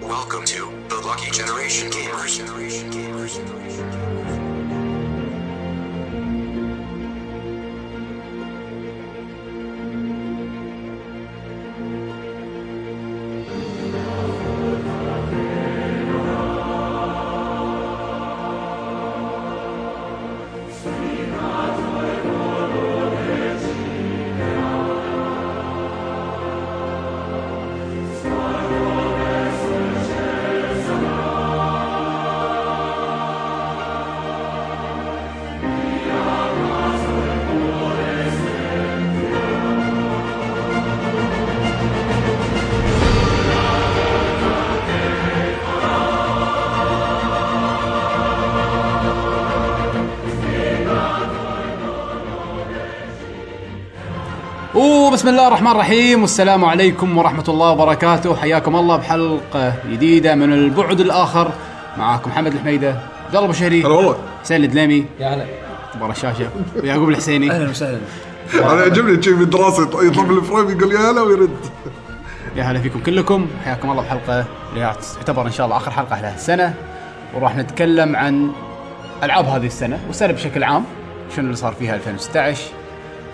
Welcome to the Lucky Generation Gamers. Generation Gamers. وبسم الله الرحمن الرحيم والسلام عليكم ورحمة الله وبركاته حياكم الله بحلقة جديدة من البعد الآخر معاكم محمد الحميدة عبد الله أبو شهري هلا والله حسين الدليمي يا هلا برا الشاشة ويعقوب الحسيني اهلا وسهلا انا يعجبني شيء بالدراسه يط- يطب الفريم يقول يا هلا ويرد يا هلا فيكم كلكم حياكم الله بحلقة اللي راح تعتبر إن شاء الله آخر حلقة لهالسنة وراح نتكلم عن ألعاب هذه السنة والسنة بشكل عام شنو اللي صار فيها 2016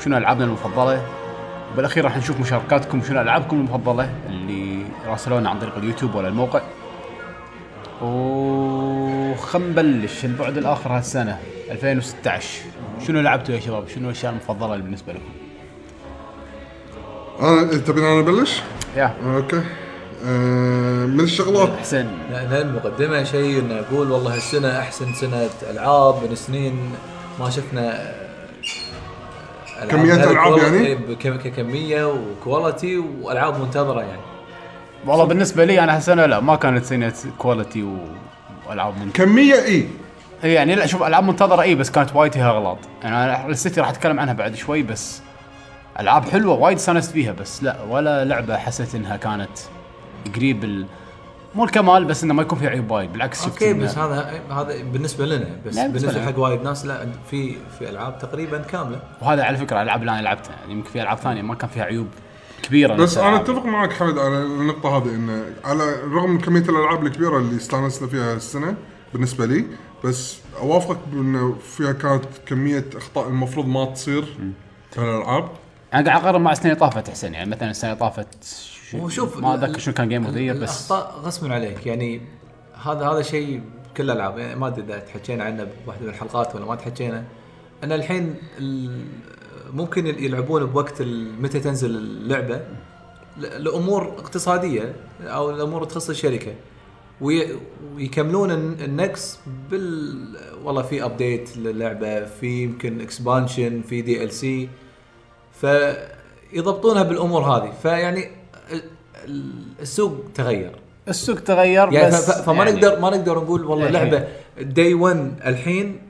شنو ألعابنا المفضلة وبالأخير راح نشوف مشاركاتكم شنو ألعابكم المفضلة اللي راسلونا عن طريق اليوتيوب ولا الموقع وخم نبلش البعد الآخر هالسنة 2016 شنو لعبتوا يا شباب شنو الأشياء المفضلة بالنسبة لكم انا آه، تبين انا ابلش؟ يا اوكي آه، من الشغلات حسين لنا المقدمه شيء ان اقول والله هالسنه احسن سنه العاب من سنين ما شفنا آه، ألعاب كمية بهالكوا- ألعاب يعني؟ إيه، بكم- ككميه وكواليتي والعاب منتظره يعني والله بالنسبه لي انا هالسنه لا ما كانت سنه كواليتي و... والعاب منتظره كميه اي يعني لا شوف العاب منتظره اي بس كانت وايد فيها اغلاط يعني انا السيتي راح اتكلم عنها بعد شوي بس العاب حلوه وايد استانست فيها بس لا ولا لعبه حسيت انها كانت قريب ال... مو الكمال بس انه ما يكون فيها عيوب وايد بالعكس شفت اوكي إنه- بس هذا هذا بالنسبه لنا بس لا، بالنسبة بالنسبه لنا. حق وايد ناس لا في في العاب تقريبا كامله وهذا على فكره الالعاب اللي انا لعبتها يعني يمكن في العاب ثانيه ما كان فيها عيوب كبيره بس نفس انا الألعاب. اتفق معك حمد على النقطه هذه انه على الرغم من كميه الالعاب الكبيره اللي استانسنا فيها السنه بالنسبه لي بس اوافقك بانه فيها كانت كميه اخطاء المفروض ما تصير في الالعاب انا يعني قاعد اقارن مع السنه اللي طافت حسين يعني مثلا السنه اللي طافت ش- وشوف ما ال- اتذكر شنو كان جيم اوف ال- ذا يير بس الاخطاء غصبا عليك يعني هذا هذا شيء بكل الالعاب يعني ما ادري اذا تحكينا عنه بواحده من الحلقات ولا ما تحكينا ان الحين ال- ممكن يل- يلعبون بوقت ال- متى تنزل اللعبه ل- لامور اقتصاديه او الامور تخص الشركه وي- ويكملون الن- النقص بال والله في ابديت للعبه في يمكن اكسبانشن في دي ال سي فيضبطونها بالامور هذه فيعني ال- ال- السوق تغير السوق تغير يعني بس ف- ف- فما يعني- نقدر ما نقدر نقول والله الحين. لعبه دي 1 الحين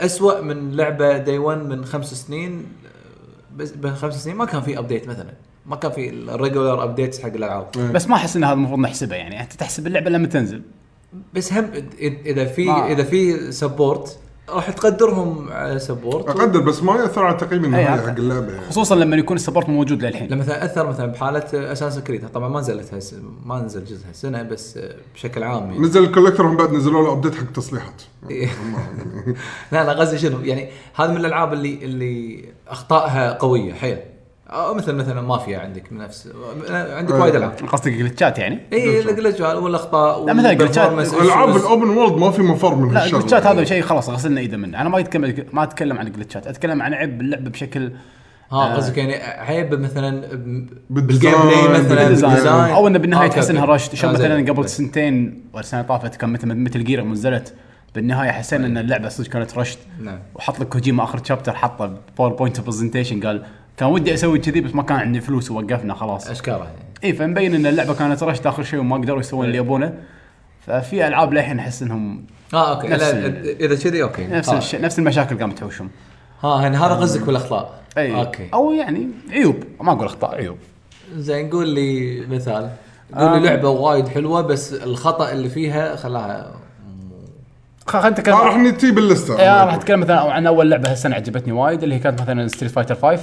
اسوء من لعبه دي 1 من خمس سنين بس من خمس سنين ما كان في ابديت مثلا ما كان في الريجولار ابديتس حق الالعاب بس ما احس ان هذا المفروض نحسبه يعني انت تحسب اللعبه لما تنزل بس هم إذ- اذا في ما- اذا في سبورت راح تقدرهم على سبورت اقدر بس ما ياثر على تقييم النهائي أي، حق اللعبه يعني خصوصا لما يكون السبورت مو موجود للحين لما مثلا اثر مثلا بحاله اساس كريد طبعا ما نزلت هالس- ما نزل جزء هالسنه بس بشكل عام يعني. نزل الكولكتر من بعد نزلوا له ابديت حق تصليحات لا لا قصدي شنو يعني هذا من الالعاب اللي اللي اخطائها قويه حيل أو مثل مثلا مافيا عندك من نفس عندك أي. وايد العاب قصدك جلتشات يعني؟ اي الجلتش والاخطاء لا، مثلاً جلتشات. والperformance العاب issues. الاوبن وورلد ما في مفر من لا هالشغلة. جلتشات يعني. هذا شيء خلاص غسلنا ايده منه انا ما اتكلم ما اتكلم عن الجلتشات اتكلم عن عيب باللعبه بشكل ها قصدك يعني عيب مثلا بالديزاين، بالجيم بلاي مثلا بالديزاين. بالديزاين او انه بالنهايه آه، تحس انها أوكي، راشد أوكي. شلون آه، زين. مثلا قبل بس. سنتين ولا سنه طافت كان مثل مثل جير يوم نزلت بالنهايه حسينا ان اللعبه صدق كانت رشد نعم. وحط لك كوجيما اخر شابتر حطه باوربوينت برزنتيشن قال كان ودي اسوي كذي بس ما كان عندي فلوس ووقفنا خلاص اشكاره يعني اي إيه، فمبين ان اللعبه كانت رشد اخر شيء وما قدروا يسوون اللي يبونه ففي العاب للحين احس انهم اه اوكي نفس لا، ال- اذا كذي اوكي نفس آه. الشيء نفس المشاكل قامت تحوشهم ها يعني هذا قصدك بالاخطاء اي اوكي او يعني عيوب ما اقول اخطاء عيوب زين قول لي مثال قول لي آم. لعبه وايد حلوه بس الخطا اللي فيها خلاها خ- خلنا نتكلم ما راح نتي باللسته إيه، أنا راح اتكلم مثلا عن اول لعبه هالسنه عجبتني وايد اللي هي كانت مثلا ستريت فايتر 5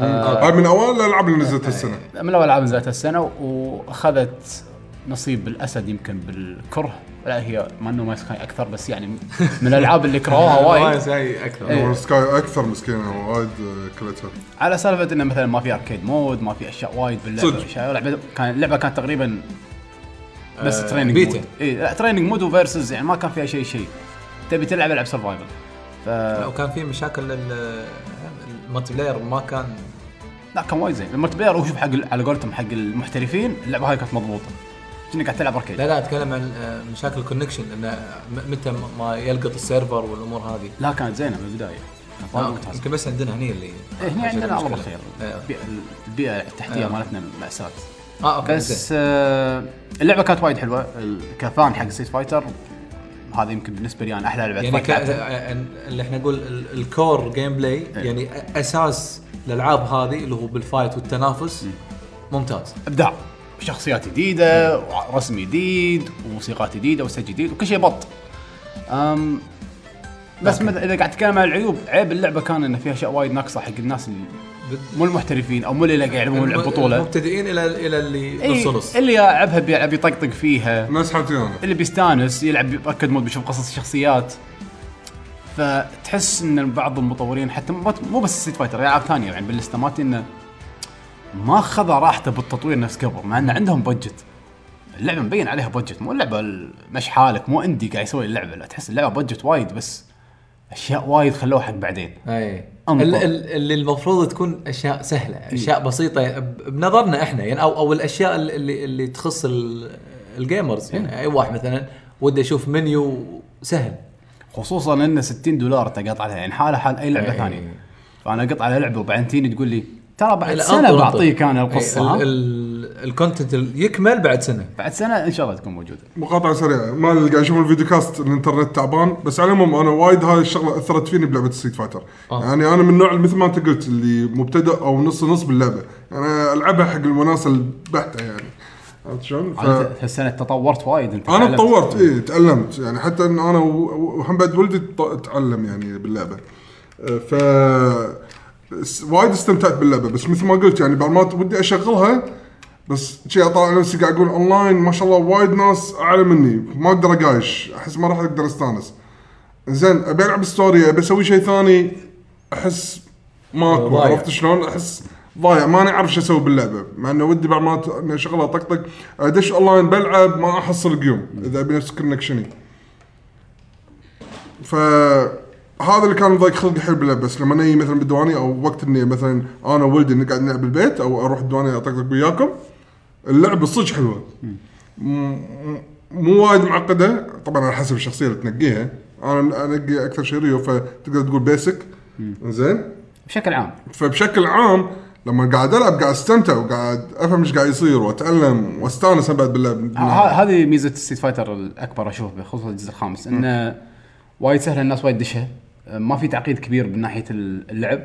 آه. إيه. هاي من اوائل الالعاب اللي نزلت السنه من اول العاب نزلت السنه واخذت نصيب الاسد يمكن بالكره لا هي ما انه ما يسخن اكثر بس يعني من الالعاب اللي كرهوها وايد هاي اكثر إيه. نور سكاي اكثر مسكينه وايد كلتها على سالفه انه مثلا ما في اركيد مود ما في اشياء وايد باللعبه صدق. اشياء لعبه كان اللعبه كانت تقريبا بس آه، تريننج بيتا. مود اي لا تريننج مود وفيرسز يعني ما كان فيها شيء شيء تبي تلعب العب سرفايفل ف لو كان في مشاكل لل- الملتي بلاير ما كان لا كان وايد زين الملتي بلاير وشوف حق ال- على قولتهم حق المحترفين اللعبه هاي كانت مضبوطه كأنك قاعد تلعب اركيد لا لا اتكلم عن آه، مشاكل الكونكشن انه م- متى ما يلقط السيرفر والامور هذه لا كانت زينه من البدايه كانت وايد آه، ممتازة. يمكن بس عندنا هني اللي إيه، هنا عندنا الله مشكلة. بالخير إيه. البيئة- البيئه التحتيه إيه. مالتنا مأساة اه اوكي بس آه، اللعبه كانت وايد حلوه ال- كفان حق ستيت فايتر هذا يمكن بالنسبه لي انا احلى لعبه يعني Fight ك... لعبتها. اللي احنا نقول ال- الكور جيم بلاي إيه. يعني أ- اساس الالعاب هذه اللي هو بالفايت والتنافس ممتاز ابداع شخصيات جديده ورسم جديد وموسيقات جديده وسج جديد وكل شيء بط أم بس مثلا اذا قاعد تتكلم عن العيوب عيب اللعبه كان ان فيها اشياء وايد ناقصه حق الناس اللي بد- مو المحترفين او مو إيه. اللي قاعد يلعبون الم- البطوله المبتدئين الى الى اللي إي، نص نص اللي يلعبها بيلعب يطقطق فيها ناس حالتي انا اللي بيستانس يلعب يركض مود بيشوف قصص الشخصيات فتحس ان بعض المطورين حتى مو مو بس ستيت فايتر العاب ثانيه يعني باللسته مالتي انه ما خذ راحته بالتطوير نفس قبل مع ان عندهم بودجت اللعبه مبين عليها بودجت مو اللعبه ال- مش حالك مو اندي قاعد يسوي اللعبه لا تحس اللعبه بودجت وايد بس اشياء وايد خلوها حق بعدين اي أنظر. ال- ال- اللي المفروض تكون اشياء سهله اشياء بسيطه ب- بنظرنا احنا يعني او او الاشياء ال- اللي اللي تخص ال- الجيمرز يعني اي واحد مثلا وده يشوف منيو سهل خصوصا انه 60 دولار انت قاطع عليها يعني حالها حال اي لعبه إي. ثانيه فانا قط على لعبه وبعدين تجيني تقول لي ترى بعد إيه. لا، سنه أنظر- بعطيك انا أنظر. القصه أي، ال- ها؟ ال- الكونتنت ال- يكمل بعد سنه بعد سنه ان شاء الله تكون موجوده مقاطعه سريعه ما اللي قاعد يشوفون الفيديو كاست الانترنت تعبان بس على العموم انا وايد هاي الشغله اثرت فيني بلعبه ستريت فايتر آه. يعني انا من نوع مثل ما انت قلت اللي مبتدئ او نص نص باللعبه انا العبها حق المناسه البحته يعني عرفت شلون؟ ف... انا ف... هالسنه تطورت وايد انت انا تعلمت. تطورت اي تعلمت يعني حتى ان انا و- وهم بعد ولدي تط- تعلم يعني باللعبه أه، ف س- وايد استمتعت باللعبه بس مثل ما قلت يعني بعد ما ت- ودي اشغلها بس شي اطالع نفسي قاعد اقول اونلاين ما شاء الله وايد ناس اعلى مني ما اقدر اقايش احس ما راح اقدر استانس زين ابي العب ستوري ابي اسوي شيء ثاني احس ماكو ضايع. عرفت شلون احس ضايع ماني عارف شو اسوي باللعبه مع انه ودي بعد ما ت- إنه شغله طقطق ادش اونلاين بلعب ما احصل قيوم اذا ابي نفس كونكشني فهذا اللي كان مضايق خلقي حيل باللعبه بس لما اني مثلا بالديوانيه او وقت اني مثلا انا وولدي نقعد نلعب بالبيت او اروح الديوانيه اطقطق وياكم اللعبه صدق حلوه مو وايد معقده طبعا على حسب الشخصيه اللي تنقيها انا انقي اكثر شيء ريو فتقدر تقول بيسك زين بشكل عام فبشكل عام لما قاعد العب قاعد استمتع وقاعد افهم ايش قاعد يصير واتعلم واستانس بعد باللعب ه- ه- هذه ميزه ستيت فايتر الاكبر اشوفها خصوصا الجزء الخامس انه وايد سهل الناس وايد دشها ما في تعقيد كبير من ناحيه ال- اللعب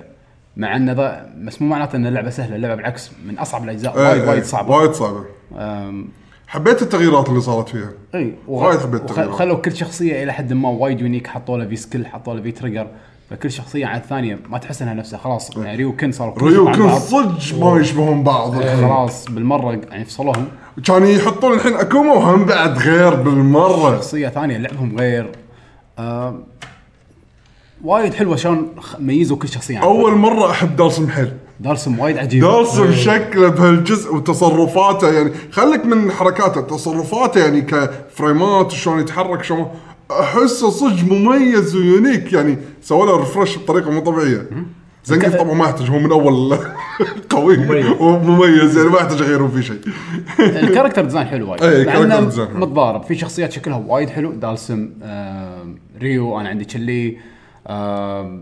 مع انه ذا- بس مو معناته ان اللعبه سهله اللعبه بالعكس من اصعب الاجزاء إيه، وايد إيه، وايد صعبه وايد صعبه أم، حبيت التغييرات اللي صارت فيها اي وايد حبيت التغييرات. إيه. خلوا كل شخصيه الى حد ما وايد يونيك حطوا له في سكيل حطوا له في تريجر فكل شخصيه عن الثانيه ما تحس انها نفسها خلاص يعني ريو كن صاروا كلهم ريو مع كان بعض. إيه. إيه. صدق ما يشبهون بعض خلاص بالمره يعني فصلوهم كانوا يحطون الحين اكوما وهم بعد غير بالمره شخصيه ثانيه لعبهم غير آه وايد حلوه شلون خ- ميزوا كل شخصيه عن اول مره احب دالسم حيل دارسم وايد عجيب دالسم شكله بهالجزء وتصرفاته يعني خليك من حركاته تصرفاته يعني كفريمات شلون يتحرك شلون احسه صدق مميز ويونيك يعني سوى له ريفرش بطريقه مو طبيعيه زنقف طبعا ما يحتاج هو من اول قوي ومميز يعني ما يحتاج اغيرهم في شيء الكاركتر ديزاين حلو وايد إيه، مع الكاركتر إنه ديزاين حلو. متضارب في شخصيات شكلها وايد حلو دالسم آه ريو انا عندي تشلي آه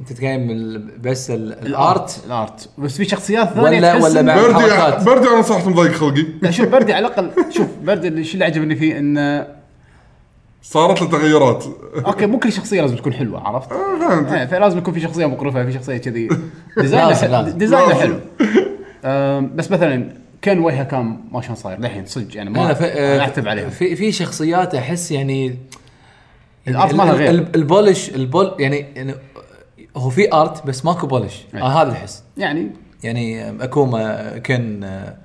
انت تتكلم ال- بس ال- الارت الارت بس في شخصيات ثانيه ولا تحس ولا إن- بعد بردي الحركات بردي انا صراحه مضايق خلقي لا شوف بردي على الاقل شوف بردي اللي- شو اللي عجبني فيه انه صارت له تغيرات اوكي مو كل شخصيه لازم تكون حلوه عرفت؟ آه، فهمت إيه، فلازم يكون في شخصيه مقرفه في شخصيه كذي لازم، ديزاينه لازم. ديزاينه لازم. حلو أم، بس مثلا كان وجهه كان ما شلون صاير للحين صدق يعني ما أنا ف- آه، أنا اعتب عليها في في شخصيات احس يعني الارت مالها ال- غير ال- البولش البول يعني يعني هو في ارت بس ماكو بولش إيه. آه هذا الحس يعني يعني اكوما كن آه،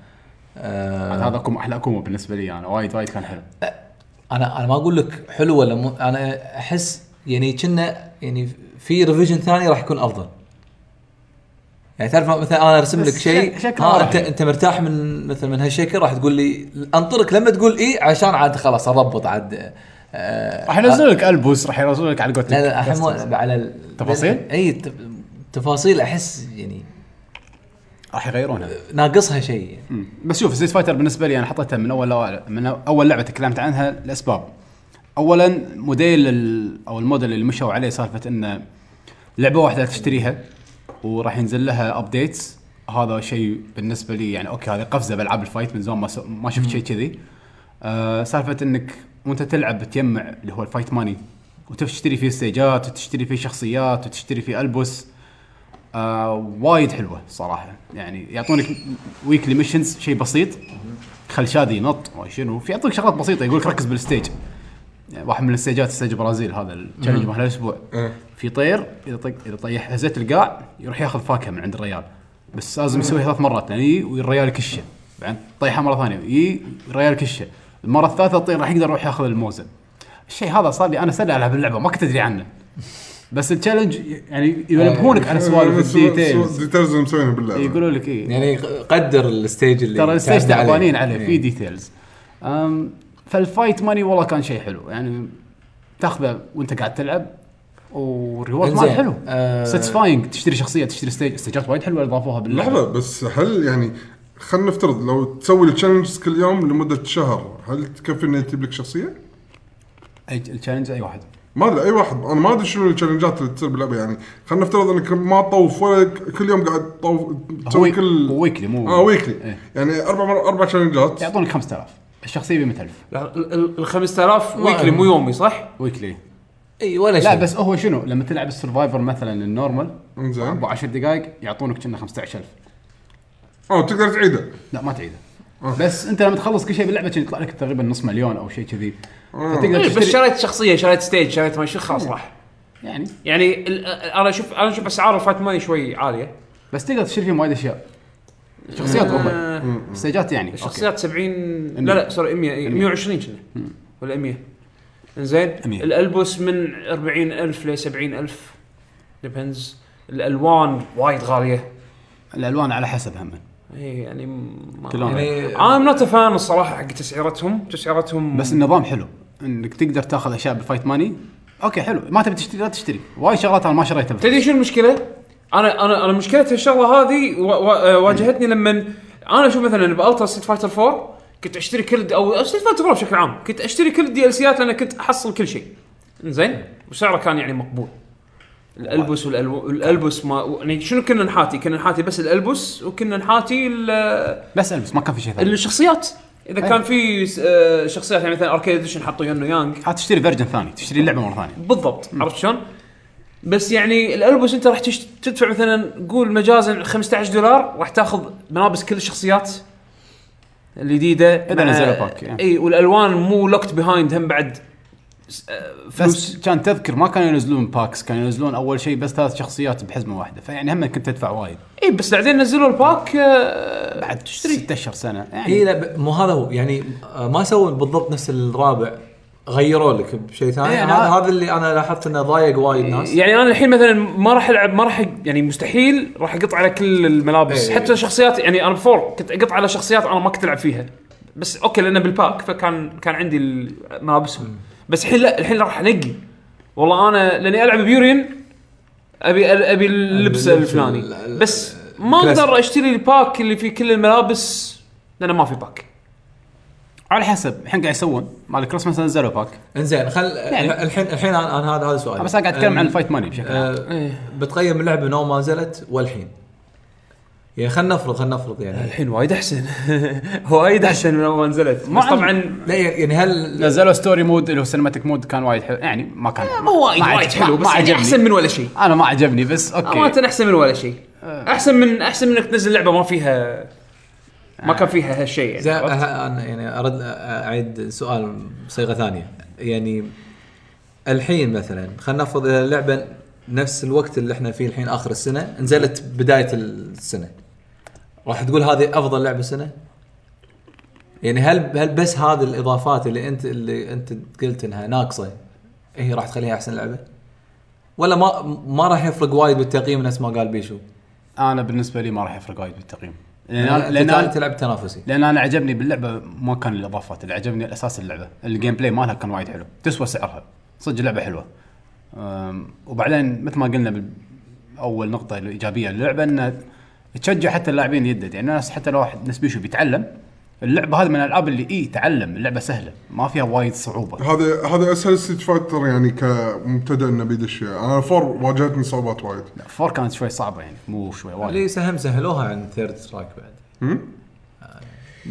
آه، عاد هذا كوم احلى كومو بالنسبه لي انا وايد وايد كان حلو انا انا ما اقول لك حلو ولا مو انا احس يعني كنا يعني في ريفيجن ثاني راح يكون افضل يعني تعرف مثلا انا ارسم بس لك شيء شك- شكله ها راح انت يعني. انت مرتاح من مثلا من هالشكل راح تقول لي انطرك لما تقول اي عشان عاد خلاص اضبط عاد آه، راح ينزلون لك البوس راح ينزلون لك على الجوتيك لا لا الحين بس- مو- على ال- تفاصيل؟ اي الت- تفاصيل احس يعني راح يغيرونها ناقصها شيء يعني. مم. بس شوف ستريت فايتر بالنسبه لي انا حطيتها من اول من اول لعبه تكلمت عنها لاسباب اولا موديل ال- او الموديل اللي مشوا عليه سالفه انه لعبه واحده تشتريها وراح ينزل لها ابديتس هذا شيء بالنسبه لي يعني اوكي هذه قفزه بالعاب الفايت من زمان ما س- ما شفت شيء كذي آه سالفه انك وانت تلعب تجمع اللي هو الفايت ماني وتشتري فيه ستيجات وتشتري فيه شخصيات وتشتري فيه البس آه وايد حلوه صراحه يعني يعطونك ويكلي ميشنز شيء بسيط خلشادي ينط ما شنو في يعطوك شغلات بسيطه يقول لك ركز بالستيج يعني واحد من الستيجات ستيج برازيل هذا التشالنج مال الاسبوع إيه. في طير اذا طق اذا طيح هزيت القاع يروح ياخذ فاكهه من عند الريال بس لازم يسويها ثلاث مرات لان يجي والريال كشه بعدين طيحها مره ثانيه يجي الريال كشه المره الثالثه الطير راح يقدر يروح ياخذ الموزه الشيء هذا صار لي انا سنه العب اللعبه ما كنت ادري عنه بس التشالنج يعني ينبهونك على آه، سوالف الديتيلز الديتيلز اللي مسوينها باللعبه يقولوا لك ايه يعني قدر الستيج اللي ترى الستيج تعبت عليه. تعبانين عليه في إيه. ديتيلز أم، فالفايت ماني والله كان شيء حلو يعني تاخذه وانت قاعد تلعب والريورد ماله إنزين. حلو آه. ساتسفاينج تشتري شخصيه تشتري ستيج ستيجات وايد حلوه اللي ضافوها باللعبه لحظه بس هل يعني خلينا نفترض لو تسوي التشالنجز كل يوم لمده شهر هل تكفي انه يجيب لك شخصيه؟ أي- التشالنج اي واحد ما ادري اي واحد انا ما ادري شنو التشالنجات اللي تصير باللعبه يعني خلينا نفترض انك ما تطوف ولا ك- كل يوم قاعد تطوف تسوي هو- كل هو ويكلي، مو- اه ويكلي إيه. يعني يعني اربع مر... اربع تشالنجات يعطونك 5000 الشخصيه ب 100000 ال 5000 ويكلي مو يومي صح؟ ويكلي اي ولا شيء لا بس هو شنو لما تلعب السرفايفر مثلا النورمال انزين ابو 10 دقائق يعطونك كنا 15000 اه تقدر تعيده لا ما تعيده بس انت لما تخلص كل شيء باللعبه كان يطلع لك تقريبا نص مليون او شيء كذي فتقدر إيه، بس تشتري شريت شخصيه شريت ستيج شريت ما شو خلاص راح يعني يعني ال- انا اشوف انا اشوف اسعار الفايت ماني شوي عاليه بس تقدر تشتري فيهم وايد اشياء شخصيات آه. والله استيجات يعني الشخصيات 70 لا لا سوري 100 إيه، 120 كنا ولا 100 زين 100. الالبس من 40000 ل 70000 ديبندز الالوان وايد غاليه أوكي. الالوان على حسب هم إيه، يعني ما كلهم. يعني انا نوت فان الصراحه حق تسعيرتهم تسعيرتهم بس النظام حلو انك تقدر تاخذ اشياء بالفايت ماني اوكي حلو ما تبي تشتري لا تشتري وايد شغلات انا ما شريتها بالفايت. تدري شو المشكله؟ انا انا انا مشكله هالشغله هذه و- و- واجهتني لما انا اشوف مثلا بالترا ستيت فايتر 4 كنت اشتري كل او ستيت فايتر 4 بشكل عام كنت اشتري كل الدي ال سيات لان كنت احصل كل شيء زين وسعره كان يعني مقبول الالبس والألو... والالبس ما يعني شنو كنا نحاتي؟ كنا نحاتي بس الالبس وكنا نحاتي ال- بس البس ما كان في شيء ثاني الشخصيات اذا كان في س- آه، شخصيات يعني مثلا اركيد اديشن حطوا يانو يانج حتشتري فيرجن ثاني تشتري اللعبه مره ثانيه بالضبط عرفت شلون؟ بس يعني الالبس انت راح تشت- تدفع مثلا قول مجازا 15 دولار راح تاخذ ملابس كل الشخصيات الجديده إذا نزلوا باك، يعني. اي والالوان مو لوكت بيهايند هم بعد س- آه، فلوس بس كان تذكر ما كانوا ينزلون باكس كانوا ينزلون اول شيء بس ثلاث شخصيات بحزمه واحده فيعني هم كنت تدفع وايد اي بس بعدين نزلوا الباك آه، بعد تشتري ست اشهر سنه اي يعني لا ب- مو هذا هو يعني آه، ما سووا بالضبط نفس الرابع غيروا لك بشيء ثاني إيه، هذا أنا- هذا اللي انا لاحظت انه ضايق وايد ناس يعني انا الحين مثلا ما راح العب ما راح يعني مستحيل راح اقط على كل الملابس إيه. حتى شخصيات يعني انا بفور كنت اقط على شخصيات انا ما كنت العب فيها بس اوكي لانه بالباك فكان كان عندي الملابسهم بس الحين لا الحين راح انقي والله انا لاني العب بيورين ابي ابي اللبس اللبس الفلاني ال- ال- بس ما الكلاسيك. اقدر اشتري الباك اللي فيه كل الملابس لانه ما في باك على حسب الحين قاعد يسوون مال الكريسماس نزلوا باك انزين خل يعني الحين الحين انا أنا هذا هذا سؤال بس انا قاعد اتكلم عن الفايت ماني بشكل عام آه بتقيم اللعبه من اول ما نزلت والحين يعني خلينا نفرض خلينا نفرض يعني الحين وايد احسن وايد احسن من اول ما نزلت ما بس عندي- طبعا لا يعني هل نزلوا ستوري مود اللي هو سينماتيك مود كان وايد حلو يعني ما كان مو وايد ما وايد حلو بس ما يعني عجبني احسن من ولا شيء انا ما عجبني بس اوكي امانه احسن من ولا شيء آه. احسن من احسن من انك تنزل لعبه ما فيها ما آه. كان فيها هالشيء زي- يعني عرفت؟ آه، انا يعني ارد اعيد سؤال بصيغه ثانيه يعني الحين مثلا خلينا نفرض إن اللعبه نفس الوقت اللي احنا فيه الحين اخر السنه نزلت بدايه السنه راح تقول هذه افضل لعبه السنه يعني هل هل بس هذه الاضافات اللي انت اللي انت قلت انها ناقصه هي راح تخليها احسن لعبه؟ ولا ما ما راح يفرق وايد بالتقييم نفس ما قال بيشو؟ انا بالنسبه لي ما راح يفرق وايد بالتقييم لان يعني أنا- لان لان انت أنا- تلعب تنافسي لان انا عجبني باللعبه ما كان الاضافات اللي عجبني الاساس اللعبه الجيم بلاي مالها كان وايد حلو تسوى سعرها صدق لعبه حلوه أم، وبعدين مثل ما قلنا بال- اول نقطه الايجابيه للعبه انها تشجع حتى اللاعبين يدد يعني الناس حتى لو واحد ناس بيشو بيتعلم اللعبه هذه من الالعاب اللي اي تعلم اللعبه سهله ما فيها وايد صعوبه هذا هذا اسهل ستيت فايتر يعني كمبتدئ انه بيدش فيها. انا فور واجهتني صعوبات وايد فور كانت شوي صعبه يعني مو شوي وايد اللي سهم سهلوها عن ثيرد سترايك بعد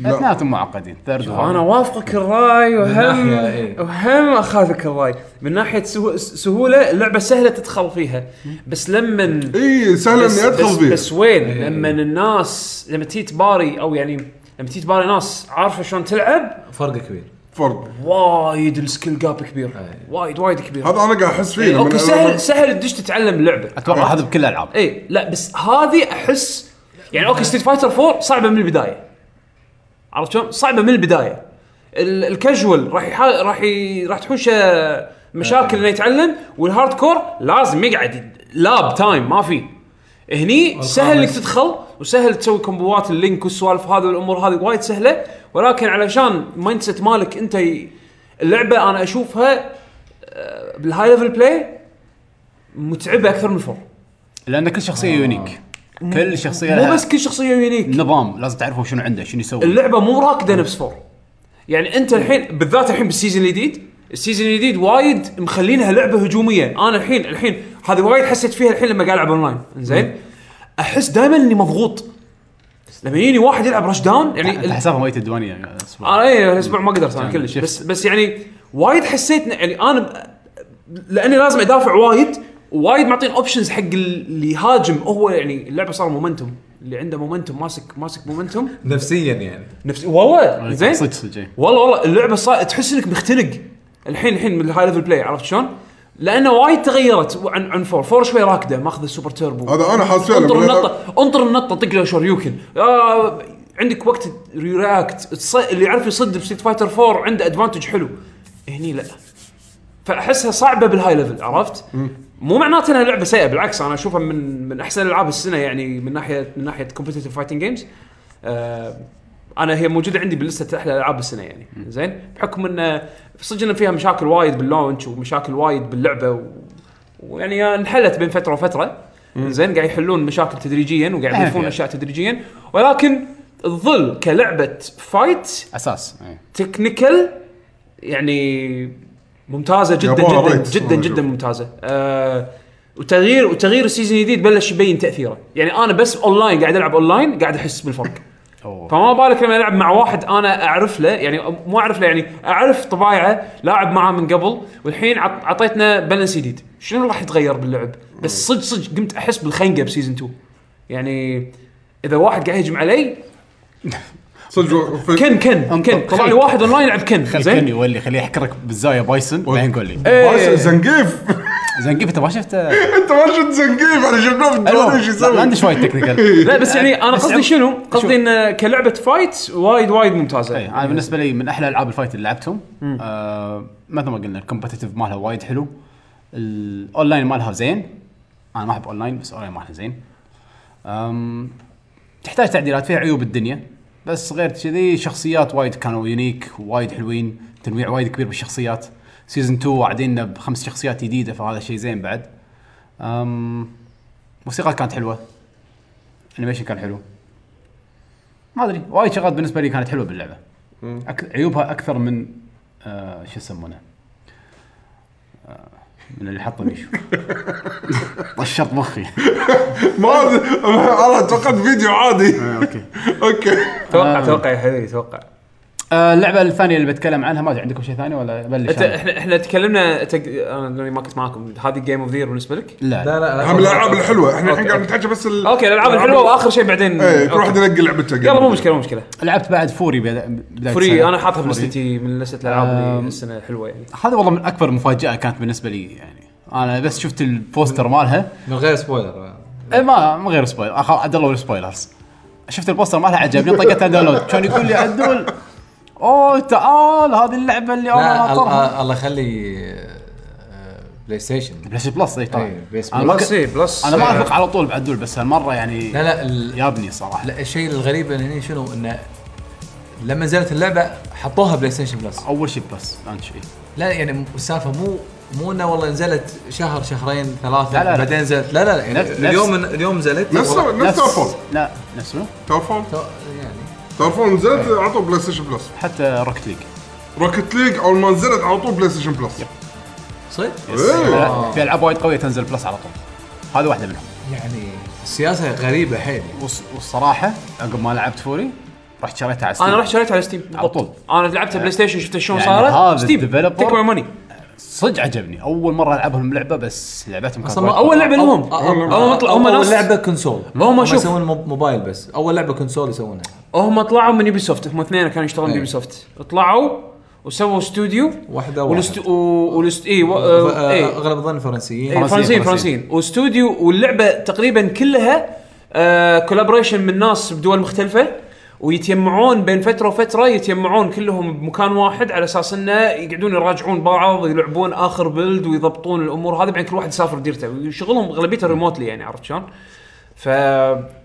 لا اثنيناتهم معقدين ثيرد انا وافقك الراي وهم ناحية، إيه. وهم اخالفك الراي من ناحيه سهو- سهوله اللعبه سهله تدخل فيها بس لما اي إيه، سهل بس- اني ادخل بس- فيه بس وين إيه. لما الناس لما تيجي تباري او يعني لما تيجي تباري ناس عارفه شلون تلعب فرق كبير فرق وايد السكيل جاب كبير إيه. وايد وايد كبير هذا انا قاعد احس فيه لما اوكي أنا- إيه، سهل سهل تدش تتعلم اللعبه اتوقع هذا بكل الالعاب اي إيه، لا بس هذه احس يعني اوكي ستيت فايتر 4 صعبه من البدايه عرفت شلون؟ صعبه من البدايه ال- الكاجوال راح يحا... راح ي... راح تحوشه مشاكل انه يتعلم والهارد كور لازم يقعد ي- لاب تايم ما في هني سهل انك تدخل وسهل تسوي كومبوات اللينك والسوالف هذه والامور هذه وايد سهله ولكن علشان مايند سيت مالك انت ي... اللعبه انا اشوفها آه، بالهاي ليفل بلاي متعبه اكثر من الفور لان كل شخصيه يونيك كل شخصيه آه. مو لها بس كل شخصيه يونيك نظام لازم تعرفه شنو عنده شنو يسوي اللعبه مو راكده نفس فور يعني انت الحين بالذات الحين بالسيزون الجديد السيزون الجديد وايد مخلينها لعبه هجوميه انا الحين الحين هذه وايد حسيت فيها الحين لما قاعد العب اونلاين زين احس دائما اني مضغوط لما يجيني واحد يلعب رش داون يعني انت ال- حسابها ميت الديوانيه انا اي الاسبوع ما قدرت انا يعني كلش شفت. بس بس يعني وايد حسيت إن- يعني انا ب- لاني لازم ادافع وايد وايد معطين اوبشنز حق اللي يهاجم هو يعني اللعبه صار مومنتوم اللي عنده مومنتوم ماسك ماسك مومنتوم نفسيا يعني نفسي والله زين صدق صدق إي. والله والله اللعبه صار تحس انك مختنق الحين الحين من الهاي ليفل بلاي عرفت شلون؟ لانه وايد تغيرت عن عن فور، فور شوي راكده ماخذ السوبر تيربو هذا أنا حاسس فعلاً. انطر لما النطه انطر النطه طق له شوريوكن آه عندك وقت رياكت تص... اللي يعرف يصد بستيت فايتر 4 عنده ادفانتج حلو هني لا فاحسها صعبه بالهاي ليفل عرفت؟ مو معناته انها لعبه سيئه بالعكس انا اشوفها من من احسن العاب السنه يعني من ناحيه من ناحيه كومبتيتيف فايتنج جيمز آه، انا هي موجوده عندي بلسته احلى العاب السنه يعني زين بحكم ان صدق ان فيها مشاكل وايد باللونش ومشاكل وايد باللعبه و... ويعني انحلت بين فتره وفتره زين قاعد يحلون مشاكل تدريجيا وقاعد أهم يضيفون فيها. اشياء تدريجيا ولكن تظل كلعبه فايت اساس إيه. إي. تكنيكال يعني ممتازه جدا يبوها جدا رايت. جدا جدا ممتازه آه وتغيير وتغيير السيزون الجديد بلش يبين تاثيره يعني انا بس اونلاين قاعد العب اونلاين قاعد احس بالفرق أوه. فما بالك لما العب مع واحد انا اعرف له يعني مو اعرف له يعني اعرف طبايعه لاعب معاه من قبل والحين عط- عطيتنا بالانس جديد شنو راح يتغير باللعب بس صدق صدق قمت احس بالخنقه بسيزون 2 يعني اذا واحد قاعد يهجم علي صدق في- كن كن انطر، كن طلع لي خليك. واحد اونلاين يلعب كن خلي زين إيه. كني يولي خليه يحكرك بالزاويه بايسون بعدين قول لي بايسون زنقيف زين كيف انت ما شفته انت ما شفت زنقيف انا شفناه في الدوري ايش المهم، لا، ما عندي يسوي وايد تكنيكال لا بس يعني انا بس قصدي عم- شنو؟ شوف. أيوه. قصدي ان كلعبه فايت وايد وايد ممتازه إي، انا بالنسبه إيه، لي من احلى العاب الفايت اللي لعبتهم آه، مثل ما قلنا الكومبتيتيف مالها وايد حلو الاونلاين مالها زين انا ما احب اونلاين بس اونلاين مالها زين أم، تحتاج تعديلات فيها عيوب الدنيا بس غير كذي شخصيات وايد كانوا يونيك وايد حلوين تنويع وايد كبير بالشخصيات سيزون 2 واعديننا بخمس شخصيات جديده فهذا شيء زين بعد أم موسيقى كانت حلوه انيميشن كان حلو ما ادري وايد شغلات بالنسبه لي كانت حلوه باللعبه أك... عيوبها اكثر من آه شو يسمونه آه، من اللي حطه بيشو طشرت مخي ما أدري. انا توقعت فيديو عادي اوكي اوكي توقع توقع يا حبيبي توقع آه، اللعبه الثانيه اللي بتكلم عنها ما ادري عندكم شيء ثاني ولا بلش انت أنا؟ احنا احنا تكلمنا تك... انا لأني ما كنت معاكم هذه جيم اوف ذا بالنسبه لك؟ لا لا لا لا هم الالعاب الحلوه احنا أوكي، الحين قاعد أوكي. نتحكى بس ال- اوكي الالعاب الحلوه واخر شيء بعدين ايه كل أوكي. واحد ينقي لعبته يلا مو مشكله مو مشكله لعبت بعد فوري بدا- بدايه فري السنة. انا حاطها فوري. بلستي من لسته الالعاب أم. اللي السنه حلوه يعني هذا والله من اكبر مفاجاه كانت بالنسبه لي يعني انا بس شفت البوستر مالها من غير سبويلر إيه، ما من غير سبويلر أخ- عدلوا السبويلرز شفت البوستر مالها عجبني طقتها داونلود كان يقول لي عدول اوه تعال هذه اللعبه اللي انا لا ناطرها الله- الله يخلي آه، بلاي ستيشن بلاش بلس اي طبعا إيه، بلاس انا ما بلس ك- اي بلس انا آه، ما اثق على طول بعدول بس هالمره يعني لا لا ال- يابني صراحه لا الشيء الغريب إن هنا شنو انه لما نزلت اللعبه حطوها بلاي ستيشن بلس اول شيء بلس ثاني شيء لا يعني السالفه مو مو انه والله نزلت شهر شهرين ثلاثه لا، لا، لا. بعدين نزلت لا لا, لا يعني نفس- اليوم- اليوم اليوم نزلت نفس والله- نفس تاورفول لا نفس منو؟ تاورفول يعني تاورفول نزلت على طول بلاي ستيشن بلس حتى روكت ليج روكت ليج اول ما نزلت على طول بلاي ستيشن بلس صدق إيه. آه. لا، في العاب وايد قويه تنزل بلس على طول هذه واحده منهم يعني السياسه غريبه حيل والص- والصراحه عقب ما لعبت فوري رحت شريتها على ستيم انا رحت شريتها على ستيم على طول. انا لعبتها بلاي ستيشن شفت شلون يعني صارت هذا ستيم الديفلوبر- تيك ماي ماني صدق عجبني اول مره العبهم لعبه بس لعبتهم كانت وايد اول قوية. لعبه لهم هم اول, طلعوا هم ناس لعبه كونسول هم شوف. يسوون موب- موبايل بس اول لعبه كونسول يسوونها هم طلعوا من يوبي سوفت هم اثنين كانوا يشتغلون إيه. بيوبي سوفت طلعوا وسووا استوديو واحدة واحد. والست... والست... اي و... ف- آه، آه، إيه. اغلب الظن فرنسيين إيه، فرنسيين فرنسيين، فرنسيين واستوديو واللعبه تقريبا كلها آه كولابريشن من ناس بدول مختلفه ويتجمعون بين فتره وفتره يتجمعون كلهم بمكان واحد على اساس انه يقعدون يراجعون بعض ويلعبون اخر بلد ويضبطون الامور هذه بعدين كل واحد يسافر ديرته وشغلهم اغلبيته ريموتلي يعني عرفت شلون؟ ف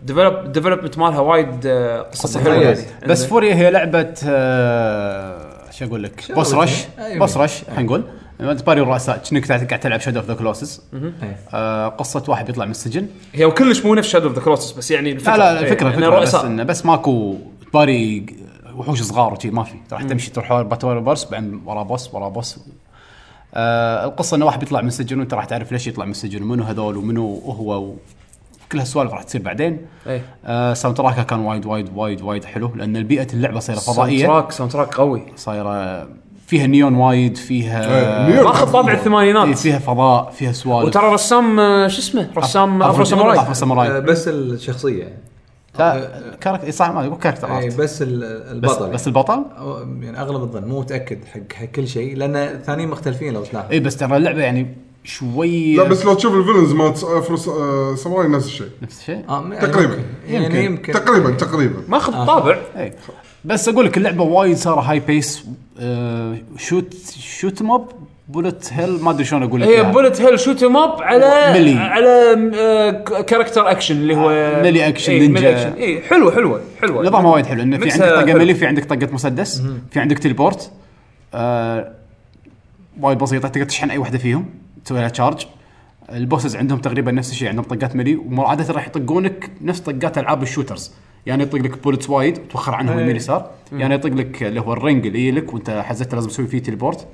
ديفلوب ديفلوبمنت مالها وايد آه، قصه حلوه مميزة. يعني. بس فوريا هي لعبه آه، شو اقول لك بوس رش أيوة. بوس رش خلينا نقول لما تباري الرؤساء كأنك قاعد تلعب شادو اوف ذا كلوسز إيه. قصه آه، واحد بيطلع من السجن هي وكلش مو نفس شادو اوف ذا كروسس بس يعني الفكره لا لا إيه، الفكره إنه فكره بس رؤساء. انه بس ماكو تباري وحوش صغار وشي ما في راح تمشي تروح حوالي تباري بوس بعدين ورا بوس ورا بوس آه القصه انه واحد بيطلع من السجن وانت راح تعرف ليش يطلع من السجن ومنو هذول ومنو هو كل هالسوالف راح تصير بعدين إيه. آه ساوند تراكها كان وايد وايد وايد وايد حلو لان البيئه اللعبه صايره ساوند فضائيه تراك ساوند تراك قوي صايره فيها نيون وايد فيها إيه، نيون. ماخذ طابع إيه، الثمانينات فيها فضاء فيها سوالف وترى رسام آه، شو اسمه رسام افرو ساموراي افرو آه، ساموراي بس الشخصيه لا كاركتر صح ما أدري، إيه، كاركتر اي آرت. إيه، بس ال- بس البطل بس البطل يعني. يعني اغلب الظن مو متاكد حق حق كل شيء لان الثانيين مختلفين لو تلاحظ إيه. اي بس ترى اللعبه يعني شوي لا بس لو تشوف الفيلنز مالت افرو ساموراي آه، نفس الشيء نفس الشيء آه، يعني تقريباً. ممكن. يعني يمكن تقريبا تقريبا ماخذ آه. طابع اي إيه. بس اقول لك اللعبه وايد صار هاي بيس آه شوت شوت موب بولت هيل ما ادري شلون اقول لك يعني. هي إياها. بولت هيل شوت ام اب على ملي. آه، على كاركتر اكشن اللي هو ملي أكشن، اي ملي إيه، نينجا. اكشن اي حلوه حلوه حلوه نظامها وايد حلو انه في ميكسها عندك طاقه حلو. ملي في عندك طاقه مسدس في عندك تليبورت آه وايد بسيطه تقدر تشحن اي واحده فيهم تسوي لها تشارج البوسز عندهم تقريبا نفس الشيء عندهم طقات ملي وعاده راح يطقونك نفس طقات العاب الشوترز يعني يطق لك بولتس وايد توخر عنهم يمين يسار يعني يطق لك اللي هو الرنج اللي لك وانت حزتها لازم تسوي فيه تليبورت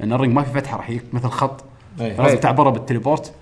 لان الرنج ما في فتحه راح يجيك مثل خط إيه. لازم تعبره بالتليبورت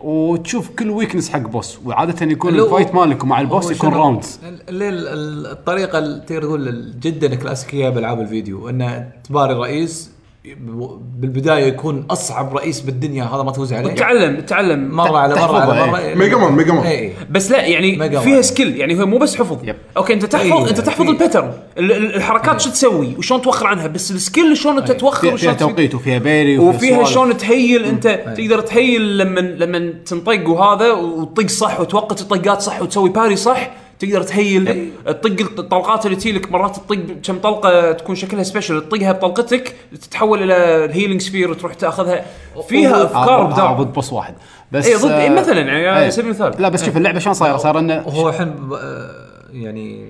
وتشوف كل ويكنس حق بوس وعاده يكون لو- الفايت مالك ومع البوس هو يكون شنو- راوندز ال- ال- ال- الطريقه اللي تقدر تقول ال- جدا كلاسيكيه بالعاب الفيديو انه تباري الرئيس ب- بالبدايه يكون اصعب رئيس بالدنيا هذا ما تفوز عليه تعلم تعلم مره على مره على إيه، تحفظه، مره ميجا مان ميجا مان اي بس لا يعني ميجا فيها وايد. سكيل يعني هو مو بس حفظ يب. أيوة. اوكي انت تحفظ أيوة، انت تحفظ في- الباترن ال- ال- الحركات شو تسوي وشلون توخر عنها بس السكيل شلون انت توخر فيها, فيها وشلون تسوي- توقيت وفيها بيري وفيها سوالف. شلون تهيل انت تقدر تهيل لما لما تنطق وهذا وتطق صح وتوقت الطقات صح وتسوي باري صح تقدر تهيل تطق الطلقات اللي تجي لك مرات تطق كم طلقه تكون شكلها سبيشل تطقها بطلقتك تتحول الى الهيلينج سبير وتروح تاخذها فيها افكار آه، آه، بدار ضد بوس واحد بس إيه، ضد- إيه، آه، مثلاً يعني على إيه. سبيل المثال. لا بس شوف اللعبه شلون صايره صار انه وهو الحين ب- آه، يعني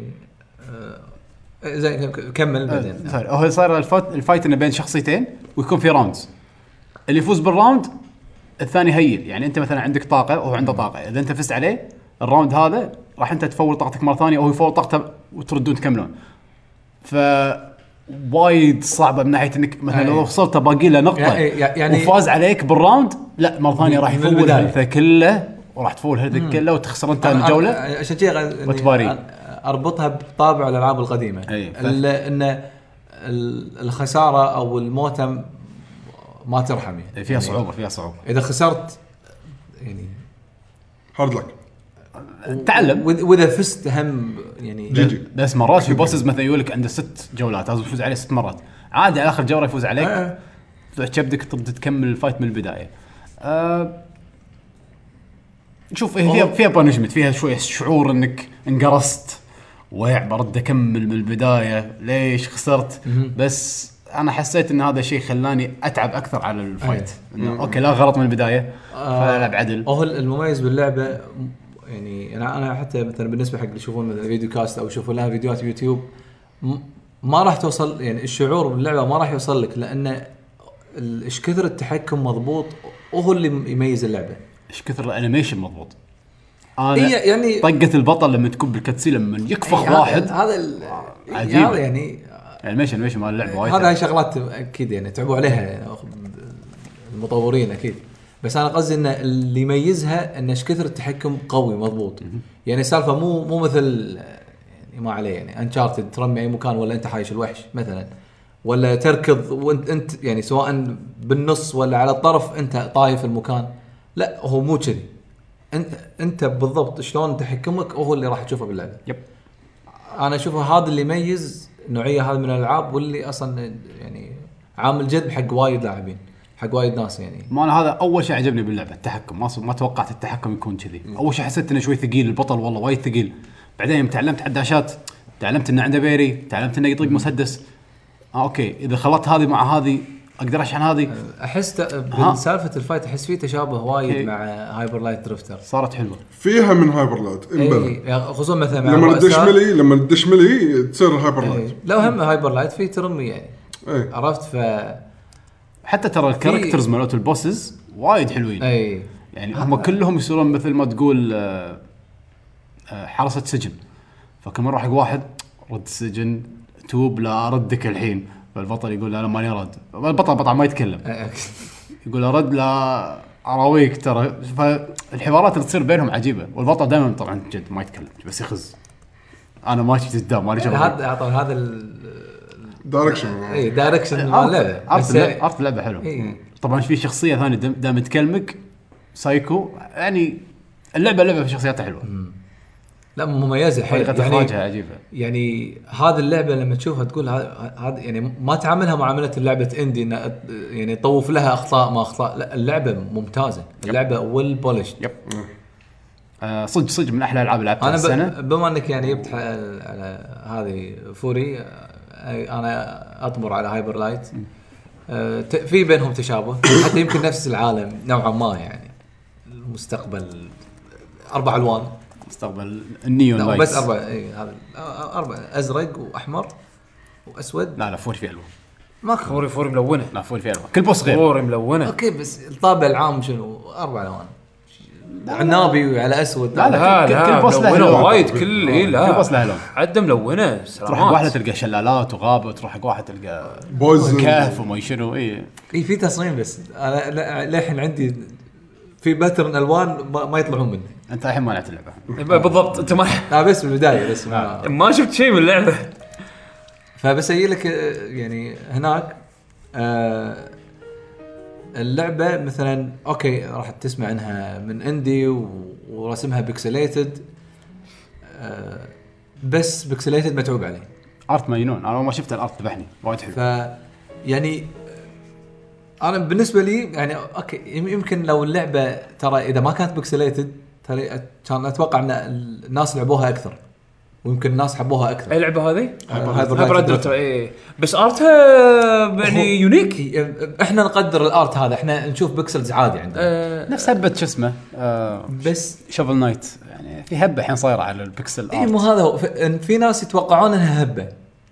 آه، زين كمل آه، بعدين سوري، طيب، هو صاير الفوت- الفايت انه بين شخصيتين ويكون في راوندز اللي يفوز بالراوند الثاني هيل يعني انت مثلا عندك طاقه وهو عنده طاقه اذا انت فزت عليه الراوند هذا راح انت تفول طاقتك مره ثانيه او يفول طاقته وتردون تكملون ف وايد صعبه من ناحيه انك مثلا لو أي. وصلت باقي له نقطه يعني- إيه. يعني- وفاز عليك بالراوند لا مره ثانيه راح من يفول البداية. هيلثه كله وراح تفول هيلثه كله وتخسر انت الجوله أنا- عشان كذا قاعد- يعني وتباري. أنا اربطها بطابع الالعاب القديمه أي، فاهم. ال- ان ال- الخساره او الموتم ما ترحم يعني فيها صعوبه فيها صعوبه اذا خسرت يعني هارد لك إيه. تعلم وإذ- واذا فزت هم يعني جي جي بس مرات في بوسز مثلا يقول لك عنده ست جولات لازم تفوز عليه ست مرات عادي على اخر جوله يفوز عليك آه. تروح كبدك تبدا تكمل الفايت من البدايه أه شوف هي فيها فيها بانشمنت فيها شويه شعور انك انقرصت ويع برد اكمل من البدايه ليش خسرت بس انا حسيت ان هذا الشيء خلاني اتعب اكثر على الفايت انه اوكي لا غلط من البدايه فالعب عدل هو المميز باللعبه يعني انا انا حتى مثلا بالنسبه حق اللي يشوفون مثلا فيديو كاست او يشوفون لها فيديوهات يوتيوب م- ما راح توصل يعني الشعور باللعبه ما راح يوصل لك لان ال- ايش كثر التحكم مضبوط وهو اللي يميز اللعبه ايش كثر الانيميشن مضبوط انا إيه يعني- طقه البطل لما تكون بالكاتسين لما يكفخ إيه، هذا- طيب، واحد هذا ال- عجيب. هذا يعني الانيميشن الانيميشن مال اللعبه وايد إيه، هذا هاي شغلات اكيد يعني تعبوا عليها يعني المطورين اكيد بس انا قصدي ان اللي يميزها ان ايش كثر التحكم قوي مضبوط يعني السالفه مو مو مثل يعني ما عليه يعني انشارتد ترمي اي مكان ولا انت حايش الوحش مثلا ولا تركض وانت انت يعني سواء بالنص ولا على الطرف انت طايف المكان لا هو مو كذي انت انت بالضبط شلون تحكمك هو اللي راح تشوفه باللعبه يب انا اشوفه هذا اللي يميز نوعيه هذه من الالعاب واللي اصلا يعني عامل جذب حق وايد لاعبين حق وايد ناس يعني ما انا هذا اول شيء عجبني باللعبه التحكم ما ما توقعت التحكم يكون كذي اول شيء حسيت انه شوي ثقيل البطل والله وايد ثقيل بعدين يوم تعلمت على الداشات تعلمت انه عنده بيري تعلمت انه يطلق مسدس اه اوكي اذا خلطت هذه مع هذه اقدر اشحن هذه احس ت- ها. بسالفه الفايت احس فيه تشابه أوكي. وايد مع هايبر لايت درفتر صارت حلوه فيها من هايبر لايت إيه. إيه. امبلا إي، يعني خصوصا مثلا مع لما الرؤساء. تدش ملي لما تدش ملي تصير هايبر لايت إيه. إي، لو هم هايبر لايت فيه ترمي يعني اي عرفت ف حتى ترى الكاركترز مالت البوسز وايد حلوين اي يعني هم كلهم يصيرون مثل ما تقول آه، آه، حرسه سجن فكل مره حق واحد رد السجن توب لا اردك الحين فالبطل يقول لا انا ماني رد البطل بطل ما يتكلم يقول ارد لا اراويك ترى فالحوارات اللي تصير بينهم عجيبه والبطل دائما طبعا جد ما يتكلم بس يخز انا ماشي قدام مالي شغل هذا عطوا هذا ال- دايركشن اي دايركشن إيه، عرفت- مال اللعبه عرفت بس يعني إيه. اللعبة- عرفت اللعبه حلو إي. طبعا في شخصيه ثانيه دام- دام تكلمك سايكو يعني اللعبه لعبه شخصياتها حلوه لا مميزه حيل طريقه اخراجها عجيبه يعني هذه اللعبه لما تشوفها تقول هذا هذا يعني ما تعاملها معامله لعبه اندي إن أت- يعني طوف لها اخطاء ما اخطاء لا اللعبه ممتازه اللعبه ويل بولش يب آه، صدق صدق من احلى الالعاب اللي لعبتها انا السنه ب... بما انك يعني جبت ح- على هذه فوري آه، انا اطمر على هايبر لايت آه، ت- في بينهم تشابه حتى يمكن نفس العالم نوعا ما يعني المستقبل اربع الوان مستقبل النيون لا لايتس بس اربع اي هذا آه، اربع ازرق واحمر واسود لا لا فوري في الوان ماكو فوري فوري ملونه لا فوري في الوان كل بوس غير فوري ملونه اوكي بس الطابع العام شنو اربع الوان عنابي على اسود لا، لا. لا كل- كل لا بوس له ملونه لون. وايد كل اي لا كل بوس له لون. عده ملونه تروح حق واحده سلامات تلقى شلالات وغابه تروح حق واحده تلقى بويز كهف وما شنو إيه. اي اي في تصميم بس انا لا- للحين عندي في باترن الوان ما, ما يطلعون مني انت الحين ما لعبت اللعبه بالضبط انت ما لا بس بالبدايه بس ما ما شفت شيء من اللعبه فبس اجي لك آه، يعني هناك آه اللعبه مثلا اوكي راح تسمع انها من اندي و- ورسمها بيكسليتد آه بس بيكسليتد متعوب عليه ارت مجنون انا أول ما شفت الارت ذبحني وايد ف حلو يعني انا بالنسبه لي يعني اوكي يم- يمكن لو اللعبه ترى اذا ما كانت بيكسليتد ترى أت- كان اتوقع ان الناس لعبوها اكثر ويمكن الناس حبوها اكثر اي لعبه هذه؟ هايبر هايبر لايت ادريتر اي بس ارتها يعني يونيك إي، احنا إيه، نقدر الارت هذا احنا نشوف بيكسلز عادي عندنا آه، نفس هبه شو اسمه آه بس شوفل نايت يعني في هبه الحين صايره على البكسل اي ارت إيه، مو هذا هو ف- إن في ناس يتوقعون انها هبه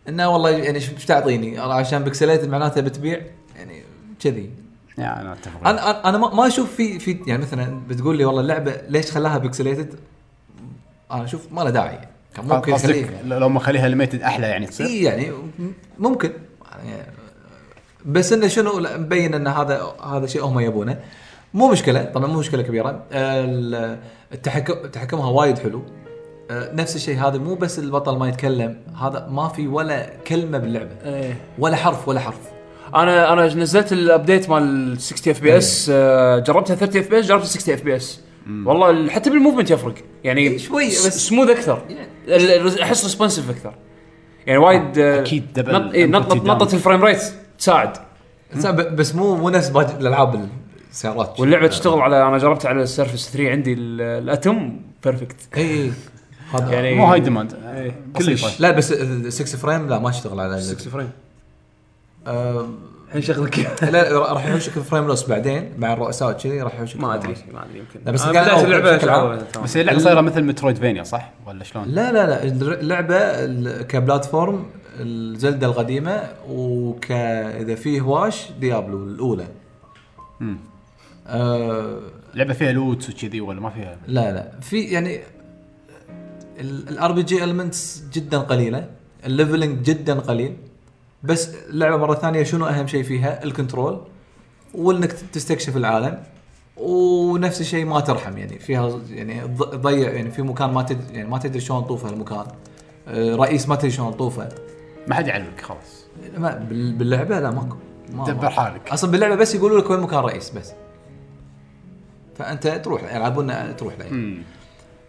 انه والله يعني ايش تعطيني عشان بيكسليتد معناته بتبيع يعني كذي يعني انا اتفق انا أنا- انا ما ما اشوف في في يعني مثلا بتقول لي والله اللعبه ليش خلاها بيكسليتد انا اشوف ما له داعي يعني. كان ممكن قصدك يخليها لو ما خليها ليميتد احلى يعني تصير اي يعني م- ممكن يعني بس انه شنو لا، مبين ان هذا هذا شيء هم يبونه مو مشكله طبعا مو مشكله كبيره ال- التحكم تحكمها وايد حلو آه، نفس الشيء هذا مو بس البطل ما يتكلم هذا ما في ولا كلمه باللعبه إيه. ولا حرف ولا حرف انا انا نزلت الابديت مال 60 اف بي اس آه، جربتها 30 اف بي اس جربت 60 اف بي اس والله ال- حتى بالموفمنت يفرق يعني إيه، شوي س- بس. سموث اكثر ال- ال- احس ريسبونسيف اكثر يعني وايد آه، أكيد دبل نط- إيه، نط- empathy down. نطه الفريم ريت تساعد بس- بس مو مو نفس باقي الالعاب السيارات واللعبه تشتغل على انا جربتها على السيرفس 3 عندي ال- الاتم بيرفكت اي إيه. هذا إيه. يعني مو هاي ديماند إيه. كلش لا بس ال 6 فريم لا ما اشتغل على 6 فريم آم، الحين شغلك لا راح يحوشك فريم لوس بعدين مع الرؤساء وكذي راح يحوشك ما frame ادري loss. ما ادري يمكن آه، لا، بس أنا قال بدايه أول اللعبه بشكل عام. شغال. بس هي اللعبه صايره مثل مترويد فينيا صح ولا شلون؟ لا لا لا اللعبه ال- كبلاتفورم الزلده القديمه وك اذا في هواش ديابلو الاولى آه لعبه فيها لوتس وكذي ولا ما فيها؟ لا لا في يعني الار بي جي المنتس جدا قليله الليفلنج جدا قليل بس اللعبه مره ثانيه شنو اهم شيء فيها الكنترول وانك تستكشف العالم ونفس الشيء ما ترحم يعني فيها يعني تض- تضيع يعني في مكان ما تد يعني ما تدري شلون تطوفه المكان آه، رئيس ما تدري شلون تطوفه ما حد يعلمك خلاص ما بال- باللعبه لا ماكو ما- ما- دبر حالك اصلا باللعبه بس يقولوا لك وين مكان رئيس بس فانت تروح يلعبون تروح له مم.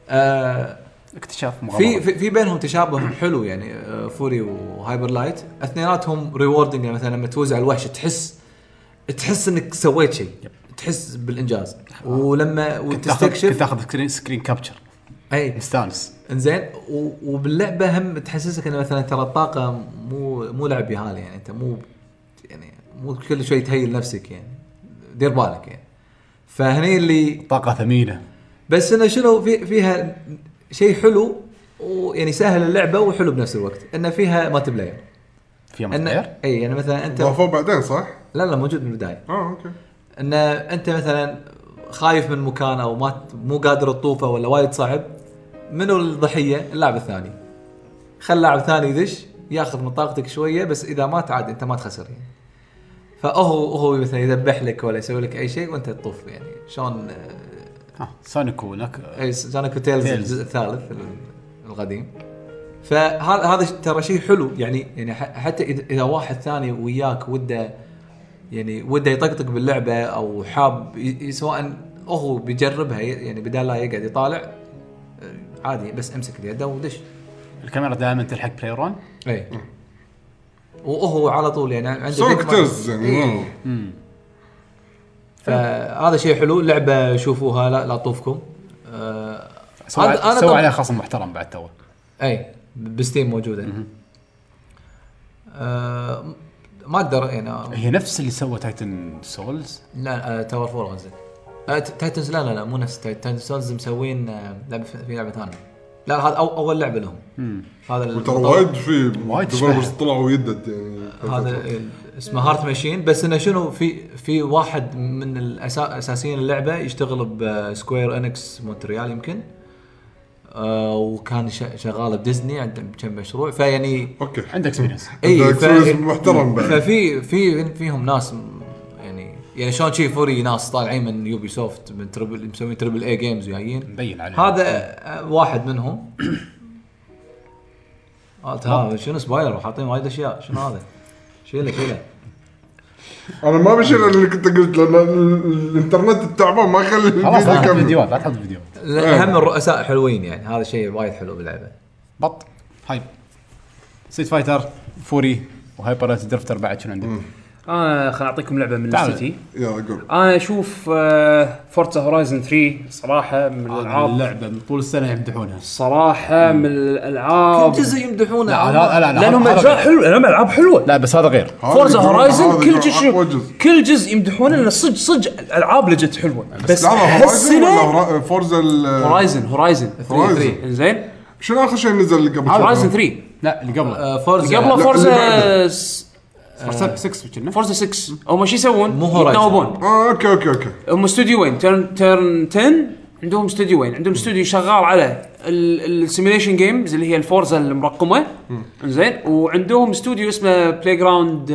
آه اكتشاف مغامره في في في بينهم تشابه حلو يعني آه، فوري وهايبر لايت اثنيناتهم ريوردنج مثلا لما توزع الوحش تحس تحس انك سويت شيء تحس بالانجاز ولما آه. كنت تاخذ كنت وتستكشف إيه. تاخذ سكرين, سكرين كابتشر اي مستانس انزين و- وباللعبه هم تحسسك انه مثلا ترى الطاقه مو مو لعب يهال يعني انت مو يعني مو كل شوي تهيل نفسك يعني دير بالك يعني فهني اللي طاقه ثمينه بس انه شنو في فيها شيء حلو ويعني سهل اللعبه وحلو بنفس الوقت انه فيها مالتي بلاير فيها ان مصدر اي يعني مثلا انت ضافوه بعدين صح؟ لا لا موجود من البدايه اه اوكي ان انت مثلا خايف من مكان او ما مو قادر تطوفه ولا وايد صعب منو الضحيه؟ اللاعب الثاني خل لاعب ثاني يدش ياخذ من طاقتك شويه بس اذا مات عاد انت ما تخسر يعني فهو هو مثلا يذبح لك ولا يسوي لك اي شيء وانت تطوف يعني شلون آه، ها سونيك هناك اي سونيك تيلز Tales. الجزء الثالث ال- القديم فهذا هذا ش- ترى شيء حلو يعني يعني ح- حتى إذا- اذا واحد ثاني وياك وده يعني وده يطقطق باللعبه او حاب ي- ي- سواء هو بيجربها ي- يعني بدال لا يقعد يطالع آه، عادي بس امسك اليد ودش الكاميرا دائما تلحق بلايرون اي وهو على طول يعني عنده سونيك بيج تيلز مارك. يعني إي. آه. فهذا شيء حلو لعبه شوفوها لا لا طوفكم آه، هذا- هذا سوى طب- عليها خصم محترم بعد تو اي بستيم موجوده آه م- ما اقدر يعني هي نفس اللي سوى تايتن سولز لا آه تاور فور قصدي آه ت- تايتنز لا لا لا مو نفس تاي- تايتنز سولز مسوين آه لعبه في لعبه ثانيه لا هذا أو اول لعبه لهم هذا ال- وترى وايد في وايد ديفلوبرز شبه. طلعوا يدد يعني هذا ال- اسمه هارت ماشين بس انه شنو في في واحد من الأسا- اساسيين اللعبه يشتغل بسكوير انكس مونتريال يمكن آه وكان ش- شغال بديزني عنده كم مشروع فيعني اوكي عنده اكسبيرينس عندك ف- سويس محترم بعد. إيه، ففي في فيهم ناس م- يعني يعني شلون شي فوري ناس طالعين من يوبي سوفت من تربل مسوين تربل اي جيمز وجايين مبين عليه هذا آه، واحد منهم آه، تعال، شنو سبايلر وحاطين وايد اشياء شنو هذا؟ شيله شيله آه. انا ما بشيل اللي كنت قلت لان ال- الانترنت التعبان ما يخلي خلاص الفيديو لا تحط يكمل فيديوهات لا تحط فيديوهات لا، هم الرؤساء حلوين يعني هذا شيء وايد حلو باللعبه بط هايب سيت فايتر فوري وهايبر ريت درفتر بعد شنو عندك؟ انا آه، خل اعطيكم لعبه من تعال. السيتي يلا قول انا اشوف آه، فورتسا هورايزن 3 صراحه من الالعاب اللعبه من طول السنه يمدحونها صراحه من الالعاب يمدحونه آه. لا لا لا لا لانهم هذا اجزاء غير. حلوه لانهم العاب حلوه لا بس هذا غير فورزا هذا هورايزن هذا كل أقوى جزء جزء كل جزء يمدحونه انه صدق صدق الالعاب لجت حلوه بس لا لا هورايزن ولا هالسنه هورا- فورزا ال- هورايزن هورايزن Horizon. زين شنو اخر شيء نزل اللي قبل هورايزن شوي؟ 3 لا اللي قبله فورزا قبله لا، فورزا اللي س- فرصه 6 كنا فورزا 6 هم شو يسوون؟ مو Horizon. يتناوبون اه اوكي اوكي اوكي هم استوديوين تيرن تيرن 10 عندهم استوديوين عندهم استوديو شغال على السيميليشن جيمز اللي هي الفورزا المرقمه زين وعندهم استوديو اسمه بلاي جراوند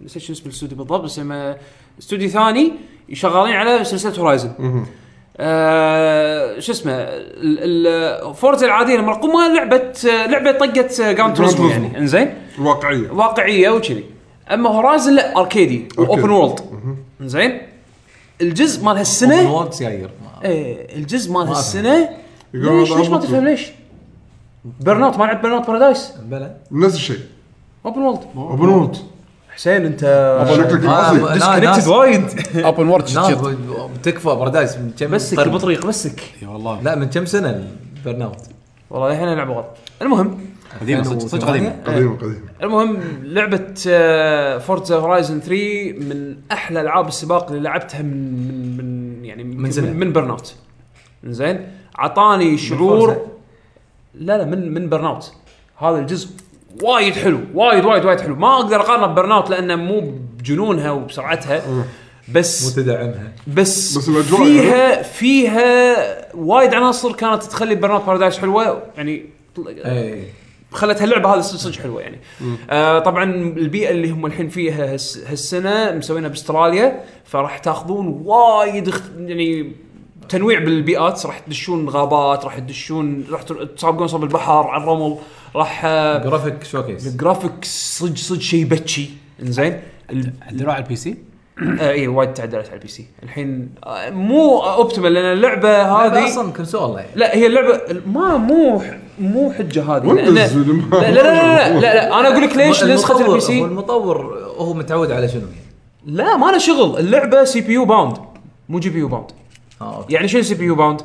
نسيت شو اسم الاستوديو بالضبط بس اسمه استوديو ثاني شغالين على سلسله هورايزن آه شو اسمه ال- ال- فورزا العاديه المرقمه لعبه لعبه طقت جراند توريزمو Turismo. يعني انزين الواقعيه واقعيه وكذي اما هورايزن لا اركيدي واوبن وورلد زين الجزء مال هالسنه وورد سيايير ايه الجزء مال هالسنه يقولون ليش هذا ليش ما أبطأ. تفهم ليش؟ برناوت ما لعبت برناوت بارادايس بلى نفس الشيء اوبن وورلد ابو نورد حسين انت شكلك عصبي آه، ناس وايد اوبن وورد ناس شيت تكفى بارادايس من كم بسك طرب. بطريق بسك اي والله لا من كم سنه البرن اوت والله الحين العب غلط المهم قديمه صدق صدق قديمه قديم قديم المهم آه، لعبه فورتزا هورايزن 3 من احلى العاب السباق اللي لعبتها من من, من يعني من زمان. من, من برن اوت زين عطاني شعور لا لا من من برن اوت هذا الجزء وايد حلو وايد وايد وايد حلو ما اقدر اقارنه ببرن اوت لانه مو بجنونها وبسرعتها بس متدعمها آه. بس, يعني. بس الأجواء فيها فيها وايد عناصر كانت تخلي برن اوت بارادايس حلوه يعني اي خلت هاللعبه هذه صدق صدق حلوه يعني. آه طبعا البيئه اللي هم الحين فيها هس هالسنه مسوينها باستراليا فراح تاخذون وايد اخت... يعني تنويع بالبيئات راح تدشون غابات راح تدشون راح تسابقون صوب البحر على الرمل راح آه، جرافيك شوكيس الجرافيك صدق صدق شيء بتشي انزين ال- عندنا على البي سي آه اي وايد تعدلت على البي سي الحين آه مو اوبتيمال لان اللعبه هذه هذه اصلا كونسول يعني لا هي اللعبه ما مو مو حجه هذه لأن- Windows لا لا لا لا, لا, لا انا اقول لك ليش نسخه المطور- البي هو سي المطور هو متعود على شنو يعني لا ما له شغل اللعبه سي بي يو باوند مو جي بي يو باوند اه اوكي يعني شنو سي بي يو باوند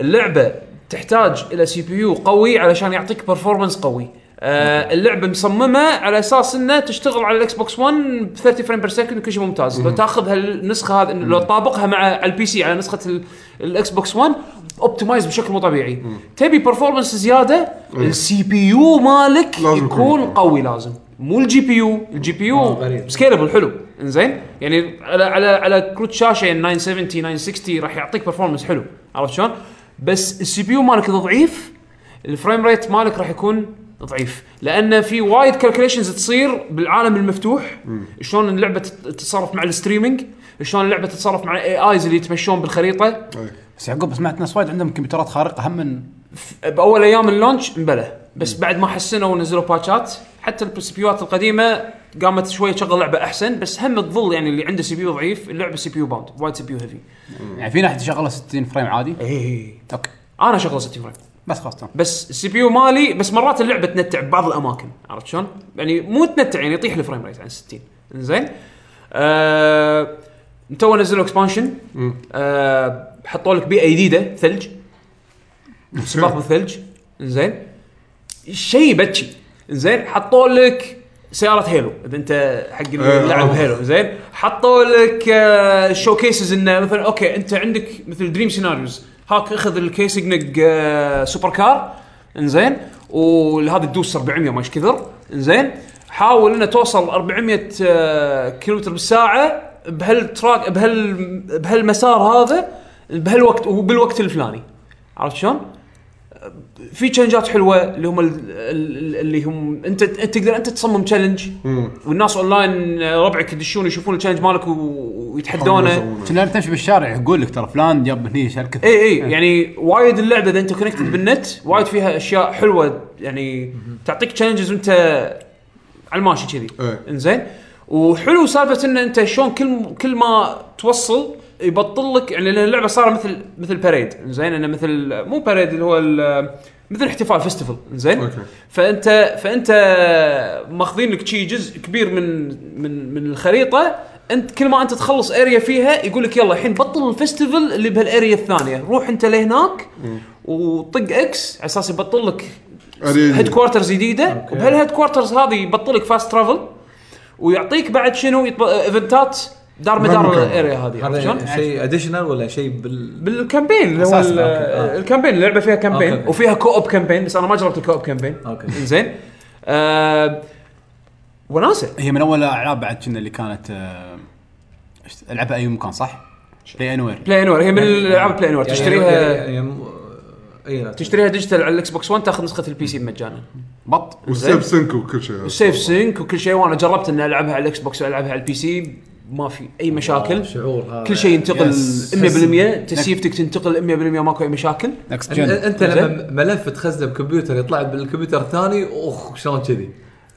اللعبه تحتاج الى سي بي يو قوي علشان يعطيك برفورمانس قوي آه اللعبه مصممه على اساس انها تشتغل على الاكس بوكس 1 ب 30 فريم بير سكند وكل شيء ممتاز لو تاخذ هالنسخه هذه لو تطابقها مع على البي سي على نسخه ال- الاكس بوكس 1 اوبتمايز بشكل مو طبيعي تبي برفورمانس زياده السي بي يو مالك لازم يكون يكون. قوي لازم مو الجي بي يو الجي بي يو غريب. سكيلبل حلو انزين يعني على على على كروت شاشه يعني 970 960 راح يعطيك برفورمانس حلو عرفت شلون؟ بس السي بي يو مالك اذا ضعيف الفريم ريت مالك راح يكون ضعيف لان في وايد كالكوليشنز تصير بالعالم المفتوح شلون اللعبه تت- تتصرف مع الستريمينج شلون اللعبه تتصرف مع الاي ايز اللي يتمشون بالخريطه بس يعقوب سمعت ناس وايد عندهم كمبيوترات خارقه هم من باول ايام اللونش مبلى بس بعد ما حسنوا ونزلوا باتشات حتى السي بيوات القديمه قامت شويه تشغل لعبه احسن بس هم تظل يعني اللي عنده سي بي يو ضعيف اللعبه سي بي يو باوند وايد سي بي يو هيفي يعني في ناحيه شغله 60 فريم عادي اي اوكي انا شغله 60 فريم بس خلاص تمام بس السي بي يو مالي بس مرات اللعبه تنتع ببعض الاماكن عرفت شلون؟ يعني مو تنتع يعني يطيح الفريم ريت عن 60 زين آه... تو نزلوا اكسبانشن آه... حطوا لك بيئه جديده ثلج سباق بالثلج زين شيء بتشي زين حطوا لك سيارة هيلو اذا انت حق آه، اللي لعب آه. هيلو زين حطوا لك آه، شو كيسز انه مثلا اوكي انت عندك مثل دريم سيناريوز هاك اخذ الكيس يقنق آه، سوبر كار انزين وهذا تدوس 400 ما ايش كثر انزين حاول انه توصل 400 آه، كيلومتر بالساعه بهالتراك بهال بهالمسار هذا بهالوقت وبالوقت الفلاني عرفت شلون؟ في تشالنجات حلوه اللي هم ال- ال- اللي هم انت أنت تقدر انت تصمم تشالنج والناس اونلاين ربعك يدشون يشوفون التشالنج مالك و- ويتحدونه كنا تمشي بالشارع يقول لك ترى فلان جاب هني شركه اي اي يعني وايد اللعبه اذا انت كونكتد بالنت وايد فيها اشياء حلوه يعني تعطيك تشالنجز وانت على الماشي كذي إيه. انزين وحلو سالفه ان انت شلون كل كل ما توصل يبطل لك يعني لأن اللعبه صار مثل مثل باريد زين انه مثل مو باريد اللي هو ال- مثل احتفال فيستيفال زين أوكي. فانت فانت ماخذين لك شي جزء كبير من من من الخريطه انت كل ما انت تخلص اريا فيها يقول لك يلا الحين بطل الفستيفال اللي بهالاريا الثانيه روح انت لهناك وطق اكس على اساس يبطل لك أريد. هيد كوارترز جديده وبهالهيد كوارترز هذه يبطل لك فاست ترافل ويعطيك بعد شنو يطب- ايفنتات دار مدار ممكن. الاريا هذه عرفت شلون؟ هذا شيء اديشنال ولا شيء بال بالكامبين اللي هو أساساً، ال- أوكي، آه. الكامبين اللعبه فيها كامبين أوكي. وفيها كو اب كامبين بس انا ما جربت الكو اب كامبين اوكي زين آه وناسه هي من اول العاب بعد كنا اللي كانت آه، إيش- العبها اي مكان صح؟ بلاي انوير بلاي انوار هي من الالعاب بلاي انوار تشتريها يعني م- اي لا تشتريها ديجيتال على الاكس بوكس 1 تاخذ نسخه البي سي مجانا بط والسيف سنك وكل شيء سيف سينك وكل شيء وانا جربت اني العبها على الاكس بوكس والعبها على البي سي ما في اي مشاكل شعور هذا كل شيء ينتقل يس. 100% تسيفتك تنتقل 100% ماكو اي مشاكل نكست أن- جن انت لما ملف تخزنه بكمبيوتر يطلع بالكمبيوتر الثاني اوخ شلون كذي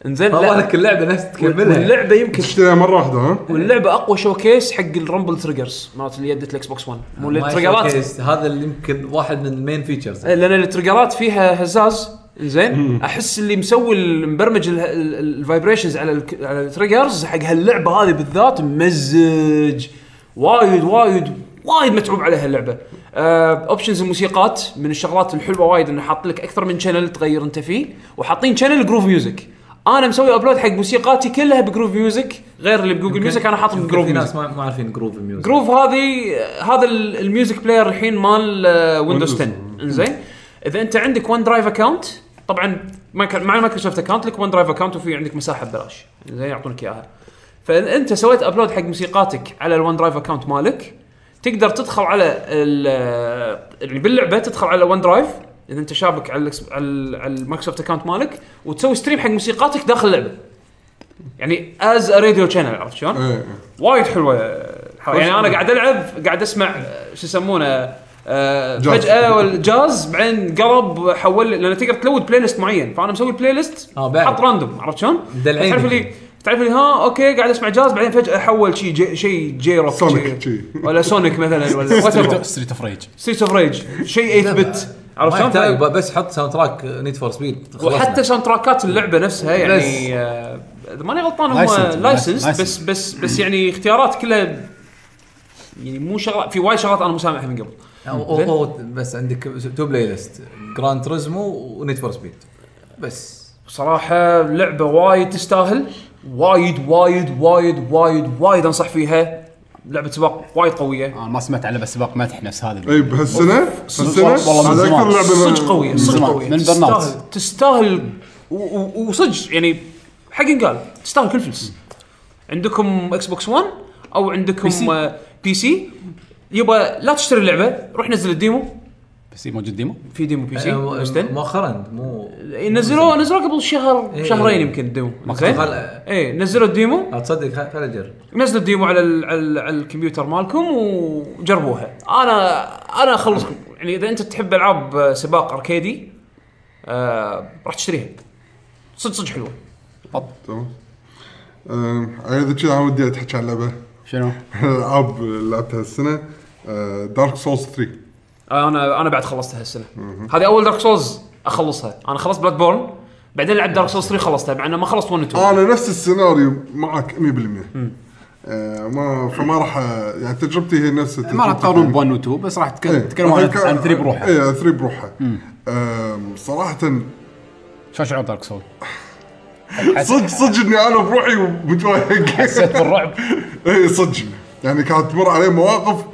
انزين ما لا بالك اللعبه نفس تكملها اللعبه يمكن اشتريها مره واحده ها واللعبه اقوى شوكيس حق الرامبل تريجرز مالت اللي يدت الاكس بوكس 1 مو ما التريجرات يشوكيس، هذا اللي يمكن واحد من المين فيتشرز إيه، لان التريجرات فيها هزاز زين احس اللي مسوي المبرمج الفايبريشنز على ال على التريجرز حق هاللعبه هذه بالذات ممزج وايد وايد وايد متعوب عليها اللعبه اوبشنز الموسيقات من الشغلات الحلوه وايد انه حاط لك اكثر من شانل تغير انت فيه وحاطين شانل جروف ميوزك انا مسوي ابلود حق موسيقاتي كلها بجروف ميوزك غير اللي بجوجل ميوزك انا حاطهم جروب بجروف في ميوزك ناس ما ما عارفين جروب ميوزك جروف هذه هذا ال- الميوزك بلاير الحين مال آه، ويندوز 10 انزين اذا انت عندك ون درايف اكونت طبعا مايك- مع مايكروسوفت اكونت لك ون درايف اكونت وفي عندك مساحه ببلاش زين يعطونك اياها فاذا انت سويت ابلود حق موسيقاتك على الون درايف اكونت مالك تقدر تدخل على ال- يعني باللعبه تدخل على ون درايف اذا انت شابك على الإكس- على ال- على المايكروسوفت اكونت مالك وتسوي ستريم حق موسيقاتك داخل اللعبه يعني از راديو شانل عرفت شلون؟ إيه، إيه. وايد حلوه الحركة. يعني انا قاعد العب قاعد اسمع آه، شو يسمونه آه، جاز. فجاه والجاز بعدين قلب حول لان تقدر تلود بلاي ليست معين فانا مسوي البلاي ليست آه، بعد. حط راندوم عرفت شلون؟ دلعين. تعرف اللي تعرف اللي ها اوكي قاعد اسمع جاز بعدين فجاه حول شيء جي شيء جي روك سونيك شي. شي. ولا سونيك مثلا ولا وات ايفر ستريت اوف ريج ستريت اوف ريج شيء 8 بت عرفت ما يحتاج شلون؟ ف- ب- بس حط ساوند تراك نيد فور سبيد وحتى ساوند تراكات اللعبه نفسها بس. يعني آه، اذا ماني غلطان هم Licensed. لايسنس Licensed. بس بس بس يعني اختيارات كلها يعني مو شغله في وايد شغلات انا مسامحها من قبل أو أو بس عندك تو بلاي ليست جراند تريزمو ونيد فور سبيد بس صراحه لعبه وايد تستاهل وايد وايد وايد وايد وايد انصح فيها لعبه سباق وايد قويه انا آه، ما سمعت على بس سباق مدح نفس هذا اي بهالسنه هالسنه والله من هذا زمان. اكثر لعبه صدق قويه من صدق زمان، قويه من تستاهل- برناوت. تستاهل و- و- وصدق يعني حق قال تستاهل كل فلس عندكم اكس بوكس 1 او عندكم آه، بي سي يبا لا تشتري اللعبه روح نزل الديمو بس إيه موجود ديمو في ديمو بي سي آه، مستن. مؤخرا مو نزلوه نزلوه قبل شهر إيه. شهرين يمكن الديمو زين خل- ايه نزلوا الديمو لا تصدق خل- خل اجرب نزلوا الديمو على ال- على, ال- على الكمبيوتر مالكم وجربوها انا انا اخلصكم يعني اذا انت تحب العاب سباق اركيدي آه راح تشتريها صدق صدق حلوه تمام أم، انا اذا كذا أنا ودي اتحكي عن لعبه شنو؟ العاب لعبتها آه، السنه دارك سولز 3 انا انا بعد خلصتها هالسنه هذه اول دارك سولز اخلصها انا خلصت بلاد بورن بعدين لعبت دارك سولز 3 خلصتها مع انه ما خلصت 1 2 انا نفس السيناريو معك 100% آه، ما فما راح أ- يعني تجربتي إيه. هي نفسها ما راح تقارن ب 1 و 2 بس راح تك- تتكلم عن عن 3 بروحه اي 3 إيه، بروحه آم، صراحه شو شعور دارك سول؟ صدق صدق اني انا بروحي متضايق حسيت بالرعب اي إيه، صدق يعني كانت تمر علي مواقف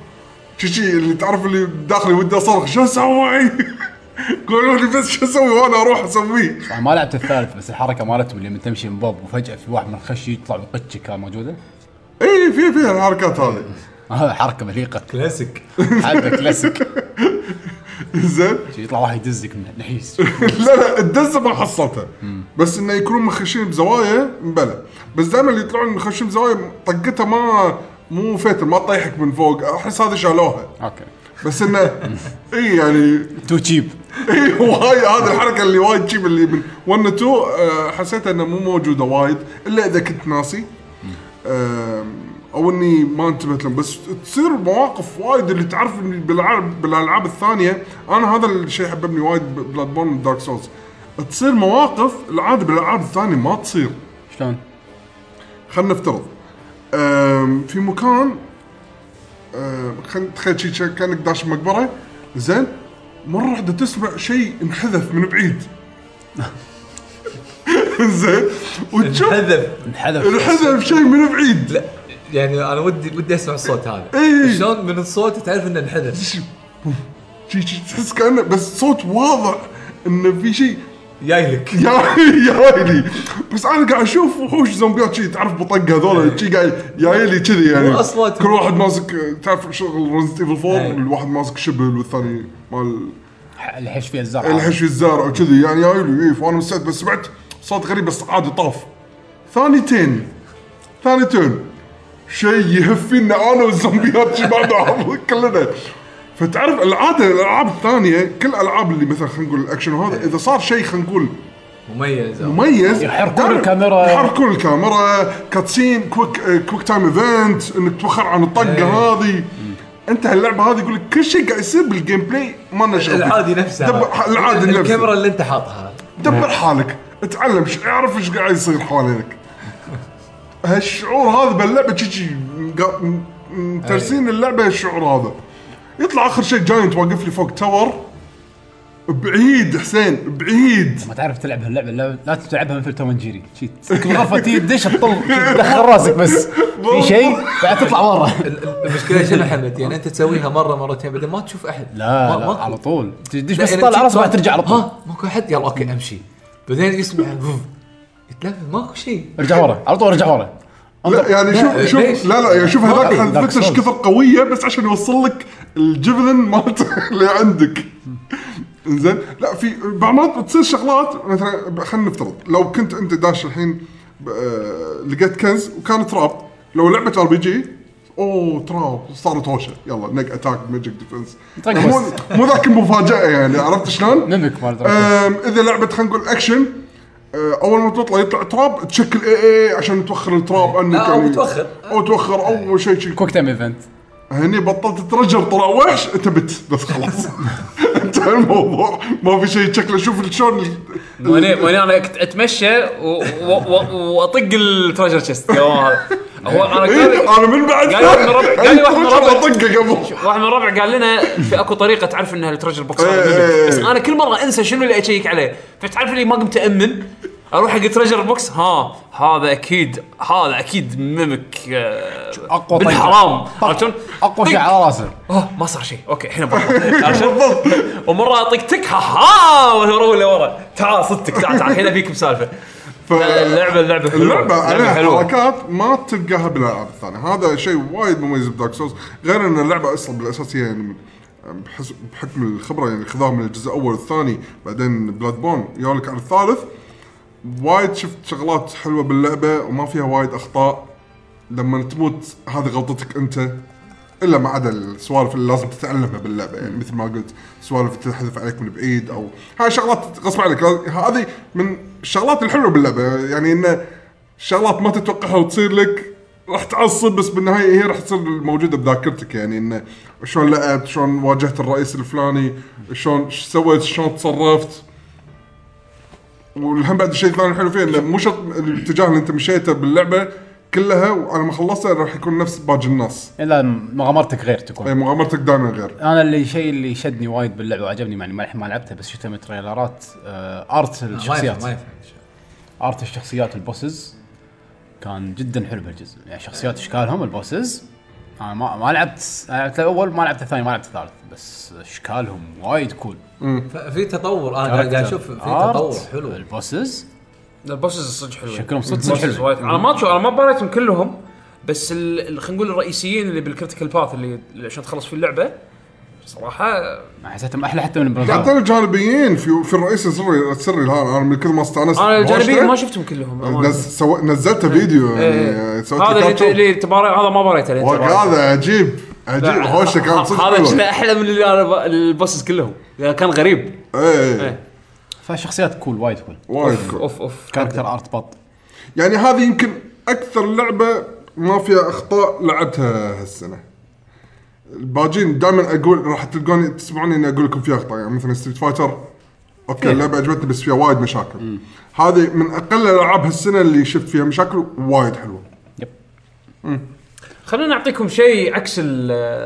شي شي اللي تعرف اللي داخلي ودي اصرخ شو اسوي؟ قولوا لي بس شو اسوي وانا اروح اسويه انا ما لعبت الثالث بس الحركه مالته اللي لما تمشي من باب وفجاه في واحد من الخش يطلع ويقتشك كان موجوده اي إيه، في في الحركات هذه هذا حركه بليقه كلاسيك هذا كلاسيك زين يطلع واحد يدزك من النحيس لا لا الدزه ما حصلتها بس انه يكونون مخشين بزوايا مبلى بس دائما اللي يطلعون مخشين بزوايا طقتها ما مو فاتر ما تطيحك من فوق احس هذه شالوها اوكي بس انه اي يعني تو تشيب اي وهاي إيه، هذه الحركه اللي وايد تجيب اللي من 1 2 حسيتها انها آه، مو موجوده وايد الا اذا كنت ناسي آم، او اني ما انتبهت لهم بس تصير مواقف وايد اللي تعرف إن بالالعاب بالالعاب الثانيه انا هذا الشيء حببني وايد بلاد بورن دارك سولز تصير مواقف العاده بالالعاب الثانيه ما تصير شلون؟ خلينا نفترض أم، في مكان أم، خل تخيل شي- شي كانك داش مقبره زين مره واحده تسمع شيء انحذف من بعيد زين وتشوف هذب انحذف انحذف شيء من بعيد لا يعني انا ودي ودي اسمع الصوت هذا إيه. شلون من الصوت تعرف انه انحدث شي- شي تحس كانه بس صوت واضح انه في شيء جاي لك يا يا ويلي بس انا قاعد اشوف وحوش زومبيات شي تعرف بطق هذول شي قاعد جايلي كذي يعني هو أصلاً- كل واحد ماسك تعرف شغل رزنت ايفل 4 أي. الواحد ماسك شبل والثاني مال الحش فيه الزرع الحش في الزرع وكذي يعني جايلي إيه، فانا مستعد بس سمعت صوت غريب بس عادي طاف ثانيتين ثانيتين شيء يهفينا انا والزومبيات شي بعد عض- كلنا فتعرف العاده الالعاب الثانيه كل الالعاب اللي مثلا خلينا نقول الاكشن وهذا اذا صار شيء خلينا نقول مميز أو- مميز يحركون تعرف- الكاميرا. يحركون الكاميرا كاتسين كويك آه، كويك تايم ايفنت انك توخر عن إيه. الطقه هذه انت هاللعبه هذه يقول لك كل شيء قاعد يصير بالجيم بلاي ما لنا شغل فيه. العادي نفسه دبر ح- هذا. العادي نفسه الكاميرا إيه. اللي انت حاطها دبر حالك اتعلم ش- اعرف ايش قاعد يصير حوالينك إيه. هالشعور هذا باللعبه شي شي مقا- م- م- ترسين اللعبه الشعور هذا يطلع اخر شيء جاينت واقف لي فوق تاور بعيد حسين بعيد ما تعرف تلعب هاللعبه لا, لا تلعبها مثل توم جيري شي تسكب الغرفه تي تدش تطل تدخل راسك بس في شيء بعد تطلع برا ال- ال- المشكله شنو محمد يعني انت تسويها مره مرتين بعدين ما تشوف احد لا ما- لا ماكو. على طول تدش لا، بس يعني تطلع تشوف راسك بعد صوت. ترجع على طول ها ماكو احد يلا اوكي امشي بعدين يسمع فوف. يتلفت ماكو شيء ارجع ورا على طول ارجع ورا لا يعني شوف ليش؟ شوف لا لا يعني شوف هذاك دارك الفكسش سولز. كثر قويه بس عشان يوصل لك الجبلن مالته اللي عندك زين لا في بعض تصير شغلات مثلا خلينا نفترض لو كنت انت داش الحين ب- آه، لقيت كنز وكان تراب لو لعبه ار بي جي اوه تراب صارت هوشه يلا نق اتاك ماجيك ديفنس طق مو بس. مو ذاك المفاجاه يعني عرفت شلون؟ ميمك مال دراجون. أم، اذا لعبه خلينا نقول اكشن أه، اول ما تطلع يطلع تراب تشكل اي اي عشان توخر التراب عنك أو يعني. توخر. او توخر إيه. او شيء شيء كويك تايم ايفنت هني بطلت تترجل طلع وحش انت بت بس خلاص انتهى الموضوع ما في شيء شكله شوف شلون ال- وانا وانا انا كنت اتمشى و- و- و- واطق التريجر تشيست هذا هو انا قال إيه، لي- انا من بعد قال لي واحد من ربع- قال لي واحد من ربع. طقه قبل واحد من الربع قال لنا في اكو طريقه تعرف انها التريجر بوكس هذا إيه. موجود. بس انا كل مره انسى شنو اللي اشيك عليه فتعرف اللي ما قمت امم اروح حق التريجر بوكس ها هذا اكيد هذا اكيد ميمك آه، أقوى طيب. بالحرام عرفت شلون؟ اقوى شيء طق. على راسه اوه ما صار شيء اوكي الحين بطل. عرفت شلون؟ ومره اطق تك ها ها واروح لورا تعال صدتك تعال تعال الحين ابيك بسالفه ف- اللعبه اللعبه حلوه اللعبه عليها حلوة. حركات ما تلقاها بالالعاب الثانيه هذا شيء وايد مميز بدارك سولز غير ان اللعبه اصلا بالاساس هي يعني بحس بحكم الخبره يعني خذاها من الجزء الاول والثاني بعدين بلاد بون يولك على الثالث وايد شفت شغلات حلوه باللعبه وما فيها وايد اخطاء لما تموت هذه غلطتك انت الا ما عدا السوالف اللي لازم تتعلمها باللعبه يعني مثل ما قلت سوالف تحذف عليك من بعيد او هاي شغلات غصب عليك لاز- هذه من الشغلات الحلوه باللعبه يعني انه شغلات ما تتوقعها وتصير لك راح تعصب بس بالنهايه هي راح تصير موجوده بذاكرتك يعني انه شلون لعبت شلون واجهت الرئيس الفلاني شلون ش سويت شلون تصرفت والهم بعد الشيء الثاني الحلو فيه انه مو شرط الاتجاه اللي انت مشيته باللعبه كلها وعلى ما خلصتها راح يكون نفس باقي الناس الا مغامرتك غير تكون اي مغامرتك دائما غير انا اللي الشيء اللي شدني وايد باللعبه وعجبني يعني ما ما لعبتها بس شفتها من تريلرات آه، ارت ما الشخصيات يفهم ما يفهم ارت الشخصيات البوسز كان جدا حلو بهالجزء يعني شخصيات اشكالهم البوسز انا ما ما لعبت أنا لعبت الاول ما لعبت الثاني ما لعبت الثالث بس اشكالهم وايد كول في تطور انا قاعد قاعد اشوف في تطور حلو البوسز البوسز صدق حلوين شكلهم صدق البوسز حلوين. وايد انا ما شو انا ما باريتهم كلهم بس ال- ال- خلينا نقول الرئيسيين اللي بالكريتيكال باث اللي اللي عشان تخلص فيه اللعبه صراحه حسيتهم احلى حتى من حتى آه. البرنامج الجانبيين الجانبيين في, في الرئيس السري السري الان انا من كثر ما استانست انا آه، الجانبيين ما بوشته، شفتهم كلهم أمانة. نز... سو... نزلت فيديو إيه. يعني سويت هذا كاتشب. اللي- اللي تباري هذا ما باريته اللي وق- تباريته. هذا عجيب عجيب لا، هوشه كان صدق هذا حلو شكله احلى من اللي انا ب- البوسز كلهم كان غريب اي إيه. فشخصيات كول وايد كول وايد كول. اوف اوف كاركتر ارت بط يعني هذه يمكن اكثر لعبه ما فيها اخطاء لعبتها هالسنه الباجين دائما اقول راح تلقوني تسمعوني اني اقول لكم فيها اخطاء يعني مثلا ستريت فايتر إيه. اوكي اللعبه عجبتني بس فيها وايد مشاكل هذه من اقل الالعاب هالسنه اللي شفت فيها مشاكل وايد حلوه يب خلينا نعطيكم شيء عكس ال-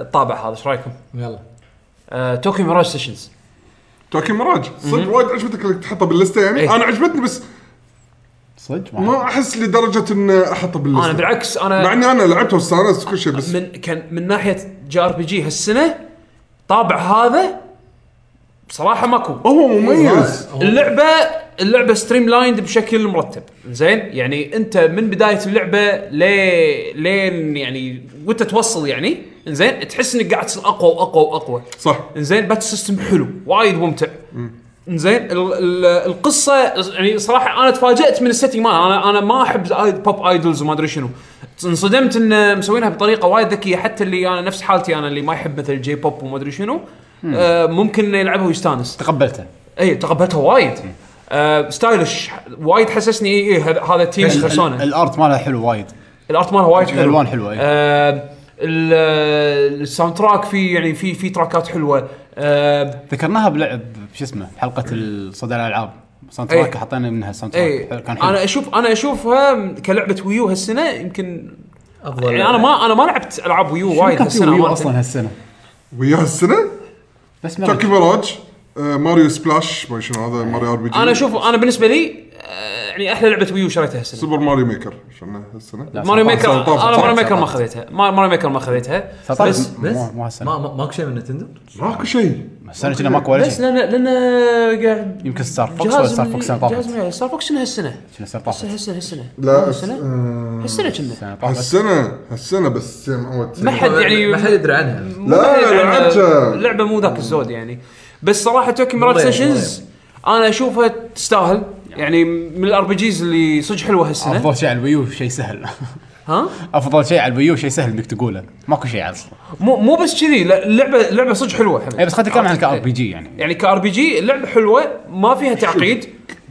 الطابع هذا ايش رايكم؟ يلا آه، توكيو ميراج سيشنز توكي مراج صدق وايد عجبتك انك تحطها باللسته يعني إيه. انا عجبتني بس صدق ما احس لدرجه ان احطها باللسته انا بالعكس مع انا اني انا لعبتها واستانست كل شيء بس من كان من ناحيه جي ار بي جي هالسنه طابع هذا بصراحه ماكو هو مميز اللعبه اللعبه ستريم لايند بشكل مرتب زين يعني انت من بدايه اللعبه لي لين يعني وانت توصل يعني زين تحس انك قاعد تصير اقوى واقوى واقوى صح زين بات سيستم حلو وايد ممتع زين ال- ال- القصه يعني صراحه انا تفاجات من السيتنج مالها انا انا ما احب آي- بوب ايدلز وما ادري شنو انصدمت ان مسوينها بطريقه وايد ذكيه حتى اللي انا نفس حالتي انا اللي ما يحب مثل جي بوب وما ادري شنو آه ممكن إنه يلعبها ويستانس تقبلته اي تقبلتها وايد آه ستايلش وايد حسسني إيه إيه، هذا- هذا تيم ال- ال- إيه. خرسانه الارت مالها حلو وايد الارت مالها وايد حلو الالوان حلوه اي آه ال- الساوند تراك فيه يعني في في تراكات حلوه آه ذكرناها بلعب شو اسمه حلقه الصدى الالعاب ساوند إيه. تراك حطينا منها ساوند اي تراك كان حلو انا اشوف انا اشوفها كلعبه ويو هالسنه يمكن افضل يعني انا ما انا ما لعبت العاب ويو شنو وايد كان في هالسنه ويو أمانة. اصلا هالسنه ويا السنه بس تاكي ميرج ميراج آه، ماريو سبلاش ما شنو هذا ماريو ار بي جي انا اشوف انا بالنسبه لي آه، يعني احلى لعبه ويو شريتها هالسنه سوبر ماريو ميكر شنو هالسنه ماريو ميكر صار- صار- انا صار- صار- ماريو ميكر ما خذيتها ما- ماريو ميكر ما خذيتها بس بس بس مو ما هالسنه ما- ماكو شيء من نتندو ماكو شيء السنه كنا ماكو ولا بس شيء لان لان قاعد يمكن ستار فوكس ولا جهاز ستار من- فوكس سنه جهاز طافت من- ستار فوكس شنو هالسنه شنو سنه طافت هالسنه هالسنه لا هالسنه آه، هالسنه كنا سنه طافت هالسنه هالسنه بس سيم عود ما حد يعني ما حد يدري عنها مو بعيد عن- لعبتها. اللعبه إيه، مو ذاك الزود يعني بس صراحه توكي ميراج مو غير- سيشنز انا اشوفها تستاهل يعني من الار بي جيز اللي صدق حلوه هالسنه افضل شيء على الويو شيء سهل ها افضل شيء على الويو شيء سهل انك تقوله ماكو شيء عاد اصلا مو مو بس كذي لا، اللعبه اللعبه صدق حلوه حمد اي بس خلينا نتكلم عن إيه. كار بي جي يعني يعني كار بي جي اللعبه حلوه ما فيها تعقيد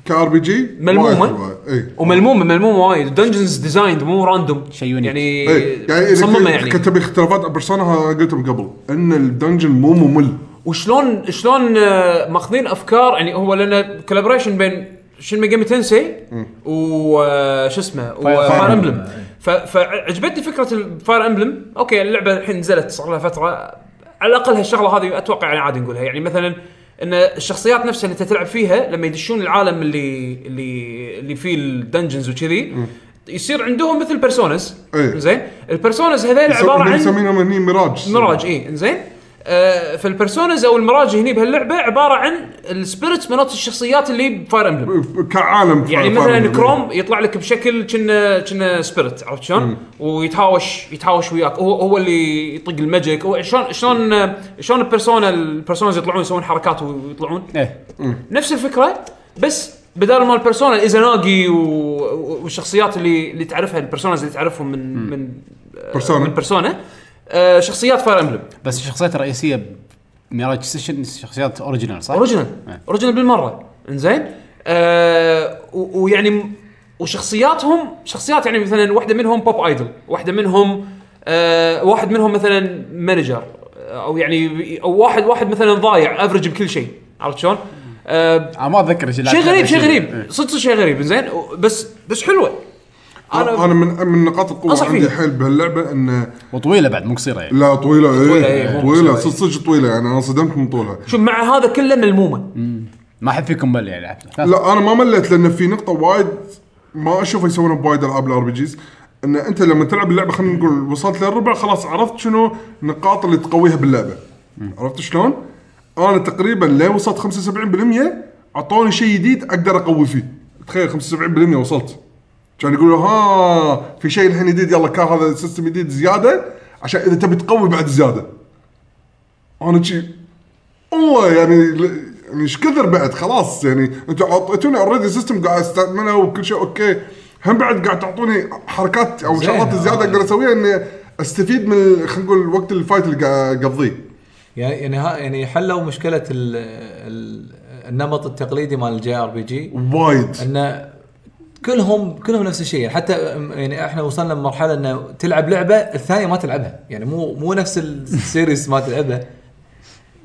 كار بي جي ملمومة. إيه. اي وملمومه ملمومه وايد الدنجنز ديزايند مو راندوم شيء يونيك. يعني إيه. يعني مصممه اذا يعني يعني. كتب اختلافات بيرسونا ها قلتهم قبل ان الدنجن مو ممل وشلون شلون آه، ماخذين افكار يعني هو لنا كولابريشن بين شين ميجامي تنسي و آه، شو اسمه وفاير امبلم فعجبتني فكره الفاير امبلم اوكي اللعبه الحين نزلت صار لها فتره على الاقل هالشغله هذه اتوقع يعني عادي نقولها يعني مثلا ان الشخصيات نفسها اللي انت تلعب فيها لما يدشون العالم اللي اللي اللي فيه الدنجنز وكذي يصير عندهم مثل بيرسونز إيه. زين البيرسونز هذول عباره هم عن يسمينهم هني ميراج ميراج اي انزين إيه، آه فالبرسونز او المراج هني بهاللعبه عباره عن السبيرتس مناط الشخصيات اللي بفاير امبلم كعالم يعني فاهم- مثلا فاهم. كروم يطلع لك بشكل كنا كنا سبيرت عرفت شلون؟ ويتهاوش يتهاوش وياك هو هو اللي يطق الماجيك هو شلون شلون آه، شلون البيرسونا البيرسونز يطلعون يسوون حركات ويطلعون ايه نفس الفكره بس بدال ما البيرسونا الايزاناجي و- و- والشخصيات اللي اللي تعرفها البيرسونز اللي تعرفهم من من آه، Persona. من بيرسونا آه شخصيات فاير امبلم بس الشخصيات الرئيسيه ميراج سيشن شخصيات اوريجينال صح؟ اوريجينال إيه. اوريجينال بالمره انزين آه و- ويعني م- وشخصياتهم شخصيات يعني مثلا واحده منهم بوب ايدل واحده منهم آه واحد منهم مثلا مانجر او يعني او واحد واحد مثلا ضايع افرج بكل شيء عرفت شلون؟ آه انا ما اتذكر شيء إيه. شيء غريب شيء غريب صدق صدق شيء غريب زين بس بس حلوه انا انا انا من من نقاط القوه أنصح عندي فيه. حيل بهاللعبه انه وطويله بعد مو قصيره يعني لا طويله طويلة، إيه، ايه مو طويله مسوي. صدق صدق طويله يعني انا انصدمت من طولها شو مع هذا كله ملمومه ما حد فيكم مل يعني لعبته لا انا ما مليت لان في نقطه وايد ما اشوف يسوونها بوايد العاب الار بي جيز ان انت لما تلعب اللعبه خلينا نقول وصلت للربع خلاص عرفت شنو النقاط اللي تقويها باللعبه عرفت شلون؟ انا تقريبا لا وصلت 75% اعطوني شيء جديد اقدر اقوي فيه تخيل 75% وصلت كان يقولوا ها في شيء الحين جديد يلا كان هذا سيستم جديد زياده عشان اذا تبي تقوي بعد زياده انا شي والله يعني ل- يعني ايش كثر بعد خلاص يعني انتم اعطيتوني اوريدي سيستم قاعد استعمله وكل شيء اوكي هم بعد قاعد تعطوني حركات او شغلات زياده اقدر اسويها اني استفيد من ال- خلينا نقول وقت الفايت اللي قاعد اقضيه يعني يعني ها- يعني حلوا مشكله ال ال النمط التقليدي مال الجي ار بي جي وايد ان كلهم كلهم نفس الشيء يعني حتى يعني احنا وصلنا لمرحله انه تلعب لعبه الثانيه ما تلعبها يعني مو مو نفس السيريس ما تلعبها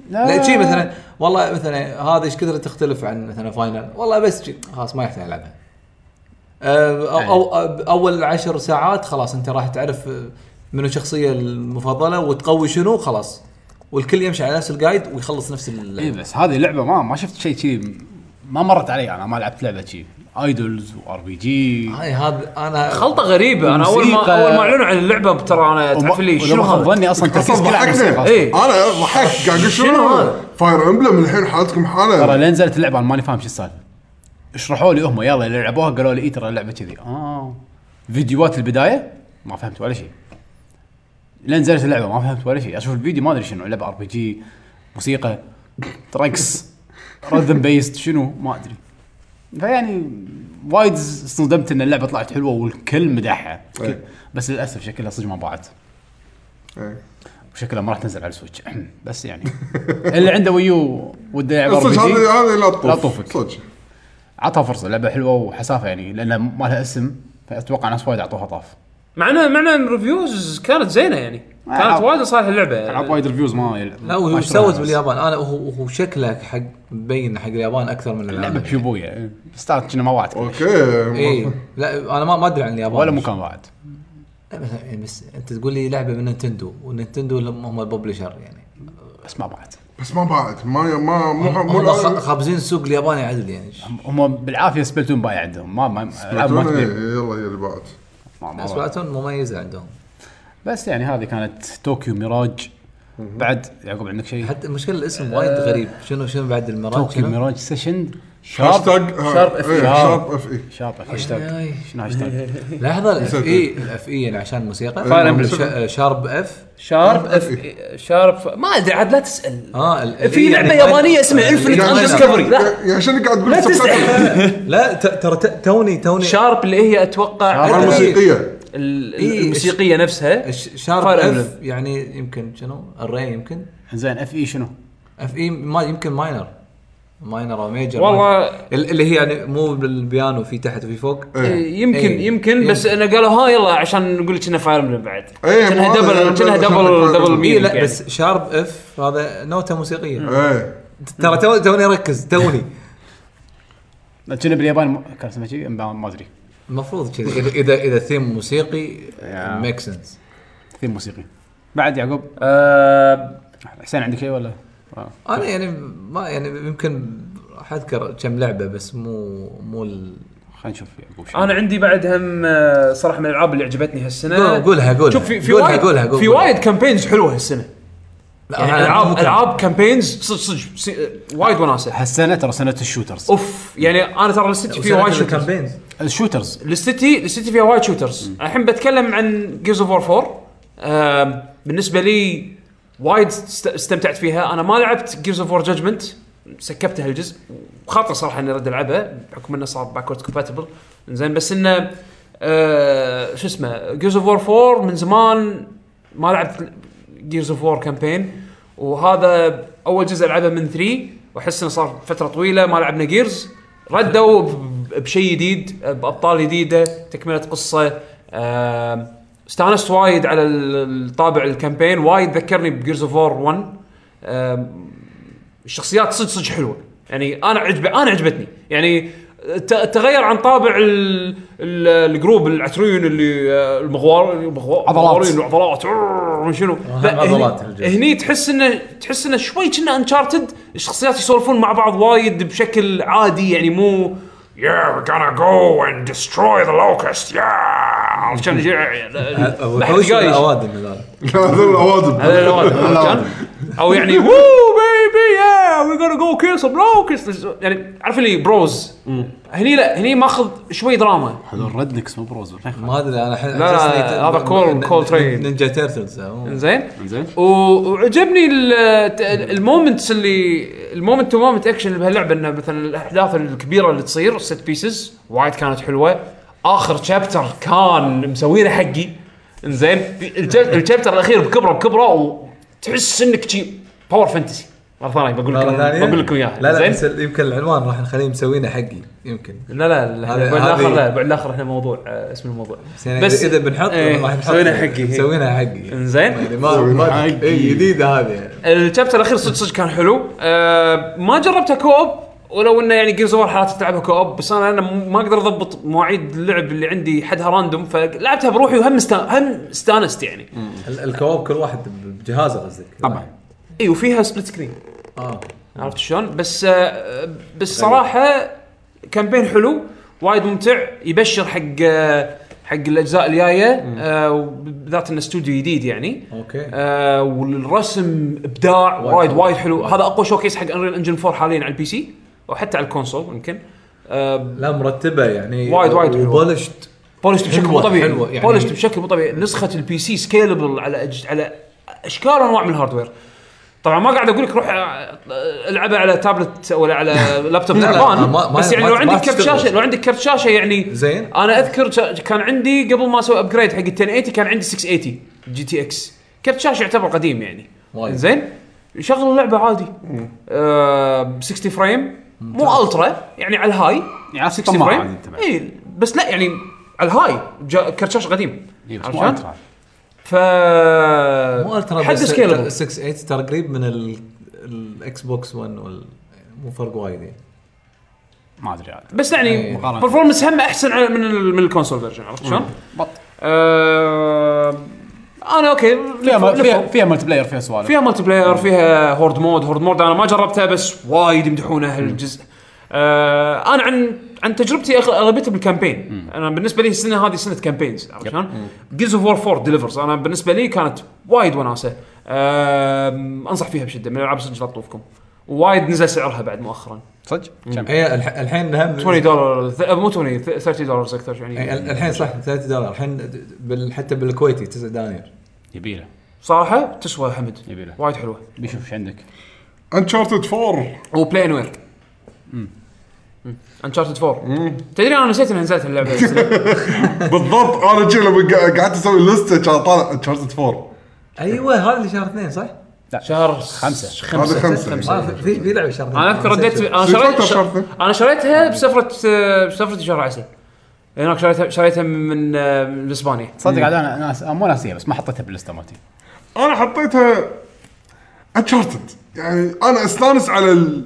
لا آه. شيء مثلا والله مثلا هذا ايش كثر تختلف عن مثلا فاينل والله بس شي، خلاص ما يحتاج العبها أو, أو, أو اول عشر ساعات خلاص انت راح تعرف منو الشخصيه المفضله وتقوي شنو خلاص والكل يمشي على نفس الجايد ويخلص نفس اي اللعبه إيه بس هذه لعبه ما ما شفت شيء كذي ما مرت علي انا ما لعبت لعبه كذي ايدولز وار بي جي هاي هذا انا خلطه غريبه انا اول ما موسيقى. اول ما اعلنوا عن اللعبه ترى انا تعرف لي شنو هذا؟ ظني اصلا اصلا تركيز كله على ضحكنا الموسيقى. إيه. انا ضحكت قاعد اقول شنو شنو هذا؟ فاير امبلم الحين حالتكم ترى حاله لين نزلت اللعبه انا ماني فاهم شو السالفه شرحوا لي هم يلا اللي لعبوها قالوا لي اي ترى اللعبه كذي اه فيديوهات البدايه ما فهمت ولا شيء لين نزلت اللعبه ما فهمت ولا شيء اشوف الفيديو ما ادري شنو لعبه ار بي جي موسيقى رقص رذم بيست شنو ما ادري فيعني وايد استخدمت ان اللعبه طلعت حلوه والكل مدحها إيه. بس للاسف شكلها صدق ما باعت إيه. وشكلها ما راح تنزل على السويتش بس يعني اللي عنده ويو وده يلعب صدق RPG هذه هذه لا لا تطوف تطوفك. صدق عطها فرصه لعبه حلوه وحسافه يعني لان ما لها اسم فاتوقع ناس وايد اعطوها طاف معنا معنا الريفيوز كانت زينه يعني كانت ألعاب. وايد صالحه اللعبه العاب وايد ريفيوز ما لا وهو سوت باليابان انا هو هو شكله حق مبين حق اليابان اكثر من لعبه العالم بيوبويا ستارت كنا ما وعدك اوكي إيه. اي لا انا ما ما ادري عن اليابان ولا مكان وعد لا، بس- بس انت تقول لي لعبه من نينتندو ونينتندو هم الببلشر يعني بس ما بعد بس ما باعت ما ما مو مو هم خ- الأول- خابزين السوق الياباني عدل يعني هم بالعافيه سبلتون بايع عندهم ما ما ألعاب ما إيه، تبيع. يلا يلا باعت ما- ما بس باعت. بعتهم مميزه عندهم بس يعني هذه كانت طوكيو ميراج بعد يعقوب عندك شيء حتى المشكله الاسم وايد غريب شنو شنو بعد المراج طوكيو شنو؟ ميراج سيشن هاشتاج آه، شارب اف إيه، شارب اي اف اي شارب إيه، هاشتاج إيه. شنو هاشتاج لحظه الاف اي الاف اي يعني عشان الموسيقى Fire Emblem. شا- شارب اف شارب اف شارب ف- ما ادري عاد لا تسال اه ال- في ال- لعبه يعني- يابانيه اسمها انفنت قاعد- اندسكفري لا يعني عشان قاعد تقول subtitle. لا ت- ترى ت- توني توني شارب اللي هي اتوقع على ال- الموسيقيه ال- إيه. الموسيقيه نفسها ش- شارب Fire اف يعني يمكن شنو الري يمكن زين اف اي شنو؟ اف اي ما يمكن ماينر ماينر او ميجر والله- ماينر. ال- اللي هي يعني مو بالبيانو في تحت وفي فوق إيه. يمكن إيه. يمكن بس انا قالوا ها يلا عشان نقول لك انها فاير امبلم بعد إيه، كأنها مو هذا، دبل أنا كأنها بقول لك Fire دبل Emblem. دبل إيه مين لا بس شارب اف هذا نوته موسيقيه ايه ترى تو- توني اركز توني كنا باليابان مو- كان اسمه شيء ما ما ادري المفروض كذي اذا اذا اذا ثيم موسيقي يا. ميك سنس ثيم موسيقي بعد يعقوب آه، حسين عندك شيء ولا؟ آه. انا يعني ما يعني يمكن راح اذكر كم لعبه بس مو مو ال... خلينا نشوف يعقوب شنو. انا عندي بعد هم آه، صراحه من الالعاب اللي عجبتني هالسنه قول- قولها قولها شوف في في قولها وايد قولها قولها في وايد كامبينز حلوه هالسنه لا، يعني أنا- العاب ممكن. العاب كامبينز صدق صدق سي- وايد وناسه هالسنه ترى سنه الشوترز اوف يعني انا ترى السيتي فيها وسنة وايد شوترز الكامبينز الشوترز السيتي السيتي فيها وايد شوترز الحين بتكلم عن جيرز اوف وور 4 آم، بالنسبه لي وايد است- استمتعت فيها انا ما لعبت جيرز اوف وور جادجمنت سكبتها الجزء وخاطر صراحه اني ارد العبها بحكم انه صار باكورد كومباتبل زين بس انه آه شو اسمه جيرز اوف وور 4 من زمان ما لعبت جيرز اوف وور كامبين وهذا اول جزء العبه من 3 واحس انه صار فتره طويله ما لعبنا جيرز ردوا ب- بشيء جديد بابطال جديده تكمله قصه آم، استانست وايد على ال- الطابع الكامبين وايد ذكرني بجيرز اوف وور 1 آم، الشخصيات صدق صدق حلوه يعني انا عجب انا عجبتني يعني ت- تغير عن طابع ال- ال- الجروب العتريون اللي آه، المغوار المغوار- عضلات. المغوارين العضلات عررر، شنو لا، هني- عضلات الجزء. هني تحس انه تحس انه شوي كنا انشارتد الشخصيات يسولفون مع بعض وايد بشكل عادي يعني مو Yeah, we're gonna go and destroy the locust. Yeah. عشان yeah. لا- أبو لا حد حوش ولا قايش. اوادم هذول لا هذول الاوادم هذا الأوان، عرفت شلون؟ او يعني وو بيبي يا وي جونا جو كيل سم لوكس يعني عارف اللي بروز هني لا هني ماخذ شوي دراما هذول الردنكس مو بروز والله. ما ادري انا الحين لا، حسسني ت- هذا كول- ن- كول ن- ترين. نينجا تيرتلز مو- زين زين و- وعجبني ال- ت- المومنتس اللي المومنت تو مومنت اكشن اللي بهاللعبه انه مثلا الاحداث الكبيره اللي تصير ست بيسز وايد كانت حلوه اخر شابتر كان مسوينه حقي انزين الج- الشابتر الاخير بكبره بكبره وتحس انك شي باور فانتسي مره ثانيه بقول لكم مرة ثانية؟ بقول لكم اياها لا لا زين؟ بس ال- يمكن العنوان راح نخليه مسوينه حقي يمكن لا لا لا هذه- بعد الاخر هذه- لا بعد الاخر احنا موضوع آه، اسم الموضوع بس يعني بس اذا بنحط إيه، راح نحط مسوينه حقي. مسوينها حقي انزين يعني ما ما- إيه، جديده هذه يعني الشابتر الاخير صدق صدق كان حلو آه ما جربتها كوب ولو انه يعني جيرز اوف حالات تلعبها كوب بس انا انا م- ما اقدر اضبط مواعيد اللعب اللي عندي حدها راندوم فلعبتها بروحي وهم است... هم استانست يعني ال- الكواب كل واحد ب- بجهازه قصدك طبعا اي وفيها سبليت سكرين آه، اه عرفت شلون؟ بس آه، بس صراحه كامبين حلو وايد ممتع يبشر حق آه، حق الاجزاء الجايه آه، وبالذات انه استوديو جديد يعني اوكي آه والرسم ابداع وايد وايد حلو. وايد حلو هذا اقوى شوكيس حق انريل انجن 4 حاليا على البي سي وحتى على الكونسول يمكن آه لا مرتبه يعني وايد- وايد حلوة. وبلشت بولشت بشكل مو حلوة- طبيعي حلوة يعني. بولشت بشكل مو طبيعي نسخه البي سي سكيلبل على أج... على اشكال وانواع من الهاردوير طبعا ما قاعد اقول لك روح آه، العبها على تابلت ولا على لابتوب لا، تعبان ما- ما- بس يعني ما- لو ما عندك كرت تشتغل. شاشه لو عندك كرت شاشه يعني زين. انا اذكر شا- كان عندي قبل ما اسوي ابجريد حق ال 1080 كان عندي 680 جي تي اكس كرت شاشه يعتبر قديم يعني وايد. زين يشغل اللعبه عادي آه ب 60 فريم مو الترا يعني على الهاي يعني 60 طماع فريم عادي تبع. اي بس لا يعني على الهاي جا- كرت شاشه قديم إيه، بس عرفت مو شلون؟ ألترا. ف مو الترا حد بس سكيلبل 68 ترى قريب من ال- الاكس بوكس 1 وال مو فرق وايد يعني ما ادري عاد بس إيه. يعني مقارنة. برفورمنس هم احسن على- من ال- من الكونسول فيرجن عرفت شلون؟ بط آه، انا اوكي فيها لفوا- ما- فيها لفوا. فيها ملتي بلاير فيها سوالف فيها مالتي بلاير فيها هورد مود هورد مود انا ما جربتها بس وايد يمدحونه هالجزء آه انا عن عن تجربتي أغ- اغلبيتها بالكامبين انا بالنسبه لي السنه هذه سنه كامبينز عرفت شلون؟ جيز اوف وور 4 ديليفرز انا بالنسبه لي كانت وايد وناسه آه انصح فيها بشده من الالعاب صدق لا تطوفكم وايد نزل سعرها بعد مؤخرا صدق؟ كم؟ هي الح- الحين هم 20 دولار ث- مو 20 ث- 30 دولار اكثر يعني يعني ال- الحين صح 3 دولار الحين بال... حتى بالكويتي 9 دنانير يبي له صراحه تسوى حمد يبي له وايد حلوه بيشوف ايش عندك انشارتد 4 وبلاي ان وير انشارتد 4 Hmm. تدري انا نسيت اني نزلت اللعبه بالضبط انا جي لما قا- قعدت اسوي لسته كان طالع انشارتد 4 ايوه هذا اللي شهر اثنين صح؟ شهر خمسة. هذا خمسه آه، في في لعبه شهر اثنين انا اذكر رديت انا شو شريت الفترة شرطة؟ انا شريتها بسفره بسفره شهر عسل هناك شريتها شريتها من آه، من اسبانيا صدق عاد انا ناس أنا مو ناسيه بس ما حطيتها باللسته مالتي انا حطيتها انشارتد يعني انا استانس على ال...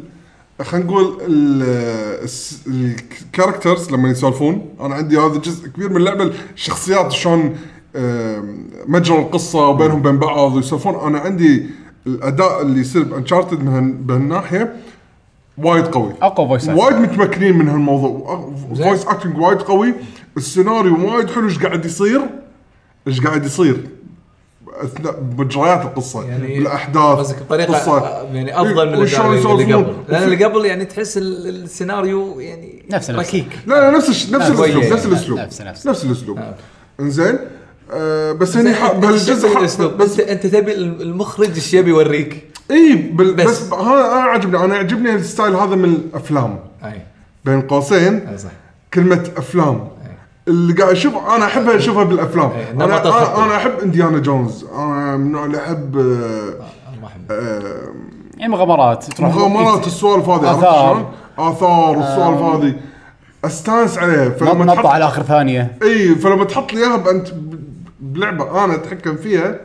خلينا نقول ال- الس- الكاركترز لما يسولفون انا عندي هذا جزء كبير من اللعبه الشخصيات شلون آم، مجرى القصه وبينهم بين بعض ويسولفون انا عندي الاداء اللي يصير بانشارتد من هال- بهالناحيه وايد قوي اقوى فويس وايد متمكنين من هالموضوع فويس اكتنج وايد قوي السيناريو وايد حلو ايش قاعد يصير ايش قاعد يصير اثناء مجريات القصه يعني يعني الاحداث قصدك بطريقه القصة. آه، يعني افضل من وشلون اللي اللي يسولفون. قبل لان اللي قبل يعني تحس ال- السيناريو يعني نفس- نفس. ركيك لا لا نفس الش- نفس لا، الاسلوب كويس. نفس الاسلوب نفس- نفس. نفس الاسلوب آه. انزين آه، بس هني ح- بهالجزء ح- بس بس انت تبي المخرج ايش يبي يوريك اي بال- بس. بس ها- انا عجبني انا عجبني الستايل هذا من الافلام اي بين قوسين اي صح كلمة أفلام اللي قاعد أشوف أنا أحبها أشوفها بالأفلام إيه، أنا, نمط الخطة. أنا, أنا أحب إنديانا جونز أنا من النوع اللي أحب آه، انا ما احب آه، يعني مغامرات تروح مغامرات السوالف هذه عرفت آثار. شلون؟ آثار والسوالف هذه أستانس عليها نط- فلما نطه تحط على اخر ثانيه إي فلما تحط لي إياها بأنت بلعبة أنا أتحكم فيها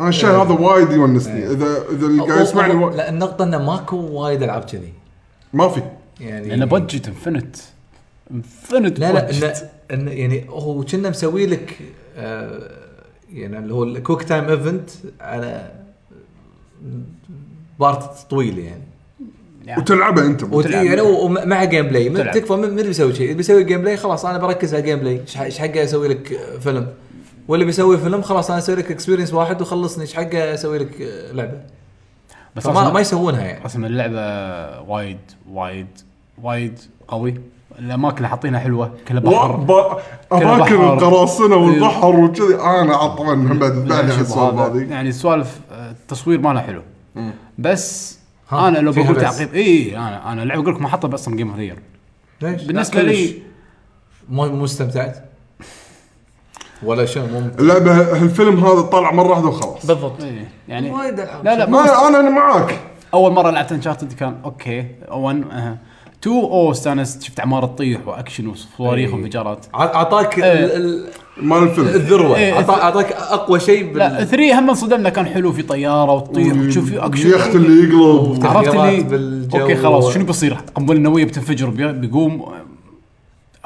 أنا الشيء هذا وايد يونسني إذا إذا اللي قاعد يسمعني أو- أو- وا- لا النقطه انه ماكو وايد العاب كذي ما في يعني لان بادجت انفنت انفنت لا لا budget. إنه- انه يعني هو كنا مسوي لك آه يعني اللي هو الكويك تايم ايفنت على بارت طويل يعني وتلعبها أنت وت- تلعب. يعني و- وم- مع جيم بلاي من- تلعب. تكفى من من اللي بيسوي شيء اللي بيسوي جيم بلاي خلاص انا بركز على الجيم بلاي ايش ح- إيش حقه اسوي لك آه، فيلم واللي بيسوي فيلم خلاص انا اسوي لك اكسبيرينس واحد وخلصني ايش حقه اسوي لك آه، لعبه بس فما ما ما يسوونها يعني رسم اللعبه وايد وايد وايد قوي الاماكن اللي حاطينها حلوه كلها بحر وب- اماكن بحر. القراصنه والبحر وكذي انا عطمان بعد بعد يعني السوالف هذا- هذه يعني السوالف آه، التصوير ماله حلو بس ها، انا لو فيها بقول بس. تعقيب اي انا انا اللعبه اقول لك ما حطها اصلا جيم اوف ذا يير. ليش؟ بالنسبه لا، لي مو مو استمتعت ولا شيء مو اللعبه الفيلم هذا طلع مره واحده وخلاص بالضبط إيه، يعني وايد العاب لا لا ما ما انا انا معاك اول مره لعبت انشارتد كان اوكي 1 أه. 2 اوه استانست شفت عماره تطيح واكشن وصواريخ وانفجارات ع- اعطاك إيه. ال- ال- مال الفيلم الذروه إيه، أعطا- اعطاك اقوى شيء لا بال 3 هم انصدمنا كان حلو في طياره وتطيح وتشوف في اليخت اكشن اللي يقلب عرفت تغييرات اللي بالجو. اوكي خلاص شنو بيصير قنبله نوويه بتنفجر بي- بيقوم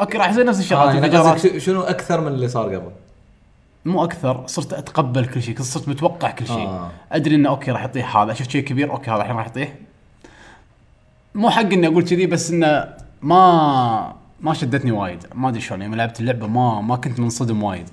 اوكي راح يصير نفس آه، الشغلات يعني انفجارات. قصدك شو- شنو اكثر من اللي صار قبل؟ مو اكثر صرت اتقبل كل شيء صرت متوقع كل شيء آه. آه. ادري انه اوكي راح يطيح هذا شفت شيء كبير اوكي هذا الحين راح يطيح مو حق اني اقول كذي بس انه ما ما شدتني وايد ما ادري شلون يوم لعبت اللعبه ما ما كنت منصدم وايد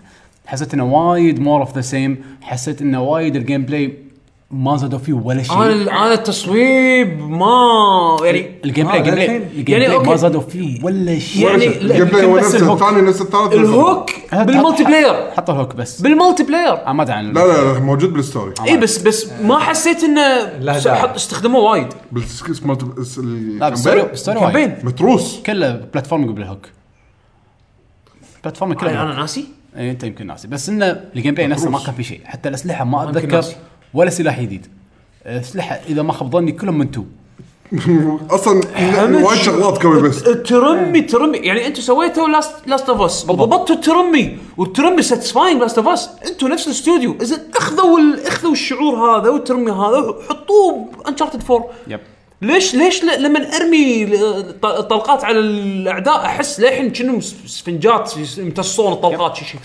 حسيت انه وايد مور اوف ذا سيم حسيت انه وايد الجيم بلاي ما زادوا فيه ولا شيء انا انا التصويب ما يعني الجيم بلاي آه، الجيم بلاي للحين. الجيم يعني بلاي ما أوكي. زادوا فيه ولا شيء يعني لا، الجيم بلاي يمكن هو بس نفسه الهوك. الثاني نفس الثالث نفس الهوك بالملتي بلاير حط الهوك بس بالملتي بلاي عماد عن لا لا لا موجود بالستوري اي بس بس ما حسيت انه لا س- داعي. حط- استخدموه وايد بالسكيس مالت- الس- لا بالستوري الكامبين. بالستوري وايد. كامبين. متروس كله بلاتفورم قبل الهوك بلاتفورم كله انا بالهوك. أنا ناسي اي انت يمكن ناسي بس انه الجيم بلاي نفسه ما مبروس. كان في شيء حتى الاسلحه ما يمكن اتذكر ناسي. ولا سلاح جديد الاسلحه اذا ما خاب ظني كلهم من تو اصلا وايد شغلات كوي بس ترمي ترمي يعني انتم سويتوا لاست لاست اوف اس وضبطتوا الترمي والترمي ساتسفاينج لاست اوف اس انتم نفس الاستوديو اذا اخذوا ال- اخذوا الشعور هذا والترمي هذا وحطوه بانشارتد 4 يب ليش ليش ل- لما ارمي ال- ط- طلقات على الاعداء احس للحين كأنهم س- سفنجات يس- يمتصون الطلقات شي شي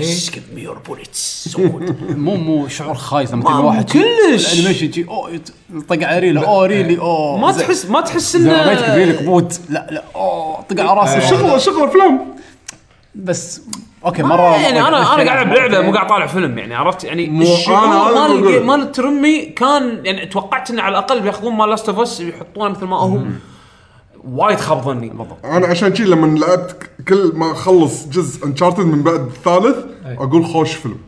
just give me your bullets so good. مو مو شعور خايس لما تلقى ما- واحد شي- كلش. الانيميشن شي اوه يت- طق على ريله اوه ريلي اوه ما زي- تحس ما تحس زي ما بيتك انه ريلك موت لا لا اوه طق على آه. راسه شغل شغل افلام بس اوكي مره يعني انا انا قاعد العب لعبه مو قاعد طالع فيلم يعني عرفت يعني الشعور أنا- أنا مال بقول. الجي- مال الترمي كان يعني توقعت انه على الاقل بياخذون مال لاست اوف اس يحطونه مثل ما هو وايد خاب ظني انا عشان شي لما لعبت كل ما اخلص جزء انشارتد من بعد الثالث اقول خوش فيلم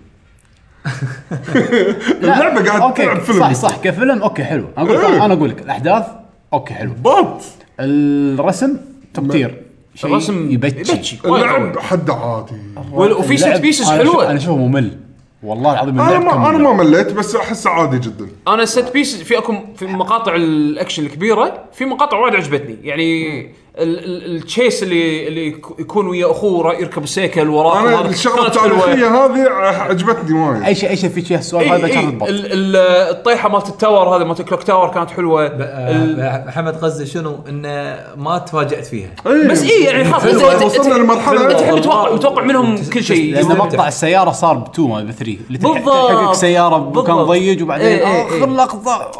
اللعبه قاعد اوكي تلعب فيلم صح صح كفيلم اوكي حلو انا اقول إيه. انا اقول لك الاحداث اوكي حلو بط الرسم تبتير شيء الرسم يبتشي وايد قوي. اللعب حد عادي وال- وفي اللعب سيت بيسز أنا شوف- حلوه انا اشوفه ممل والله العظيم انا اللعب كان ما انا ممل. ما مليت بس احسه عادي جدا انا السيت بيسز في اكو في مقاطع الاكشن الكبيره في مقاطع وايد عجبتني يعني ال- ال- التشيس اللي اللي يك- يكون ويا اخوه را- يركب السيكل وراه انا وهذا الشغله كانت آه، حلوة. التاريخيه هذه عجبتني وايد اي شيء اي شيء في شيء سؤال إي طيب، هذا إيه، إي، كان البط إيه، ال- ال- الطيحه مالت التاور هذا مالت الكلوك تاور كانت حلوه ال- آه، محمد قصدي شنو انه ما تفاجات فيها إي. بس اي يعني خلاص انت وصلنا أنت- أنت- لمرحلة- انت الحين متوقع متوقع منهم كل شيء لان مقطع السياره صار ب2 ما ب3 اللي تلحق- بالضبط. تلحقك سياره بمكان بالضبط. إيه، ضيق وبعدين إي، إي، اخر إي. لقطه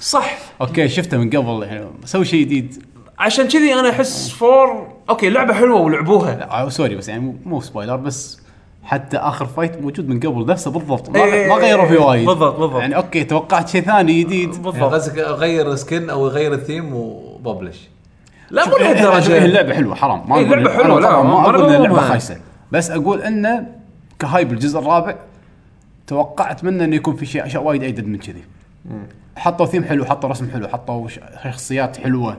صح اوكي شفته من قبل يعني سوي شيء جديد عشان كذي انا احس فور اوكي لعبه حلوه ولعبوها آه، سوري بس يعني مو- مو سبويلر بس حتى اخر فايت موجود من قبل نفسه بالضبط ما, إي، إي، ما غيروا فيه إي، وايد إيه، بالضبط، بالضبط. يعني اوكي توقعت شيء ثاني جديد يعني بالضبط قصدك اغير سكن او اغير الثيم وببلش لا مو إيه، إيه، لهالدرجه اللعبه حلوه حرام ما إيه، أقول- اللعبة حلوة، أنا طبعاً ما لا، ما اقول ان أنا اللعبه ما- خايسه بس اقول انه كهايب الجزء الرابع توقعت منه انه يكون في شيء اشياء وايد ايدد من كذي حطوا ثيم حلو حطوا رسم حلو حطوا ش- شخصيات حلوه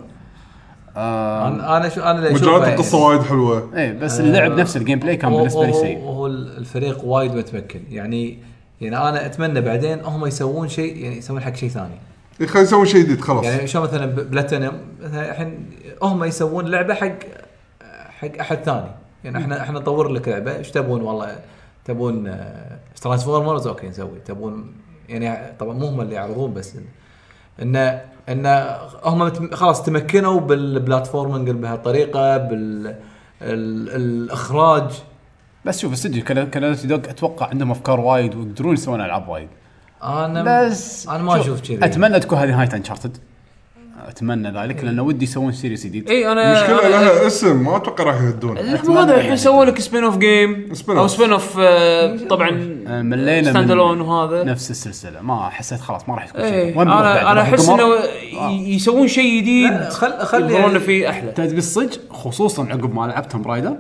آه انا أنا شو انا اللي أشوفه مجرد يعني- القصه وايد حلوه ايه بس اللعب آه، نفس الجيم بلاي كان هو- بالنسبه لي هو- سيء هو الفريق وايد متمكن يعني يعني انا اتمنى بعدين هم يسوون شيء يعني يسوون حق شيء ثاني إي، خلينا نسوي شيء جديد خلاص يعني شو مثلا بلاتينم مثلا الحين هم يسوون لعبه حق حق احد ثاني يعني احنا احنا نطور لك لعبه ايش تبون والله تبون ترانسفورمرز اوكي نسوي تبون يعني طبعا مو هم اللي يعرضون بس ان ان هم متم- خلاص تمكنوا بالبلاتفورمينج بهالطريقه بال ال- الاخراج بس شوف استوديو كنا كنا دوج اتوقع عندهم افكار وايد ويقدرون يسوون العاب وايد انا بس انا ما شوف، اشوف كذي اتمنى تكون هذه نهايه انشارتد اتمنى ذلك لانه ودي يسوون سيريس جديد إيه. اي انا المشكله إيه، آه، أنا- لها اسم ما اتوقع راح يهدونه اللحظه هذا الحين سووا لك سبين اوف جيم Spin او off. سبين اوف طبعا آه، ملينا ستاند من الون وهذا نفس السلسله ما حسيت خلاص ما راح تكون إيه، شيء ايه وين بنروح بعد؟ انا انا راح احس نقمر؟ انه ي- يسوون شيء جديد لا، خل- خل- يبغون فيه احلى تدري الصدق خصوصا عقب ما لعبت توم رايدر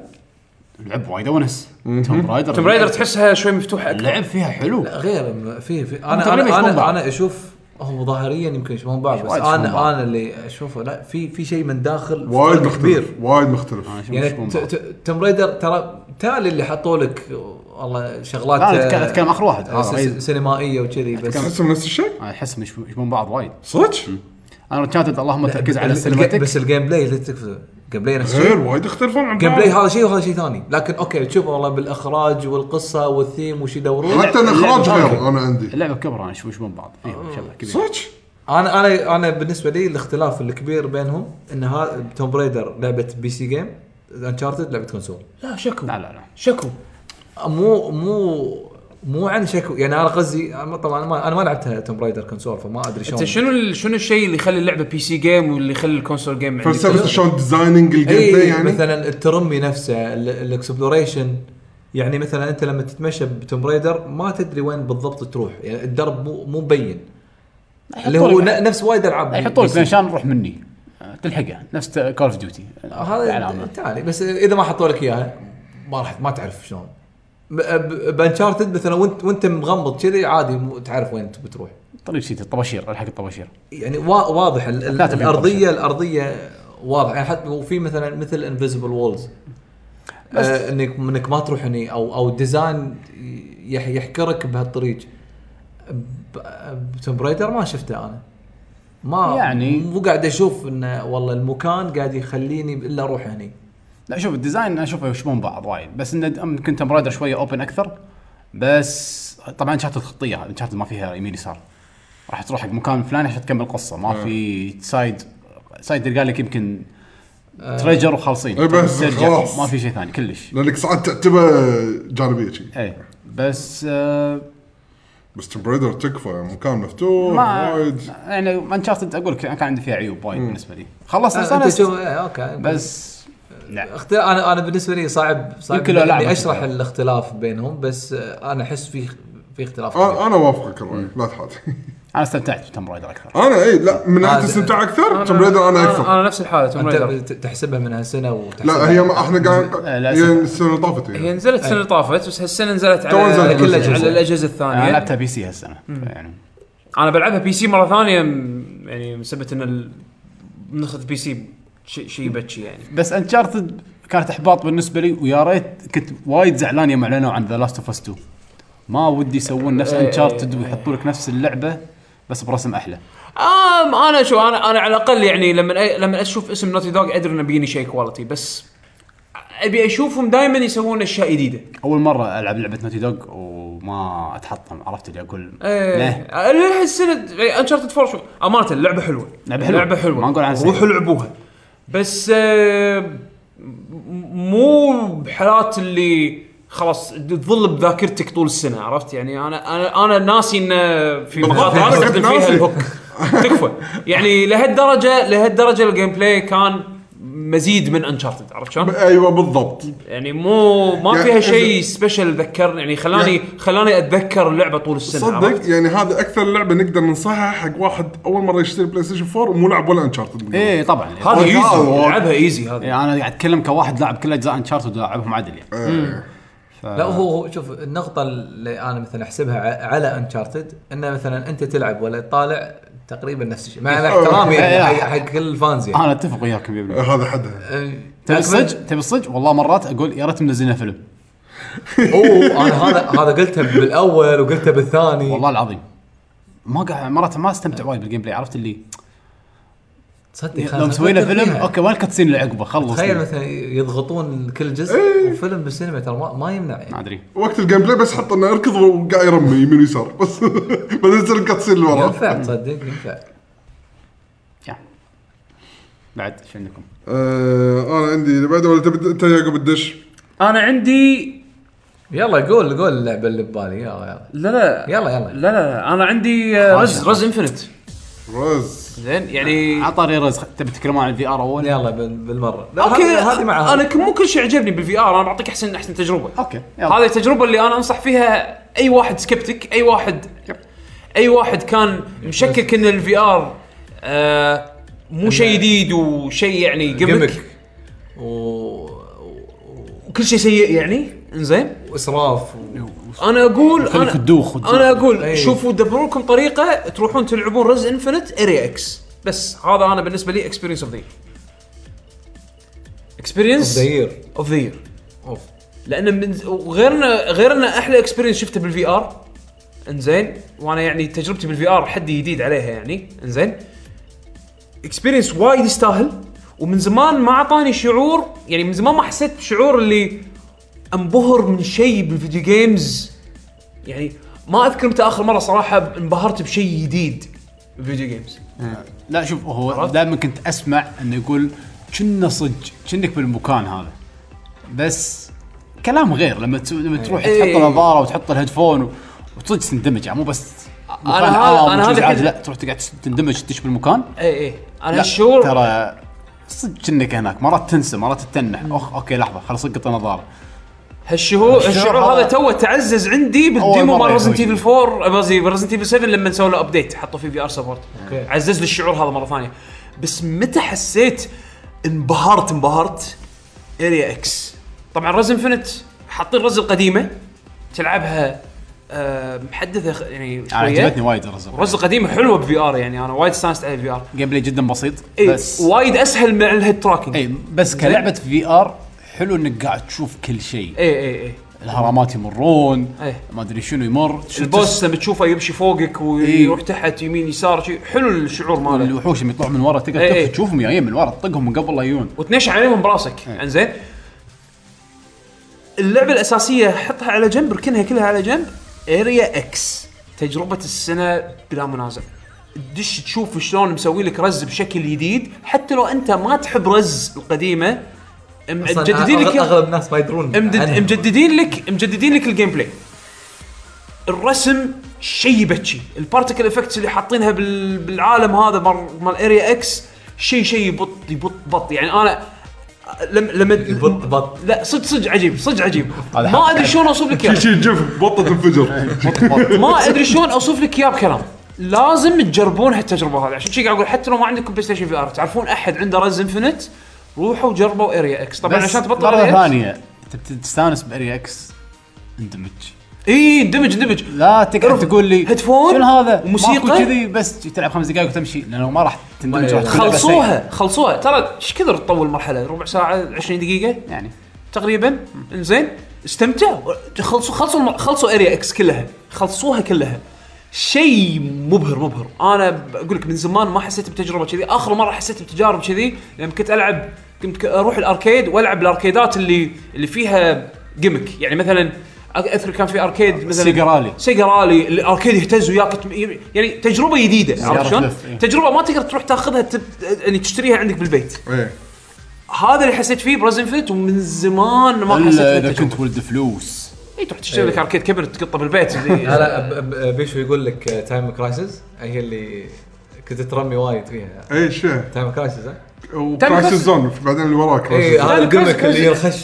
لعب وايد ونس توم رايدر توم رايدر تحسها شوي مفتوحه اكثر اللعب فيها حلو لا غير م- في في انا تقريباً انا يشبهون انا, بعض. أنا اشوف هم ظاهريا يمكن يشبهون بعض بس وايد يشبهون انا بعض. انا اللي اشوفه لا في في شيء من داخل وايد فرق مختلف وايد مختلف آه، شوف يعني شلون ت- بعض. ت- توم رايدر ترى تالي اللي حطوا لك والله شغلات لا، أنا أتك- آه، أتكلم آخر واحد. آه، هذا س- رايد. سينمائيه وكذي بس تحسهم نفس الشيء أنا احس مش- يشبهون بعض وايد صدق انا كانت اللهم تركز على الج- السينماتيك بس الجيم بلاي اللي تكفى جيم بلاي نفس غير الشيء وايد يختلفون عن جيم بعض بلاي هذا شيء وهذا شيء ثاني لكن اوكي تشوف والله بالاخراج والقصه والثيم وش يدورون حتى الاخراج اللعبة يعني غير انا عندي اللعبه كبرى انا اشوف يشبهون بعض إيه، فيهم شبه كبير صدق انا انا انا بالنسبه لي الاختلاف الكبير بينهم ان هذا توم برايدر لعبه بي سي جيم انشارتد لعبه كونسول لا شكو لا لا لا شكو مو مو مو عن شكو يعني انا قصدي أنا طبعا أنا ما انا ما لعبتها توم برايدر كونسول فما ادري انت شلون شنو ال- شنو الشيء اللي يخلي اللعبه بي سي جيم واللي يخلي الكونسول جيم عندك؟ فلسفه شلون ديزايننج الجيم بلاي اي يعني مثلا الترمي نفسه ال- الاكسبلوريشن يعني مثلا انت لما تتمشى بتوم برايدر ما تدري وين بالضبط تروح يعني الدرب مو مو مبين اللي هو يحطوا لك- ن- نفس وايد العاب يحطوا لك بي سي. ميشان روح مني آه، تلحقه نفس كول اوف ديوتي آه، هذا تعالي بس اذا ما حطوا لك اياها ما راح ما تعرف شلون ب- ب- بانشارتد مثلا وانت وانت مغمض كذي عادي مو- تعرف وين بتروح طريق شيء الطباشير الحق الطباشير يعني وا- واضح ال- ال- لا تبين الارضيه الارضيه واضح يعني حتى وفي مثلا مثل انفيزبل وولز آه انك انك ما تروح هني او او ديزاين يح- يحكرك بهالطريق بتوم رايدر ما شفته انا ما يعني- مو قاعد اشوف انه والله المكان قاعد يخليني الا اروح هني لا شوف الديزاين انا اشوفه يشبهون بعض وايد بس انه يمكن توم رايدر شويه اوبن اكثر بس طبعا شات الخطيه شات ما فيها يمين يسار راح تروح حق مكان فلاني عشان تكمل قصه ما في سايد سايد تلقى لك يمكن تريجر وخالصين إيه بس ترجع. خلاص. ما في شيء ثاني كلش لانك ساعات تعتبر جانبيه شي اي بس آه بس توم بريدر تكفى مكان مفتوح ما وايد يعني انشارتد اقول لك كان عندي فيها عيوب وايد بالنسبه لي خلصت آه، انت شوف استانست إيه، اوكي بس لا اختلاف انا انا بالنسبه لي صعب صعب يمكن لو لعبة اني اشرح تختلف. الاختلاف بينهم بس آه، انا احس في في اختلاف أنا- انا وافقك الراي لا تحاتي انا استمتعت بتم رايدر اكثر انا اي لا من ناحيه آه، الاستمتاع اكثر توم بريدر انا اكثر انا آه، نفس الحاله توم ريدر انت تحسبها من هالسنه وتحسبها لا هي ما احنا قاعد لا، لا، هي أسف. السنه اللي طافت هي هي نزلت السنه اللي طافت بس هالسنه نزلت على تو نزلت على كل بالأجهزة. على الاجهزه الثانيه انا لعبتها بي سي هالسنه يعني انا بلعبها بي سي مره ثانيه م- يعني بسبب ان ال... نسخه بي سي شيء شيء بتشي يعني بس انشارتد كانت احباط بالنسبه لي ويا ريت كنت وايد زعلان يوم اعلنوا عن ذا لاست اوف اس 2 ما ودي يسوون نفس إيه، انشارتد إيه، ويحطوا لك نفس اللعبه بس برسم احلى آم انا شو انا انا على الاقل يعني لما أ- لما اشوف اسم نوتي دوغ ادري انه بيجيني شيء كواليتي بس ابي اشوفهم دائما يسوون اشياء جديده اول مره العب لعبه نوتي دوغ وما اتحطم عرفت اللي اقول ايه لا. للحين يعني السنه انشارتد 4 شوف امانه اللعبه حلوه لعبة حلوة. لعبه حلوه ما نقول عنها روحوا سيئة. لعبوها بس آه، م- مو بحالات اللي خلاص تظل بذاكرتك طول السنه عرفت يعني انا انا انا ناسي ان في مقاطع أنا أنا كنت استخدم فيها ناسي. الهوك تكفى يعني لهالدرجه لهالدرجه الجيم بلاي كان مزيد من انشارتد عرفت شلون؟ ايوه بالضبط يعني مو ما يعني فيها إذا- شيء سبيشل ذكرني يعني خلاني خلاني اتذكر اللعبه طول السنه عرفت؟ صدق يعني هذا اكثر لعبه نقدر ننصحها حق واحد اول مره يشتري بلاي ستيشن 4 ومو لعب ولا انشارتد ايه طبعا هذا ايزي والله. لعبها ايزي هذا يعني انا قاعد اتكلم كواحد لاعب كل اجزاء انشارتد لاعبهم عدل يعني إيه. لا هو هو شوف النقطة اللي انا مثلا احسبها ع- على انشارتد انه مثلا انت تلعب ولا طالع تقريبا نفس الشيء آه. مع احترامي يعني إيه. حق حق كل الفانز يعني آه، انا اتفق وياكم يا ابني إيه، هذا حدها آه. تبي الصج تبي الصج والله مرات اقول يا ريت منزلنا فيلم اوه انا هذا هذا قلتها بالاول وقلتها بالثاني والله العظيم ما قاعد مرات ما استمتع وايد بالجيم بلاي عرفت اللي تصدق لو مسوي له فيلم اوكي وين الكاتسين اللي عقبه خلص تخيل مثلا يضغطون كل جزء إيه. وفيلم بالسينما ترى ما- ما يمنع يعني ما ادري وقت الجيم بلاي بس حط انه اركض وقاعد يرمي يمين ويسار بس بعدين يصير الكاتسين اللي وراه ينفع تصدق ينفع يا. بعد شو عندكم؟ آه، انا عندي اللي بعده ولا تبي انت يعقوب الدش انا عندي يلا قول قول اللعبة اللي ببالي يلا يلا لا لا يلا يلا لا لا انا عندي آه، رز رز انفنت رز زين يعني عطاري رزق تبي تتكلمون عن الفي ار اول؟ يلا بال- بالمره لا، اوكي هذه- هذه مع انا آه، ك- مو كل شيء عجبني بالفي ار انا بعطيك احسن احسن تجربه اوكي هذه التجربه اللي انا انصح فيها اي واحد سكبتك اي واحد اي واحد كان مشكك ان الفي ار مو شيء جديد وشيء يعني جيمك جيمك وكل شيء سيء يعني انزين واسراف و... انا اقول خليك انا تدوخ وتدوخ. إيه. انا اقول أي. شوفوا دبروا لكم طريقه تروحون تلعبون رز انفنت اريا اكس بس هذا انا بالنسبه لي اكسبيرينس اوف ذا اكسبيرينس زير اوف ذا يير اوف لان من وغيرنا غيرنا احلى اكسبيرينس شفته بالفي ار انزين وانا يعني تجربتي بالفي ار حدي جديد عليها يعني انزين اكسبيرينس وايد يستاهل ومن زمان ما اعطاني شعور يعني من زمان ما حسيت بشعور اللي انبهر من شيء بالفيديو جيمز يعني ما اذكر متى اخر مره صراحه انبهرت بشيء جديد بالفيديو جيمز لا شوف هو عرفت؟ دائما كنت اسمع انه يقول كنا صج كنك بالمكان هذا بس كلام غير لما تسو- لما تروح إيه. تحط النظاره وتحط الهيدفون و- وصدق تندمج يعني مو بس مكان هذا- عام أنا وجزء هذا عادي، كنت- لا تروح تقعد تندمج تدش بالمكان اي اي انا لا الشعور ترى صدق كنك هناك مرات تنسى مرات تتنح اخ اوكي لحظه خلاص القط النظاره هالشهور الشعور هذا هذا تو تعزز عندي أول مرة بالديمو مال ريزنت يسوي ايفل 4 قصدي ريزنت ايفل 7 لما سووا له ابديت حطوا فيه في ار سبورت عزز لي الشعور هذا مره ثانيه بس متى حسيت انبهرت انبهرت اريا اكس طبعا رز انفنت حاطين رز القديمه تلعبها آه، محدثه خ- يعني انا آه، عجبتني شويه وايد الرزق رز القديمه حلوه بفي ار يعني انا وايد استانست على الفي ار جيم بلاي جدا بسيط اي بس إيه. وايد اسهل مع الهيد تراكنج اي بس كلعبه في ار حلو انك قاعد تشوف كل شيء اي اي اي الهرمات يمرون إيه. ما ادري شنو يمر شو البوس لما تشوفه يمشي فوقك ويروح تحت يمين يسار شي حلو الشعور تس- ماله الوحوش اللي يطلعون من ورا تقدر إيه، إيه. تف- تشوفهم جايين من ورا تطقهم من قبل لا يجون وتنش عليهم براسك انزين اللعبه الاساسيه حطها على جنب ركنها كلها على جنب اريا اكس تجربه السنه بلا منازع تدش تشوف شلون مسوي لك رز بشكل جديد حتى لو انت ما تحب رز القديمه أصلاً مجددين لك أغلب- إياه. اغلب الناس ما يدرون عنها. مجد- مجددين لك مجددين لك الجيم بلاي الرسم شيء يبكي البارتكل افكتس اللي حاطينها بال... بالعالم هذا مال مال اريا اكس شيء شيء يبط يبط بط يعني انا لما لما يبط بط. لا صدق صدق عجيب صدق عجيب هذا ما حق. ادري شلون اوصف لك اياه شي جف بطه تنفجر ما ادري شلون اوصف لك اياه بكلام لازم تجربون هالتجربه هذه عشان شي قاعد اقول حتى لو ما عندكم بلاي ستيشن في ار تعرفون احد عنده رز انفنت روحوا جربوا اريا اكس طبعا بس عشان تبطل مره اريا اكس ثانيه انت بتستانس باري اكس اندمج اي إيه، اندمج اندمج لا تقعد ارفع. تقول لي هيدفون شنو هذا وموسيقى. ماكو كذي بس تلعب خمس دقائق وتمشي لانه ما راح تندمج ما- راح تكون لعبة سيئة. خلصوها خلصوها ترى ايش كثر تطول المرحله ربع ساعه 20 دقيقه يعني تقريبا زين استمتعوا خلصوا خلصوا الم... خلصوا اريا اكس كلها خلصوها كلها شيء مبهر مبهر انا بقول لك من زمان ما حسيت بتجربه كذي اخر مره حسيت بتجارب كذي لما كنت العب كنت ك- اروح الاركيد والعب الاركيدات اللي اللي فيها جيمك يعني مثلا أ- اذكر كان في اركيد آه، مثلا سيجرالي. سيجرالي الاركيد يهتز وياك تم- يعني تجربه جديده زيارة عرفت شلون؟ لف، إيه. تجربه ما تقدر تروح تاخذها تب... يعني تشتريها عندك بالبيت ايه هذا اللي حسيت فيه برزن فيت ومن زمان ما حسيت الا اذا فيه كنت ولد فلوس اي تروح إيه. تشتري لك اركيد كبر تقطه بالبيت إيه. هلا ب- ب- بيشو يقول لك تايم كرايسز هي اللي كنت ترمي وايد فيها اي إيه، شيء تايم كرايسز ها؟ وكرايسس زون بعدين اللي وراه اي كرايسس هذا لا، كرايسيس الجيمك اللي ينخش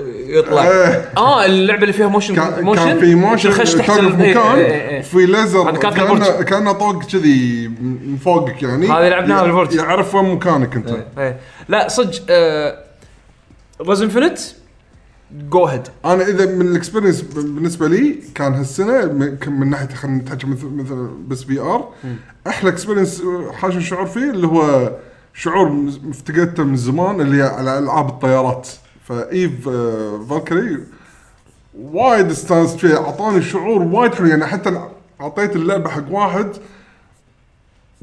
ويطلع ايه اه اللعبه اللي فيها موشن كان موشن كان في موشن تخش تحت تعرف ال- إيه، إيه، إيه، مكان إيه. في ليزر هذا كان في كانه البرج. كانه طوق كذي من فوقك يعني هذه لعبناها ي- بالبرج. يعرف وين مكانك انت إيه. إيه. لا صدق آه رزن فينت جو هيد انا اذا من الاكسبيرينس بالنسبه لي كان هالسنه م- كان من ناحيه خلينا نتحكي مثل مثلا بس في ار احلى اكسبيرينس حاجه شعور فيه اللي هو شعور مز- افتقدته من زمان اللي هي على العاب الطيارات فايف آه، فالكري وايد استانست فيها اعطاني شعور وايد حلو يعني حتى اعطيت اللعبه حق واحد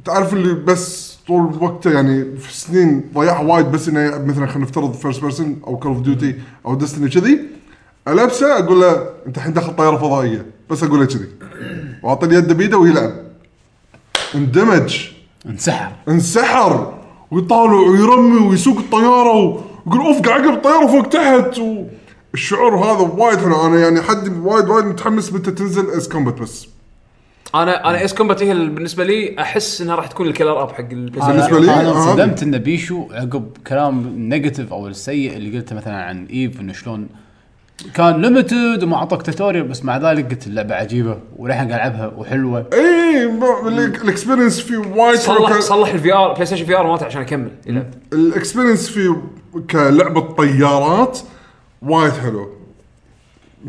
تعرف اللي بس طول وقته يعني في سنين ضيعها وايد بس انه يلعب مثلا خلينا نفترض فيرست بيرسون او كول اوف ديوتي او ديستني كذي البسه اقول له انت الحين داخل طياره فضائيه بس اقول له كذي واعطي اليد بيده ويلعب اندمج انسحر انسحر ويطالع ويرمي ويسوق الطياره ويقول اوف قاعد اقلب الطياره فوق تحت والشعور هذا وايد حلو انا يعني حد وايد وايد متحمس متى تنزل اس كومبات بس انا انا اس كومبات هي ال- بالنسبه لي احس انها راح تكون الكلر اب حق البلاي ستيشن. بالنسبة بالنسبه لي، لي انا آه. انصدمت ان بيشو عقب كلام نيجاتيف او السيء اللي قلته مثلا عن ايف انه شلون كان ليمتد وما اعطاك توتوريال بس مع ذلك قلت اللعبه عجيبه وللحين قاعد العبها وحلوه اي ما- إيه، ال- الاكسبيرينس فيه وايد حلو صلح كان- صلح الفي ار بلاي ستيشن في ار مالته عشان اكمل يلعب. الاكسبيرينس فيه كلعبه طيارات وايد حلو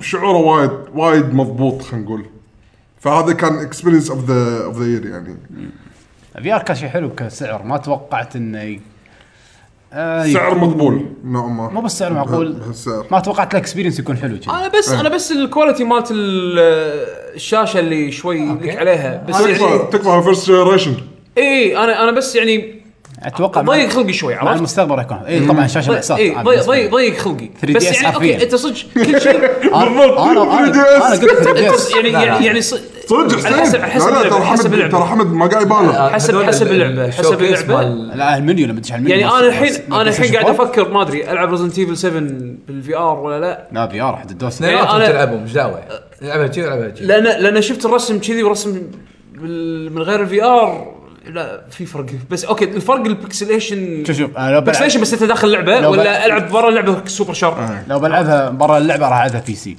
شعوره وايد وايد مضبوط خلينا نقول فهذا كان اكسبيرينس اوف ذا اوف ذا يير يعني في ار كان شيء حلو كسعر ما توقعت انه ي... آه سعر يكون- مقبول نوعا ما مو بس سعر معقول. بها- بهالسعر ما توقعت الاكسبيرينس يكون حلو كذي انا إيه. بس انا بس الكواليتي مالت ال- الشاشه اللي شوي لك عليها بس تكفى يعني إيه، تكفى فيرست جنريشن اي انا انا بس يعني اتوقع مع- ضيق خلقي شوي مع عرفت؟ المستقبل راح يكون اي طبعا شاشه ضيق الاحساس إيه عام ضيق بالنسبة لي. ضيق ضيق خلقي 3DS بس يعني حرفياً. اوكي انت صدق كل شيء أنا- بالضبط، انا انا 3DS. انا قلت 3DS. أنت يعني لا، لا. يعني يعني ص- صدق على حسب حسين. على حسب لا لا اللعبة، ترى على حسب حسب ترى اللعبة. حمد ما قاعد يبالغ حسب- هذول حسب ال- اللعبة، حسب الشوكيس اللعبة. مال- لا المنيو لما تدش على المنيو يعني ما- انا الحين ما- انا الحين قاعد 4. افكر ما ادري العب ريزنت ايفل 7 بالفي ار ولا لا لا في ار حد الدوس اثنيناتهم إيه، أنا- تلعبهم مش دعوه العبها كذي والعبها كذي لان لان شفت الرسم كذي ورسم بال- من غير الفي ار لا في فرق بس اوكي الفرق البكسليشن شوف شوف انا لو بلعب بكسليشن بس انت داخل اللعبه لو آه. ولا بلعب- العب برا اللعبه سوبر شارب لو بلعبها برا اللعبه راح العبها بي سي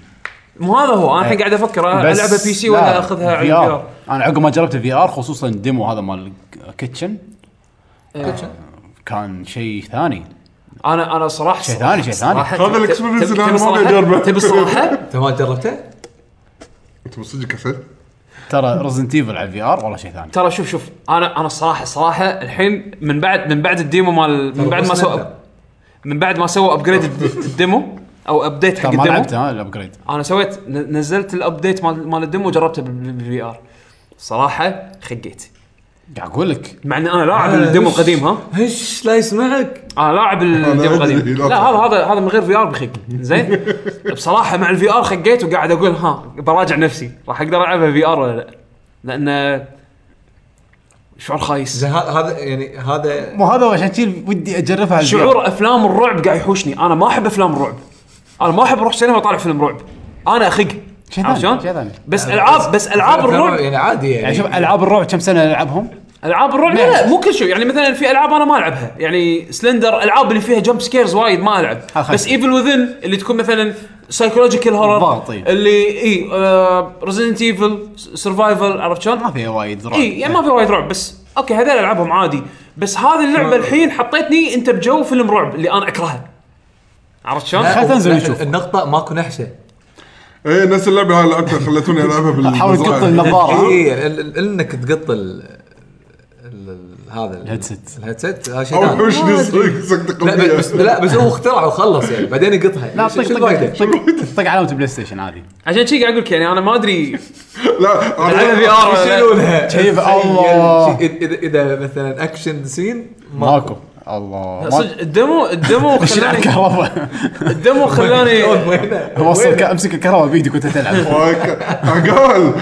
مو هذا هو انا الحين آه. قاعد افكر العبها بي سي ولا اخذها على الفي ار انا عقب ما جربت الفي ار خصوصا الديمو هذا مال كيتشن آه. كان شيء ثاني انا انا صراحه شيء ثاني، شيء ثاني. صراحة- هذا الاكسبيرينس تبي- اللي أنا تبي ما صراحة؟ بجربه. تبي الصراحه انت ما جربته؟ انت صدق حسين ترى رزنت ايفل على الفي ار والله شيء ثاني ترى شوف شوف انا انا الصراحه الصراحه الحين من بعد من بعد الديمو مال من بعد ما سوى من بعد ما سوى ابجريد الديمو او ابديت حق ترى ما الديمو لعبت ها الابجريد انا سويت ن- نزلت الابديت مال مال الديمو وجربته بالفي ار صراحه خقيت قاعد اقول لك مع ان انا لاعب الديمو القديم ها هش لا يسمعك انا آه، لاعب الديمو أدري، القديم لا لا هذا هذا هذا من غير في ار بخق زين بصراحه مع الفي ار خقيت وقاعد اقول ها براجع نفسي راح اقدر العبها في ار ولا لا لان شعور خايس زين هذا- هذا يعني هذا مو هذا عشان كذي ودي اجربها شعور افلام الرعب قاعد يحوشني انا ما احب افلام الرعب انا ما احب اروح سينما اطالع فيلم رعب انا اخق شيء ثاني، عرفت شلون؟ شيء ثاني. بس العاب بس العاب الرعب يعني عادي يعني يعني شوف العاب الرعب كم سنه نلعبهم العاب الرعب ما لا, لا أحس. مو كل شيء يعني مثلا في العاب انا ما العبها يعني سلندر العاب اللي فيها جمب سكيرز وايد ما العب ها، خلي. بس ايفل وذن اللي تكون مثلا سايكولوجيكال هورر بالضبط، إي. اللي اي آه ريزدنت ايفل سرفايفل عرفت شلون؟ ما فيها وايد رعب اي يعني ما في وايد رعب بس اوكي هذول العبهم عادي بس هذه اللعبه الحين حطيتني انت بجو فيلم رعب اللي انا اكرهه عرفت شلون؟ خل تنزل لا، نشوف. النقطة ماكو نحشة ايه نفس اللعبه هاي لعبتها خلتوني العبها بال حاول تقط النظاره اي ال- ال- انك تقط ال ال- ال- هذا ال- الهيدسيت. الهيدسيت هذا شيء او ثاني. وش نسوي سكت لا قبلية. بس لا بس هو اخترع وخلص يعني بعدين يقطها لا طيب، إيه، لا طق شو طق الفايدة؟ طق طق علامه بلاي ستيشن عادي عشان شي قاعد اقول لك يعني انا ما ادري لا طيب. العبها في أنا- ار ولا- يشيلونها كيف تخيل الله. شيء- إذا- اذا اذا مثلا اكشن سين ماكو الله ما- صدق الدمو الدمو وش يلعب خلاني كهرباء الدمو خلاني وصل ك- امسك الكهرباء بيدك وانت تلعب واك- عقال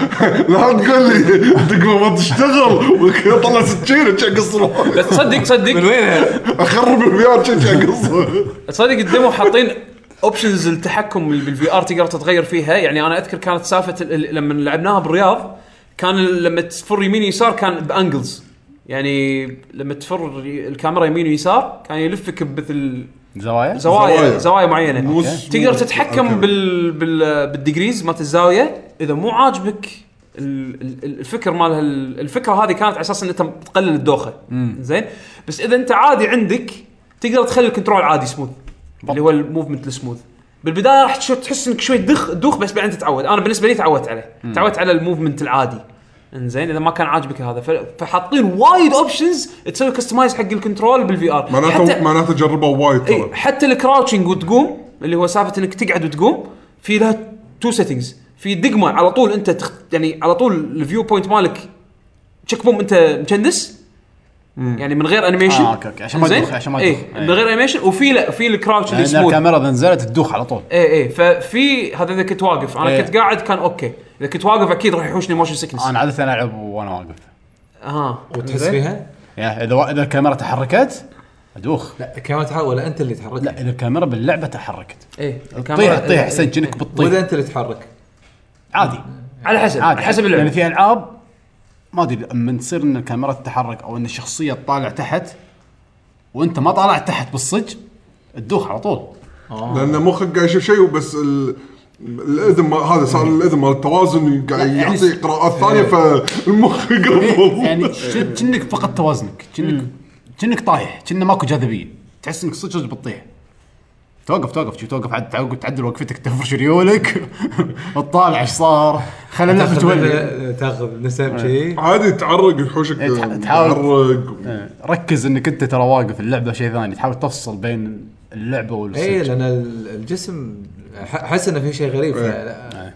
لا تقول لي دقمه ما تشتغل وطلع سكين تشي قصره بس تصدق من تصدق وين اخرب البي ار تشي قصره تصدق الدمو حاطين اوبشنز التحكم بالفي ار تقدر تتغير فيها يعني انا اذكر كانت سالفه ال- ال- لما لعبناها بالرياض كان ال- لما تفر يمين يسار كان بانجلز يعني لما تفر ي- الكاميرا يمين ويسار كان يلفك بمثل زوايا زوايا زوايا. زوايا معينه مو- تقدر مو- أوكي. تتحكم بال بال بالديجريز مالت الزاويه اذا مو عاجبك ال- ال- الفكر مال هال- الفكره هذه كانت على اساس ان انت تقلل الدوخه زين بس اذا انت عادي عندك تقدر تخلي الكنترول عادي سموث اللي هو الموفمنت السموث بالبدايه راح تشو- تحس انك شوي تدخ تدوخ بس بعدين تتعود انا بالنسبه لي تعودت عليه تعودت على الموفمنت العادي انزين اذا ما كان عاجبك هذا ف- فحاطين وايد اوبشنز تسوي كستمايز حق الكنترول بالفي ار معناته معناته جربوا وايد اي ترى إيه، حتى الكراوتشنج وتقوم اللي هو سالفه انك تقعد وتقوم في لها تو سيتنجز في دقمه على طول انت تخ... يعني على طول الفيو بوينت مالك تشيك بوم انت مكندس يعني من غير انيميشن آه، أوكي، أوكي، عشان ما زين؟ تدوخ، عشان ما إيه، تدوخ. إيه. من غير انيميشن وفي لا في الكراوتش اللي لان سموث الكاميرا اذا نزلت تدوخ على طول اي اي ففي هذا اذا كنت واقف انا إيه. كنت قاعد كان اوكي اذا كنت واقف اكيد راح يحوشني موشن سكنس انا عاده العب وانا واقف ها تحس فيها؟ يعني اذا اذا الكاميرا تحركت ادوخ لا كمان تحرك ولا انت اللي تحرك لا اذا الكاميرا باللعبه تحركت اي تطيح تطيح إيه، حسين كأنك واذا بتطيح انت اللي تحرك عادي على حسب عادي على حسب يعني اللعبه في العاب ما ادري لما تصير ان الكاميرا تتحرك او ان الشخصيه تطالع تحت وانت ما طالع تحت بالصج تدوخ على طول لان مخك قاعد يشوف شيء وبس ال... الاذن ما هذا صار الاذن مال التوازن قاعد يعني يعطي قراءات ثانيه فالمخ قبل يعني شن- كأنك فقدت توازنك كأنك كأنك طايح كأنه ماكو جاذبيه تحس انك صدق صدق بتطيح توقف توقف شوف توقف عد توقف تعدل وقفتك تفرش ريولك وتطالع ايش صار خلي اللعبه تولي تاخذ تاخذ نسم آه. شيء عادي تعرق يحوشك إيه، تح- تعرق تحاول. ركز انك انت ترى واقف اللعبه شيء ثاني تحاول تفصل بين اللعبه اي والصج لان إيه، ال- الجسم ح- احس انه في شيء غريب إيه. لا-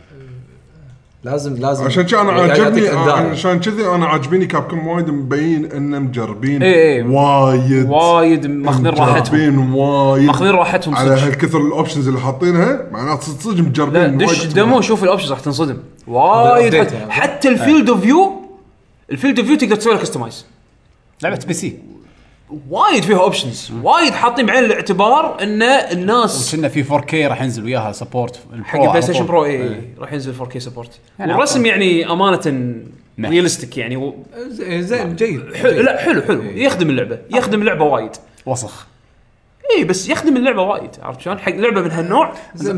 لازم لازم عشان كذا انا يعني قاعد عاجبني يعطيك إنذار. آه، عشان كذا انا عاجبني كابكم وايد مبين انه مجربين إيه، إيه. وايد وايد ماخذين راحتهم مجربين وايد ماخذين راحتهم على صدق. هالكثر الاوبشنز اللي حاطينها معناته صدق صدق لا مجربين دش وايد. دمو شوف الاوبشنز راح تنصدم وايد بالأبديت حت- يعني. حتى الفيلد اوف فيو الفيلد اوف فيو تقدر تسوي له كستمايز لعبه بي سي وايد فيها اوبشنز وايد حاطين بعين الاعتبار ان الناس كنا في 4K راح ينزل وياها سبورت حق إيه. البلاي ستيشن برو إيه. اي راح ينزل 4K سبورت يعني والرسم يعني امانه نعم. ريالستيك يعني و... زين آه. زين جيد حلو لا حلو حلو يخدم اللعبه يخدم اللعبه وايد وسخ اي بس يخدم اللعبه وايد عرفت شلون حق لعبه من هالنوع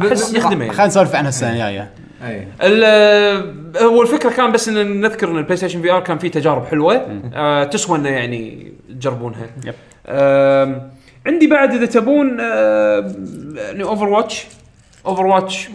احس يخدمه يعني خلينا نسولف عنها السنه الجايه اي ال- هو الفكره كان بس ان نذكر ان البلاي ستيشن في ار كان فيه تجارب حلوه آه تسوى انه يعني تجربونها يب. آم، عندي بعد اذا تبون آه يعني اوفر واتش اوفر واتش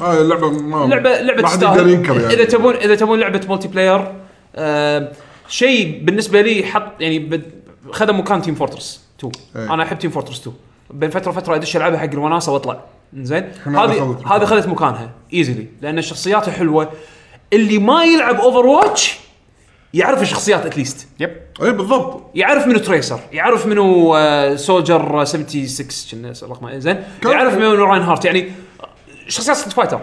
هاي اللعبه آه، ما لعبه لعبه ما حد يقدر تستاهل ينكر يعني اذا تبون اذا تبون لعبه مولتي بلاير آه شيء بالنسبه لي حط يعني بد- خذ مكان تيم فورترس 2 إيه. انا احب تيم فورترس 2 بين فتره فتره ادش العبها حق الوناسه واطلع زين إحنا هذه أخذت هذه خذت مكانها ايزلي لان شخصياتها حلوه اللي ما يلعب اوفر واتش يعرف الشخصيات اتليست يب اي إيه، بالضبط يعرف منو تريسر يعرف منو آه، سولجر آه، 76 كنا رقمه زين كم- يعرف منو راين هارت يعني شخصيات ستريت فايتر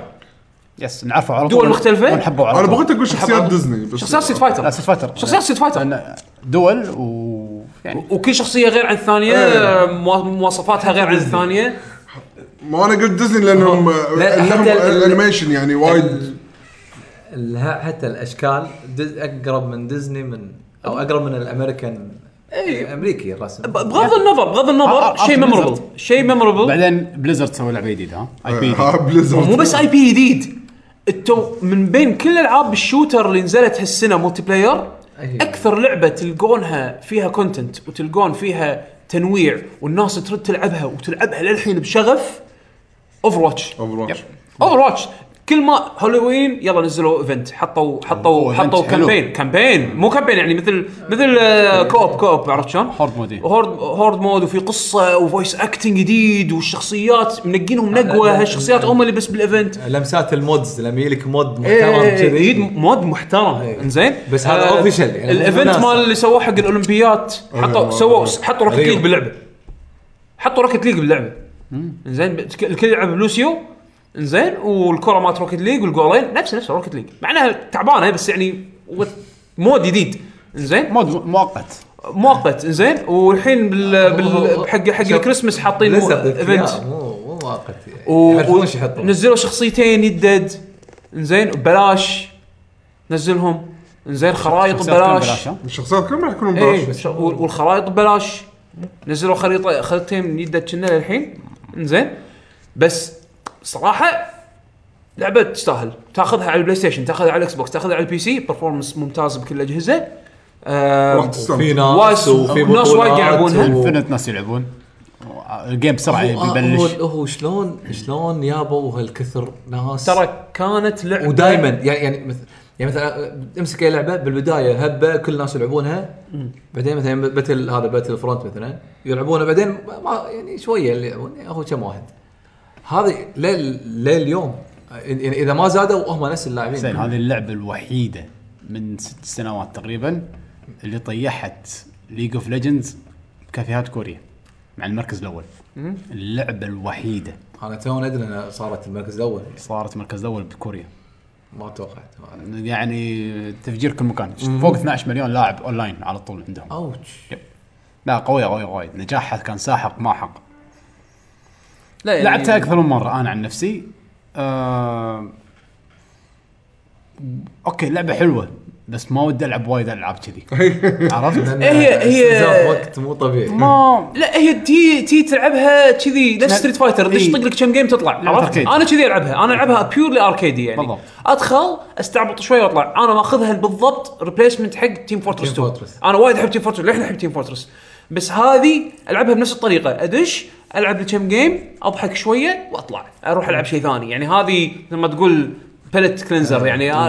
يس نعرفه على دول مختلفة؟ ونحبه على انا طول بغيت اقول شخصيات ديزني بس شخصيات ستريت لا فايتر ستريت فايتر شخصيات ستريت فايتر لأن دول و يعني وكل شخصيه غير عن الثانيه إيه. موا- مواصفاتها غير عن الثانيه ما انا قلت ديزني لانهم لا، لهم حتى ال- الانيميشن يعني وايد ال- ال- حتى الاشكال دز اقرب من ديزني من او اقرب من الامريكان اي امريكي الرسم إيه. ب- بغض النظر بغض آه، آه، النظر شيء آه، ميموربل شيء ميموربل بعدين بليزرد سوى لعبه جديده ها إيه. اي بي ها بليزرد مو بس اي بي جديد التو من بين كل العاب الشوتر اللي نزلت هالسنه مولتي بلاير أي. اكثر لعبه تلقونها فيها كونتنت وتلقون فيها تنويع والناس ترد تلعبها وتلعبها للحين بشغف اوفر واتش اوفر واتش اوفر واتش كل ما هالوين يلا نزلوا ايفنت حطوا حطوا أوه، حطوا event حلو. كامبين كامبين مو كامبين يعني مثل مثل آه، كوب كوب عرفت شلون؟ هورد مود، إيه. هورد هورد مود وفي قصه وفويس اكتنج جديد والشخصيات منقينهم نقوه هالشخصيات هم اللي بس بالايفنت لمسات المودز لما يجيلك مود محترم إيه، جديد كذي مود محترم انزين إيه. بس هذا آه، official يعني إيه، الايفنت مناسب. مال اللي سووه حق الاولمبيات حطوا أيوة. سووا حطوا روكت أيوة. ليج باللعبه حطوا روكت ليج باللعبه انزين بت- الكل يلعب لوسيو انزين والكره مالت روكت ليج والجولين نفس نفس روكت ليج مع انها تعبانه بس يعني و- مود جديد انزين مود مؤقت مؤقت انزين والحين بال, هو- بال... حق حق شوف، الكريسماس حاطين مو- لسه ايفنت مو مو مؤقت و... يعرفون و... ايش يحطون نزلوا شخصيتين يدد زين ببلاش نزلهم زين خرائط شخصيات كلهم ببلاش ها؟ الشخصيات كلهم راح يكونون ايه ببلاش ش- وال- والخرائط ببلاش نزلوا خريطه خريطتين من يدد كنا للحين زين بس صراحه لعبه تستاهل تاخذها على البلاي ستيشن تاخذها على الاكس بوكس تاخذها على البي سي برفورمانس ممتاز بكل الاجهزه راح آه في تستمتع ناس وايد- وفي ناس وايد بطولات يلعبونها. و- انفنت ناس يلعبون الجيم بسرعه هو- آه، هو بيبلش هو شلون شلون يابوا هالكثر ناس ترى كانت لعبه ودائما يعني يعني مثل يعني مثلا امسك اي لعبه بالبدايه هبه كل الناس يلعبونها بعدين مثلا باتل هذا باتل فرونت مثلا يلعبونها بعدين ما- ما يعني شويه اللي يلعبون يعني هو كم واحد هذه ليل لليوم يعني اذا ما زادوا هم نفس زين اللاعبين هذه اللعبه الوحيده من ست سنوات تقريبا اللي طيحت ليج اوف ليجندز بكافيهات كوريا مع المركز الاول اللعبه الوحيده انا تو ادري انها صارت المركز الاول صارت المركز الاول بكوريا ما توقعت يعني تفجير كل مكان فوق 12 مليون لاعب اونلاين على طول عندهم آه. اوتش إيه، لا قويه قويه وايد نجاحها كان ساحق ماحق لا يعني لعبتها اكثر من مره انا عن نفسي آه... اوكي لعبه حلوه بس ما ودي العب وايد العاب كذي عرفت؟ هي- هي- استنزاف وقت مو طبيعي ما لا هي تي تي تلعبها كذي نفس لا- ستريت فايتر دش إي. طق لك كم جيم تطلع عرفت؟ أركيد. انا كذي العبها انا العبها بيورلي اركيدي يعني بالضبط. ادخل استعبط شوي واطلع انا ماخذها بالضبط ريبليسمنت حق تيم Team فورترس 2 Fortress. انا وايد احب تيم فورترس للحين احب تيم فورترس بس هذه العبها بنفس الطريقه ادش العب لي كم جيم اضحك شويه واطلع اروح العب شيء ثاني يعني هذه مثل ما تقول بلت كلينزر يعني آه،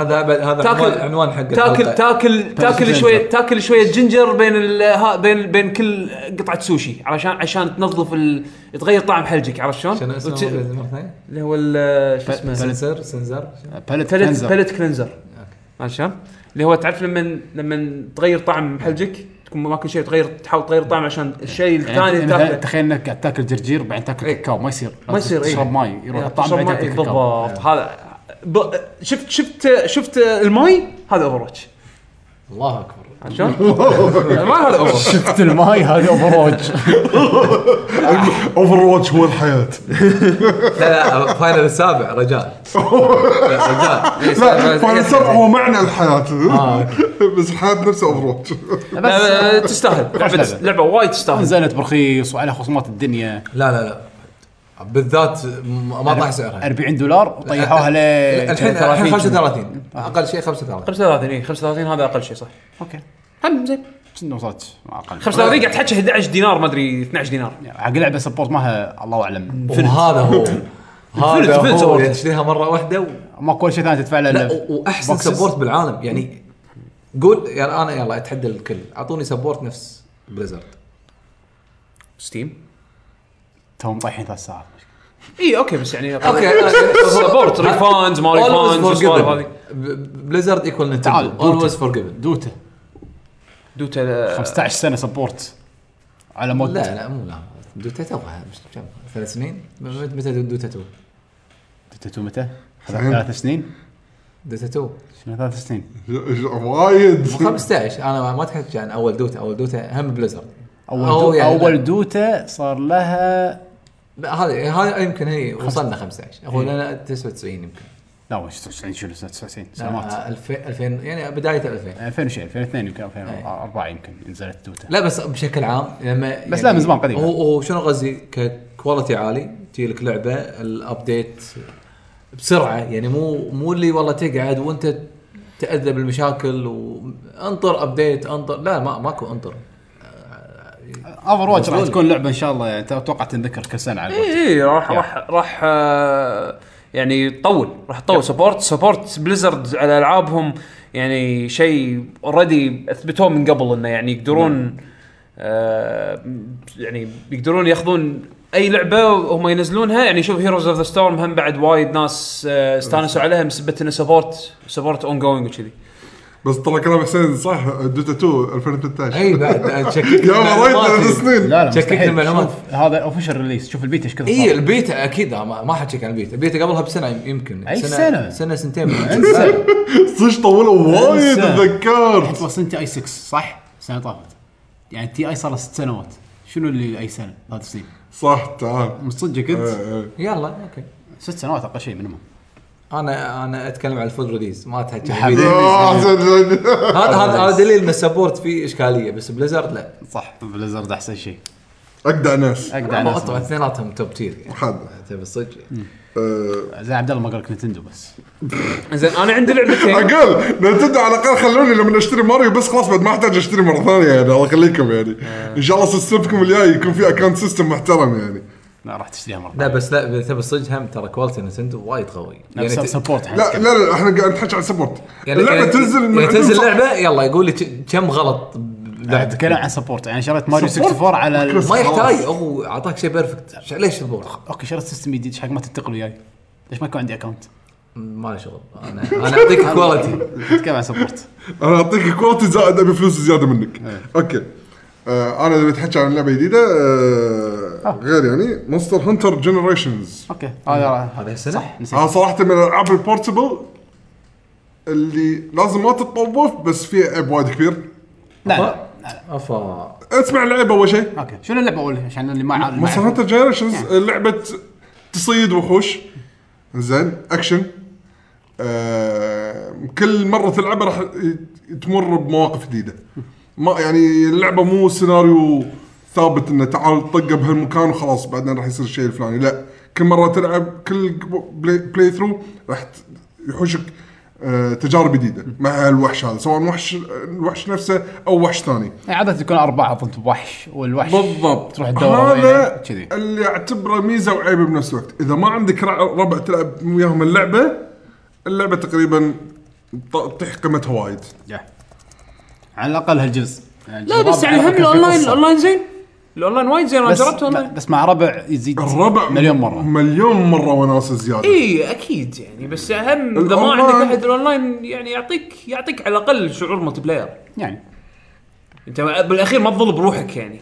هذا أبد- هذا عنوان- عنوان طيب. حق تاكل الحلقة. تاكل تاكل جينجر. شويه تاكل شويه جنجر بين ال- ها بين بين كل قطعه سوشي عشان عشان تنظف ال... تغير طعم حلجك عرفت شلون؟ شنو اسمه وت- مرة ثانية؟ اللي هو ال- شو اسمه؟ سنسر سنسر بلت بلت بلت بلت كلينزر عرفت شلون؟ اللي هو تعرف لما لما تغير طعم حلجك تكون ماكل شيء تغير تحاول تغير طعم عشان الشيء الثاني يعني اللي مثلا تاكله تخيل انك قاعد تاكل جرجير بعدين تاكل إيه. كاكاو ما يصير ما يصير إيه. تشرب ماي يروح يعني الطعم تشرب بعدين ماي، تاكل كاكاو بالضبط هذا ب- شفت شفت شفت الماي هذا اوفر واتش الله اكبر عرفت شلون؟ الماي هذا اوفر شفت الماي هذا اوفروج اوفر واتش هو الحياه لا لا فاينل السابع رجاء رجاء لا فاينل سبع هو معنى الحياه آه، بس الحياه نفسها اوفر واتش لا، تستاهل لعبه لعبة. لعبه وايد تستاهل نزلت برخيص وعلى خصومات الدنيا لا لا لا بالذات م- ما طاح سعرها 40 دولار وطيحوها ل طيب. الحين الحين 35 اقل شيء 35 35 اي 35 إيه، هذا اقل شيء صح اوكي هم زين بس انه وصلت مع اقل 35 قاعد تحكي 11 دينار ما ادري 12 دينار يعني حق لعبه سبورت مالها الله اعلم وهذا هو هذا فلت هو سبورت. تشتريها مره واحده و... ماكو شيء ثاني تدفع له لا إلا و- واحسن بوكسز. سبورت بالعالم يعني قول يعني انا يلا اتحدى الكل اعطوني سبورت نفس بليزرد ستيم توهم طايحين ثلاث ساعات اي اوكي بس يعني اوكي سبورت ريفاندز ما ريفاندز هذه بليزرد ايكول نتندو تعال، دوتا. اولويز فورجيفن دوتا دوتا 15 سنه سبورت على مود لا لا مو لا دوتا توها مش كم ثلاث سنين متى دوتا تو؟ دوتا تو متى؟ سنين. ثلاث سنين دوتا 2 شنو ثلاث سنين وايد 15 انا ما تحكي عن اول دوتا اول دوتا هم بليزرد اول أو دو... يعني اول دوتا صار لها لا هذه هذه يمكن هي وصلنا 15 هو لنا 99 يمكن لا وين 96 شنو 99 سنوات آه، آه، 2000 2000 يعني بدايه 2000 2000 وشيء 2002 يمكن 2004 يمكن نزلت دوتا لا بس بشكل عام لما يعني بس لا من زمان قديم. هو هو شنو قصدي ككواليتي عالي تجي لك لعبه الابديت بسرعه يعني مو مو اللي والله تقعد وانت تاذى بالمشاكل وانطر ابديت انطر لا ما ماكو انطر آه، اوفر واتش راح تكون لعبه ان شاء الله يعني اتوقع تنذكر كل سنه على الوقت. اي إيه، راح راح راح آه، يعني تطول راح تطول سبورت سبورت بليزرد على العابهم يعني شيء اوريدي اثبتوه من قبل انه يعني يقدرون آه يعني يقدرون ياخذون اي لعبه وهم ينزلونها يعني شوف هيروز اوف ذا ستورم هم بعد وايد ناس آه، استانسوا عليها من سبه انه سبورت سبورت اون جوينج وكذي بس ترى كلام حسين صح دوتا 2 2013 اي بعد شككت يا مريت ثلاث سنين لا لا شككت مستحيل. المعلومات. شوف هذا اوفشل ريليس شوف البيت ايش كثر اي صار. البيتا اكيد ما ما حكيك عن البيتا البيتا قبلها بسنه يمكن أي سنة؟ سنه سنتين انسى صدق طولوا وايد انسى. تذكرت انت وصلت اي 6 صح؟ السنه طافت يعني تي اي صار له ست سنوات شنو اللي اي سنه ثلاث سنين؟ صح تعال مصدق كنت إيه، إيه. يلا اوكي ست سنوات اقل شيء منهم انا انا اتكلم عن الفول ريليز ما تحكي عن حبيبي. البيتا. آه، حسين. هذا هذا هذا دليل ان السبورت فيه اشكاليه بس بليزرد لا صح بليزرد احسن شيء اجدع ناس اقدر هم انا اصلا أسمع. اثنيناتهم توب تير يعني حد تبي الصدق يعني. آه، زين عبد الله ما قال لك نتندو بس زين انا عندي لعبتين اقل نتندو على الاقل خلوني لما اشتري ماريو بس خلاص بعد ما احتاج اشتري مره ثانيه يعني الله يخليكم يعني ان شاء الله سلسلتكم الجاي يكون في اكونت سيستم محترم يعني لا راح تشتريها مره لا بس لا تبي الصدق هم ترى كواليتي نتندو وايد قوي يعني ت- سبورت لا لا لا احنا قاعد نحكي عن سبورت اللعبه تنزل من يعني عندهم تنزل صح. لعبه يلا يقول لي ك- كم غلط بلعبتك. اتكلم عن سبورت يعني شريت ماريو سبورت؟ 64 على ال- ما يحتاج هو اعطاك شيء بيرفكت ش- ليش تبغى؟ اوكي شريت سيستم جديد إيش حق ما تنتقل وياي ليش ما يكون عندي اكونت؟ ما له شغل انا انا اعطيك كواليتي نتكلم عن سبورت انا اعطيك كواليتي زائد ابي فلوس زياده منك اوكي آه انا اذا بتحكي عن لعبه جديده آه غير يعني مونستر هانتر جنريشنز اوكي هذا هذا السنه انا صراحه من الالعاب البورتبل اللي لازم ما تتطوف بس فيها عيب وايد كبير لا لا افا اسمع اللعبه اول شيء اوكي شنو اللعبه اول عشان اللي ما عارف ما مونستر يعرف. هانتر جنريشنز لعبه تصيد وحوش زين اكشن آه كل مره تلعبها راح ي- تمر بمواقف جديده ما يعني اللعبه مو سيناريو ثابت انه تعال طقه بهالمكان وخلاص بعدين راح يصير الشيء الفلاني لا كل مره تلعب كل بلاي, بلاي ثرو راح ت- يحوشك آه تجارب جديده مع الوحش هذا سواء وحش الوحش نفسه او وحش ثاني يعني عاده تكون اربعه ضد وحش والوحش بالضبط تروح تدور هذا وينه، كذي اللي اعتبره ميزه وعيب بنفس الوقت اذا ما عندك رع- ربع تلعب وياهم اللعبه اللعبه تقريبا ط- تطيح قيمتها وايد يا. على الاقل هالجزء لا بس يعني هم الاونلاين الاونلاين زين الاونلاين وايد زين انا بس, جربته لا، اونلاين بس مع ربع يزيد الربع مليون مره مليون مره وناسه زياده اي اكيد يعني بس اهم اذا ما الأونلاين- عندك احد الاونلاين يعني يعطيك يعطيك على الاقل شعور ملتي بلاير يعني انت بالاخير ما تظل بروحك يعني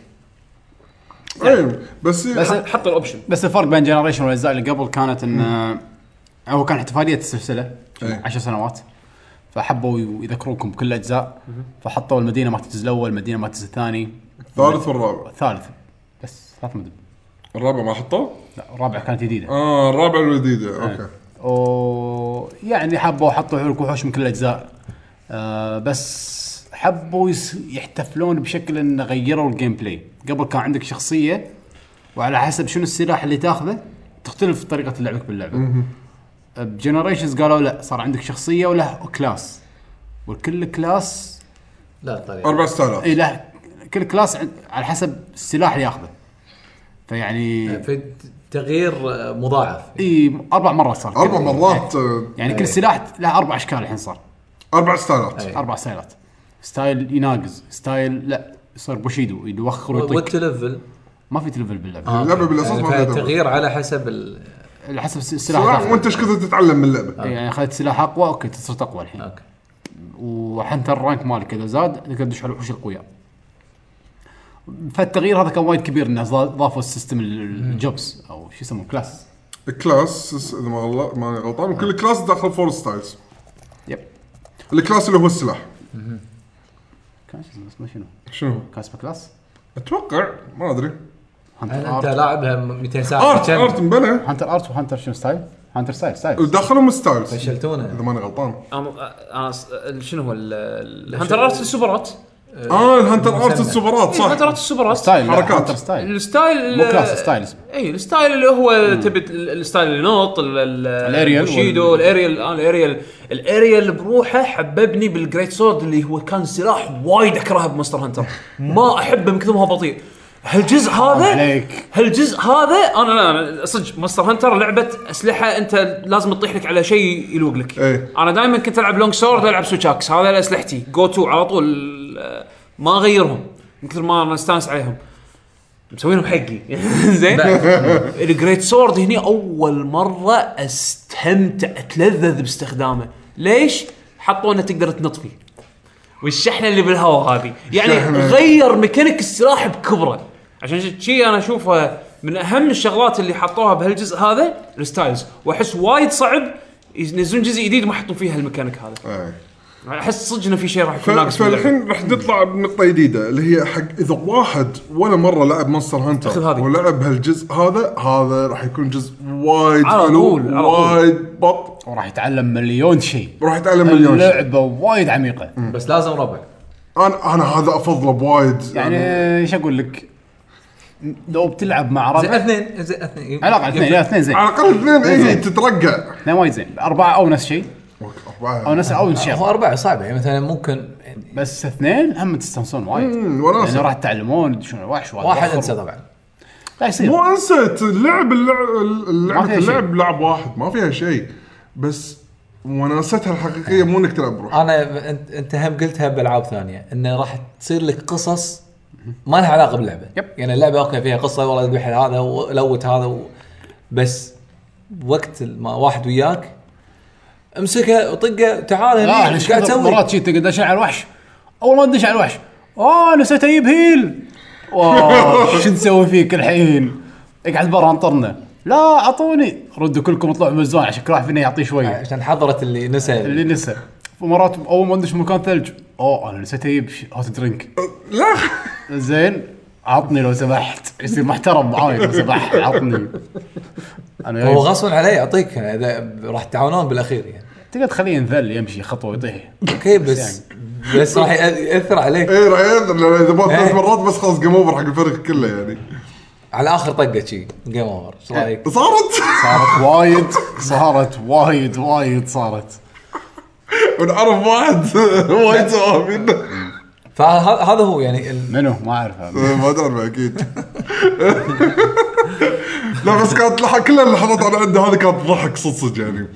إيه، بس, بس حط- حط الاوبشن بس الفرق بين جنريشن والاجزاء اللي قبل كانت ان هو كان احتفاليه السلسله أي. عشر سنوات فحبوا ي- يذكروكم بكل الاجزاء فحطوا المدينه مالت الجزء الاول المدينه مالت الجزء الثاني الثالث والرابع الثالث بس ثلاث مدن الرابع ما حطوه؟ لا الرابعه كانت جديده اه الرابع الجديده إيه. اوكي و يعني حبوا حطوا حلوك وحوش من كل الاجزاء آه بس حبوا يس- يحتفلون بشكل ان غيروا الجيم بلاي قبل كان عندك شخصيه وعلى حسب شنو السلاح اللي تاخذه تختلف طريقه لعبك باللعبه بجنريشنز قالوا لا صار عندك شخصيه وله كلاس وكل كلاس لا طريقه 4000 اي له كل كلاس عن- على حسب السلاح اللي ياخذه فيعني في تغيير آه، مضاعف اي اربع مرات صار اربع مرات آه، يعني كل سلاح له اربع اشكال الحين صار اربع ستايلات إيه. اربع ستايلات ستايل يناقز ستايل لا يصير بوشيدو يوخر ويطق والتلفل ما في تلفل باللعبه آه، اللعبة أوكي. بالأساس ما فيها دبل. تغيير على حسب ال على حسب الس- السلاح سلاح تاخذه. وانت ايش كثر تتعلم من اللعبه إي، يعني اخذت سلاح اقوى اوكي تصير تقوى الحين اوكي وحتى الرانك مالك اذا زاد تقدر تدش على الوحوش القوياء فالتغيير هذا كان وايد كبير انه ضا- ضافوا السيستم الجوبس او شو يسمون كلاس كلاس اذا ما غل- ما أنا غلطان وكل كلاس داخل فور ستايلز الكلاس اللي هو السلاح كان شو اسمه اسمه شنو؟ شنو هو؟ كان اسمه كلاس؟ اتوقع ما ادري هل هانتر انت ارت لاعبها 200 آه، ساعه ارت كم ارت مبلى هانتر ارت وهانتر شنو ستايل؟ هانتر ستايل ستايل داخلهم ستايلز اذا فشلتونا ماني غلطان انا أنا س- شنو هو ال- ال- الهنتر ارت السوبرات اه الهانتر ارت مسمى. السوبرات آه، إيه، الهنتر صح ارت السوبرات ستايل لا، حركات. هانتر ستايل الستايل مو كلاس ستايل اسمه اي الستايل اللي هو تبي ت- الستايل اللي نط ال- ال- الأريال بوشيدو وال- الاريال آه الاريال الاريال بروحه حببني بالجريت سورد اللي هو كان سلاح وايد اكرهه بمستر هانتر ما احبه من كثر ما هو بطيء هالجزء هذا عليك. هالجزء هذا انا لا أنا صدق مستر هانتر لعبه اسلحه انت لازم تطيح لك على شيء يلوق لك إيه. انا دائما كنت العب لونج سورد العب سوتشاكس هذا اسلحتي جو تو على طول آه، ما اغيرهم من كثر ما انا استانس عليهم مسوينهم حقي زين الجريت سورد هني اول مره استمتع اتلذذ باستخدامه ليش؟ حطوا انه تقدر تنط فيه والشحنه اللي بالهواء هذه يعني شحنة. غير ميكانيك السلاح بكبره عشان ش- شي انا اشوفه من اهم الشغلات اللي حطوها بهالجزء هذا الستايلز واحس وايد صعب ينزلون جزء جديد ما يحطون فيه هالميكانيك هذا إيه. احس صدق انه في شيء راح ف- يكون ناقص باللعبة. فالحين راح نطلع بنقطه جديده اللي هي حق اذا واحد ولا مره لعب مونستر خذ هانتر هذه. ولعب هالجزء هذا هذا راح يكون جزء وايد على حلو طول، على طول. وايد بط وراح يتعلم مليون شيء راح يتعلم مليون شيء اللعبه وايد عميقه بس لازم ربع انا انا هذا افضله بوايد يعني ايش اقول لك؟ لو بتلعب مع زين ربع اثنين إيه، زين اثنين علاقه اثنين لا اثنين زين على الاقل اثنين اي تترقع اثنين وايد زين اربعه او نفس شيء او نفس او نفس هو شيء اربعه صعبه يعني مثلا ممكن يعني بس اثنين هم تستانسون وايد أمم، وناسة. لانه راح تتعلمون شنو الوحش واحد انسى طبعا لا يصير مو انسى اللعب اللعب ما لعبه فيها شيء. اللعب لعب واحد ما فيها شيء بس وناستها الحقيقيه مو انك تلعب بروحك انا انت انت هم قلتها بالعاب ثانيه انه راح تصير لك قصص ما لها علاقه باللعبه يب. يعني اللعبه اوكي فيها قصه والله ذبح هذا ولوت هذا و... بس وقت ما واحد وياك امسكه وطقه تعال لا هنا احنا ايش قاعد تسوي؟ آه، مرات شي تقعد دش على الوحش اول ما تدش على الوحش اوه نسيت اجيب هيل واو شو نسوي فيك الحين؟ اقعد برا انطرنا لا اعطوني ردوا كلكم اطلعوا من الزون عشان كل واحد فينا يعطيه شويه عشان حضرت اللي نسى اللي نسى ومرات اول ما ندش مكان ثلج اوه انا نسيت اجيب ش- هوت درينك لا زين عطني لو سمحت يصير محترم معاي لو سمحت عطني انا هو جايب- غصبا عليه يعطيك يعني اذا راح تعاونون بالاخير يعني تقدر تخليه ينذل يمشي خطوه يطيح اوكي بس يعني. بس راح يأ- ياثر عليك اي راح يأذن، إيه، لأن اذا بات ثلاث إيه. مرات بس خلاص جيم اوفر حق الفريق كله يعني على اخر طقه شي جيم اوفر ايش إيه. رايك؟ صارت صارت وايد صارت وايد وايد صارت ونعرف واحد وايد سوابين فهذا هو يعني ال- منو ما اعرف إيه، ما ادري اكيد لا بس كانت لح- كل اللحظات انا عندي هذه كانت ضحك صدق صدق يعني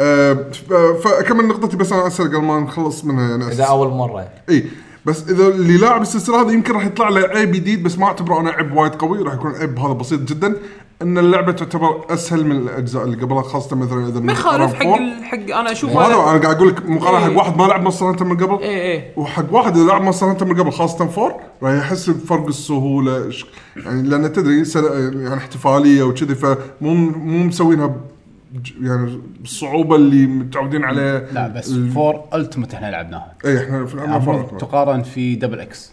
أه، ف- فاكمل نقطتي بس انا اسال قبل ما نخلص منها يعني اذا اول مره اي إيه، بس اذا اللي لاعب السلسله هذه يمكن راح يطلع له عيب جديد بس ما اعتبره انا عيب وايد قوي راح يكون عيب هذا بسيط جدا ان اللعبه تعتبر اسهل من الاجزاء اللي قبلها خاصه مثلا اذا ما يخالف حق مقارنة ال- حق انا اشوف بفور. هذا هذا انا قاعد اقول لك مقارنه إيه. حق واحد ما لعب مصر هانتر من قبل إيه إيه. وحق واحد اذا لعب مصر هانتر من قبل خاصه فور راح يحس بفرق السهوله ش- يعني لان تدري سل- يعني احتفاليه وكذي فمو مو مسوينها ب- ج- يعني بالصعوبه اللي متعودين عليها لا بس ال- فور التمت احنا لعبناها اي احنا في العمر المفروض فور تقارن في دبل اكس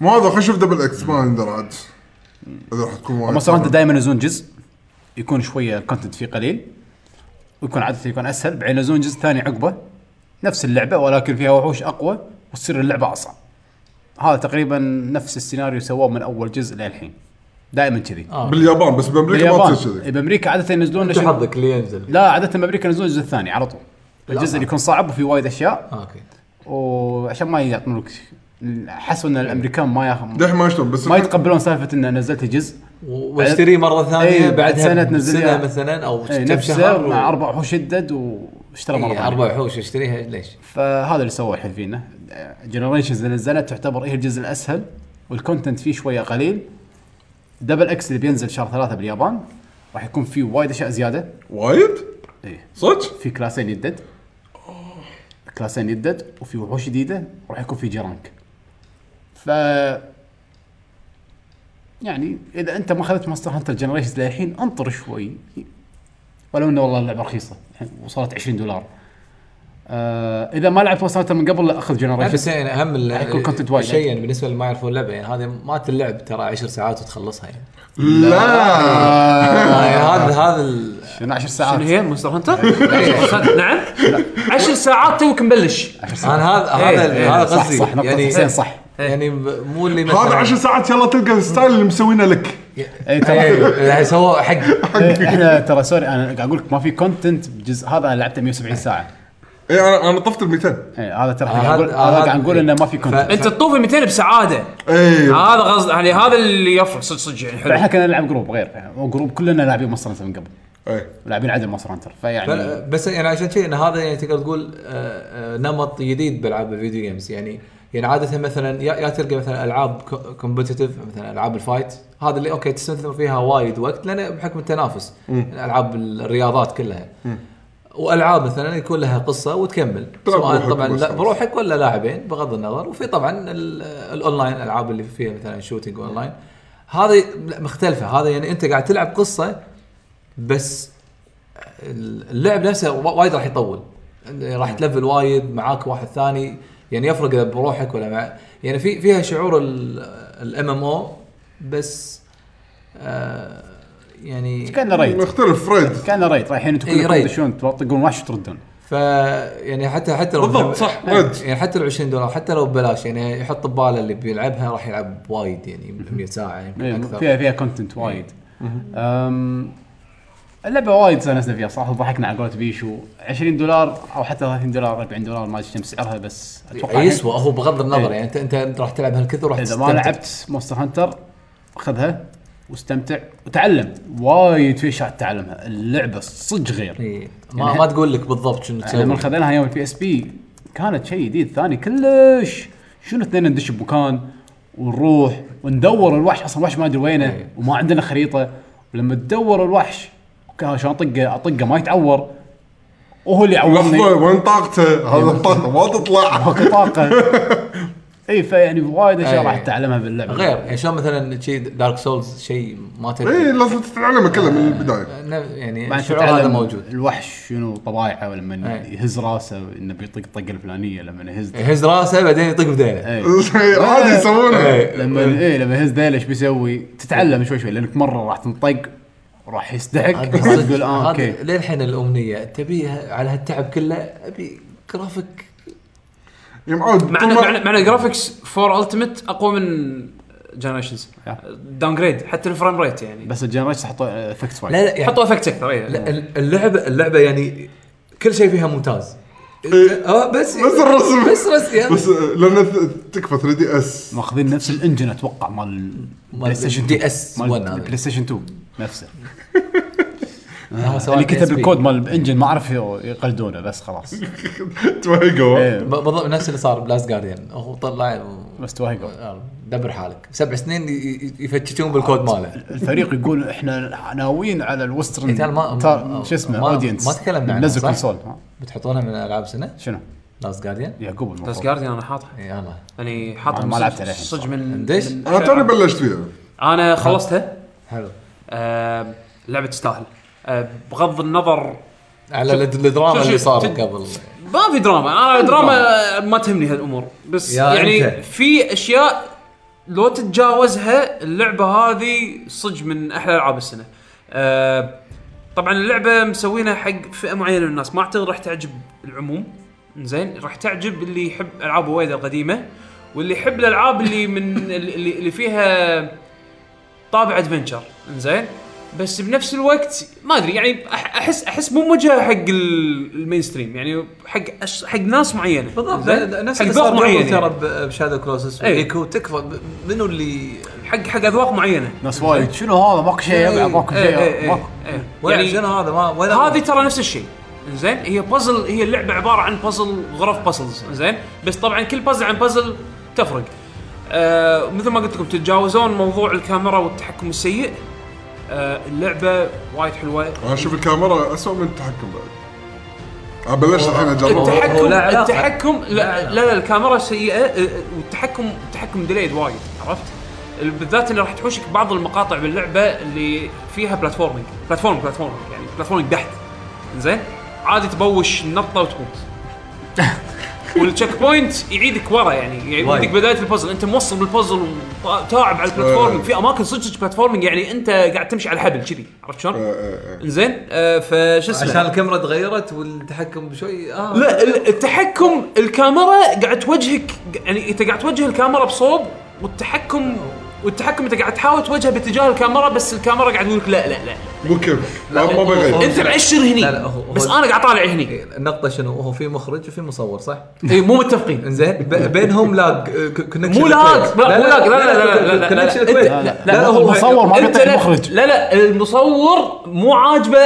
مو هذا خش في دبل اكس ما اندر عاد اذا راح تكون وايد مصر انت دائما ينزلون جزء يكون شويه الكونتنت فيه قليل ويكون عاده يكون اسهل بعدين ينزلون جزء ثاني عقبه نفس اللعبه ولكن فيها وحوش اقوى وتصير اللعبه اصعب هذا تقريبا نفس السيناريو سووه من اول جزء للحين دائما كذي باليابان بس بامريكا آه. ما تصير كذي باليابان بامريكا عاده ينزلون شو حظك اللي ينزل لا عاده بامريكا ينزلون الجزء الثاني على طول الجزء اللي يكون صعب وفيه وايد اشياء اوكي وعشان ما يعطونك حسوا ان الامريكان ما ياخ... دحين ما يشتغل بس ما الحين- يتقبلون سالفه ان نزلت جزء و- واشتريه مره ثانيه إيه، بعدها سنة سنه تنزل سنه إياها. مثلا او إيه، كم نفسه شهر مع اربع وحوش شدد واشترى مره إيه، ثانيه اربع وحوش اشتريها ليش؟ فهذا اللي سووه الحين فينا جنريشنز اللي نزلت تعتبر هي الجزء الاسهل والكونتنت فيه شويه قليل دبل اكس اللي بينزل شهر ثلاثه باليابان راح يكون فيه وايد اشياء زياده وايد إيه. صدق في كلاسين يدد كلاسين يدد وفي وحوش جديده وراح يكون في جرانك ف يعني اذا انت ما اخذت ماستر هانتر جنريشنز للحين انطر شوي ولو انه والله اللعبه رخيصه يعني وصلت 20 دولار آه اذا ما لعبت مونستر من قبل لا اخذ لا، بس جنريشن يعني اهم ال- حيكون content وايد. شيء يعني بالنسبه اللي ما يعرفون اللعبه يعني هذه مات اللعب ترى 10 ساعات وتخلصها يعني لا آه، يعني هذا هذا ال- شنو 10 شنو آه، ساعات أيوة. هي مونستر هانتر؟ نعم 10 ساعات توك مبلش انا هذا هذا إيه، هذا صح قصدي صح نقطة يعني حسين صح يعني ب- مو اللي يعني مثلا هذا 10 ساعات يلا تلقى الستايل اللي مسوينه لك اي ترى إيه، يعني سووا حق احنا ترى سوري انا قاعد اقول لك ما في كونتنت بالجزء هذا انا لعبته 170 ساعة اي انا انا إيه، طفت ال 200 إيه، هذا ترى آه، إحنا قاعد نقول- هذا- هذا هذا- قاعد نقول انه ما في كونتنت انت تطوف ال 200 بسعاده أيوة. اي آه. هذا قصد يعني هذا اللي يفرق صدق صدق يعني حلو فاحنا كنا نلعب جروب غير يعني هو جروب كلنا لاعبين مصر هانتر من قبل اي لاعبين عدل مصر هانتر فيعني فل- بس يعني عشان شيء ان هذا يعني تقدر تقول آه، آه، نمط جديد بالعاب الفيديو جيمز يعني يعني عاده مثلا يا يا تلقى مثلا العاب كومبتتف مثلا العاب الفايت هذا اللي اوكي تستثمر فيها وايد وقت لان بحكم التنافس العاب الرياضات كلها والعاب مثلا يكون لها قصه وتكمل تلعب سواء بروحك طبعا وبس لا خلاص. بروحك ولا لاعبين بغض النظر وفي طبعا ال- الاونلاين الالعاب اللي فيها مثلا شوتنج اونلاين هذه لا، مختلفه هذا يعني انت قاعد تلعب قصه بس اللعب نفسه وا- وايد راح يطول راح تلفل وايد معاك واحد ثاني يعني يفرق اذا بروحك ولا مع يعني في فيها شعور الام ام او بس آه يعني كان ريد مختلف فريد كان ريد رايحين انتم إيه، كلكم ريد. تدشون تطقون وحش وتردون ف يعني حتى حتى لو بالضبط، صح، ورد. يعني حتى لو 20 دولار حتى لو ببلاش يعني يحط بباله اللي بيلعبها راح يلعب وايد يعني 100 ساعه يمكن إيه، اكثر فيها فيها كونتنت وايد أم، اللعبه وايد سنسنا فيها صراحه ضحكنا على قولة بيشو 20 دولار او حتى 30 دولار 40 دولار ما ادري كم سعرها بس اتوقع يسوى هو بغض النظر إيه. يعني انت انت راح تلعب هالكثر راح اذا ما تستمتع. لعبت مونستر هانتر خذها واستمتع وتعلم وايد في اشياء تتعلمها اللعبه صدق غير إيه. ما ما تقول لك بالضبط شنو يعني لما خذيناها يوم البي اس بي كانت شيء جديد ثاني كلش شنو اثنين ندش بمكان ونروح وندور الوحش اصلا الوحش ما ادري وينه أي. وما عندنا خريطه ولما تدور الوحش كان عشان اطقه اطقه ما يتعور وهو اللي يعورني لحظه وين إيه. طاقته؟ هذا طاقته ما تطلع ماكو طاقه اي فيعني وايد اشياء أي. راح تتعلمها باللعبه غير يعني شلون مثلا شيء دارك سولز شيء ما اي تدري إيه، لازم تتعلمه كله من البدايه ن- يعني بعد الشعور تتعلم هذا موجود الوحش شنو طبايعه ولما أي. يهز راسه انه بيطق الطقه الفلانيه لما يهز يهز راسه بعدين يطق بديله اي عادي يسوونه لما ايه لما يهز ذيل ايش بيسوي؟ تتعلم شوي شوي لانك مره راح تنطق راح يستحق هذا راح تقول صدق- اه هذا اوكي للحين الامنيه تبيها على هالتعب كله ابي جرافيك يا معود مع طول ان ما- مع ان- مع ان الجرافكس فور التمت اقوى من جنريشنز Yeah. داون جريد حتى الفريم ريت يعني بس الجنريشن حطوا افكتس لا وايد لا يعني حطوا افكت اكثر إيه. لا، ال- اللعبه اللعبه يعني كل شيء فيها ممتاز إيه. آه، بس بس الرسم. بس رسم يعني بس لان ت- تكفى 3 دي اس ماخذين نفس الانجن اتوقع مال بلاي ستيشن دي 2. اس ون هذا. مال بلاي ستيشن 2 نفسه آه، سواء اللي PSP. كتب الكود مال الانجن ما اعرف يقلدونه بس خلاص توهقوا إيه، ب- بالضبط نفس اللي صار بلاست جارديان هو طلع و- بس توهقوا آه، دبر حالك سبع سنين ي- ي- يفتشون بالكود ماله الفريق يقول احنا ناويين على الوسترن إيه، ترى ما- تا- شو اسمه ما- اودينس ما تكلمنا عنها، نزل صح؟ كونسول ها، بتحطونها من العاب سنه شنو لاست جارديان يعقوب بس المفروض جارديان انا حاطها يلا يعني أنا حاطها ما من لعبتها صدق- للحين صدق من ليش؟ من- انا توني بلشت فيها انا خلصتها حلو آه، لعبه تستاهل آه، بغض النظر على الد- الدراما شوف- اللي شوف- صارت شوف- قبل ما في دراما انا دراما ما تهمني هالامور بس يا يعني أنت. في اشياء لو تتجاوزها اللعبه هذه صدق من احلى العاب السنه أه طبعا اللعبه مسوينها حق فئه معينه من الناس ما اعتقد راح تعجب العموم زين راح تعجب اللي يحب العاب وايد القديمه واللي يحب الالعاب اللي من اللي, اللي فيها طابع ادفنشر زين بس بنفس الوقت ما ادري يعني أح- احس احس مو موجهه حق ال- المين ستريم يعني حق أش- حق ناس معينه زين؟ نفس حق اللي ذوق صار معين قبل ترى يعني. ب- بشادو كروسس إيه. وليكو تكفى ب- منو اللي حق حق اذواق معينه ناس وايد شنو هذا ماكو شيء يا بعد، ماكو إيه، إيه، شيء إيه، ماكو إيه. ولا يعني شنو هذا ما ولا هذه ترى نفس الشيء زين هي بازل هي اللعبه عباره عن بازل غرف بازلز زين بس طبعا كل بازل عن بازل تفرق آه مثل ما قلت لكم تتجاوزون موضوع الكاميرا والتحكم السيء آه اللعبه وايد حلوه انا اشوف الكاميرا اسوء من التحكم بعد انا بلشت الحين اجربها هو التحكم لا علاقة. التحكم لا لا لا, علاقة. لا الكاميرا سيئه آه، آه، والتحكم التحكم ديليد وايد عرفت بالذات انه راح تحوشك بعض المقاطع باللعبه اللي فيها بلاتفورمينج بلاتفورم بلاتفورم يعني بلاتفورمينج بحت زين عادي تبوش نطه وتموت والتشيك بوينت يعيدك ورا يعني يعيدك وايد. بدايه البازل انت موصل بالبازل وتاعب على البلاتفورمينج في اماكن صدق بلاتفورمينج يعني انت قاعد تمشي على الحبل كذي عرفت شلون؟ زين آه، فشو اسمه عشان الكاميرا تغيرت والتحكم شوي اه لا ال- التحكم الكاميرا قاعد توجهك يعني انت قاعد توجه الكاميرا بصوب والتحكم والتحكم انت قاعد تحاول توجهه باتجاه الكاميرا بس الكاميرا قاعد تقول لك لا لا لا وكيف ما ما بغير انت معشر هني لا، لا، هو- هو- بس انا قاعد طالع هني النقطة شنو هو في مخرج وفي مصور صح؟ اي مو متفقين زين ب- بينهم لاج آه، كونكشن مو لاج لا مو لاج لا لا لا لا لا لا كونكشن انت- كويس لا لا، لا هو المصور ما انت بيطيح لا- المخرج. لا لا المصور مو عاجبه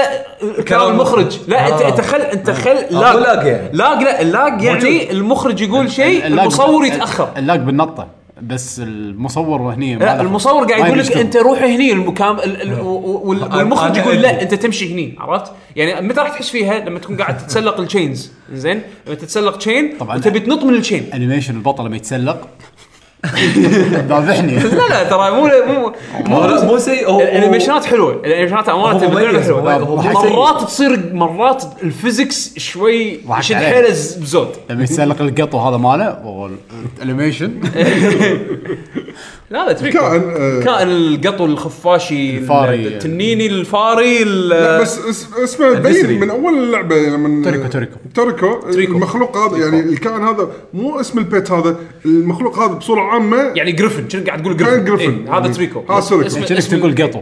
كلام المخرج لا انت آه. انت خل انت خل آه، لاج مو لاج يعني. لاج لا اللاج يعني المخرج يقول شيء اللاج- المصور يتاخر اللاج بالنطه بس المصور هني ما لا دخل. المصور قاعد ما يقول لك يشتغل. انت روح هني المكام ال- ال- و- وال- أنا- والمخرج أنا يقول أدري. لا انت تمشي هني عرفت؟ يعني متى راح تحس فيها؟ لما تكون قاعد تتسلق الشينز زين؟ لما تتسلق تشين طبعاً. وتبي تنط من الشين انيميشن البطل لما يتسلق ذابحني لا لا ترى مو مو مو مو سيء هو- هو- الانيميشنات حلوه الانيميشنات امانه هو باللعبة مميز، حلوه هو- هو مميز. مرات تصير مرات الفيزكس شوي ضحك يشد عليه. حيله ز- بزود لما يتسلق القط وهذا ماله والله، الانيميشن لا لا تفيك كائن، آه. كائن القط والخفاشي الفاري. التنيني الفاري ال- بس اس- اسمه البسري. بين من اول اللعبه لما توريكو- توريكو. توريكو المخلوق هذا يعني الكائن هذا مو اسم البيت هذا المخلوق هذا بصوره عامه يعني جريفن شنو قاعد تقول جريفن كان جريفن. إيه، هذا تريكو هذا تريكو. اسم- يعني كأنك اسم- تقول قطو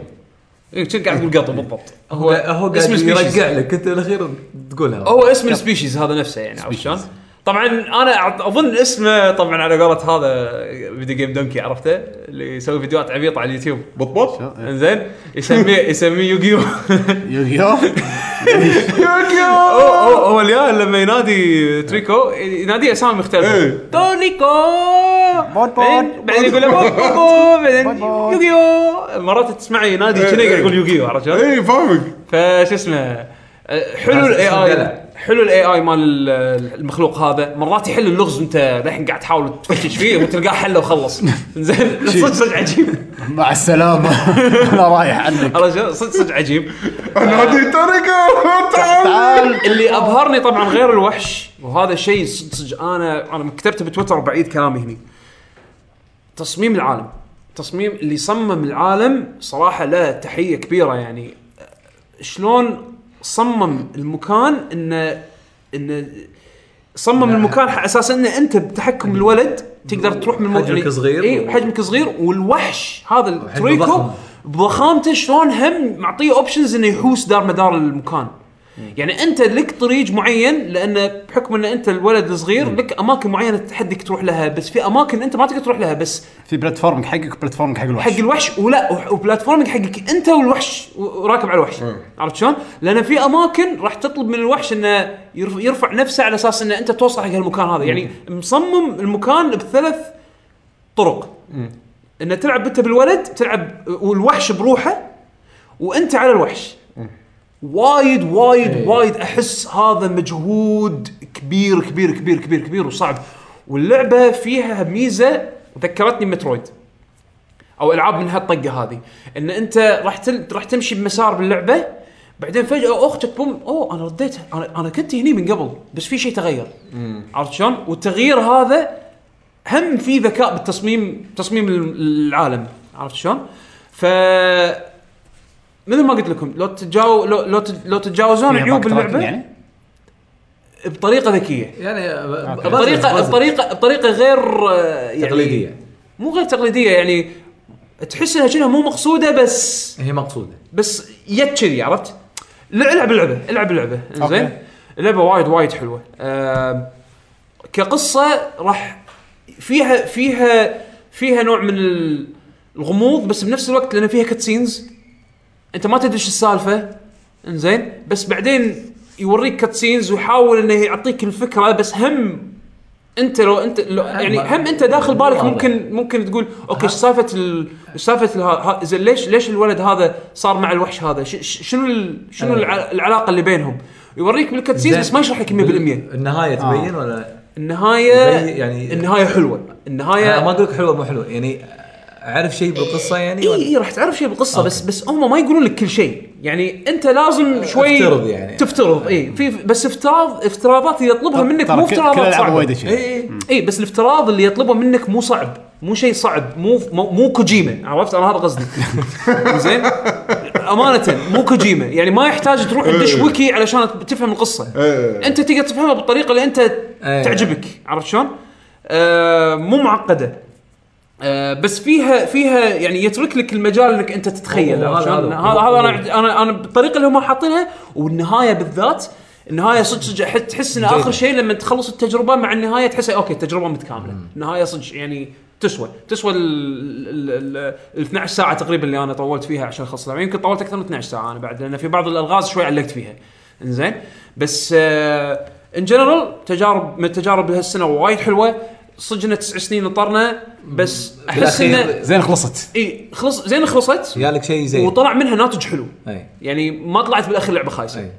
إيه، شنو قاعد تقول قطو بالضبط هو هو قاعد اسم species. يرجع لك انت الاخير تقولها هو اسم السبيشيز هذا نفسه يعني عرفت شلون؟ طبعا انا أعط- اظن اسمه طبعا على قولة هذا فيديو جيم دونكي عرفته اللي يسوي فيديوهات عبيطه على اليوتيوب إيه. بطبط انزين يسميه يسميه يوغيو يوغيو هو هو هو الياهل لما ينادي تريكو ينادي اسامي مختلفه إيه. تونيكو بود بود. بعدين بعدين يقول له بود بود بعدين بود بود. يوغيو مرات تسمعه ينادي إيه، كذا إيه. قاعد يقول يوغيو عرفت شلون؟ اي إيه، فاهمك فش اسمه أه، حلو الاي اسمه اي دلع. حلو الاي اي مال ال- ال- المخلوق هذا مرات يحل اللغز وانت الحين قاعد تحاول تفتش فيه وتلقاه حله وخلص زين صدق صدق عجيب مع السلامه انا رايح عنك عرفت شلون؟ صدق صدق عجيب انا هذه توريكو تعال تعال آه. اللي ابهرني طبعا غير الوحش وهذا الشيء صدق صدق انا انا كتبته بتويتر وبعيد كلامي هني تصميم العالم تصميم اللي صمم العالم صراحه له تحيه كبيره يعني شلون صمم المكان انه انه صمم المكان على اساس انه انت بتحكم الولد تقدر تروح من المو- حجمك يعني- صغير. اي حجمك صغير والوحش هذا التريكو ضخم. بضخامته شلون هم معطيه اوبشنز انه يحوس دار مدار المكان يعني انت لك طريق معين لان بحكم ان انت الولد الصغير لك اماكن معينه تحدك تروح لها بس في اماكن انت ما تقدر تروح لها بس في بلاتفورم حقك بلاتفورم حق الوحش حق الوحش ولا وح- وبلاتفورمينج حقك انت والوحش و- وراكب على الوحش عرفت شلون؟ لان في اماكن راح تطلب من الوحش انه يرف- يرفع نفسه على اساس انه انت توصل حق هالمكان هذا يعني مصمم المكان بثلاث طرق انه تلعب انت بالولد تلعب والوحش بروحه وانت على الوحش وايد وايد وايد احس هذا مجهود كبير كبير كبير كبير كبير وصعب واللعبه فيها ميزه ذكرتني مترويد او العاب من هالطقه هذه ان انت راح تل... راح تمشي بمسار باللعبه بعدين فجاه اختك بوم اوه انا رديتها انا انا كنت هني من قبل بس في شيء تغير عرفت شلون؟ والتغيير هذا هم في ذكاء بالتصميم تصميم ال- العالم عرفت شلون؟ ف مثل ما قلت لكم لو تتجاو لو لو, تت... لو تتجاوزون فيها عيوب باك تراكنج اللعبه يعني؟ يعني بطريقه ذكيه يعني آه، بازل- بطريقه بازل. بطريقه بطريقه غير آه، يعني تقليدية مو غير تقليديه يعني تحس انها شنها مو مقصوده بس هي مقصودة بس يد كذي عرفت؟ لا، العب اللعبه العب اللعبه زين أوكي. اللعبه وايد وايد حلوه آم، كقصه راح فيها فيها فيها نوع من ال- الغموض بس بنفس الوقت لان فيها كاتسينز انت ما تدري شو السالفه انزين بس بعدين يوريك كاتسينز ويحاول انه يعطيك الفكره بس هم انت لو انت لو يعني هم انت داخل بالك ممكن ممكن تقول اوكي ايش سالفه ال- إيش سالفه ال- ها- زين ليش ليش الولد هذا صار مع الوحش هذا ش- ش- شنو ال- شنو الع- العلاقه اللي بينهم يوريك بالكاتسينز بس ما يشرح لك آه. 100% النهاية تبين ولا النهايه زي- يعني- النهايه حلوه النهايه أنا ما اقول لك حلوه مو حلوه يعني اعرف شيء بالقصه يعني اي ولا إيه، اي راح تعرف شيء بالقصه بس بس هم ما يقولون لك كل شيء يعني انت لازم شوي افترض يعني. تفترض اي في بس افتراض افتراضات يطلبها منك ترى مو كل- كل افتراضات الألعاب صعبه وايد اي شي. اي اي إيه، بس الافتراض اللي يطلبه منك مو صعب مو شيء صعب مو مو, مو كوجيما عرفت انا هذا قصدي زين امانه مو كوجيما يعني ما يحتاج تروح تدش إيه. ويكي علشان تفهم القصه إيه. انت تقدر تفهمها بالطريقه اللي انت إيه. تعجبك عرفت شلون؟ آه، مو معقده آه، بس فيها فيها يعني يترك لك المجال انك انت تتخيل هذا- عرفت شلون؟ هذا- هذا هذا انا انا انا بالطريقه اللي هم حاطينها والنهايه بالذات النهايه صدق صدق أحس- تحس ان اخر شيء لما تخلص التجربه مع النهايه تحس اوكي التجربه متكامله، النهايه صدق يعني تسوى تسوى ال ال- ال- ال 12 ساعه تقريبا اللي انا طولت فيها عشان اخلص اللعبه يمكن طولت اكثر من 12 ساعه انا بعد لان في بعض الالغاز شوي علقت فيها انزين بس ان جنرال تجارب من التجارب هالسنه وايد حلوه صدقنا تسع سنين طرنا بس احس انه بالأخير. زين خلصت اي خلص زين خلصت يالك شيء زين إيه. وطلع منها ناتج حلو اي يعني ما طلعت بالاخير لعبه خايسه اي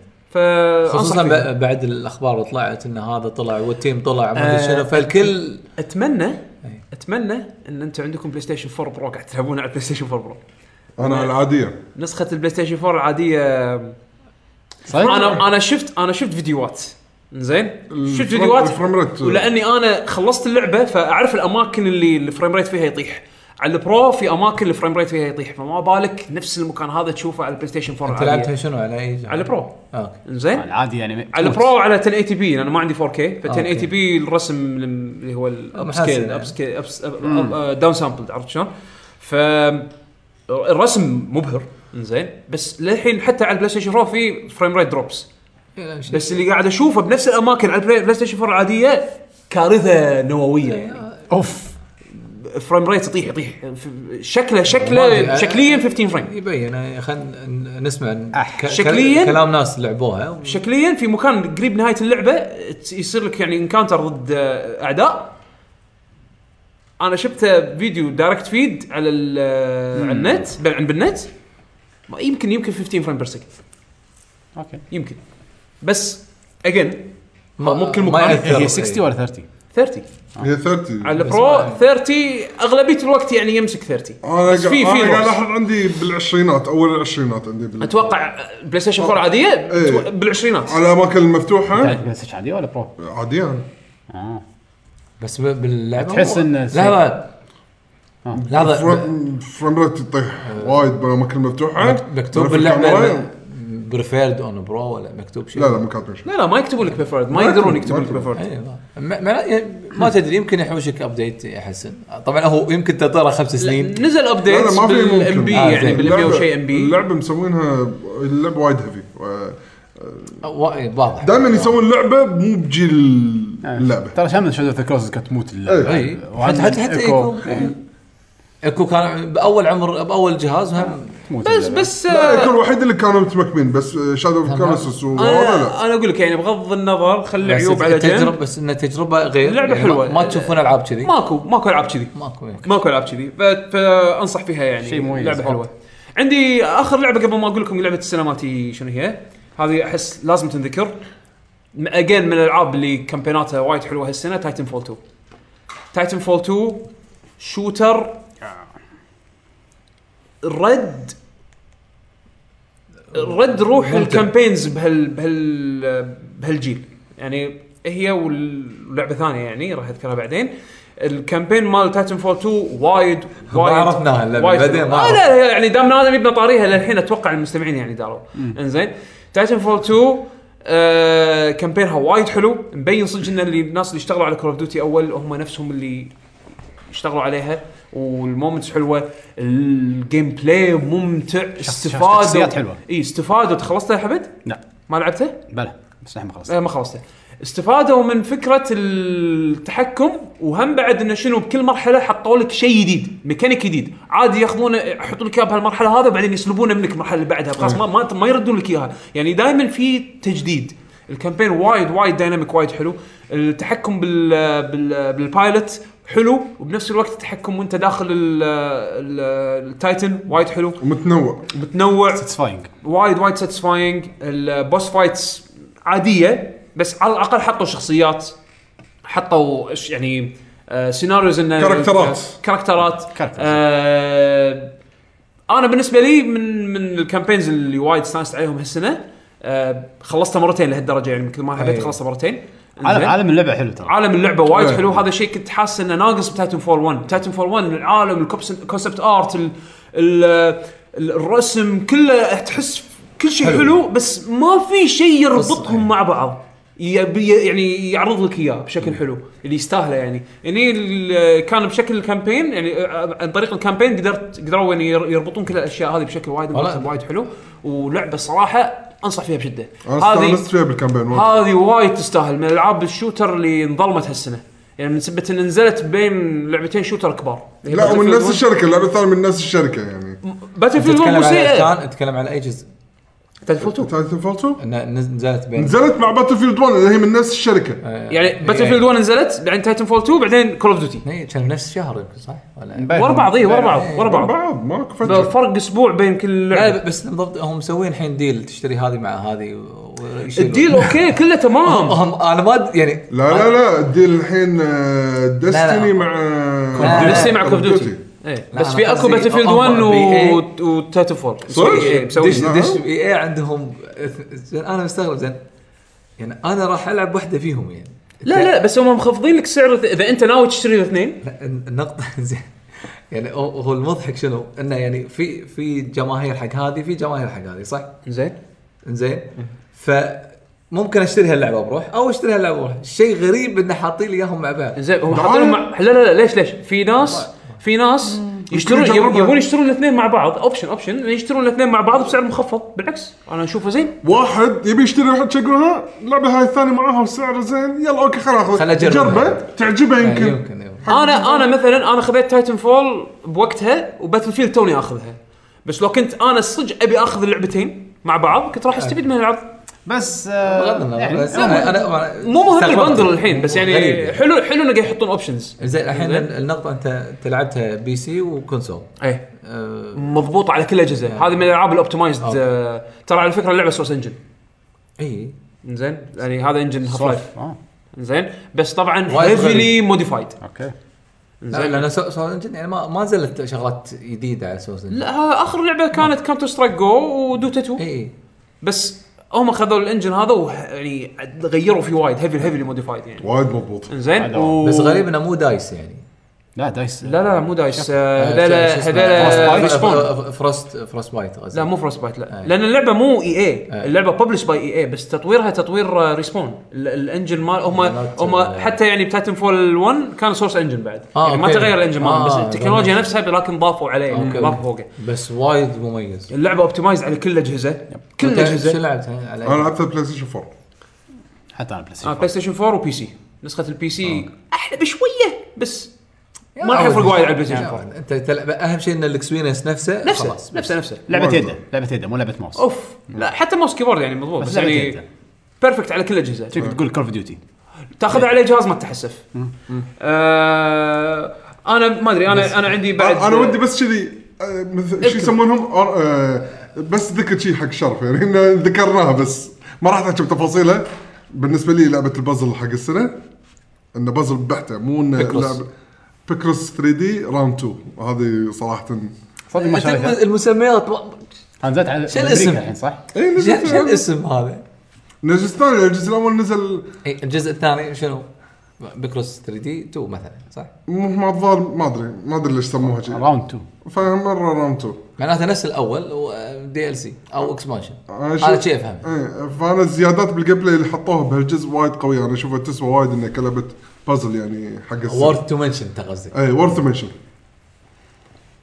خصوصا فانصح فيها. ب- بعد الاخبار اللي طلعت ان هذا طلع والتيم طلع ما آه. ادري شنو فالكل اتمنى اتمنى ان انتم عندكم بلاي ستيشن 4 برو قاعد تلعبون على بلاي ستيشن 4 برو انا العاديه نسخه البلاي ستيشن 4 العاديه صحيح؟ انا انا شفت انا شفت فيديوهات زين الفريم- شفت فيديوهات الفريم ريت. ولاني انا خلصت اللعبه فاعرف الاماكن اللي الفريم ريت فيها يطيح على البرو في اماكن الفريم ريت فيها يطيح فما بالك نفس المكان هذا تشوفه على البلاي ستيشن 4 انت العادية. لعبتها شنو على اي على البرو اوكي زين عادي يعني على البرو على 1080 بي لان ما عندي 4K ف 1080 آه، أوكي. بي الرسم اللي هو الاب محاسن سكيل يعني. اب سكيل داون سامبل آه، عرفت شلون؟ ف الرسم مبهر زين بس للحين حتى على البلاي ستيشن 4 في فريم ريت دروبس إيه، بس اللي قاعد اشوفه بنفس الاماكن على البلاي البلاي ستيشن 4 العاديه كارثه نوويه يعني اوف فريم ريت يطيح يطيح ف- شكله شكله والله، شكليا 15 فريم يبين خلينا نسمع ن- أح. ك- آه، شكلياً؟ كلام ناس لعبوها و- شكليا في مكان قريب نهايه اللعبه ت- يصير لك يعني انكاونتر ضد آه، اعداء انا شفته فيديو دايركت فيد على ال- آه، على النت بال- عن- بالنت ما- يمكن يمكن 15 فريم بير سكند اوكي يمكن بس اجين ما- مو بكل ما مكان. يأثر. إيه. هي 60 ولا 30 30 هي 30 على البرو 30 اغلبيه الوقت يعني يمسك 30 انا بس في قاعد- في أنا قاعد نوع. الاحظ عندي بالعشرينات اول العشرينات عندي بال... اتوقع بلاي ستيشن 4 عاديه إيه. بالعشرينات على الاماكن المفتوحه يعني- تعرف بس عادي ولا برو؟ عاديه أنا. اه بس ب- باللعبه تحس إن لحظه آه. لحظه فريم- فريم ريت يطيح وايد بالاماكن المفتوحه مكتوب أنا في باللعبه الكاميرا- بريفيرد اون برو ولا مكتوب شيء لا لا ما كاتبين شيء لا لا ما يكتبوا لك بيفورد ما ما يقدرون يكتبوا- يكتبوا ما لك يكتبوا. بيفورد أيوة. ما, ما, يعني ما تدري يمكن يحوشك ابديت يحسن طبعا هو يمكن تطيره خمس سنين يعني نزل لا، ابديت لا، ما في ممكن. بالام بي آه، يعني زين. بالام بي وشيء ام بي اللعبه مسوينها اللعبه وايد هيفي وا- واضح دائما آه. يسوون لعبه مو بجيل اللعبه ترى شامل شادو اوف ذا كروز كانت تموت اللعبه اي حتى حتى حتى ايكو ايكو كان باول عمر باول جهاز هم تموت بس اللعبة. بس لا آه، يكون الوحيد اللي كانوا متمكمين بس شادو اوف هم- كارسس وهذا لا انا انا اقول لك يعني بغض النظر خلي بس العيوب على التجربة جنب بس ان تجربه غير اللعبة يعني ما- حلوة. ما تشوفون العاب كذي ماكو ماكو العاب كذي ماكو يعني. ماكو العاب كذي ف- فانصح فيها يعني شيء مميز. لعبه حلوه عندي اخر لعبه قبل ما اقول لكم لعبه السنه مالتي شنو هي هذه احس لازم تنذكر اجين من الالعاب اللي كامبيناتها وايد حلوه هالسنه تايتن فول 2 تايتن فول 2 شوتر رد رد روح الكامبينز بهال بهال بهالجيل يعني هي واللعبه ثانيه يعني راح اذكرها بعدين الكامبين مال تايتن فول 2 وايد ما وايد عرفناها اللعبة، وايد بعدين ما آه لا لا يعني دام انا يبنى طاريها للحين اتوقع المستمعين يعني داروا انزين تايتن فول 2 آه كامبينها وايد حلو مبين صدق ان اللي الناس اللي اشتغلوا على كول اوف ديوتي اول هم نفسهم اللي اشتغلوا عليها والمومنتس حلوه الجيم بلاي ممتع استفاده شخصيات حلوة. اي استفاده خلصتها يا حمد؟ لا ما لعبته؟ بلى بس نحن ما خلصت أه. لا إيه، ما خلصته استفادوا من فكره التحكم وهم بعد انه شنو بكل مرحله حطوا لك شيء جديد ميكانيك جديد عادي ياخذونه يحطوا لك اياه بهالمرحله هذا وبعدين يسلبونه منك المرحله اللي بعدها خلاص ما, ما ما يردون لك اياها يعني دائما في تجديد الكامبين وايد وايد دايناميك وايد حلو التحكم بال بال بالبايلوت حلو وبنفس الوقت التحكم وانت داخل ال- ال- التايتن وايد حلو ومتنوع متنوع ساتسفاينج وايد وايد ساتيسفاينج البوس فايتس عاديه بس على الاقل حطوا شخصيات حطوا ش- يعني آه سيناريوز انه كاركترات. كاركترات كاركترز. آه انا بالنسبه لي من من الكامبينز اللي وايد استانست عليهم هالسنه آه خلصتها مرتين لهالدرجه يعني من كل ما حبيت أي. خلصتها مرتين عالم إنزين. عالم اللعبه حلو ترى عالم اللعبه وايد إيه. حلو هذا الشيء كنت حاسس انه ناقص بتاتن فول 1 تاتن فول 1 العالم الكونسبت ارت ال ال الرسم كله تحس كل شيء حلو. حلو بس ما في شيء يربطهم مع بعض يبي يعني يعرض لك اياه بشكل حلو اللي يستاهله يعني هني ال- كان بشكل الكامبين يعني آه، عن طريق الكامبين قدرت قدروا يعني ير- يربطون كل الاشياء هذه بشكل وايد والله. وايد حلو ولعبه صراحه انصح فيها بشده انا هذه استانست فيها بالكامبين وايد. هذه وايد تستاهل من العاب الشوتر اللي انظلمت هالسنه يعني من سبه ان نزلت بين لعبتين شوتر كبار لا ومن نفس الشركه اللعبه الثانيه من نفس الشركه يعني باتل فيلد 1 تتكلم وسي إيه. على إيه. كان تتكلم على اي جزء تلفوتو تايتن فول 2 انها نز- نزلت بين نزلت مع باتل فيلد 1 اللي هي من نفس الشركه يعني إيه. باتل فيلد 1 نزلت بعدين تايتن فول 2 بعدين كول اوف ديوتي إي، كان نفس الشهر يمكن صح؟ ولا مبين. ورا بعض إيه، اي ورا بعض ورا بعض بعض ماكو ب- فجر فرق اسبوع بين كل لعبه لا آه، بس بالضبط هم مسوين الحين ديل تشتري هذه مع هذه و- ويشيلون. الديل اوكي كله تمام هم انا ما أد- يعني لا لا لا الديل الحين لا، ديستني لا. مع آه، لا، نفسي مع كول اوف Call of Duty. ديوتي إيه. لا، بس أنا في اكو قصدي باتل فيلد هم 1 بي- و- إيه، وتايتن فول صدق؟ دش مسوين نعم. دش اي اي إيه، عندهم زين انا مستغرب زين يعني انا راح العب واحده فيهم يعني لا لا بس هم مخفضين لك سعر اذا انت ناوي تشتري الاثنين لا، النقطة زين يعني هو هو المضحك شنو؟ انه يعني في في جماهير حق هذه في جماهير حق هذه صح؟ زين زين فممكن اشتري هاللعبه بروح او اشتري هاللعبه بروح، شيء غريب انه حاطين لي اياهم مع بعض زين هو لا، حاطينهم أنا- مع لا لا لا ليش ليش؟ في ناس في ناس يشترون يمكن يب- يجربها. يبون يشترون الاثنين مع بعض اوبشن اوبشن يشترون الاثنين مع بعض بسعر مخفض بالعكس انا اشوفه زين واحد يبي يشتري واحد شقلها اللعبه هاي الثانيه معاها وسعرها زين يلا اوكي خلاص اخذ خل أجربها. تعجبه يعني يمكن يمكن يمكن. انا انا مثلا انا خذيت تايتن فول بوقتها وباتل فيلد توني اخذها بس لو كنت انا صدق ابي اخذ اللعبتين مع بعض كنت راح استفيد من العرض بس بغض آه النظر يعني بس انا انا أنا مو مهم استغربت. البندل الحين بس غريب يعني حلو حلو انه قاعد يحطون اوبشنز زين الحين زين. النقطه انت انت لعبتها بي سي وكونسول ايه أه، مضبوط على كل اجهزه هذه من الالعاب الاوبتمايزد أوكي. آه، ترى على فكره اللعبه سورس انجن اي زين يعني هذا انجن هاف لايف آه، زين بس طبعا وايد هيفلي موديفايد اوكي لا لان سول انجن يعني ما ما نزلت شغلات جديده على سول انجن لا ها- اخر لعبه كانت كانتر سترايك جو ودوتا 2 اي بس هم خذوا الانجن هذا وه- يعني غيروا فيه وايد هيفلي هيفلي موديفايد يعني وايد مضبوط زين هذا و... بس غريب انه مو دايس يعني لا دايس لا لا مو دايس آه، شو هذيلا اسمه؟ هذيلا فروست بايت؟ ريسبون ف- ف- فروست فروست بايت قصدي. لا مو فروست بايت لا أي. لان اللعبه مو E اي اي أي. اللعبه ببلش باي اي اي E بس تطويرها تطوير آه، ريسبون الانجن مال هم مالت- هم حتى يعني بتايتن فول 1 كان سورس انجن بعد آه، يعني ما أوكي. تغير الانجن مالهم آه، بس تمام. التكنولوجيا نفسها لكن ضافوا عليه يعني أوكي. ضافوا فوقه بس وايد مميز اللعبه اوبتمايز على كل الاجهزه كل أنت شو الاجهزه لعبت على انا لعبتها بلاي ستيشن 4 حتى انا بلاي آه ستيشن بلاي ستيشن 4 وبي سي نسخه البي سي احلى بشويه بس ما راح يفرق وايد على البلاي ستيشن 4 انت تلعب اهم شيء ان الاكسبيرينس نفسه نفسه خلاص. نفسه نفسه لعبه يده لعبه يده مو لعبه ماوس اوف لا حتى ماوس كيبورد يعني مضبوط بس بس لعبة يعني جيدة. بيرفكت على كل الاجهزه شكلك تقول كول اوف ديوتي تاخذها على جهاز ما تحسف آه انا ما ادري انا انا عندي بعد انا ودي بس كذي آه، مثل شو يسمونهم آر- آه، بس ذكر شيء حق شرف يعني إنه ذكرناها بس ما راح احكي بتفاصيلها بالنسبه لي لعبه البازل حق السنه انه بازل بحته مو انه بيكروس. لعبه بيكروس 3 دي راوند 2 هذه صراحه صدق ما أنت شريتها المسميات و- نزلت على شو الاسم؟ أمريكا الحين صح؟ اي شو شو نزلت الاسم هذا؟ نزلت الثاني الجزء الاول نزل إي، إيه، الجزء الثاني شنو؟ بكروس 3 دي 2 مثلا صح؟ مو مع الظاهر ما ادري ما ادري ليش سموها كذي راوند 2 فمره راوند 2 معناته نفس الاول ودي ال سي او اكسبانشن أنا هذا شفت- شيء افهمه ايه فانا الزيادات بالجيم بلاي اللي حطوها بهالجزء وايد قويه انا اشوفها تسوى وايد انها كلبة بازل يعني حق السنة. وورد تو منشن انت قصدك اي ورث منشن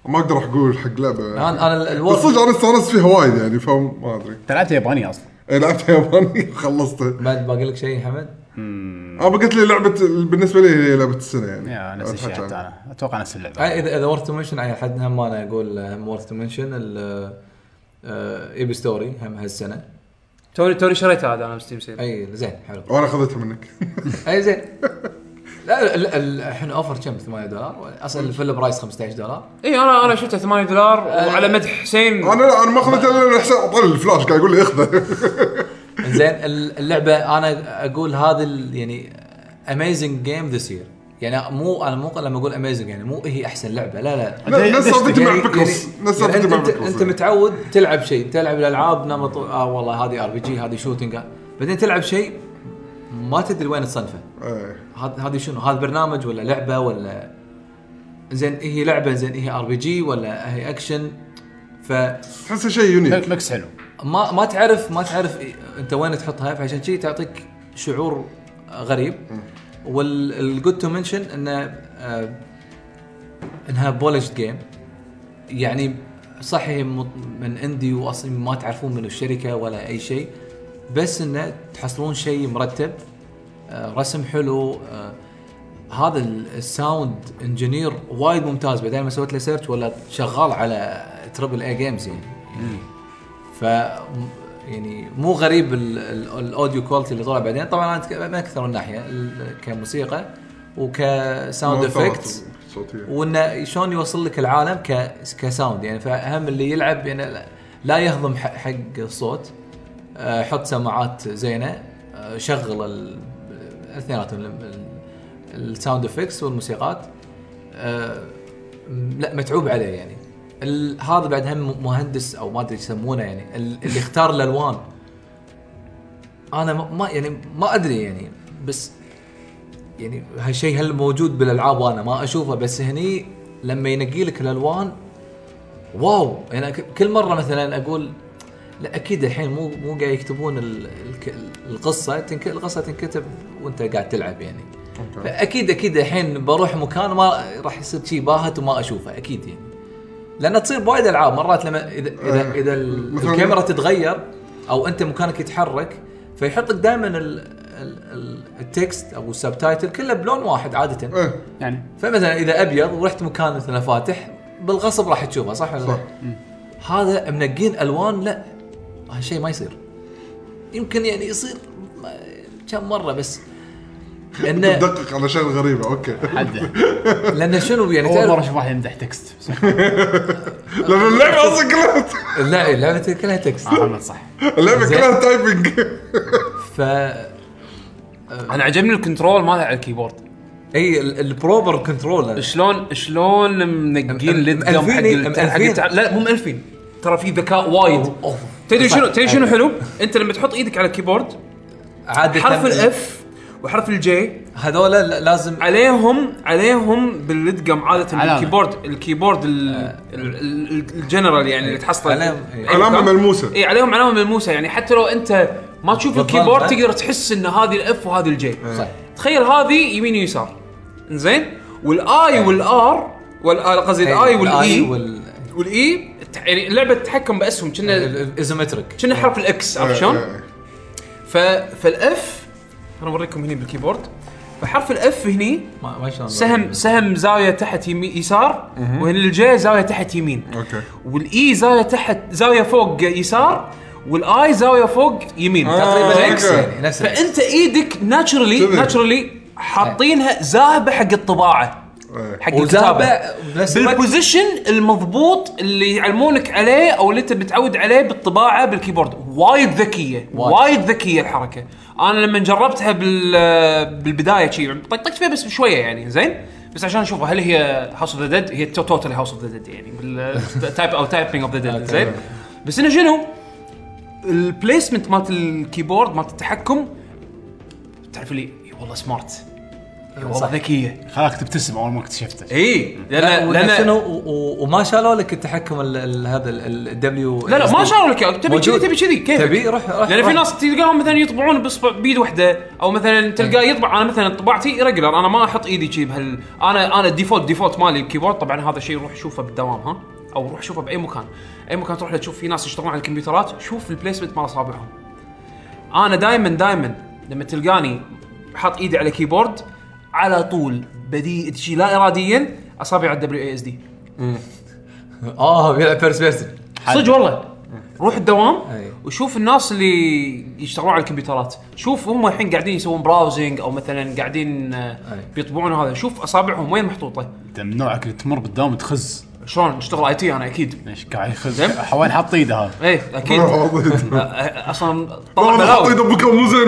ما اقدر أروح اقول حق لعبه انا انا بس الورد صدق انا استانست فيها وايد يعني فاهم ما ادري انت لعبتها ياباني اصلا إيه، لعبتها ياباني وخلصتها بعد بقول لك شيء حمد انا قلت لي لعبه بالنسبه لي هي لعبه السنه يعني يا نفس الشيء أتحكى حتى عنها. انا اتوقع نفس اللعبه آه، اذا اذا وورد تو منشن على حد هم انا اقول هم وورد تو منشن ايب ستوري آه، هم هالسنه توري توري شريتها هذا انا بستيم سيل اي زين حلو وانا اخذتها منك اي زين لا لا- لا، الحين اوفر كم 8 دولار اصلا الفل برايس 15 دولار اي انا انا شفتها 8 دولار وعلى مدح حسين انا انا ما اخذتها الا حسين اطلع الفلاش قاعد يقول لي اخذه زين اللعبه انا اقول هذا ال- يعني اميزنج جيم ذس يير يعني مو انا مو لما اقول اميزنج يعني مو هي احسن لعبه لا لا لا، نفس ليش- سالفتي مع يعني- بيكلز يعني- نفس يعني سالفتي انت مع انت, بيكلز انت متعود تلعب شيء تلعب الالعاب نمط اه والله هذه ار بي جي هذه شوتنج بعدين تلعب شيء ما تدري وين تصنفه إيه. هذا هذه شنو هذا برنامج ولا لعبه ولا زين هي لعبه زين هي ار بي جي ولا هي اكشن فما تحسه شيء يونيك ميكس حلو ما تعرف ما تعرف انت وين تحطها فعشان شي تعطيك شعور غريب والجود تو منشن انه آه، انها بولشد جيم يعني صح هي م- من اندي واصلا ما تعرفون من الشركه ولا اي شيء بس انه تحصلون شيء مرتب آه، رسم حلو آه، هذا ال- الساوند انجينير وايد ممتاز بعدين ما سويت له سيرش ولا شغال على تربل اي جيمز يعني ف يعني مو غريب ال- ال- الاوديو كواليتي اللي طلع بعدين طبعا انا أتك- من اكثر من ناحيه ال- كموسيقى وكساوند افكتس صوتية وانه شلون يوصل لك العالم ك... كساوند يعني فاهم اللي يلعب يعني لا- لا يهضم ح- حق الصوت آه، حط سماعات زينه آه، شغل ال- اثنيناتهم ال- ال- الساوند افكتس والموسيقات آه، م- لا متعوب عليه يعني ال- هذا بعد هم مهندس او ما ادري إيش يسمونه يعني ال- اللي اختار الالوان انا ما- ما يعني ما ادري يعني بس يعني هالشيء هل موجود بالالعاب وانا ما اشوفه بس هني لما ينقي لك الالوان واو يعني ك- كل مره مثلا اقول لا اكيد الحين مو مو قاعد يكتبون ال- الك- القصه تنك القصه تنكتب وانت قاعد تلعب يعني فاكيد اكيد الحين بروح مكان ما راح يصير شيء باهت وما اشوفه اكيد يعني لان تصير بوايد العاب مرات لما اذا اذا, إذا ال- مثلاً- الكاميرا تتغير او انت مكانك يتحرك فيحط لك دائما التكست او السبتايتل كله بلون واحد عاده ايه يعني فمثلا اذا ابيض ورحت مكان مثلا فاتح بالغصب راح تشوفه صح ولا صح. صح. هذا منقين الوان لا هالشيء ما يصير يمكن يعني يصير ما- كم مره بس لان تدقق على شغله غريبه اوكي حده لان شنو يعني اول مره تعرف اشوف واحد يمدح تكست بس لان اللعبه اصلا كلها لا اللعبه كلها تكست آه، محمد صح اللعبه زين. كلها تايبنج ف انا عجبني الكنترول ماله على الكيبورد اي ال- البروبر كنترول شلون شلون منقين م- ليد جام حق مألفين- ال- حق مألفين. التع- لا مو مألفين ترى في ذكاء وايد أوه. طيب. أيوه. تدري صح. شنو تدري شنو حلو؟ انت لما تحط ايدك على الكيبورد عاده حرف الاف وحرف الجي هذول لازم عليهم عليهم باللدقم عاده علامة. الكيبورد الكيبورد ال- ال- ال- الجنرال يعني اللي تحصله علامة- أي علامه مكان. ملموسه اي عليهم علامه ملموسه إيه، يعني حتى لو انت ما تشوف بالضبط، إيه. الكيبورد أه. تقدر تحس ان هذه الاف وهذه الجي صح تخيل هذه يمين ويسار انزين والاي والار وال- آه، قصدي الاي والاي والاي ت- يعني اللعبه تتحكم باسهم كنا الايزومتريك كنا حرف الاكس عرفت إيه، شلون؟ إيه. ف... فالاف انا اوريكم هني بالكيبورد فحرف الاف هني ما ما شلون سهم سهم زاويه تحت يمين يسار وهنا الجي زاويه تحت يمين اوكي والاي زاويه تحت زاويه فوق يسار والاي زاويه فوق يمين آه، تقريبا أوكي. اكس يعني نفس الإكس. فانت ايدك ناتشرلي كذي. ناتشرلي حاطينها زاهبه حق الطباعه إيه. حق الكتابه وزابع بنفس الوقت بالبوزيشن المضبوط اللي يعلمونك عليه او اللي انت متعود عليه بالطباعه بالكيبورد وايد ذكيه وايد. وايد ذكيه الحركه انا لما جربتها بال بالبدايه شي طقطقت فيها بس شويه يعني زين بس عشان اشوفها هل هي هاوس اوف ذا ديد هي توتال هاوس اوف ذا ديد يعني بالتايب او تايبنج اوف ذا ديد زين بس انه شنو البليسمنت مالت الكيبورد مالت التحكم تعرف اللي إي والله سمارت إي والله صح. ذكيه خلاك تبتسم اول ما اكتشفته اي لان لا لان شنو و- و- وما شالوا لك التحكم ال- ال- هذا الدبليو لا لا ما شالوا لك إياه. تبي كذي موجود. تبي كذي كيف تبي أه، روح روح لان في روح. ناس تلقاهم مثلا يطبعون باصبع بيد واحده او مثلا أه. تلقاه يطبع انا مثلا طباعتي ريجلر انا ما احط ايدي كذي بهال انا انا الديفولت ديفولت مالي الكيبورد طبعا هذا شيء روح شوفه بالدوام ها او روح شوفه باي مكان اي مكان تروح له تشوف في ناس يشتغلون على الكمبيوترات شوف البليسمنت مال اصابعهم انا دائما دائما لما تلقاني حاط ايدي على كيبورد على طول بديهي شيء لا اراديا اصابع الدبليو اي اس دي اه بيلعب فيرست بيرسون صدق والله روح الدوام أي. وشوف الناس اللي يشتغلون على الكمبيوترات شوف هم الحين قاعدين يسوون براوزنج او مثلا قاعدين آه، أي. بيطبعون هذا شوف اصابعهم وين محطوطه انت من نوعك اللي تمر بالدوام تخز شلون اشتغل اي تي انا اكيد ايش قاعد يخز زين. حوالي حاط ايده هذا ايه اكيد آه، أ- اصلا آه، طلع والله حاطين بلاوي آه، ابوك مو زين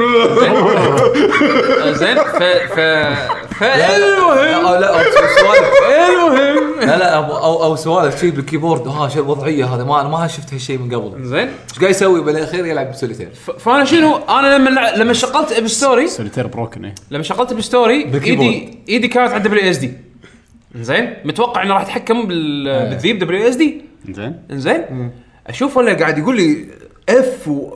زين ف ف ف أيوه، لا لا لا المهم أو سوالف أيوة. المهم لا لا أبو- او او سوالف شيء بالكيبورد ها شيء وضعيه هذا ما انا ما شفت هالشيء من قبل زين ايش قاعد يسوي بالاخير يلعب بسوليتير ف- فانا شنو انا لما لع- لما شغلت بالستوري سوليتير بروكن ايه لما شغلت بالستوري بالكيبورد. ايدي ايدي كانت على دبليو اس دي زين متوقع انه راح اتحكم بال- بالذيب دبليو اس دي زين انزين اشوف ولا قاعد يقول لي اف و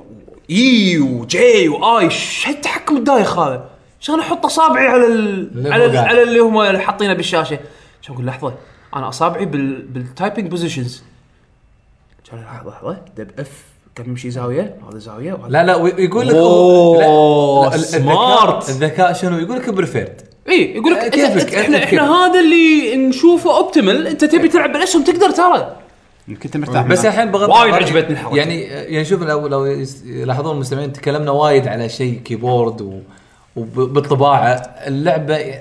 اي وجي واي ايش هالتحكم الدايخ هذا؟ شلون احط اصابعي على ال... اللي على هو ال... قاعد. على اللي هم اللي حاطينه بالشاشه شو اقول لحظه انا اصابعي بال... بالتايبنج بوزيشنز لحظه لحظه دب اف كم يمشي زاويه هذا زاويه وهذا لا لا ويقول لك أوه، لا، لا، ال- سمارت. الذكاء- الذكاء شنو يقول لك بريفيرد اي يقول لك أه، أنت- كيفك، أنت- احنا أنت احنا كيفك. هذا اللي نشوفه اوبتيمال انت تبي تلعب بالاسهم تقدر ترى يمكن انت مرتاح بس منها. الحين بغض وايد النظر- عجبتني الحركة. يعني يعني شوف لو لو يس- يلاحظون المستمعين تكلمنا وايد على شيء كيبورد و وبالطباعه اللعبه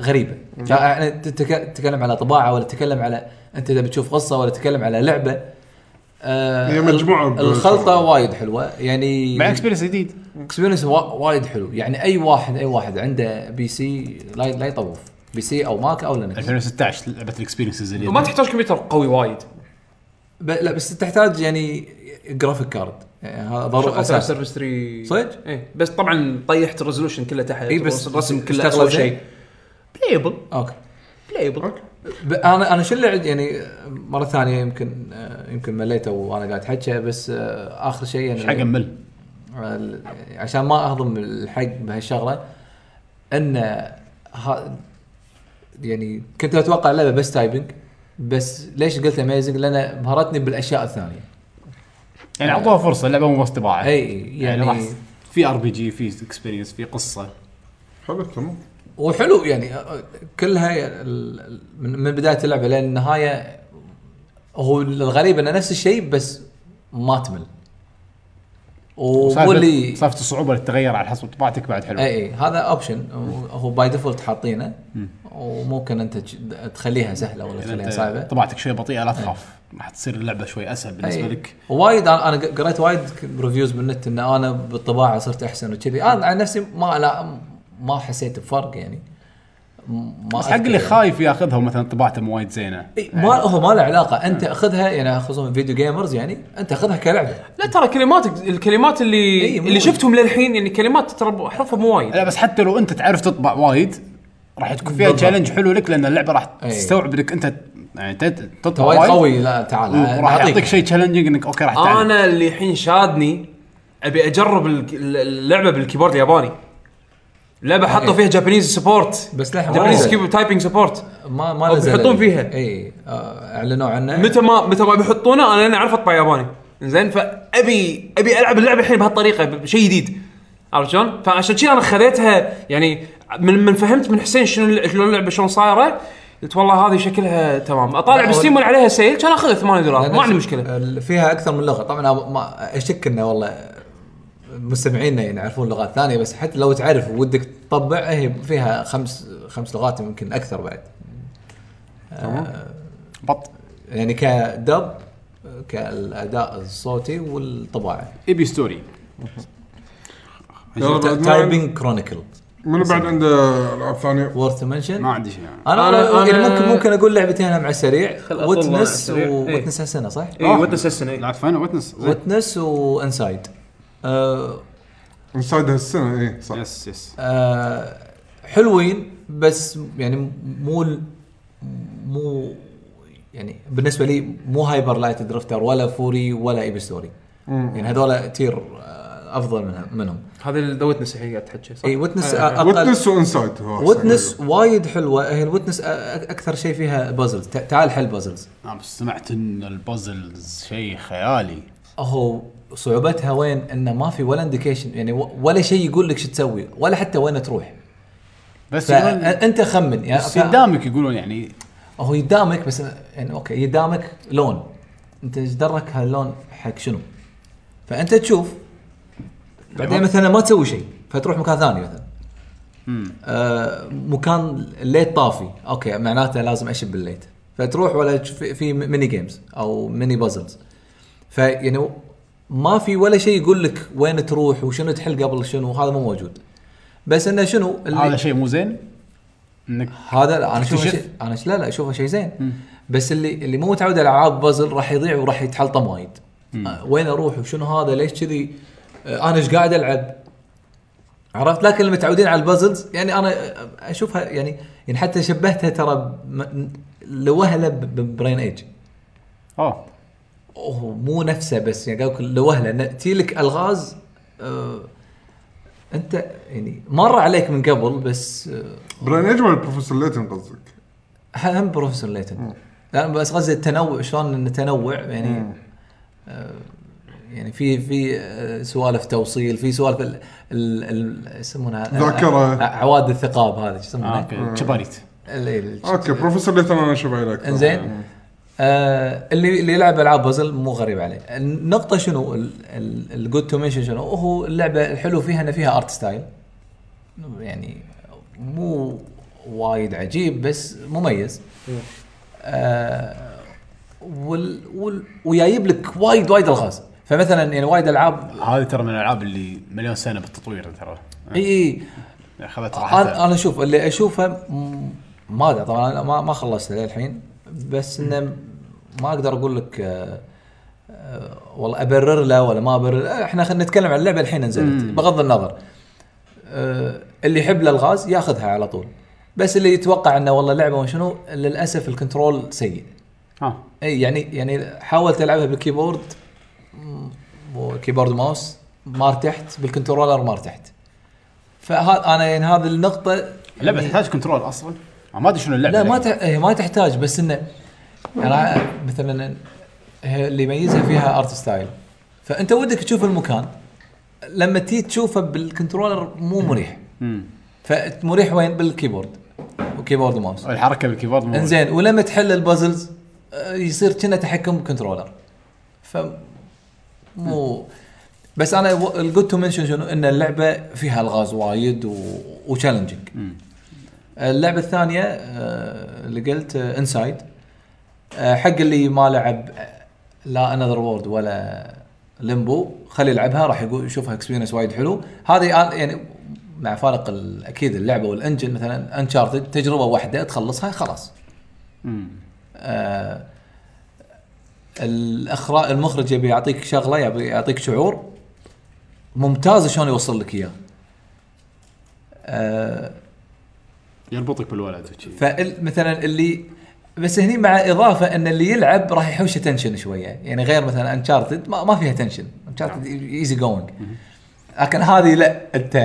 غريبه يعني تتك- تتكلم على طباعه ولا تتكلم على انت اذا بتشوف قصه ولا تتكلم على لعبه آه هي مجموعة ال- ب- الخلطه وايد حلوه يعني مع اكسبيرينس جديد اكسبيرينس وايد حلو يعني اي واحد اي واحد عنده بي سي لا لا يطوف بي سي او ماك او لينكس 2016 لعبه الاكسبيرينسز اللي وما تحتاج كمبيوتر قوي وايد ب- لا بس تحتاج يعني جرافيك كارد يعني هذا ضروري شغلت على اساس سيرفس 3 صدق؟ اي إيه، بس طبعا طيحت الريزولوشن كله تحت إي، بس- الرسم بس كله اشتغل اسوء زين؟ شيء بلايبل اوكي بلايبل ب- انا انا شو اللي عندي يعني مره ثانيه يمكن آه، يمكن مليته وانا قاعد حكي بس آه، اخر شيء يعني ايش حق امل ال- عشان ما اهضم الحق بهالشغله ان ها يعني كنت اتوقع اللعبه بس تايبنج بس ليش قلت اميزنج؟ لان بهرتني بالاشياء الثانيه يعني اعطوها فرصه اللعبه مو بس طباعه اي يعني راح يعني في ار بي جي في اكسبيرينس في قصه حلو تمام وحلو يعني كلها ال- ال- من من بدايه اللعبه لين النهايه هو الغريب انه نفس الشيء بس ما تمل ومو اللي سالفه سالفة الصعوبه اللي تتغير على حسب طباعتك بعد حلو اي اي هذا اوبشن هو باي ديفولت حاطينه وممكن انت تج- تخليها سهله ولا يعني تخليها أنت صعبه طباعتك شوي بطيئه لا تخاف راح تصير اللعبه شوي اسهل بالنسبه أي. لك وايد انا انا قريت وايد ريفيوز بالنت ان انا بالطباعه صرت احسن وكذي انا عن نفسي ما لا ما حسيت بفرق يعني ما بس حق اللي خايف ياخذها ومثلا طباعته مو وايد زينه إي، ما هو ما له علاقه انت اخذها يعني خصوصا فيديو جيمرز يعني انت اخذها كلعبه لا ترى كلماتك الكلمات اللي إي، إيه، مو اللي وايد. شفتهم للحين يعني كلمات ترى حرفها مو وايد لا بس حتى لو انت تعرف تطبع وايد راح تكون فيها بالضبط. تشالنج حلو لك لان اللعبه راح أي. تستوعب انك انت يعني تت- انت تطبع وايد قوي لا تعال وراح نعطيك. يعطيك شيء تشالنجينج انك اوكي راح تعلم انا اللي الحين شادني ابي اجرب ال- ال- اللعبه بالكيبورد الياباني لعبه حطوا إي. فيها جابانيز سبورت إيه. بس للحين ما جابانيز نزل. كيبورد تايبنج سبورت ما ما أو نزل بيحطون ال- فيها. اي آه، اعلنوا عنه متى ما متى ما بيحطونه انا انا اعرف اطبع ياباني زين فابي ابي العب اللعبه الحين بهالطريقه بشيء جديد عرفت شلون؟ فعشان كذا انا خذيتها يعني من من فهمت من حسين شنو الل- شلون اللعبه شلون صايره قلت والله هذه شكلها تمام اطالع لا، بستيم ولا عليها سيل كان اخذها 8 دولار لأن ما عندي في- مشكله يعني ال- فيها اكثر من لغه طبعا أنا ما اشك انه والله مستمعينا يعني يعرفون لغات ثانيه بس حتى لو تعرف ودك تطبع هي فيها خمس خمس لغات يمكن اكثر بعد بط يعني كدب كالاداء الصوتي والطباعه ايبي ستوري يلا بعد ما- تايبنج كرونيكل من بعد عنده العاب ثانيه وورث منشن ما عندي شيء يعني انا نعم. انا, أنا- أنا- أنا يعني ممكن ممكن اقول لعبتين هم على السريع خل أطلع على وتنس السريع. إيه. وتنس هالسنه صح؟ اي ويتنس إيه. السنه لعبت فاينل ويتنس وتنس وانسايد آه انسايد هالسنه اي إيه، صح يس يس آه حلوين بس يعني مو ال- مو يعني بالنسبه لي مو هايبر لايت درفتر ولا فوري ولا ايب ستوري يعني هذول تير آه، افضل منها منهم هذا ذا ويتنس الحين قاعد تحكي صح؟ اي آه، وتنس اقل ويتنس وانسايد هو أحسن وتنس لعبة. وايد حلوه هي الوتنس اكثر شيء فيها بازلز تعال حل بازلز انا آه، بس سمعت ان البازلز شيء خيالي هو صعوبتها وين انه ما في ولا انديكيشن يعني و- ولا شيء يقول لك شو تسوي ولا حتى وين تروح بس يقولون- فانت خمن يعني بس ف- قدامك يقولون يعني هو يدامك بس يعني اوكي يدامك لون انت ايش درك هاللون حق شنو؟ فانت تشوف بعدين مثلا ما تسوي شيء فتروح مكان ثاني مثلا آه مكان الليت طافي اوكي معناته لازم اشب الليت فتروح ولا تشوف- في ميني جيمز او ميني بازلز فيعني يعني ما في ولا شيء يقول لك وين تروح وشنو تحل قبل شنو هذا مو موجود بس انه شنو اللي- هذا شيء مو زين انك هذا لا انا اشوفه تكتشف؟ شيء انا ش- لا لا اشوفه شيء زين بس اللي اللي مو متعود على العاب بازل راح يضيع وراح يتحلطم وايد آه، وين اروح وشنو هذا ليش كذي آه، انا ايش قاعد العب عرفت لكن اللي متعودين على البازلز يعني انا آه، اشوفها يعني يعني حتى شبهتها ترى بم- لوهله ب- ببرين ايج اه اوه مو نفسه بس يعني قالوا لوهله إن تي لك الغاز آه انت يعني مر عليك من قبل بس آه براين ايج ولا بروفيسور ليتن قصدك؟ هم بروفيسور ليتن لا بس قصدي التنوع شلون ان التنوع يعني آه، يعني في في آه، سوالف توصيل في سوالف ال- ال- ال- يسمونها ذاكرة. آه، عواد الثقاب هذه شو آه، يسمونها؟ اوكي شباريت ال- ال- اوكي بروفيسور ليتن انا اشوف عليه اكثر انزين آه اللي اللي يلعب العاب بازل مو غريب عليه النقطه شنو الجود تو منشن شنو هو اللعبه الحلو فيها ان فيها ارت ستايل يعني مو وايد عجيب بس مميز آه وال وال ويايب لك وايد وايد الغاز فمثلا يعني وايد العاب هذه ترى من الالعاب اللي مليون سنه بالتطوير ترى اي اي اخذت انا راحتها انا شوف اللي اشوفه م- ما ادري طبعا أنا ما ما خلصت للحين بس انه ما اقدر اقول لك آه، آه، والله ابرر له ولا ما ابرر له. احنا خلينا نتكلم عن اللعبه الحين نزلت بغض النظر آه، اللي يحب الالغاز ياخذها على طول بس اللي يتوقع انه والله لعبه وشنو للاسف الكنترول سيء ها اي يعني يعني حاولت العبها بالكيبورد م- وكيبورد ماوس ما ارتحت بالكنترولر ما ارتحت فهذا انا يعني هذه النقطه اللعبه يعني- تحتاج كنترول اصلا ما ادري شنو يعني. اللعبه لا ما لكن- تح... إيه، ما تحتاج بس انه يعني مثلا هي اللي يميزها فيها ارت ستايل فانت ودك تشوف المكان لما تيجي تشوفه بالكنترولر مو مريح مم. فمريح وين بالكيبورد وكيبورد وماوس الحركه بالكيبورد مو انزين ولما تحل البازلز آه، يصير كنا تحكم كنترولر ف مو بس انا و- الجود تو منشن شنو ان اللعبه فيها الغاز وايد و... وتشالنجينج اللعبه الثانيه آه، اللي قلت انسايد حق اللي ما لعب آه، لا انذر وورد ولا ليمبو خلي يلعبها راح يقول يشوفها اكسبيرينس وايد حلو هذه آن- يعني مع فارق ال- اكيد اللعبه والانجن مثلا انشارتد تجربه واحده تخلصها خلاص آه الاخراج المخرج يبي يعطيك شغله يبي يعطيك شعور ممتاز شلون يوصل لك اياه آه يربطك بالولد وشي فمثلا اللي بس هني مع اضافه ان اللي يلعب راح يحوش تنشن شويه يعني غير مثلا انشارتد ما, ما فيها تنشن انشارتد ايزي جوينج لكن هذه لا انت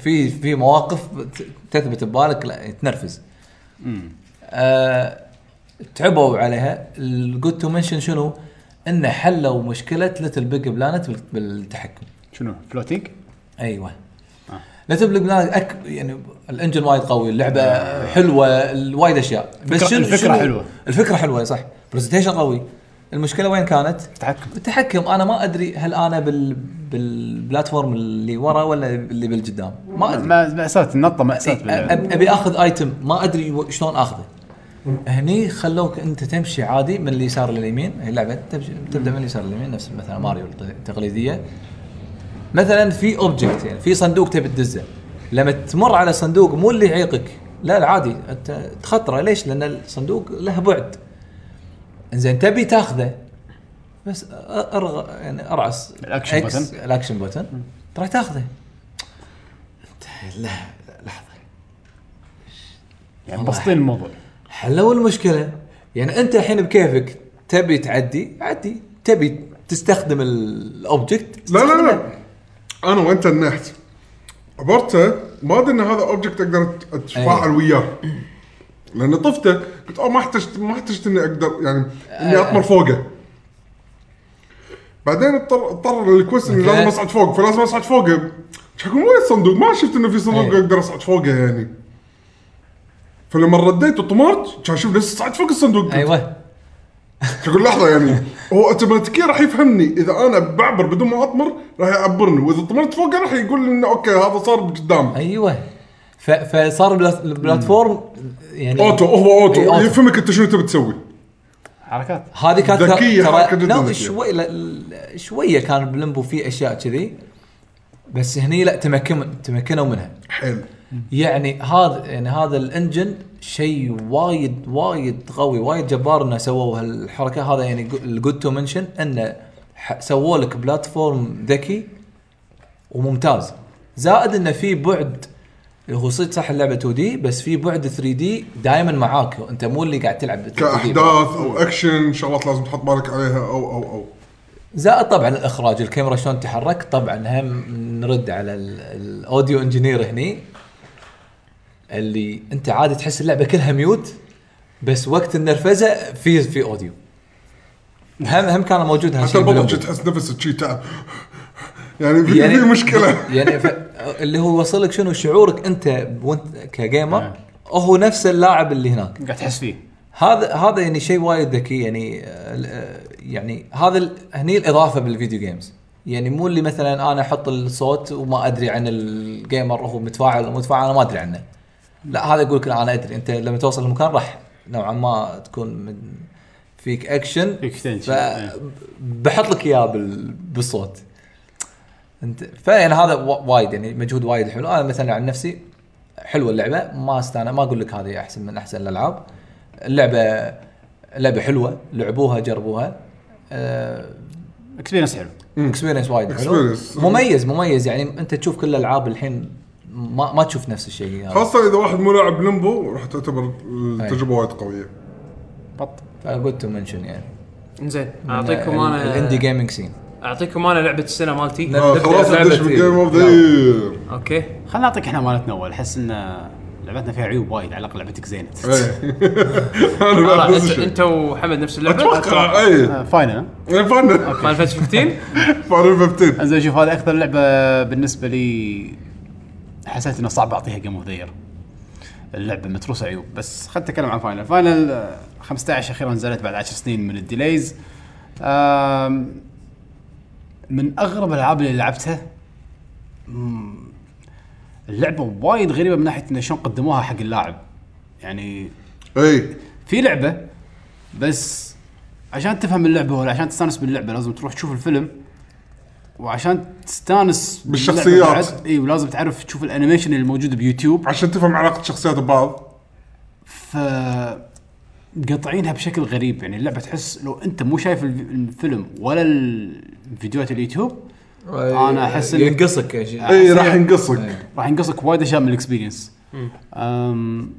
في في مواقف ت- تثبت ببالك لا تنرفز آه تعبوا عليها الجود تو منشن شنو؟ انه حلوا مشكله ليتل بيج بلانت بالتحكم شنو فلوتينج؟ ايوه آه. لا تبلغ بلاد أك... يعني الانجن وايد قوي اللعبه حلوه ال- وايد اشياء بس الفكرة- الفكرة حلوة. الفكره حلوه صح برزنتيشن قوي المشكله وين كانت؟ تحكم التحكم انا ما ادري هل انا بال بالبلاتفورم اللي ورا ولا اللي بالقدام ما ادري ما- مأساة النطة مأساة أ- باللعبة إيه، أب- ابي اخذ ايتم ما ادري و- شلون اخذه هني خلوك انت تمشي عادي من اليسار لليمين هي اللعبه تمشي تبدا من اليسار لليمين نفس مثلا ماريو الت- التقليديه مثلا في اوبجكت يعني في صندوق تبي تدزه لما تمر على صندوق مو اللي يعيقك لا لا عادي انت تخطره ليش؟ لان الصندوق له بعد زين تبي تاخذه بس أ- ارغى يعني ارعس الأكشن X- button. الاكشن بوتن تروح تاخذه أنت- لا لحظه يعني بسطين الموضوع حلوا المشكله يعني انت الحين بكيفك تبي تعدي عدي تبي تستخدم الاوبجكت لا لا لا انا وانت النحت عبرته ما ادري ان هذا اوبجكت اقدر أت- اتفاعل أي. وياه لان طفته قلت اه ما احتجت ما احتجت اني اقدر يعني اني اطمر فوقه بعدين اضطر اضطر للكويست اني أوكي. لازم اصعد فوق فلازم اصعد فوقه شكو وين الصندوق ما شفت انه في صندوق أي. اقدر اصعد فوقه يعني فلما رديت وطمرت كان اشوف لسه صعد فوق الصندوق قلت ايوه تقول لحظه يعني هو اوتوماتيكيا راح يفهمني اذا انا بعبر بدون ما اطمر راح يعبرني واذا طمرت فوقه راح يقول لي انه اوكي هذا صار قدام ايوه ف- فصار البلا- البلاتفورم يعني اوتو هو اوتو إي، أوتو. يفهمك انت شنو تبي تسوي حركات هذه كانت ذكية، حركة ترى جداً نو- ذكية. شوي لا- لا- شويه كان بلمبو فيه اشياء كذي بس هني لا تمكن تمكنوا منها حلو يعني هذا يعني هذا الانجن شيء وايد وايد قوي وايد جبار انه سووا هالحركه هذا يعني الجود تو منشن انه ح- سووا لك بلاتفورم ذكي وممتاز زائد انه في بعد هو صدق صح اللعبه 2 دي بس في بعد 3 دي دائما معاك انت مو اللي قاعد تلعب 3 دي كاحداث او اكشن شغلات لازم تحط بالك عليها او او او زائد طبعا الاخراج الكاميرا شلون تحرك طبعا هم نرد على ال- الاوديو انجينير هني اللي انت عادي تحس اللعبه كلها ميوت بس وقت النرفزه في في اوديو هم هم كان موجود حتى هالشيء البطل باللعبة. شي تحس نفسك شي تعب يعني في يعني في مشكله يعني ف... اللي هو وصلك شنو شعورك انت وانت كجيمر هو نفس اللاعب اللي هناك قاعد تحس فيه هذا هذا يعني شيء وايد ذكي يعني آه، آه، يعني هذا ال- هني الاضافه بالفيديو جيمز يعني مو اللي مثلا انا احط الصوت وما ادري عن الجيمر هو متفاعل او متفاعل انا ما ادري عنه لا هذا يقول لك لا، انا ادري انت لما توصل المكان راح نوعا ما تكون من فيك اكشن فيك تنشن، ف- إيه. بحط لك اياه بال- بالصوت انت فيعني هذا وا- وايد يعني مجهود وايد حلو انا مثلا عن نفسي حلوه اللعبه ما استانى ما اقول لك هذه احسن من احسن الالعاب اللعبه لعبه حلوه لعبوها جربوها اكسبيرينس حلو اكسبيرينس وايد حلو Experience. مميز مميز يعني انت تشوف كل الالعاب الحين ما ما تشوف نفس الشيء يعني هذا خاصه اذا واحد مو لاعب لمبو راح تعتبر التجربه وايد قويه بط فجود تو منشن يعني زين آه، اعطيكم الاندي انا جيمنج سين اعطيكم انا لعبه السنه مالتي آه، خلاص لعبة ندش بالجيم اوف ذا نعم. يير اوكي خلنا نعطيك احنا مالتنا اول احس ان لعبتنا فيها عيوب وايد على الاقل لعبتك زينه انا خلاص، آه، بعد نفس انت الشيء انت وحمد نفس اللعبه اتوقع اي آه، فاينل إيه، فن مال 2015 فاينل 15 انزين شوف هذه اكثر لعبه بالنسبه لي حسيت انه صعب اعطيها جيم اوف ذير اللعبه متروسه عيوب بس خلت اتكلم عن فاينل فاينل آه، 15 اخيرا نزلت بعد 10 سنين من الديليز آم، من اغرب الالعاب اللي لعبتها مم، اللعبه وايد غريبه من ناحيه انه شلون قدموها حق اللاعب يعني اي في لعبه بس عشان تفهم اللعبه ولا عشان تستانس باللعبه لازم تروح تشوف الفيلم وعشان تستانس باللعبة بالشخصيات. بعد، اي ولازم تعرف تشوف الانيميشن اللي موجود بيوتيوب عشان تفهم علاقه الشخصيات ببعض ف قاطعينها بشكل غريب يعني اللعبه تحس لو انت مو شايف الف- الفيلم ولا الفيديوهات اليوتيوب أنا أحس إن- ينقصك يا شيخ. اي راح ينقصك إيه. راح ينقصك وايد اشياء من الاكسبيرينس أم،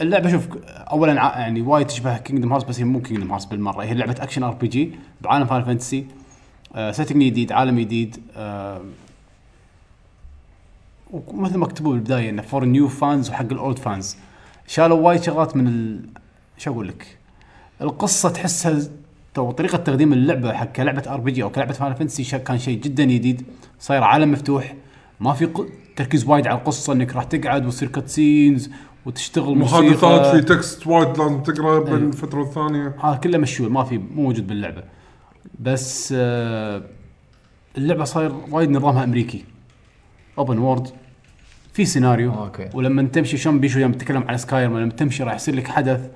اللعبه شوف اولا ع- يعني وايد تشبه كينجدم هارت بس هي مو كينجدم هارت بالمره هي لعبه اكشن ار بي جي بعالم فاينل فانتسي سيتنج آه، جديد عالم جديد أم، ومثل ما كتبوا بالبدايه انه فور نيو فانز وحق الاولد فانز شالوا وايد شغلات من ال... شو اقول لك؟ القصه تحسها تو طريقه تقديم اللعبه حق كلعبه ار بي جي او كلعبه فان فانتسي شا- كان شيء جدا جديد صاير عالم مفتوح ما في ق... تركيز وايد على القصه انك راح تقعد وتصير كات سينز وتشتغل محادثات موسيقى. في تكست وايد لازم تقرا بين فتره والثانيه هذا كله مشوي ما في مو موجود باللعبه بس آه اللعبه صاير وايد نظامها امريكي اوبن وورد في سيناريو أوكي. ولما تمشي شلون بيشو يوم تتكلم على سكايرم لما تمشي راح يصير لك حدث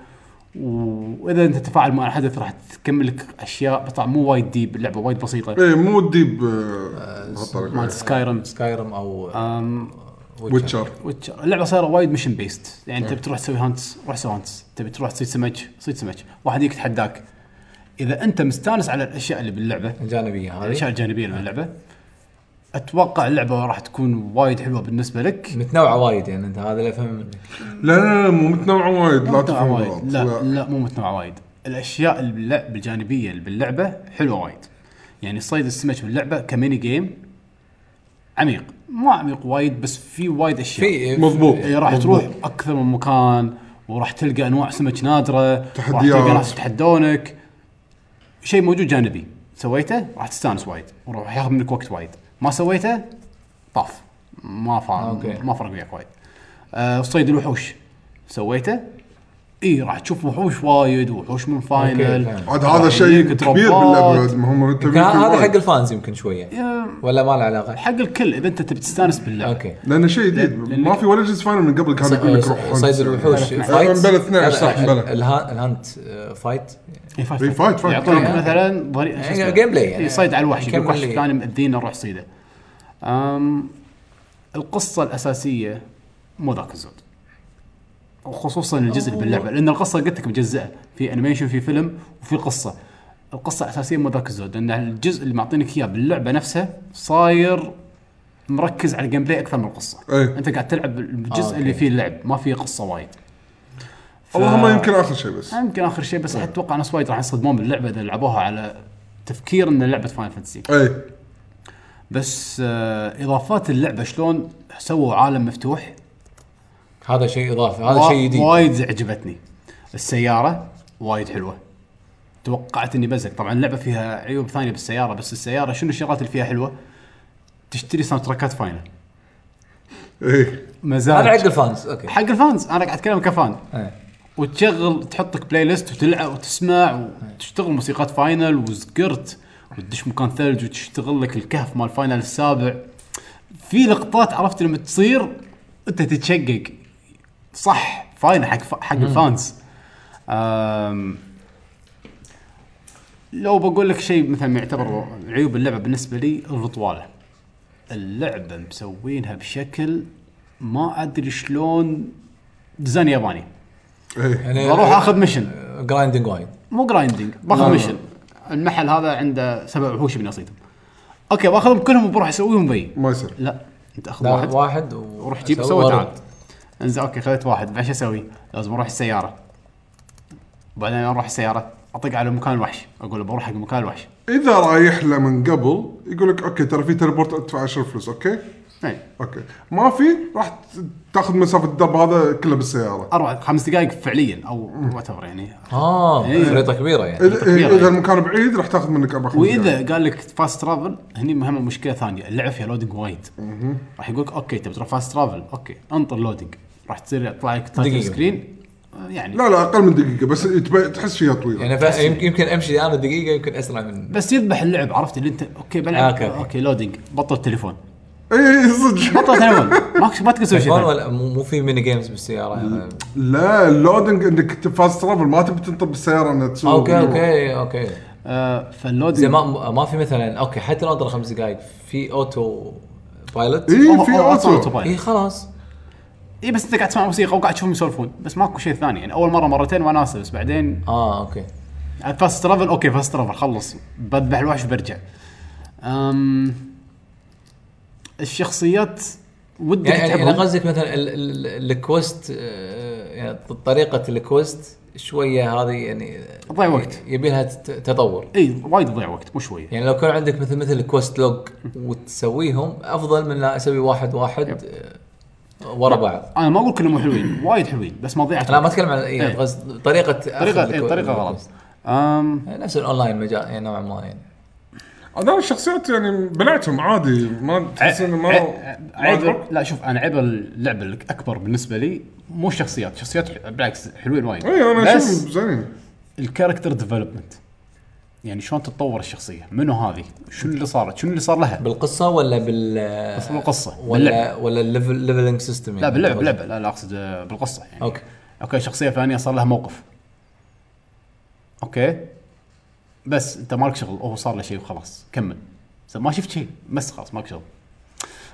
و- واذا انت تفاعل مع الحدث راح تكمل لك اشياء طبعا مو وايد ديب اللعبه وايد بسيطه اي إيه، مو ديب آه، بهالطريقه مالت سكايرم سكايرم او uh, ويتشر وتش- اللعبه صايره وايد ميشن بيست يعني تبي تروح تسوي هانتس روح سوي هانتس تبي تروح تصيد سمك صيد سمك واحد يجيك يتحداك اذا انت مستانس على الاشياء اللي باللعبه الجانبيه هذه الاشياء الجانبيه اللي باللعبه اتوقع اللعبه راح تكون وايد حلوه بالنسبه لك متنوعه وايد يعني انت هذا اللي افهم منك لا لا لا مو متنوع وايد لا متنوعة تفهم وايد. غلط لا لا مو متنوعه وايد الاشياء اللي باللعب الجانبيه اللي باللعبه حلوه وايد يعني صيد السمك باللعبه كميني جيم عميق مو عميق وايد بس في وايد اشياء في مضبوط إيه، راح مضبوط. تروح اكثر من مكان وراح تلقى انواع سمك نادره راح تحديات. تلقى ناس يتحدونك شيء موجود جانبي سويته راح تستانس وايد وراح ياخذ منك وقت وايد ما سويته طاف ما فا أوكي. ما فرق وياك وايد آه، صيد الوحوش سويته اي راح تشوف وحوش وايد وحوش من فاينل أوكي، عاد هذا شيء كبير باللعبه بعد، ما هم يمكن مرتبين فيه هذا وايد. حق الفانز يمكن شويه ولا ما له علاقه حق الكل اذا انت تبي تستانس باللعبه اوكي لانه شيء جديد لأن- ما في ولا جزء فاينل من قبل كان يقول لك روح آه، إيه. صيد الوحوش بلى فايت بلى 12 صح، بلى. الهانت uh, فايت إي فايت إي فايت فايت. يعطونك إي. مثلا ضري... شو اسمه؟ جيم بلاي يعني. إي صيد على الوحش يعني يقول كمل وحش لي. كان مأذينا روح صيده أم القصه الاساسيه مو ذاك الزود وخصوصا الجزء اللي باللعبه لان القصه قلت لك مجزئه في انيميشن في فيلم وفي قصه القصه الاساسيه مو ذاك الزود لان الجزء اللي معطينك اياه باللعبه نفسها صاير مركز على الجيم بلاي اكثر من القصه إي. انت قاعد تلعب الجزء أه. آه، اللي أوكي. فيه اللعب ما فيه قصه وايد اللهم يمكن اخر شيء بس يمكن اخر شيء بس اتوقع ناس وايد راح ينصدمون باللعبه اذا لعبوها على تفكير ان لعبه فاين فانتسي اي بس آه اضافات اللعبه شلون سووا عالم مفتوح هذا شيء اضافي هذا شيء جديد وايد عجبتني السياره وايد حلوه توقعت اني بزق طبعا اللعبه فيها عيوب ثانيه بالسياره بس السياره شنو الشغلات اللي فيها حلوه تشتري ساوند تراكات فاينل اي هذا مزاج حق الفانز اوكي حق الفانز انا قاعد اتكلم كفان إيه. وتشغل تحطك بلاي ليست وتلعب وتسمع وتشتغل موسيقات فاينل وزقرت وتدش مكان ثلج وتشتغل لك الكهف مال فاينل السابع في لقطات عرفت لما تصير انت تتشقق صح فاينل حق ف- حق الفانز أم، لو بقول لك شيء مثلا يعتبر عيوب اللعبه بالنسبه لي الرطواله اللعبه مسوينها بشكل ما ادري شلون ديزاين ياباني اي يعني بروح اخذ ميشن جرايندنج وايد مو جرايندنج باخذ ميشن المحل هذا عنده سبع وحوش بنصيتهم اوكي باخذهم كلهم وبروح اسويهم بي ما يصير لا انت اخذ لا واحد واحد وروح جيب سوي تعال انزين اوكي خذيت واحد بعدين شو اسوي؟ لازم اروح السياره بعدين اروح السياره اطق على مكان الوحش اقول له بروح حق مكان الوحش اذا رايح له من قبل يقول لك اوكي ترى في تليبورت ادفع 10 فلوس اوكي إيه. اوكي ما في راح ت- تاخذ مسافه الدرب هذا كله بالسياره اربع خمس دقائق فعليا او وات يعني اه إيه. خريطه كبيره يعني اذا تقريباً. إذا المكان بعيد راح تاخذ منك اربع خمس دقايق. واذا قال لك فاست ترافل هني مهمه مشكله ثانيه اللعب فيها لودنج وايد راح يقول لك اوكي تبي تروح فاست ترافل اوكي انطر لودنج راح تصير يطلع لك تايتل دقيقة. سكرين آه، يعني لا لا اقل من دقيقه بس تبي- تحس فيها طويله يعني ف- يمكن يمكن امشي انا دقيقه يمكن اسرع من بس يذبح اللعب عرفت اللي انت اوكي بلعب أوكي، اوكي, آه، أوكي. أوكي لودنج بطل تليفون اي اي صدق بطل تليفون ما ما تقدر تسوي شيء فون ثاني. ولا مو مو في ميني جيمز بالسياره يعني. لا اللودنج انك فاست ترافل ما تبي تنطر بالسياره انها تسوق اوكي اوكي اوكي آه زي فاللودنج ما ما في مثلا اوكي حتى لو اضرب خمس دقائق في اوتو بايلوت اي في أو- أو- أو- اوتو أوتوبايلوت. اي خلاص اي بس انت قاعد تسمع موسيقى وقاعد تشوفهم يسولفون بس ماكو شيء ثاني يعني اول مره مرتين وناسه بس بعدين اه اوكي فاست ترافل اوكي فاست ترافل خلص بذبح الوحش وبرجع أم الشخصيات ودك يعني يعني انا تحبهم قصدك مثلا ال- ال- الكوست آه، يعني طريقه الكوست شويه هذه يعني تضيع وقت. يبي لها ت- تطور اي وايد تضيع وقت مو شويه يعني لو كان عندك مثل مثل الكوست لوج وتسويهم افضل من لا اسوي واحد واحد آه، ورا بعض انا ما اقول كلهم حلوين وايد حلوين بس ما ضيعت انا ما وقت. اتكلم عن إيه، إيه. قصد طريقه طريقه أخذ اي الكو- طريقه غلط الكوست. أم نفس الاونلاين مجال يعني نوعا ما يعني انا الشخصيات يعني بلعتهم عادي ما تحس انه ما ع- ما عيب تروح. لا شوف انا عيب اللعبه الاكبر بالنسبه لي مو الشخصيات، الشخصيات ح- بالعكس حلوين وايد اي انا بس اشوف زين الكاركتر ديفلوبمنت يعني شلون تتطور الشخصيه؟ منو هذه؟ شنو اللي صارت؟ شنو اللي صار لها؟ بالقصه ولا بال بس بالقصة، ولا ولا الليفل ليفلنج سيستم لا باللعبه باللعبه لا لا اقصد آه، بالقصه يعني اوكي اوكي شخصيه ثانيه صار لها موقف اوكي بس انت مالك شغل هو صار له شيء وخلاص كمل بس ما شفت شيء بس خلاص مالك شغل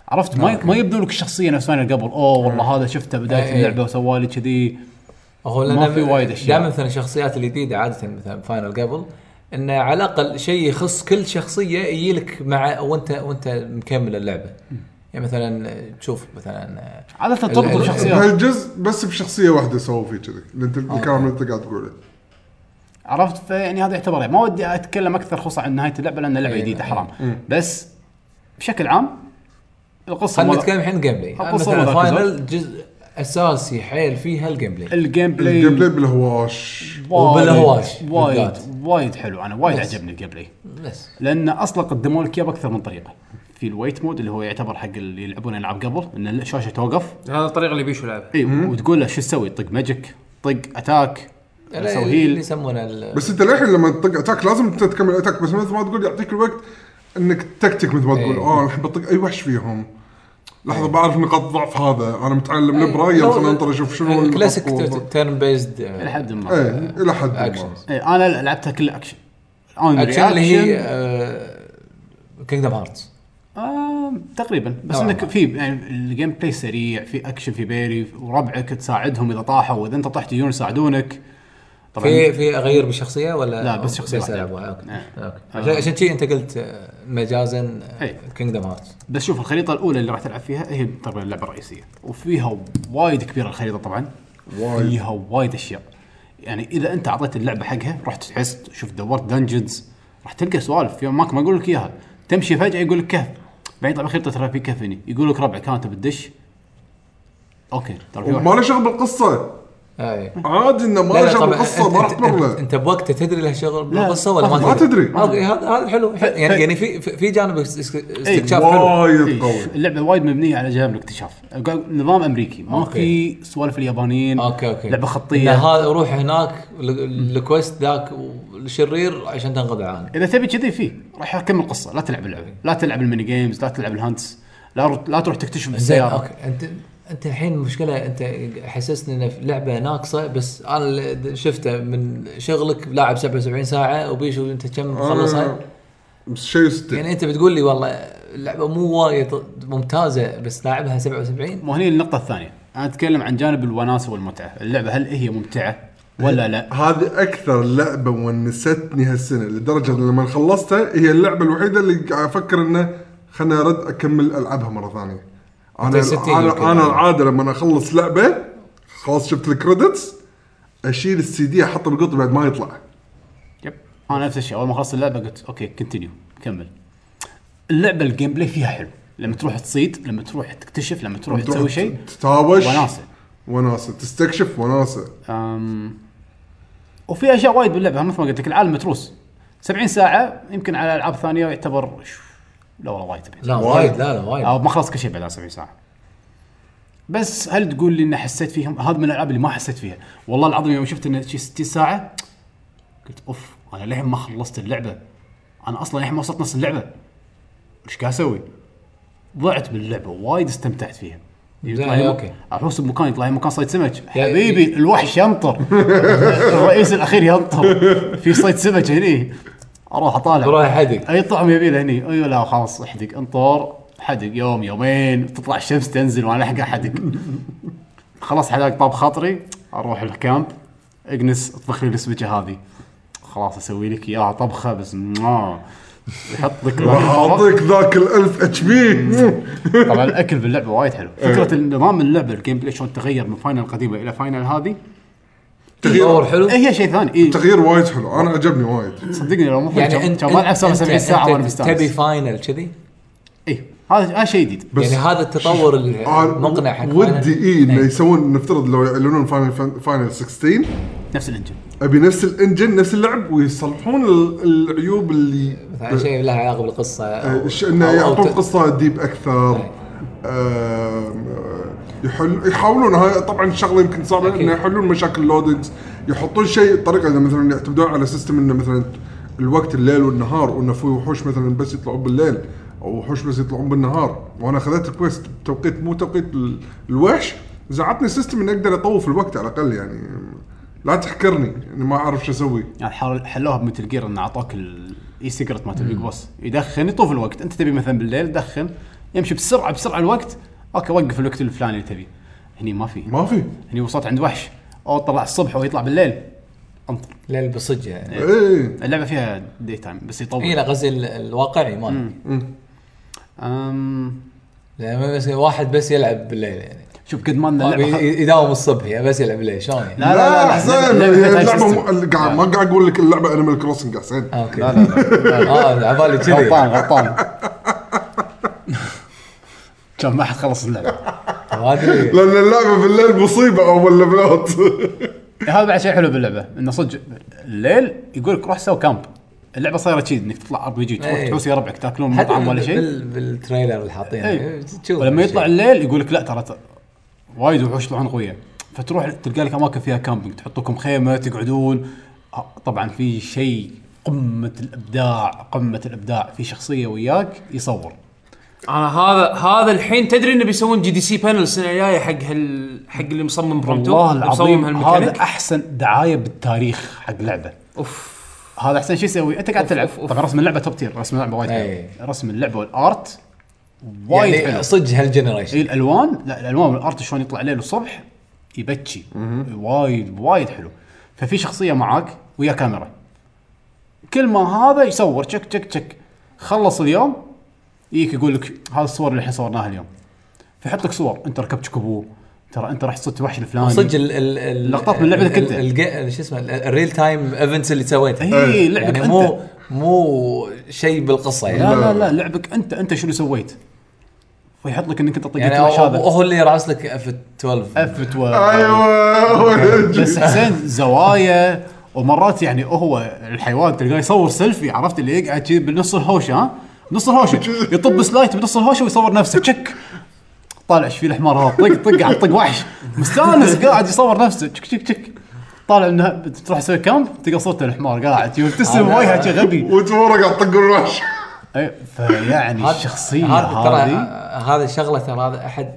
عرفت ما ما يبدو لك الشخصيه نفس ما أنا قبل اوه والله هذا شفته بدايه إيه. اللعبه وسوالي كذي هو ما في وايد أشياء. دائما مثلا الشخصيات الجديده عاده مثلا فاينل قبل انه على الاقل شيء يخص كل شخصيه يجي لك مع وانت وانت مكمل اللعبه يعني مثلا تشوف مثلا عاده ال- تربط ال- شخصيات بهالجزء بس بشخصيه واحده سووا فيه كذي اللي انت الكلام اللي انت قاعد تقوله عرفت فيعني هذا يعتبر ما ودي اتكلم اكثر خصوصا عن نهايه اللعبه لان اللعبه إيه. جديده حرام بس بشكل عام القصه خلينا مرة- نتكلم الحين جيم بلاي أقول صورة مثلا فاينل جزء اساسي حيل فيها الجيم بلاي الجيم بلاي الجيم بلاي بالهواش وايد- وبالهواش وايد بالذات. وايد حلو انا وايد بس. عجبني الجيم بلاي بس لان اصلا قدموا لك اياه باكثر من طريقه في الويت مود اللي هو يعتبر حق اللي يلعبون العاب قبل ان الشاشه توقف هذا الطريقه اللي بيشو يلعبها اي وتقول له شو تسوي تطق ماجيك طق اتاك سو اللي هيل يسمونه ال- بس انت للحين لما تطق اتاك لازم انت تكمل اتاك بس مثل ما تقول يعطيك الوقت انك تكتك مثل ما تقول ايه. اه الحين بطق اي وحش فيهم لحظه إيه. بعرف نقاط ضعف هذا انا متعلم البرايه لو- يلا خلينا ننطر اشوف شنو النقاط الكلاسيك قوة. تيرن بيزد الى حد ما ايه إيه. الى حد ما Actions. إيه، انا لعبتها كل اكشن اون اكشن اللي هي آه، كينجدم هارتس آه تقريبا بس نوعاً انك ما. في يعني الجيم بلاي سريع في اكشن في بيري وربعك تساعدهم اذا طاحوا واذا انت طحت يجون يساعدونك طبعا في في اغير بالشخصيه ولا لا، بس شخصية بس واحدة. العب واحد. اوكي نعم. اوكي عشان- عشان كذي انت قلت آه، مجازا اي. كينجدم هارتس بس شوف الخريطه الاولى اللي راح تلعب فيها هي طبعا اللعبه الرئيسيه وفيها وايد كبيره الخريطه طبعا وايد. فيها وايد اشياء يعني اذا انت اعطيت اللعبه حقها رحت تحس شوف دورت دنجنز راح تلقى سوالف في ماك ما اقول لك اياها تمشي فجاه يقول لك كهف بعدين طبعا خريطه ترى في كهف هني يقول لك ربع كانت بتدش اوكي ترى في وما واحد له شغل بالقصه اي عادي انه ما آه، له لا لا شغل طبعا بالقصه انت, ما راح انت, تمر انت, له انت بوقت تدري له شغل لا، بالقصه ولا ما ما تدري. اوكي، هذا هذا حلو حلو. يعني يعني في في- في جانب است- استكشاف حلو وايد قوي إيه، اللعبه وايد مبنيه على جانب الاكتشاف نظام امريكي ما أوكي. في سوالف اليابانيين اوكي اوكي لعبه إن خطيه هذا روح هناك ال- الكويست ذاك الشرير عشان تنقذ العالم اذا تبي كذي في راح اكمل القصه لا تلعب اللعبه لا تلعب الميني جيمز لا تلعب الهانتس لا لا تروح تكتشف زين بالسياره اوكي انت انت الحين المشكله انت حسسني ان في لعبه ناقصه بس انا اللي شفته من شغلك لاعب 77 ساعه وبيشو انت كم آه. مخلصها أنا- شيء ستة يعني انت بتقول لي والله اللعبه مو وايد ممتازه بس لاعبها 77 مو هني النقطه الثانيه انا اتكلم عن جانب الوناسه والمتعه اللعبه هل هي ممتعه ولا لا هذه اكثر لعبه ونستني هالسنه لدرجه ان لما خلصتها هي اللعبه الوحيده اللي قاعد افكر انه خلنا ارد اكمل العبها مره ثانيه انا 60 يمكن. انا, أنا العاده لما اخلص لعبه خلاص شفت الكريدتس اشيل السي دي احطه بقطي بعد ما يطلع يب انا نفس الشيء اول ما خلصت اللعبه قلت اوكي كنتينيو كمل اللعبه الجيم بلاي فيها حلو لما تروح تصيد لما تروح تكتشف لما تروح تروح تسوي شيء تتهاوش وناسه وناسه تستكشف وناسه أم، وفي اشياء وايد باللعبه مثل ما قلت لك العالم متروس 70 ساعه يمكن على العاب ثانيه يعتبر شو- لا والله وايد 70 لا وايد لا لا وايد او ما خلص كل شيء بعد عن 70 ساعه بس هل تقول لي ان حسيت فيهم هذا من الالعاب اللي ما حسيت فيها والله العظيم يوم شفت انه شي 60 ساعه قلت اوف انا للحين ما خلصت اللعبه انا اصلا للحين ما وصلت نص اللعبه ايش قاعد اسوي؟ ضعت باللعبه وايد استمتعت فيها يطلع لي- أوكي. احوس بمكان يطلع لي مكان صيد سمك يا- حبيبي الوحش ينطر الرئيس الاخير ينطر في صيد سمك هني اروح اطالع وراح حدك اي طعم يبي له هني ايوه لا خلاص احدق انطر حدق يوم يومين تطلع الشمس تنزل وانا الحق احدق خلاص حداق طاب خاطري اروح الكامب اجنس اطبخ لي السمكه هذه خلاص اسوي لك اياها طبخه بس ما يحط لك راح اعطيك ذاك الالف اتش بي طبعا الاكل باللعبه وايد حلو إيه. فكره نظام اللعبه الجيم بلاي شلون تغير من فاينل القديمه الى فاينل هذه إيه، تطور حلو إيه. هي شيء ثاني اي تغيير وايد حلو انا عجبني وايد صدقني لو مو يعني انت ما العب 77 أنت- ساعه أنت وانا مستانس تبي فاينل كذي اي هذا هذا شيء جديد بس- يعني هذا التطور المقنع يعني حق آه، ودي إيه فاينل. إيه. اي انه يسوون نفترض لو يعلنون فاينل فاينل 16 نفس الانجن ابي نفس الانجن نفس اللعب ويصلحون ال- العيوب اللي مثلا شيء له علاقه بالقصه أو- آه، ش- انه أو- أو يعطون ت- قصه ديب اكثر آم، آه، يحل يحاولون هاي طبعا شغله يمكن صعبه أكيد. انه يحلون مشاكل اللودنجز يحطون شيء طريقه إنه مثلا يعتمدون على سيستم انه مثلا الوقت الليل والنهار وانه في وحوش مثلا بس يطلعون بالليل او وحوش بس يطلعون بالنهار وانا اخذت الكويست بتوقيت مو توقيت ال- الوحش زعتني سيستم اني اقدر اطوف الوقت على الاقل يعني لا تحكرني اني ما اعرف شو اسوي يعني حاول حلوها بمثل جير ان اعطاك الاي سيجرت مالت البيج بوس يدخن يطوف الوقت انت تبي مثلا بالليل دخن يمشي بسرعه بسرعه الوقت اوكي وقف الوقت الفلاني اللي تبيه هني ما في ما في هني وصلت عند وحش او طلع الصبح او يطلع بالليل انطر ليل بصجه يعني ايه اللعبه فيها دي تايم بس يطول اي إيه، لا قصدي ال- الواقعي ما أم... لما بس واحد بس يلعب بالليل يعني شوف قد ما ان طيب اللعبه خ- ي- يداوم الصبح يعني بس يلعب بالليل شلون يعني؟ لا لا لا حسين اللعبة- اللعبة فيها اللعبه system. مو- اللي قاعد ما قاعد اقول لك اللعبه انيمال كروسنج حسين آه، اوكي لا لا لا اه عبالي كذي غلطان غلطان كان ما حد خلص اللعبه ما ادري لان اللعبه بالليل مصيبه اول لبلات هذا بعد شيء حلو باللعبه انه صدق الليل يقول لك روح سوي كامب اللعبه صايره كذي انك تطلع ار بي جي تروح إيه. تحوس يا ربعك تاكلون حتى مطعم ولا شيء بال- بالتريلر اللي حاطينه إيه. تشوف ولما يطلع هالشيء. يعني الليل يقول لك لا ترى ت- وايد وحوش يطلعون قويه فتروح تلقى لك اماكن فيها كامبينج تحطوكم خيمه تقعدون آه، طبعا في شيء قمه الابداع قمه الابداع في شخصيه وياك يصور انا هذا هذا الحين تدري انه بيسوون جي دي سي بانل السنه الجايه حق هال حق اللي مصمم برمتو والله اللي مصمم العظيم هالميكانيك هذا احسن دعايه بالتاريخ حق لعبه اوف هذا احسن شيء يسوي انت قاعد تلعب طبعا رسم اللعبه توب تير رسم اللعبه وايد حلو أي. رسم اللعبه والارت وايد حلو إيه. إيه. يعني صدق هالجنريشن اي الالوان لا الالوان والارت شلون يطلع ليل الصبح يبكي وايد وايد حلو ففي شخصيه معاك ويا كاميرا كل ما هذا يصور تشك تشك تشك خلص اليوم يجيك يقول لك هذا الصور اللي احنا صورناها اليوم فيحط لك صور انت ركبت شكبو ترى انت رحت صدت وحش الفلاني صدق ال- ال- ال- لقطات من لعبتك ال- أنت. إيه، ال- ال- شو اسمه ال- الريل تايم ايفنتس اللي سويتها اي لعبك يعني انت مو مو شيء بالقصه يعني لا لا لا لعبك انت انت شنو سويت ويحط لك انك انت طقيت يعني يعني وحش هو هذا هو اللي يراس لك اف 12 اف 12 ايوه هو آه. يجي. بس حسين زوايا ومرات يعني هو الحيوان تلقاه يصور سيلفي عرفت اللي يقعد كذي بنص الهوشه ها نص الهوشه يطب سلايت بنص الهوشه ويصور نفسه تشك طالع ايش في الحمار هذا طق طق على طق وحش مستانس قاعد يصور نفسه تشك تشك تشك طالع انها تروح تسوي كامب تلقى صورته الحمار قاعد يبتسم وجهه كذي غبي وانت ورا قاعد تطق الوحش أي، فيعني الشخصيه ترى هذه هذا الشغله ترى هذا احد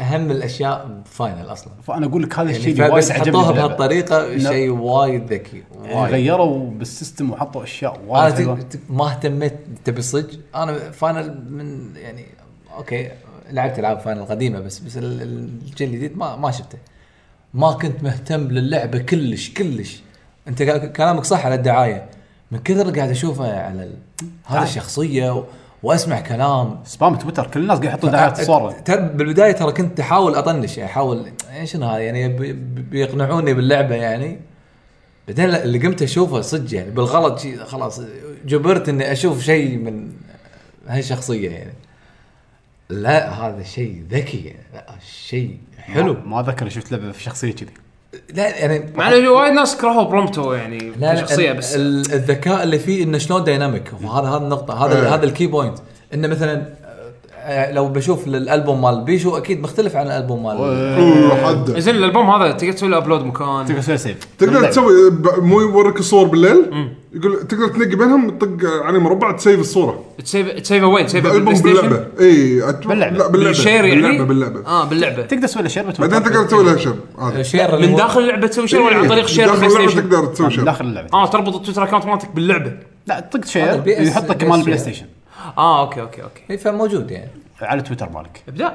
اهم الاشياء بفاينل اصلا فانا اقول لك هذا الشيء اللي يعني وايد بس عجبني حطوها باللعبة. بهالطريقه لا. شيء وايد ذكي يعني وايد غيروا بالسيستم وحطوا اشياء انا وايد آه، تق- حلوه تق- ما اهتميت تبي صدق انا فاينل من يعني اوكي لعبت العاب فاينل قديمه بس بس ال- ال- الجيل الجديد ما ما شفته ما كنت مهتم للعبه كلش كلش انت قا- كلامك صح على الدعايه من كثر اللي قاعد اشوفه على ال... آه. هذا الشخصيه و... واسمع كلام سبام تويتر كل الناس قاعد يحطون دعايات صوره ترى بالبدايه ترى كنت احاول اطنش يعني احاول يعني شنو هذا يعني بي- بيقنعوني باللعبه يعني بعدين اللي قمت اشوفه صدق يعني بالغلط شي خلاص جبرت اني اشوف شيء من هالشخصيه يعني لا هذا شيء ذكي يعني لا شيء حلو ما- ما اذكر شفت لعبه في شخصيه كذي لا يعني مع انه في وايد ناس كرهوا برومتو يعني لا لا شخصيه ال- بس ال- الذكاء اللي فيه انه شلون دايناميك وهذا هذا النقطه هذا إيه. هذا الكي بوينت انه مثلا آه، لو بشوف الالبوم مال بيشو اكيد مختلف عن الالبوم مال أوه، آه. حده زين الالبوم هذا تقدر تسوي له ابلود مكان تقدر تسوي سيف تقدر باللعبة. تسوي ب- مو يوريك الصور بالليل يقول تقدر تنقي بينهم تطق عليه مربع تسيف الصوره تسيف تسيف وين؟ تسيف البوم بالبلاي ستيشن؟ باللعبه اي أت- باللعبة. لا باللعبه بالشير يعني؟ باللعبه آه. باللعبه اه باللعبه تقدر تسوي له شير بتويتر. بعدين تقدر تسوي لها شير هذا شير من داخل اللعبه تسوي شير ولا عن طريق شير داخل البلاي اللعبة ستيشن؟ تقدر تسوي من شير داخل اللعبه اه تربط التويتر اكونت مالتك باللعبه لا تطق هذا شير البي إس- يحط لك بي إس مال بلاي شير. ستيشن اه اوكي اوكي اوكي اي فموجود يعني على تويتر مالك ابداع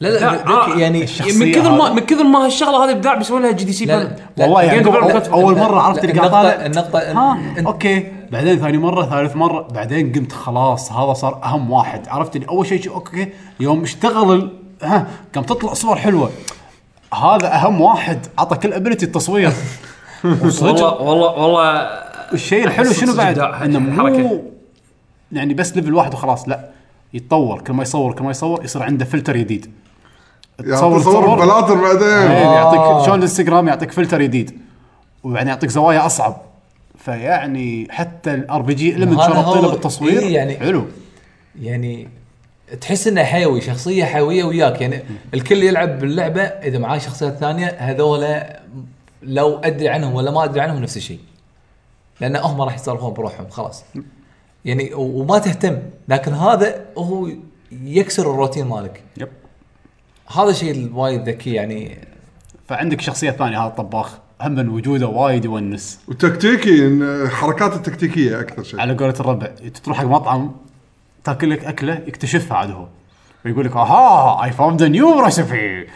لا لا, لا، آه. ذكي يعني الشخص- يعني من كثر ما هذا. من كثر ما هالشغله هذه ابداع بيسوون لها جي دي سي لا، بانل. لا، والله يعني Game Developer أول- Cut. اول مره عرفت لا، اللي قاعد النقطة- طالع النقطة إن- ها إن- اوكي بعدين ثاني مره ثالث مره بعدين قمت خلاص هذا صار اهم واحد عرفت اللي اول شيء شي- اوكي يوم اشتغل ال- ها قام تطلع صور حلوه هذا اهم واحد عطى كل ابيلتي التصوير وصدق والله والله والله الشيء الحلو صدق- شنو صدق بعد؟ إبداع انه حركة. مو يعني بس ليفل واحد وخلاص لا يتطور كل ما يصور كل ما يصور يصير عنده فلتر جديد يعني تصور بلاطر بعدين آه. يعني يعطيك شلون الانستغرام يعطيك فلتر جديد ويعني يعطيك زوايا اصعب فيعني حتى الار بي جي لما هذا شرطينه هو- بالتصوير إيه يعني- حلو يعني تحس انه حيوي شخصيه حيويه وياك يعني الكل يلعب باللعبه اذا معاه شخصيات ثانيه هذولا لو ادري عنهم ولا ما ادري عنهم نفس الشيء لان هم راح يتصرفون بروحهم خلاص يعني و- وما تهتم لكن هذا هو يكسر الروتين مالك يب هذا الشيء الوايد ذكي يعني فعندك شخصيه ثانيه هذا الطباخ هم من وجوده وايد يونس وتكتيكي إن حركات التكتيكيه اكثر آه، شيء على قولة الربع تروح حق مطعم تاكل لك اكله يكتشفها عاد هو ويقول لك اها اي فاوند نيو ريسبي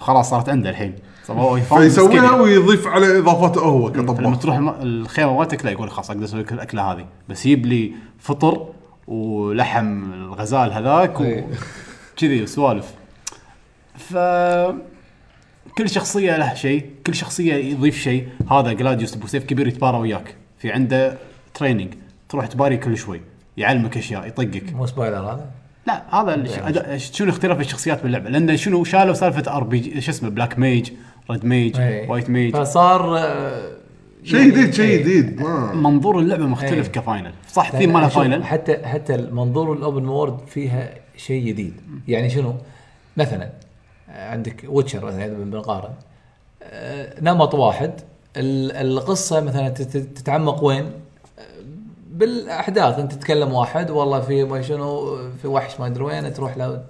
خلاص صارت عنده الحين طب هو يفهم فيسويها مسكين. ويضيف عليه اضافاته هو فلما كطباخ تروح الم- الخيمه مالتك لا يقول خلاص اقدر اسوي لك الاكله هذه بس يجيب لي فطر ولحم الغزال هذاك وكذي وسوالف ف كل شخصيه له شيء كل شخصيه يضيف شيء هذا جلاديوس ابو سيف كبير يتبارى وياك في عنده تريننج تروح تباري كل شوي يعلمك اشياء يطقك مو سبويلر هذا لا هذا الش- أداء- شنو اختلاف الشخصيات باللعبه لان شنو شالوا سالفه ار بي جي شو اسمه بلاك ميج ريد ميج إيه. وايت ميج فصار آه، شيء يعني- جديد شيء إيه. جديد ما منظور اللعبه مختلف إيه. كفاينل صح لأن الثيم مالها شوف، فاينل حتى حتى المنظور الاوبن وورد فيها شيء جديد يعني شنو مثلا آه، عندك ويتشر مثلا إذا بنقارن آه، نمط واحد ال- القصه مثلا تت- تتعمق وين آه، بالاحداث انت تتكلم واحد والله في ما شنو في وحش ما ادري وين تروح له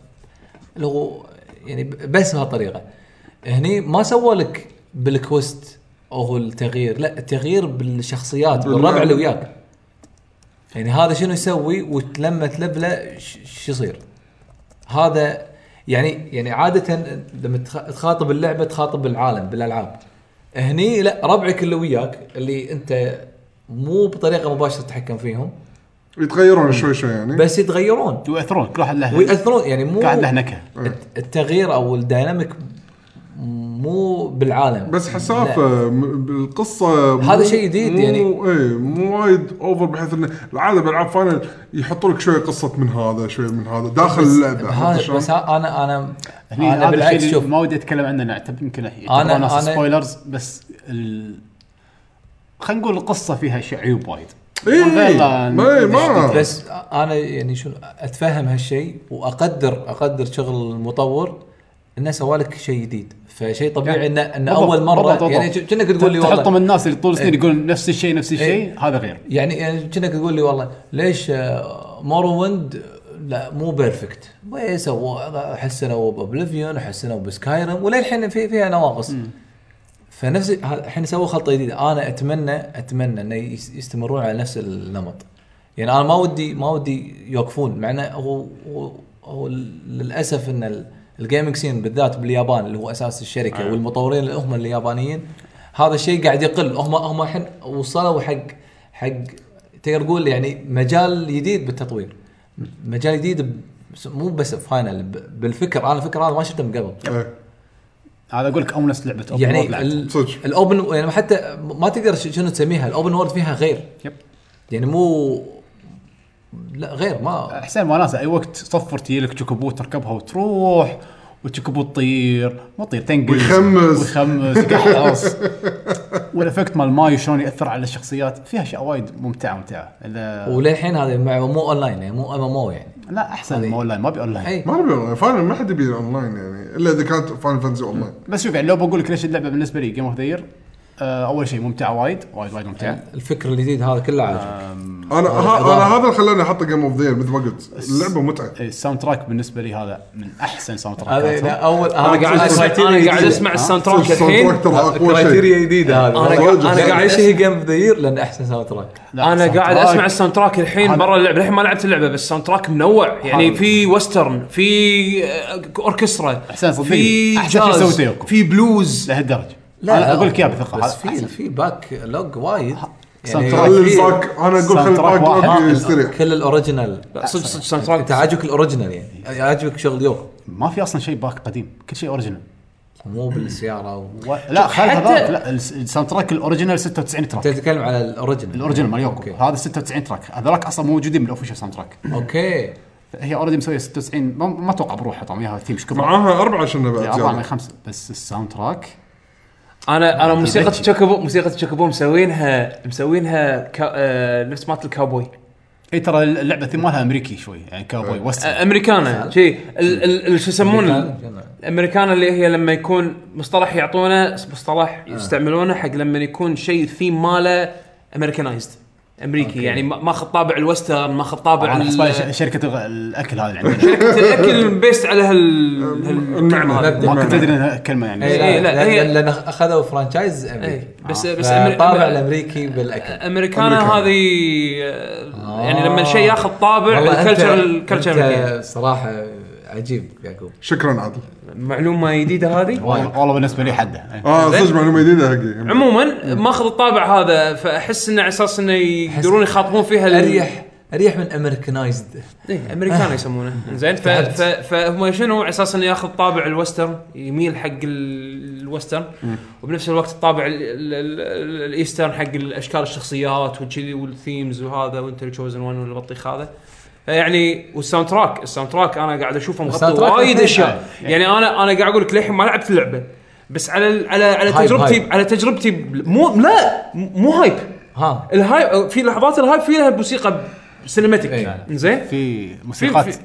اللي هو يعني ب- بس بهالطريقه هني ما سووا لك بالكوست او التغيير لا التغيير بالشخصيات بالله. بالربع اللي وياك يعني هذا شنو يسوي ولما تلفله ش- شو يصير هذا يعني يعني عاده لما تخ- تخاطب اللعبه تخاطب العالم بالالعاب هني لا ربعك اللي وياك اللي انت مو بطريقه مباشره تتحكم فيهم يتغيرون شوي شوي يعني بس يتغيرون ويأثرون كل واحد له ويأثرون يعني مو كل واحد له نكهه الت- التغيير او الديناميك مو بالعالم بس لا. حسافه م- بالقصه مو- هذا شيء جديد مو- يعني. ايه مو وايد اوفر بحيث انه العاده بالعاب فاينل يحطوا لك شويه قصه من هذا شويه من هذا داخل اللعبه عرفت هذا شلون؟ بس ها- انا انا هني انا هذا الشيء بالعكس اللي شوف ما ودي اتكلم عنه أنا أعتبر يمكن انا انا أنا- سبويلرز بس ال... خلينا نقول القصه فيها شيء عيوب وايد إيه. ايه والله ما ما بس انا يعني شنو اتفهم هالشيء واقدر اقدر شغل المطور انه سوى لك شيء جديد فشيء طبيعي يعني انه انه بالضبط، اول مره بالضبط، بالضبط. يعني كأنك تقول لي تحطهم والله الناس اللي طول سنين إيه. يقولون نفس الشيء نفس الشيء هذا غير يعني يعني كأنك تقول لي والله ليش موروند لا مو بيرفكت سووا حسنوا بابليفيون حسنوا بسكايرم وللحين في فيها نواقص فنفس ه- الحين سووا خلطه جديده انا اتمنى اتمنى انه يس- يستمرون على نفس النمط يعني انا ما ودي ما ودي يوقفون مع انه هو هو- هو للاسف ان ال- الجيمنج سين بالذات باليابان اللي هو اساس الشركه أيوه. والمطورين اللي هم اليابانيين هذا الشيء قاعد يقل هم هم الحين وصلوا حق حق تقدر تقول يعني مجال جديد بالتطوير مجال جديد ب- مو بس فاينل ب- بالفكر انا الفكر هذا ما شفته من قبل إيه. هذا اقول لك اونس لعبه open world يعني لعبتها. ال- صدق. الاوبن يعني حتى ما تقدر ش- شنو تسميها الاوبن وورد فيها غير يب. يعني مو لا غير ما حسين وناسه اي وقت تصفر تجي لك تشوكوبو تركبها وتروح وتشوكوبو تطير مو تطير تنقل ويخمس. ويخمس يقحص والافكت مال ماي شلون ياثر على الشخصيات فيها اشياء وايد ممتعه ممتعه إذا- وللحين هذا مع مو اونلاين يعني مو ام ام او يعني لا احسن ما اونلاين ما ابي اونلاين اي ما نبي اونلاين فاينل ما حد يبي اونلاين يعني الا اذا كانت فاينل فانتسي اونلاين بس شوف يعني لو بقول لك ليش اللعبه بالنسبه لي جيم اوف ذا اول آه، شيء ممتعه وايد وايد وايد ممتعه الفكر الجديد هذا كله آه. عاجبك انا ها إضافة. انا هذا اللي خلاني احطه جيم اوف ذا مثل ما قلت اللعبه متعه إيه، الساوند تراك بالنسبه لي هذا من احسن ساوند هذا يعني لا، تراكات اول انا قاعد اسمع انا قاعد اسمع الساوند تراك الحين الساوند تراك ترى اقوى شيء كرايتيريا جديده هذا أنا قاعد- أنا قاعد اي شيء جيم اوف ذا يير لان احسن ساوند تراك لا، انا الساوند قاعد تراك اسمع الساوند تراك الحين هذا- برا اللعبه الحين ما لعبت اللعبه بس الساوند تراك منوع يعني هذا. في ويسترن في آه، اوركسترا أحسن صدقني. في أحسن شيء جاز، سوي تيوكو. في بلوز لهالدرجه انا اقول لك اياها بثقه بس هذا في أحسن. في باك لوج وايد ساوند تراك. خلي في- الباك انا اقول خلي الساوند تراك الباك واحد. لا ال- يستريح كل الاوريجنال لا صدق صدق ساوند تراك انت عاجبك الاوريجنال يعني عاجبك شغل يوم ما في اصلا شيء باك قديم كل شيء اوريجنال مو بالسياره و... و... لا خلها حتى- ذاك لا الس- الساوند تراك الاوريجنال 96 انت تراك تتكلم على الاوريجنال الاوريجنال مال يوكو اوكي هذا 96 تراك هذولاك اصلا مو موجودين بالاوفيشال ساوند تراك اوكي هي اوريدي مسويه 96 ما, ما اتوقع بروحها طبعا ياها ثيم شكرا معاها اربعه شنو بعد اربعه من زيادة. خمسه بس الساوند تراك انا انا موسيقى تشوكوبو موسيقى تشوكوبو مسوينها مسوينها كا- آه، نفس مالت الكاوبوي اي ترى اللعبه الثيم مالها امريكي شوي يعني كاوبوي وسترن آه، امريكانا شي ال- ال- ال- شو يسمونه أمريكانا. الامريكانا اللي هي لما يكون مصطلح يعطونه مصطلح يستعملونه حق لما يكون شيء الثيم ماله امريكانايزد امريكي يعني ما- ماخذ طابع الوسترن ماخذ طابع على ال- حسب ش- شركه الغ- الاكل هذه عندنا الاكل بيست على هال المعنى. هالمعنى هذا. ما المعنى. كنت ادري إنها كلمه يعني إيه. إيه، لا، لأن- هي- لان اخذوا فرانشايز امريكي إيه، بس بس بس أه، أمر- آه، طابع أمر- الامريكي بالاكل امريكانا هذه آه، يعني لما شيء ياخذ طابع والله أنت- الكلتشر الكلتشر الأمريكية. أنت صراحه عجيب يعقوب شكرا عادل معلومه جديده هذه والله والله بالنسبه لي حده إيه. اه صدق معلومه جديده حقي عموما ماخذ الطابع هذا فاحس انه على اساس انه يقدرون يخاطبون فيها ال- اريح اريح من امريكانايزد إيه، امريكانا يسمونه زين ف- تعبت. ف- فهم شنو على اساس انه ياخذ طابع الوسترن يميل حق ال- الوسترن إيه. وبنفس الوقت الطابع ال- ال- ال- الايسترن حق الاشكال الشخصيات وكذي والثيمز وهذا وانت تشوزن وان والبطيخ هذا يعني والساوند تراك الساوند تراك انا قاعد اشوفه مغطي الساوند تراك إيه. وايد الاثنين. اشياء يعني انا انا قاعد اقول لك للحين ما لعبت اللعبه بس على ال- على على هايب، تجربتي هايب. على تجربتي ب- مو لا مو هايب ها الهايب في لحظات الهايب فيها موسيقى سينماتيك إيه. زين في في موسيقات في-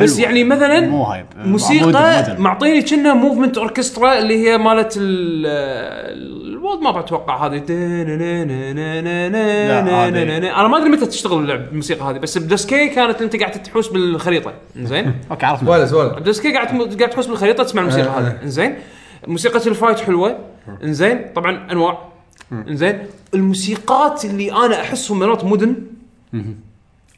بس حلوة. يعني مثلا مو هايب موسيقى مودرن- مودرن. معطيني كنا موفمنت اوركسترا اللي هي مالت ال- الوولد ما بتوقع هذه هذه- انا ما ادري متى تشتغل اللعب الموسيقى هذه بس بدسكي كانت انت قاعد تحوس بالخريطه زين اوكي عرفنا سوالف سوالف بدسكي قاعد تم- قاعد تحوس بالخريطه تسمع الموسيقى آه، هذه زين موسيقى الفايت حلوه زين طبعا انواع زين الموسيقات اللي انا احسهم مرات مدن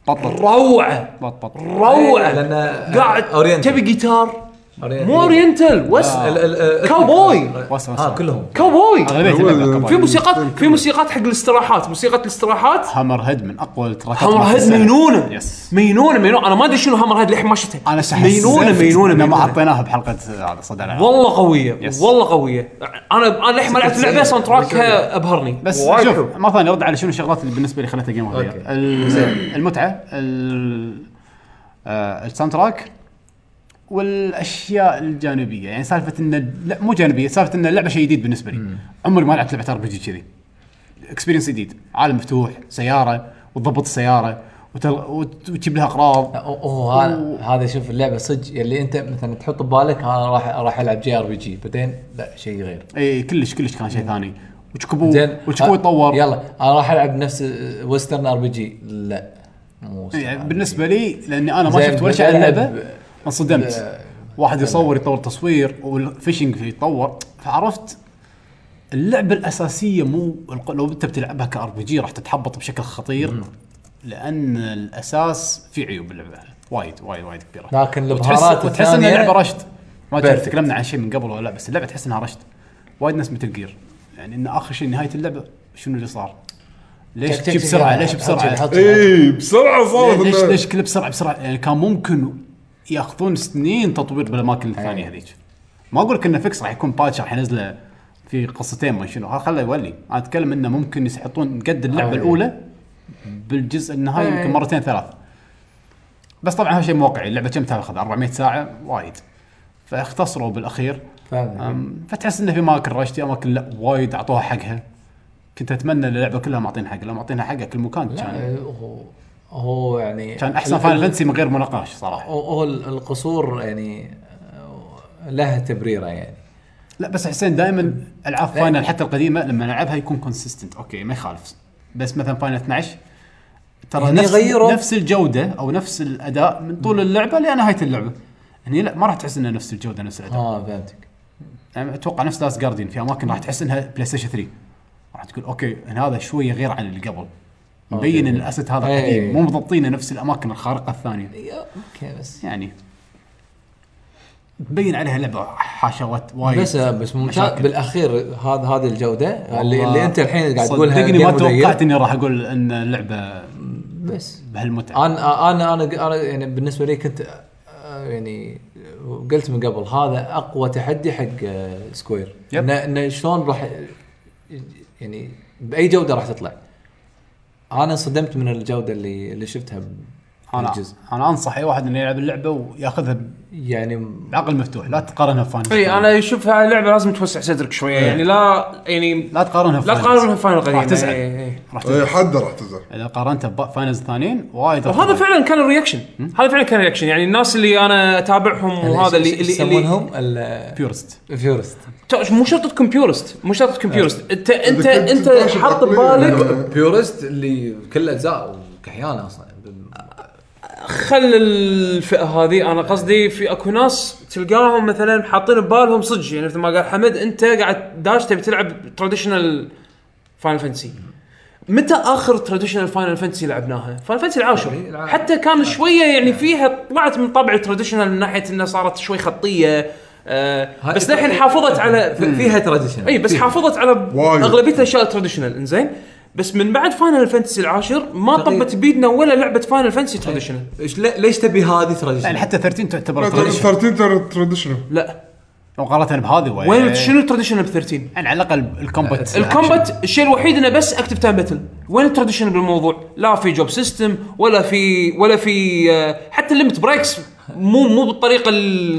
بطل روعه بط بط روعه إيه، لأن- قاعد Oriental. تبي جيتار مو هي- اورينتال ويست آه. ال- ال- ال- كاوبوي واسف اه واسف كلهم كاوبوي اغلبيه هو اللعبة ال- في كبار. موسيقات في موسيقات حق الاستراحات موسيقى الاستراحات هامر هيد من اقوى التراكات هامر مالت هيد السنة. مينونه يس مينونه مينونه انا ما ادري شنو هامر هيد للحين ما شفتها انا شحت مينونه مينونه ما مينونه حطيناها بحلقه هذا صدى الألعاب. والله قويه يس. والله قويه انا انا للحين ما لعبت اللعبه ساوند تراكها ابهرني بس وايد شوف حلو. مره ثانيه ارد على شنو الشغلات اللي بالنسبه لي خلتها جيم اوف أوكي. ذا المتعه ال- آه، الساوند تراك والاشياء الجانبيه يعني سالفه ان لا مو جانبيه سالفه ان اللعبه شيء جديد بالنسبه لي عمري ما لعبت لعبه ار بي جي كذي اكسبيرينس جديد عالم مفتوح سياره وتضبط السياره وتل... وت- وتجيب لها اغراض اوه أوه، هذا هذا شوف اللعبه صدق اللي انت مثلا تحط ببالك انا راح راح العب جي ار بي جي بعدين لا شيء غير اي إيه، كلش كلش كان شيء ثاني وتشكبو زين وتشكبو آه، يتطور يلا انا راح العب نفس ويسترن ار بي جي لا مو Western يعني RPG. بالنسبه لي لاني انا ما زين، شفت ولا شيء على بنلعب- اللعبه انصدمت واحد يصور يطور تصوير والفيشنج يتطور فعرفت اللعبه الاساسيه مو الق- لو انت بتلعبها كار بي جي راح تتحبط بشكل خطير لان الاساس في عيوب اللعبه وايد وايد وايد كبيره لكن وتحس البهارات وتحس ان الثانية- اللعبه رشد ما ادري Perfect. تكلمنا عن شيء من قبل ولا لا بس اللعبه تحس انها رشد وايد ناس مثل جير يعني ان اخر شيء نهايه اللعبه شنو اللي صار؟ ليش تك- تك- تجي تك- بسرعه؟ تك- ليش إيه. تك- بسرعه؟ تك- تحط- اي بسرعه صارت ليش إنه- ليش كله بسرعه بسرعه يعني كان ممكن ياخذون سنين تطوير بالاماكن الثانيه هذيك ما اقول لك انه فيكس راح يكون باتش راح ينزله في قصتين ما شنو ها خله يولي انا اتكلم انه ممكن يحطون قد اللعبه آه. الاولى بالجزء النهائي يمكن مرتين ثلاث بس طبعا هذا شيء مو واقعي اللعبه كم تاخذ 400 ساعه وايد فاختصروا بالاخير فاهم. أم، فتحس انه في اماكن رشتي اماكن لا وايد اعطوها حقها كنت اتمنى اللعبه كلها معطين حقها لو معطينها حقها كل مكان كان لا هو هو يعني كان احسن ال- فاينل ال- فانتسي من غير مناقش صراحه هو هو ال- القصور يعني آه، لها تبريره يعني لا بس حسين دائما العاب فاينل حتى القديمه لما نلعبها يكون كونسيستنت اوكي ما يخالف بس مثلا فاينل 12 ترى هني نفس غيروا. نفس الجوده او نفس الاداء من طول اللعبه لنهايه اللعبه هني يعني لا ما راح تحس انها نفس الجوده نفس الاداء اه فهمتك يعني اتوقع نفس لاست جارديان في اماكن راح تحس انها بلاي ستيشن 3 راح تقول اوكي إن هذا شويه غير عن اللي قبل مبين ان الاسد هذا إيه. قديم مو مضبطينه نفس الاماكن الخارقه الثانيه يا، اوكي بس يعني تبين عليها لعبه حاشوت وايد بس آه، بس ممتاز مشاكل. بالاخير هذا هذه الجوده اللي, والله اللي انت الحين قاعد تقولها صدقني ما game of the year. توقعت اني راح اقول ان اللعبه بس يعني. آه، بهالمتعه انا انا انا انا يعني بالنسبه لي كنت آه، يعني قلت من قبل هذا اقوى تحدي حق آه، سكوير يب. انه إن شلون راح يعني باي جوده راح تطلع انا انصدمت من الجوده اللي اللي شفتها انا بالجزء انا انصح اي واحد انه يلعب اللعبه وياخذها يعني بعقل مفتوح لا تقارنها بفاينل إيه، اي انا اشوف هاي اللعبه لازم توسع صدرك شويه يعني لا يعني لا تقارنها لا بفاينل. تقارنها بفاينل قديم راح تزعل. راح تزعل. إيه، حد راح تزعل اذا قارنتها بفاينلز ثانيين وايد راح وهذا تزعل. فعلا كان الرياكشن هذا فعلا كان الرياكشن يعني الناس اللي انا اتابعهم وهذا اللي اللي اللي يسمونهم ال- بيورست الفيورست تعرف مو شرط تكون بيورست مو شرط تكون بيورست انت انت إذا كنت انت تباشر حاط عقلية، ببالك بيورست اللي كل اجزاء وكحيانه اصلا خل الفئه هذه انا قصدي في اكو ناس تلقاهم مثلا حاطين ببالهم صدق يعني مثل ما قال حمد انت قاعد داش تبي تلعب تراديشنال فاينل فانتسي متى اخر تراديشنال فاينل فانتسي لعبناها؟ فاينل فانتسي العاشر العاشر. حتى كان شويه يعني فيها طلعت من طابع تراديشنال من ناحيه انها صارت شوي خطيه آه بس للحين حافظت على فيها تراديشن اي إيه، بس حافظت على ب- وايد. اغلبيه الاشياء التراديشنال انزين بس من بعد فاينل فانتسي العاشر ما تقريباً. طبت بيدنا ولا لعبه فاينل فانتسي تراديشنال ليش تبي هذه تراديشن يعني حتى 13 تعتبر تراديشن 13 تراديشنال لا مقارنه بهذه وايد وين شنو التراديشنال ب 13 يعني على الاقل الكومبات الكومبات الشيء الوحيد انه بس اكتف تايم باتل وين التراديشنال بالموضوع لا في جوب سيستم ولا في ولا في آه، حتى الليمت بريكس مو مو بالطريقه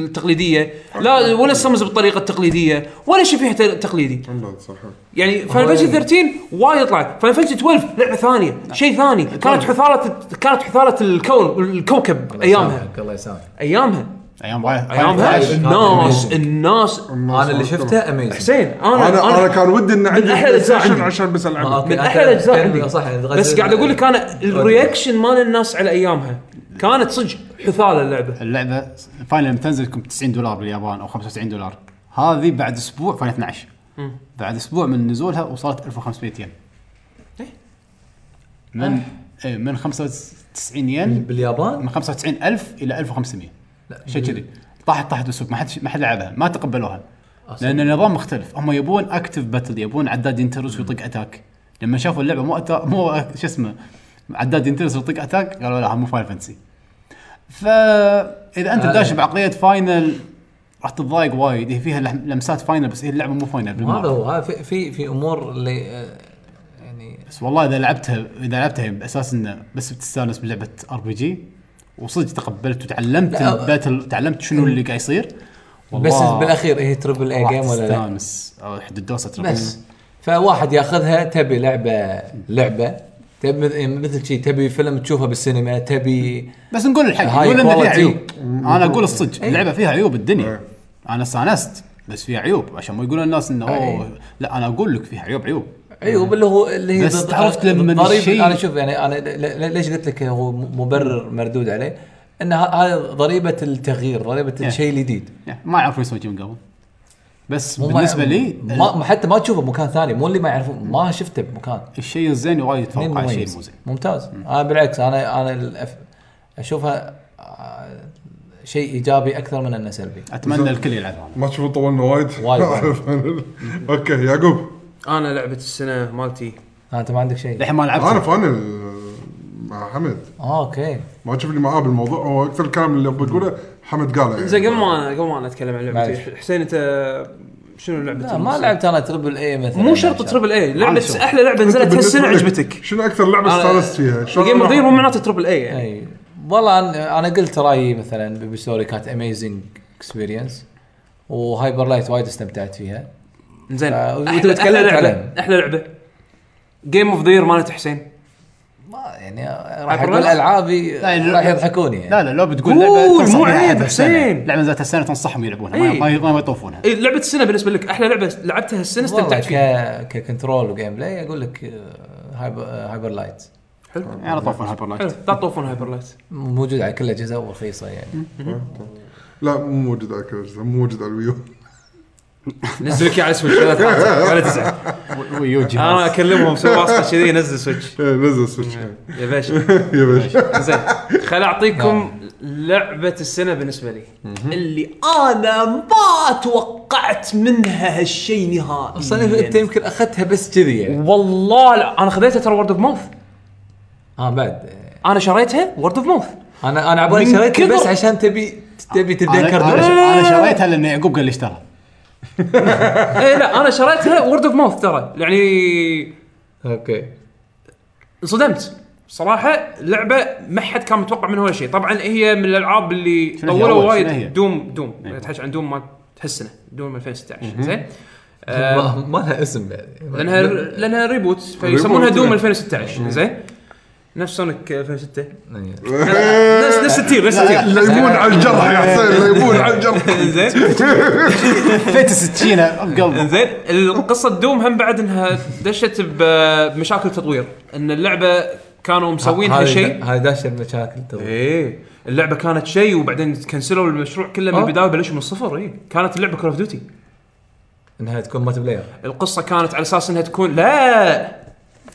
التقليديه لا ولا السمز بالطريقه التقليديه ولا شيء فيها ت- تقليدي والله صح يعني فاينل فانتسي 13 وايد طلعت فاينل فانتسي 12 لعبه ثانيه شيء ثاني كانت حثاله كانت حثاله الكون الكوكب ايامها الله يسامحك ايامها ايام وايد ايامها وايد. الناس الناس انا اللي شفته اميزنج حسين انا انا انا كان ودي ان عندي أحلى الأجزاء PlayStation عندي. عشان بس العبها يعني من احلى الاجزاء عندي صح يعني بس قاعد اقول لك انا الرياكشن مال الناس على ايامها كانت صدق حثاله اللعبه اللعبه فاينل لما تنزل تكون 90 دولار باليابان او 95 دولار هذه بعد اسبوع فاينل 12 بعد اسبوع من نزولها وصلت 1500 ين من إيه، من 95 ين باليابان من 95000 الى 1500 شيء كذي طاحت طاحت بالسوق ما حد ما حد لعبها ما تقبلوها لان النظام مختلف هم يبون اكتف باتل يبون عداد ينترس ويطق اتاك لما شافوا اللعبه مو أتا... مو أ- شو اسمه عداد ينترس ويطق اتاك قالوا لا هم مو فاينل فانتسي فاذا انت آه. داش بعقليه فاينل راح تتضايق وايد هي فيها لح- لمسات فاينل بس هي اللعبه مو فاينل هذا بالمرة. هو هذا في- في في امور اللي آه، يعني بس والله اذا لعبتها اذا لعبتها باساس انه بس بتستانس بلعبه ار بي جي وصدق تقبلت وتعلمت لا، الباتل تعلمت شنو اللي قاعد يصير بس والله بالاخير هي تربل اي راح جيم ولا لا تستانس او حد الدوسه ترى بس فواحد ياخذها تبي لعبه لعبه تبي مث- يعني مثل شي تبي فيلم تشوفه بالسينما تبي بس نقول الحق هاي نقول ان فيها quality. عيوب انا اقول الصدق أي. اللعبه فيها عيوب الدنيا إيه. انا استانست بس فيها عيوب عشان ما يقولون الناس انه اوه لا انا اقول لك فيها عيوب عيوب عيوب أيوه، اللي هو اللي هي بس ضد- عرفت لما ضد ضريبة- الشيء- انا شوف يعني انا ل- ل- ليش قلت لك هو مبرر مردود عليه؟ ان ه- هذا ضريبه التغيير ضريبه الشيء الجديد يعني ما يعرفون يسوون شيء من قبل بس مو ما- بالنسبه لي آه. ما ما- حتى ما تشوفه بمكان ثاني مو اللي ما يعرفون ما شفته بمكان الشيء الزين وايد اثنين يتفوق على الشيء مميز. مو زين ممتاز انا بالعكس انا انا الأف... اشوفها آه، شيء ايجابي اكثر من انه سلبي اتمنى الكل يلعبها ما تشوفون طولنا وايد وايد. اوكي يعقوب انا لعبه السنه مالتي آه، انت ما عندك شيء للحين ما انا لعبت فاينل مع حمد آه، اوكي ما تشوف لي معاه بالموضوع هو اكثر الكلام اللي بقوله حمد قاله يعني زين قبل ما أنا- قبل ما انا اتكلم عن معلش. لعبتي حسين انت شنو لعبتك؟ لا ما لعبت انا تربل اي مثلا مو شرط تربل اي لعبه شغل. احلى لعبه نزلت بالنسبة هالسنه لك، عجبتك شنو اكثر لعبه استانست فيها؟ جيم اوف ذا مو أنا- معناته تربل اي يعني اي والله انا انا قلت رايي مثلا بيبي ستوري كانت اميزنج اكسبيرينس وهايبر لايت وايد استمتعت فيها زين آه، أحلى- وأنت أحلى تكلمت لعبة- عليهم. احلى لعبه جيم اوف ذا مالت حسين ما يعني آه، راح هايبر اقول لايت؟ العابي لا، يعني- راح يضحكوني يعني لا لا لو بتقول قول، لعبه مو تنصح فيها عيب، أحد السنة. حسين. لعبه ذات السنه تنصحهم يلعبونها ما- إيه. ما ما يطوفونها إيه، لعبه السنه بالنسبه لك احلى لعبه لعبتها السنه والله استمتعت ك... فيها ككنترول وجيم بلاي اقول لك آه، هايبر, آه، هايبر لايت يعني طوفون هايبر حلو لايت لا تطوفون هايبر لايت موجود على كل الاجهزه ورخيصه يعني لا مو موجود على كل أجهزة، مو موجود على الويو نزل لك إياه على سويتش ولا تزعل، ولا تزعل ويو انا جهاز اكلمهم سوي واسطه كذي نزل سويتش إيه، نزل سويتش يا باشا يا باشا زين خل اعطيكم لعبه السنه بالنسبه لي اللي انا ما توقعت منها هالشيء نهائيا اصلا انت إيه. يمكن اخذتها بس كذي يعني والله لا انا خذيتها ترى وورد اوف ماوث اه بعد آه، انا شريتها وورد اوف ماوث انا انا عبالي من شريتها بس كثر- عشان تبي تبي انا تتذكر أنا ش- دول. أنا شريتها لان يعقوب قال لي اشترى اي إيه، لا انا شريتها وورد اوف ماوث ترى يعني اوكي انصدمت صراحة لعبة ما حد كان متوقع منها ولا شيء، طبعا هي من الالعاب اللي شنو هي طولوا أول؟ شنو هي؟ وايد دوم دوم أيوة. تحكي عن دوم مال تحسنه دوم 2016 زين ما آه، ما لها اسم بعد لانها لانها ريبوت فيسمونها يعني. دوم 2016 زين نفس سونيك 2006 إيه. نفس نفس التير نفس التير ليمون على الجرح يا حسين ليمون على الجرح زين فيت السكينه بقلبه زين القصه دوم هم بعد انها دشت ب- بمشاكل تطوير ان اللعبه كانوا مسوينها هذه- شيء هذه داشه المشاكل تو. ايه اللعبه كانت شيء وبعدين كنسلوا المشروع كله من آه. البدايه وبلشوا من الصفر ايه كانت اللعبه كول اوف ديوتي انها تكون يعني مالتي بلاير القصه كانت على اساس انها تكون لا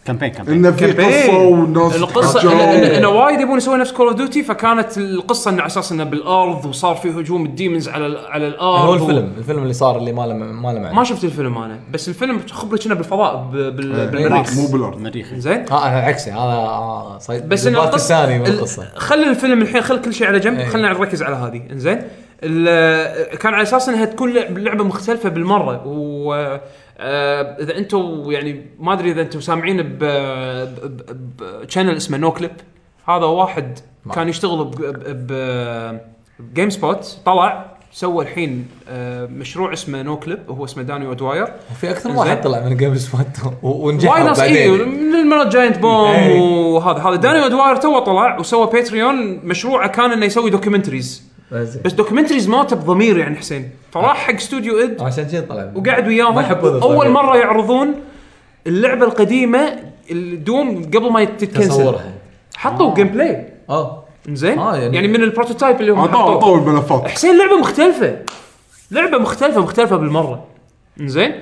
كامبين كامبين انه في كامبين قصه وناس القصه إن- تحجوا. إن- انه وايد يبون يسوون نفس كول اوف ديوتي فكانت القصه انه على اساس انه بالارض وصار في هجوم الديمنز على ال- على الارض هو و- الفيلم الفيلم اللي صار اللي ما له ما له معنى ما شفت الفيلم انا بس الفيلم خبري كنا بالفضاء ب- بال- بالمريخ مو بالارض مريخ زين اه انا عكسي هذا آه صيد بس ان البارت القصه الثاني من ال- القصه خلي الفيلم الحين خلي كل شيء على جنب إيه. خلينا نركز على هذه انزين ال- كان على اساس انها تكون لعب- لعبه مختلفه بالمره و آه، اذا انتم يعني ما ادري اذا انتم سامعين ب بشانل اسمه نو كليب هذا واحد كان يشتغل ب, ب... ب... جيم سبوت طلع سوى الحين آه، مشروع اسمه نو كليب هو اسمه داني ودواير في اكثر زين. واحد طلع من جيم سبوت ونجح وايد ناس إيه، اي بعدين من المرات جاينت بوم إيه. وهذا هذا داني ودواير تو طلع وسوى باتريون مشروعه كان انه يسوي دوكيومنتريز بس دوكيومنتريز ماته بضمير يعني حسين فراح حق استوديو اد عشان كذا طلع وقعد ما وياهم يحبون الضرب. اول مره يعرضون اللعبه القديمه الدوم قبل ما تتكنسل تصورها حطوا جيم بلاي اه زين آه، يعني- يعني من البروتوتايب اللي هم عطوا حطوه عطوا الملفات حسين لعبه مختلفه لعبه مختلفه مختلفه بالمره زين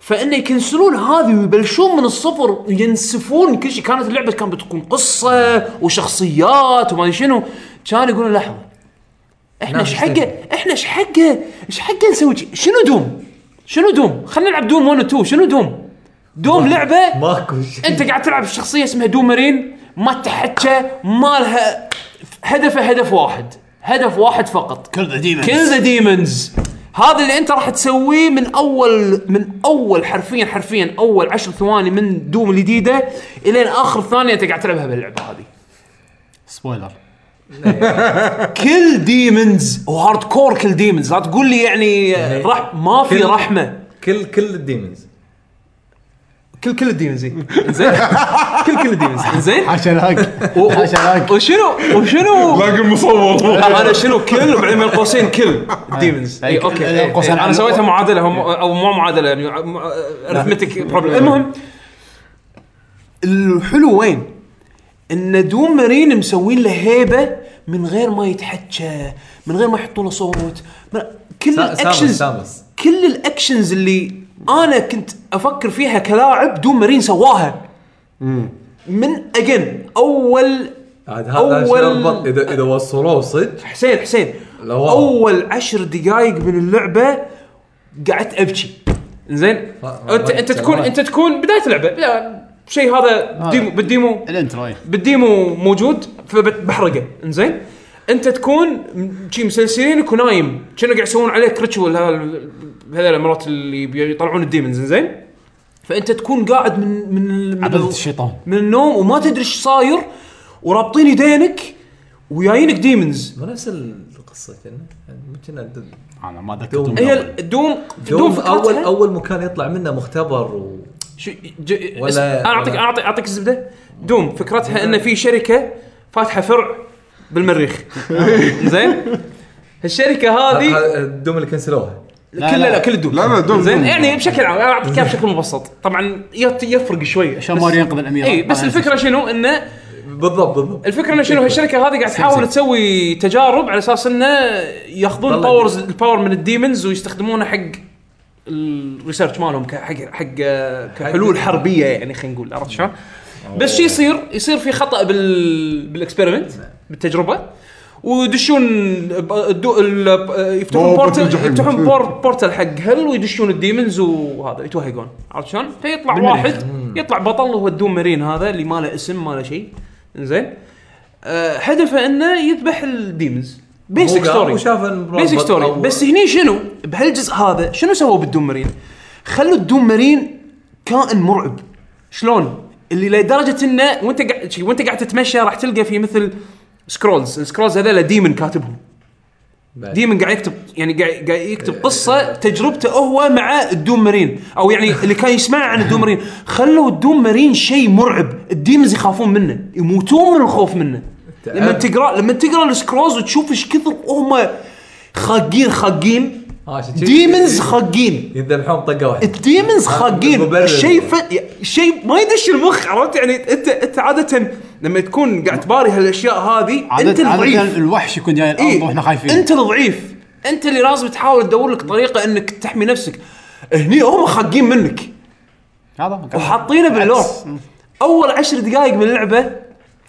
فانه يكنسلون هذه ويبلشون من الصفر ينسفون كل شيء كانت اللعبه كانت بتكون قصه وشخصيات وما أدري شنو كان يقولون لحظه احنا نعم، ايش حقه احنا ايش حقه ايش حقه نسوي شي؟ شنو دوم شنو دوم خلينا نلعب دوم 1 و 2 شنو دوم دوم لعبه ماكو شيء انت قاعد تلعب شخصيه اسمها دومرين ما تحكى ما لها هدفه هدف واحد هدف واحد فقط كل ذا ديمونز كل ذا ديمونز هذا اللي انت راح تسويه من اول من اول حرفيا حرفيا اول عشر ثواني من دوم الجديده الين اخر ثانيه انت قاعد تلعبها باللعبه هذه سبويلر كل ديمونز وهارد كور كل ديمونز لا تقول لي يعني رح ما في كل- رحمه كل كل الديمونز كل كل الديمونز إي. زين كل كل الديمونز زين عشان هاك عشان هاك وشنو وشنو باقي المصور انا شنو كل بين قوسين كل ديمونز أي، اي اوكي بين أي، قوسين أي، انا على- إيه، سويتها معادله هم او مو معادله يعني ارثمتك بروبلم المهم الحلو وين؟ ان دوم مارين مسوين له هيبه من غير ما يتحكى من غير ما يحطوا له صوت من- كل سا- الاكشنز سامس- سامس. كل الاكشنز اللي انا كنت افكر فيها كلاعب دوم مارين سواها من اجن اول عاد هذا أول- شلون بط- اذا اذا وصلوه صدق حسين حسين لا والله. اول عشر دقائق من اللعبه قعدت ابكي زين والله انت انت تكون والله. انت تكون بدايه اللعبه بدا- شيء هذا بالديمو بالديمو الانترو إيه. بالديمو موجود فبحرقه انزين انت تكون م- شي مسلسلينك ونايم كانوا قاعد يسوون عليك ريتشوال هذول المرات اللي بيطلعون الديمونز انزين فانت تكون قاعد من من من عبدة الشيطان. من النوم وما تدري ايش صاير ورابطين يدينك وياينك ديمونز مو نفس القصه كنا كنا د- انا ما دوم. ذكرت هي الدوم دوم دوم فكرتها- اول اول مكان يطلع منه مختبر و شو ج... ولا- ولا انا اعطيك ولا- اعطيك اعطيك الزبده دوم فكرتها ان في شركه فاتحه فرع بالمريخ زين الشركه هذه هذا الدوم اللي كنسلوها كل لا, لا كل الدوم لا لا دوم زين دوم. يعني بشكل عام انا اعطيك اياها بشكل مبسط طبعا يت- يفرق شوي عشان ماري ينقذ الاميره اي إيه، بس ما الفكره شنو انه بالضبط بالضبط الفكره انه شنو هالشركه هذه قاعد تحاول تسوي تجارب على اساس انه ياخذون والله. باورز الباور من الديمونز ويستخدمونه حق الريسيرش مالهم ك- حق حق كحلول حربيه يعني خلينا نقول عرفت شلون؟ بس شو يصير؟ يصير في خطا بال بالاكسبيرمنت بالتجربه ويدشون ب- الدو- ال- آه، يفتحون أوه، بورتل بطل جحيم. يفتحون بور بورتل حق هل ويدشون الديمونز وهذا يتوهقون عرفت شلون؟ فيطلع واحد يطلع بطل هو الدوم مارين هذا اللي ما له اسم ما له شيء زين أه هدفه انه يذبح الديمونز بيسك هو قام ستوري وشاف المربط بيسك ستوري أو- بس هني شنو بهالجزء هذا شنو سووا بالدوم مارين؟ خلوا الدوم مارين كائن مرعب شلون؟ اللي لدرجه انه وانت قاعد شي- وانت قاعد تتمشى راح تلقى في مثل سكرولز السكرولز هذول ديمن كاتبهم بعد. ديمن قاعد يكتب يعني قاعد قاعد يكتب قصه تجربته هو مع الدوم مارين او يعني اللي كان يسمع عن الدوم مارين خلوا الدوم مارين شيء مرعب الديمنز يخافون منه يموتون من الخوف منه لما تقرا لما تقرا السكرولز وتشوف ايش كثر هم خاقين خاقين آه، عشان كذي- ديمنز خاقين يذبحون طقه واحده الديمنز المبرر. خاقين شيء ف... شيء ما يدش المخ عرفت يعني انت انت عاده لما تكون قاعد تباري هالاشياء هذه انت عادة الضعيف عادة الوحش يكون جاي إيه، الارض واحنا خايفين انت الضعيف انت اللي لازم تحاول تدور لك طريقه انك تحمي نفسك هني هم خاقين منك هذا وحاطينه باللور بالعكس. اول عشر دقائق من اللعبه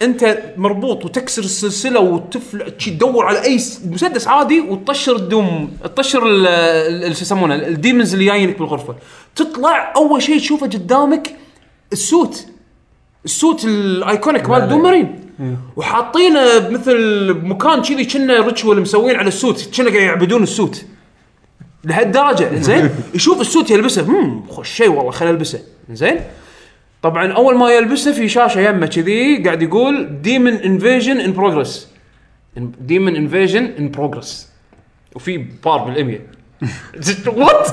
انت مربوط وتكسر السلسله وتفل تشي تدور على اي س- مسدس عادي وتطشر الدوم تطشر ال- ال- ال- شو يسمونه ال- الديمونز اللي جايينك بالغرفه تطلع اول شيء تشوفه قدامك السوت السوت الايكونيك مال دوم مارين وحاطينه بمثل مكان كذي كنا ريتشوال مسوين على السوت كنا قاعد يعبدون السوت لهالدرجه زين يشوف السوت يلبسه هم خوش شيء والله خليني البسه زين طبعا اول ما يلبسه في شاشه يمه كذي قاعد يقول ديمن انفيجن ان بروجرس ديمن انفيجن ان بروجرس وفي بار بال 100 وات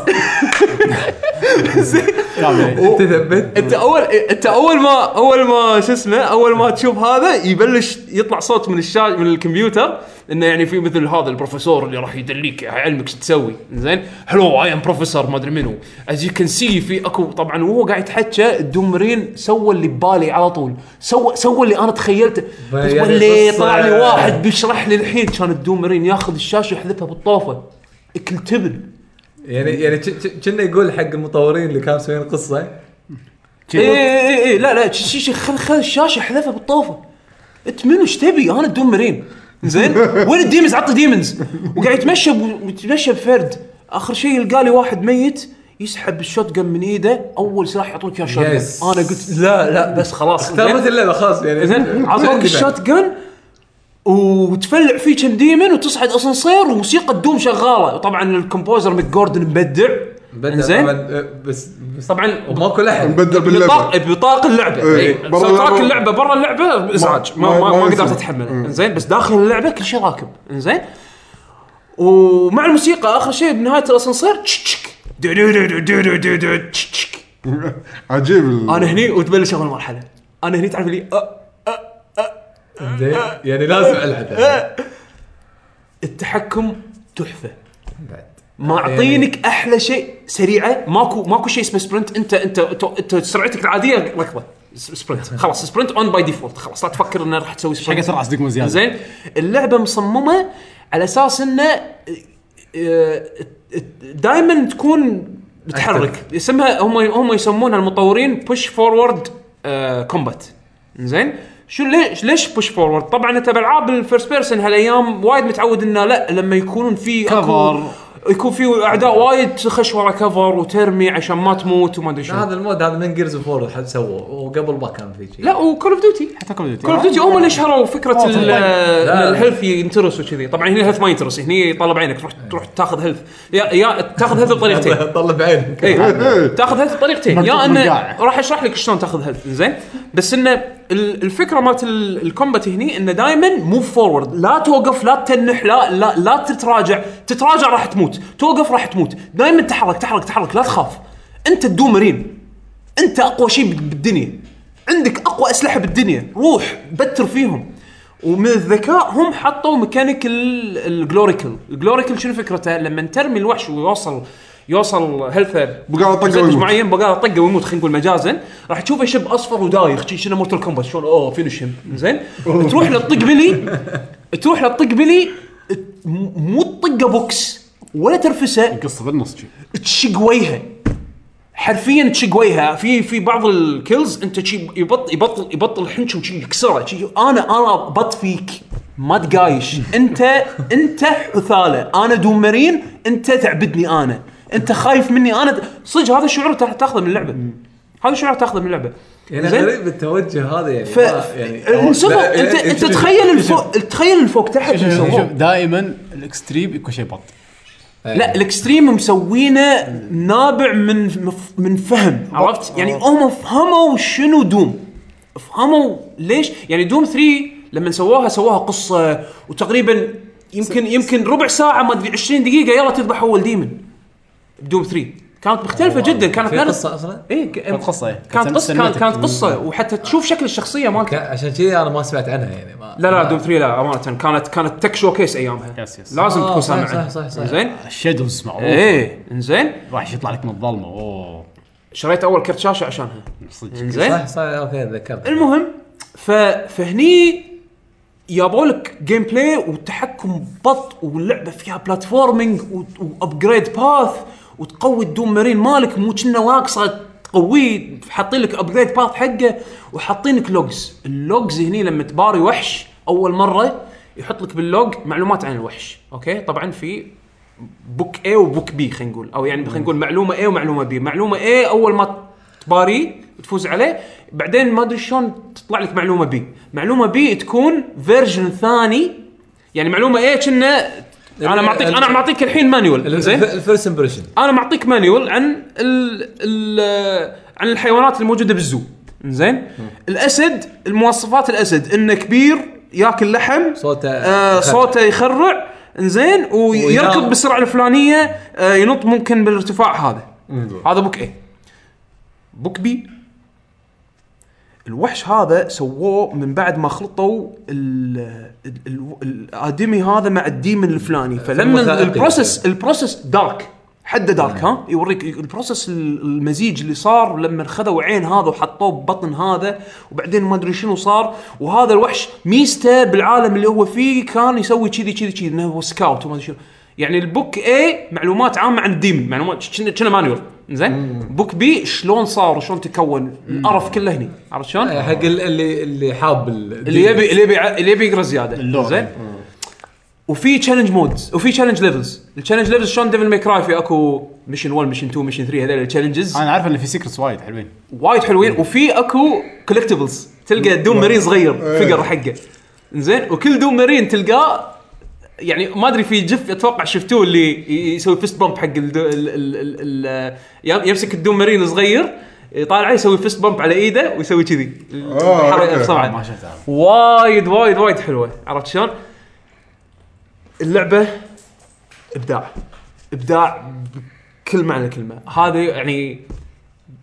كامل انت ثبت انت اول انت اول ما اول ما شو اسمه اول ما تشوف هذا يبلش يطلع صوت من الشاشه من الكمبيوتر انه يعني في مثل هذا البروفيسور اللي راح يدليك يعلمك شو تسوي زين هلو اي ام بروفيسور ما ادري منو از يو كان سي في اكو طبعا وهو قاعد يتحكى الدومرين سوى اللي ببالي على طول سوى سوى اللي انا تخيلته بس يعني واللي قصة- طلع لي واحد بيشرح لي الحين كان الدومرين ياخذ الشاشه يحذفها بالطوفه اكل تبن يعني يعني كنا يقول حق المطورين اللي كانوا مسويين قصه اي اي اي اي إيه، لا لا شي- شي شي خل خل الشاشه احذفها بالطوفه انت منو ايش تبي انا الدوم مرين زين وين الديمنز عطي ديمنز وقاعد يتمشى ب- يتمشى بفرد اخر شيء يلقى لي واحد ميت يسحب الشوت من ايده اول سلاح يعطوك اياه شوت Yes. انا قلت لا لا بس خلاص ثابت اللعبه خلاص يعني زين عطوك الشوت جن وتفلع فيه كم ديمن وتصعد اسانسير وموسيقى الدوم شغاله وطبعا الكومبوزر ميك جوردن مبدع زين زين بس بس طبعا ماكو احد نبدل باللعبه بطاق بطاق اللعبه إيه. إيه. برا ساوند تراك اللعبة- اللعبه برا اللعبه ازعاج ما ما- ما, ما إيه. ما, يصير. قدرت اتحمله زين بس داخل اللعبه كل شيء راكب زين ومع الموسيقى اخر شيء بنهايه الاسانسير تش- تشك. دو- دو- دو- دو- دو- دو- دو- دو- تش- تشك. عجيب ال- انا هني وتبلش اول مرحله انا هني تعرف لي أ- زين يعني لازم إيه. العب التحكم تحفه ما اعطينك احلى شيء سريعه ماكو ماكو شيء اسمه سبرنت انت انت انت, انت سرعتك العاديه ركضه س- سبرنت خلاص سبرنت اون باي ديفولت خلاص لا تفكر انه راح تسوي حق سبرنت اسرع صدق مو زياده زين اللعبه مصممه على اساس انه دائما تكون بتحرك يسمها هم هم يسمونها المطورين بوش فورورد كومبات زين شو ليش ليش بوش فورورد؟ طبعا انت بالعاب الفيرست بيرسون هالايام وايد متعود انه لا لما يكونون في أكو- كفر. يكون في اعداء وايد تخش ورا كفر وترمي عشان ما تموت وما ادري شنو هذا المود هذا من جيرز فور حد سووه وقبل ما كان في شيء لا وكول اوف ديوتي حتى كول كول اوف ديوتي هم اللي شهروا فكره ال- لا. الهيلث ينترس وكذي طبعا هنا الهيلث ما ينترس هني يطلب عينك تروح تروح تاخذ هيلث يا يا تاخذ هيلث بطريقتين طلب عينك إيه. تاخذ هيلث بطريقتين مرتب يا انه مجاعة. راح اشرح لك شلون تاخذ هيلث زين بس انه ال- الفكره مالت ال- الكومبات هني انه دائما موف فورورد لا توقف لا تنح لا لا, لا تتراجع تتراجع راح تموت توقف راح تموت دائما تحرك تحرك تحرك لا تخاف انت الدومرين انت اقوى شيء بالدنيا عندك اقوى اسلحه بالدنيا روح بتر فيهم ومن الذكاء هم حطوا ميكانيك ال- الجلوريكل الجلوريكل شنو فكرته لما ترمي الوحش ويوصل يوصل هيلثه بقاله طقة مسدس ويموت. معين بقاله طقه ويموت خلينا نقول مجازا راح تشوفه شب اصفر ودايخ شي شنو مورتال كومبات شلون اوه فينش زين تروح له تطق بلي تروح له تطق بلي م- مو تطقه بوكس ولا ترفسه قصه بالنص شي تشق وجهه حرفيا تشق وجهه في في بعض الكيلز انت شي يبط يبطل يبطل حنش وشي يكسره شي انا انا بط فيك ما تقايش انت انت حثاله انا دومرين انت تعبدني انا انت خايف مني انا صدق هذا الشعور تح- تاخذه من اللعبه هذا الشعور تاخذه من اللعبه يعني زين؟ غريب التوجه هذا يعني ف... ما- يعني انسبق لا، يعني انت انت شوف- تخيل إيه، الفوق تخيل الفوق تحت شوف مسووه. شوف دائما الاكستريم يكون شيء بط لا الاكستريم مسوينه نابع من مف- من فهم عرفت؟ يعني هم فهموا شنو دوم فهموا ليش؟ يعني دوم 3 لما سووها سووها قصه وتقريبا يمكن يمكن ربع ساعه ما ادري 20 دقيقه يلا تذبح اول ديمن بدوم 3 كانت مختلفه جدا كانت في غير- قصه اصلا ايه ك- كانت قصة، إيه. كانت كانت قصه كانت, cinematic. كانت قصه وحتى تشوف شكل الشخصيه مالته كان- عشان كذي انا ما سمعت عنها يعني ما لا لا دوم 3 لا امانه كانت كانت تك شو كيس ايامها يس، يس. لازم آه، تكون صح، سامع صح، عنها. صح، صح. زين الشادوز معروف ايه انزين راح يطلع لك من الظلمه اوه شريت اول كرت شاشه عشانها صدق انزين صح صح اوكي تذكرت المهم ف... فهني جابوا لك جيم بلاي والتحكم بط واللعبه فيها بلاتفورمينج وابجريد باث وتقوي الدوم مارين مالك مو كنا ناقصه تقويه حاطين لك ابجريد باث حقه وحاطين لك لوجز اللوجز هني لما تباري وحش اول مره يحط لك باللوج معلومات عن الوحش اوكي طبعا في بوك A وبوك B خلينا نقول او يعني خلينا نقول معلومه A ومعلومه B معلومه A اول ما تباري وتفوز عليه بعدين ما ادري شلون تطلع لك معلومه B معلومه B تكون فيرجن ثاني يعني معلومه A كنا انا معطيك انا معطيك الحين مانيول زين الفيرست امبريشن انا معطيك مانيول عن ال ال عن الحيوانات الموجوده بالزو زين الاسد المواصفات الاسد انه كبير ياكل لحم صوته آه يخرع. صوته يخرع انزين ويركض وينام. بالسرعه الفلانيه آه ينط ممكن بالارتفاع هذا هذا بوك اي بوك بي الوحش هذا سووه من بعد ما خلطوا ال- ال- ال- الادمي هذا مع الديمن الفلاني فلما وثائقي. البروسس البروسس دارك حده دارك ها يوريك البروسس ال- المزيج اللي صار لما خذوا عين هذا وحطوه ببطن هذا وبعدين ما ادري شنو صار وهذا الوحش ميزته بالعالم اللي هو فيه كان يسوي كذي كذي كذي انه هو سكاوت وما ادري شنو يعني البوك اي معلومات عامه عن الديمن معلومات كنا كنا مانيول زين بوك بي شلون صار وشلون تكون القرف كله هني عرفت شلون؟ يعني حق ال- اللي اللي حاب ال- اللي يبي اللي يبي اللي يبي يقرا زياده اللور. زين وفي تشالنج مودز وفي تشالنج ليفلز التشالنج ليفلز شلون ديفل ميك راي في اكو ميشن 1 ميشن 2 ميشن 3 هذول التشالنجز انا عارف ان في سيكرتس وايد حلوين وايد حلوين وفي اكو كولكتبلز تلقى دوم مارين صغير إيه. فقر حقه زين وكل دوم مارين تلقاه يعني ما ادري في جف اتوقع شفتوه اللي ي- يسوي فيست بامب حق ال ال ال ال يمسك الدوم مارين الصغير يطالعه يسوي فيست بامب على ايده ويسوي كذي آه، الحركة أوكي. بسرعه ما شفت هذا وايد وايد وايد حلوه عرفت شلون؟ اللعبه ابداع ابداع بكل معنى الكلمه هذا يعني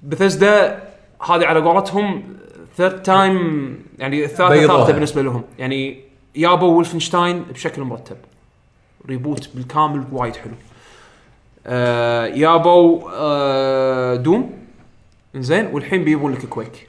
بثزدا هذه على قولتهم ثيرد تايم يعني الثالثه بيضوها. ثالثه بالنسبه لهم يعني يابوا ولفنشتاين بشكل مرتب ريبوت بالكامل وايد حلو آه يابوا آه دوم زين والحين بيبون لك كويك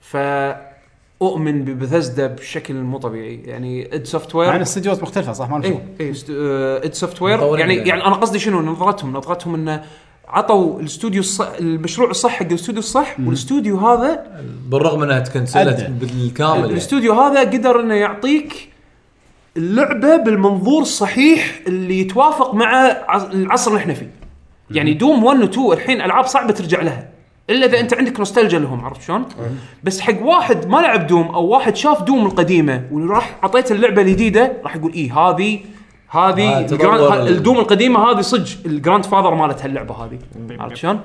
فاؤمن ببثزدا بشكل مو طبيعي يعني اد سوفت مع ان وير استديوهات مختلفه صح ما اي نشوف اي است- آه، اد سوفت وير مطورين يعني يعني. يعني انا قصدي شنو نظرتهم نظرتهم انه عطوا الاستوديو الصح المشروع الصح حق الاستوديو الصح والاستوديو هذا بالرغم انها تكنسلت أدى. بالكامل يعني. الاستوديو هذا قدر انه يعطيك اللعبه بالمنظور الصحيح اللي يتوافق مع عص- العصر اللي احنا فيه. يعني دوم 1 و 2 الحين العاب صعبه ترجع لها الا اذا انت عندك نوستالجيا لهم عرفت شلون؟ بس حق واحد ما لعب دوم او واحد شاف دوم القديمه وراح اعطيته اللعبه الجديده راح يقول اي هذه هذه آه، الجراند- تطور ال- الدوم القديمه هذه صدق الجراند فاذر مالت هاللعبه هذه عرفت شلون؟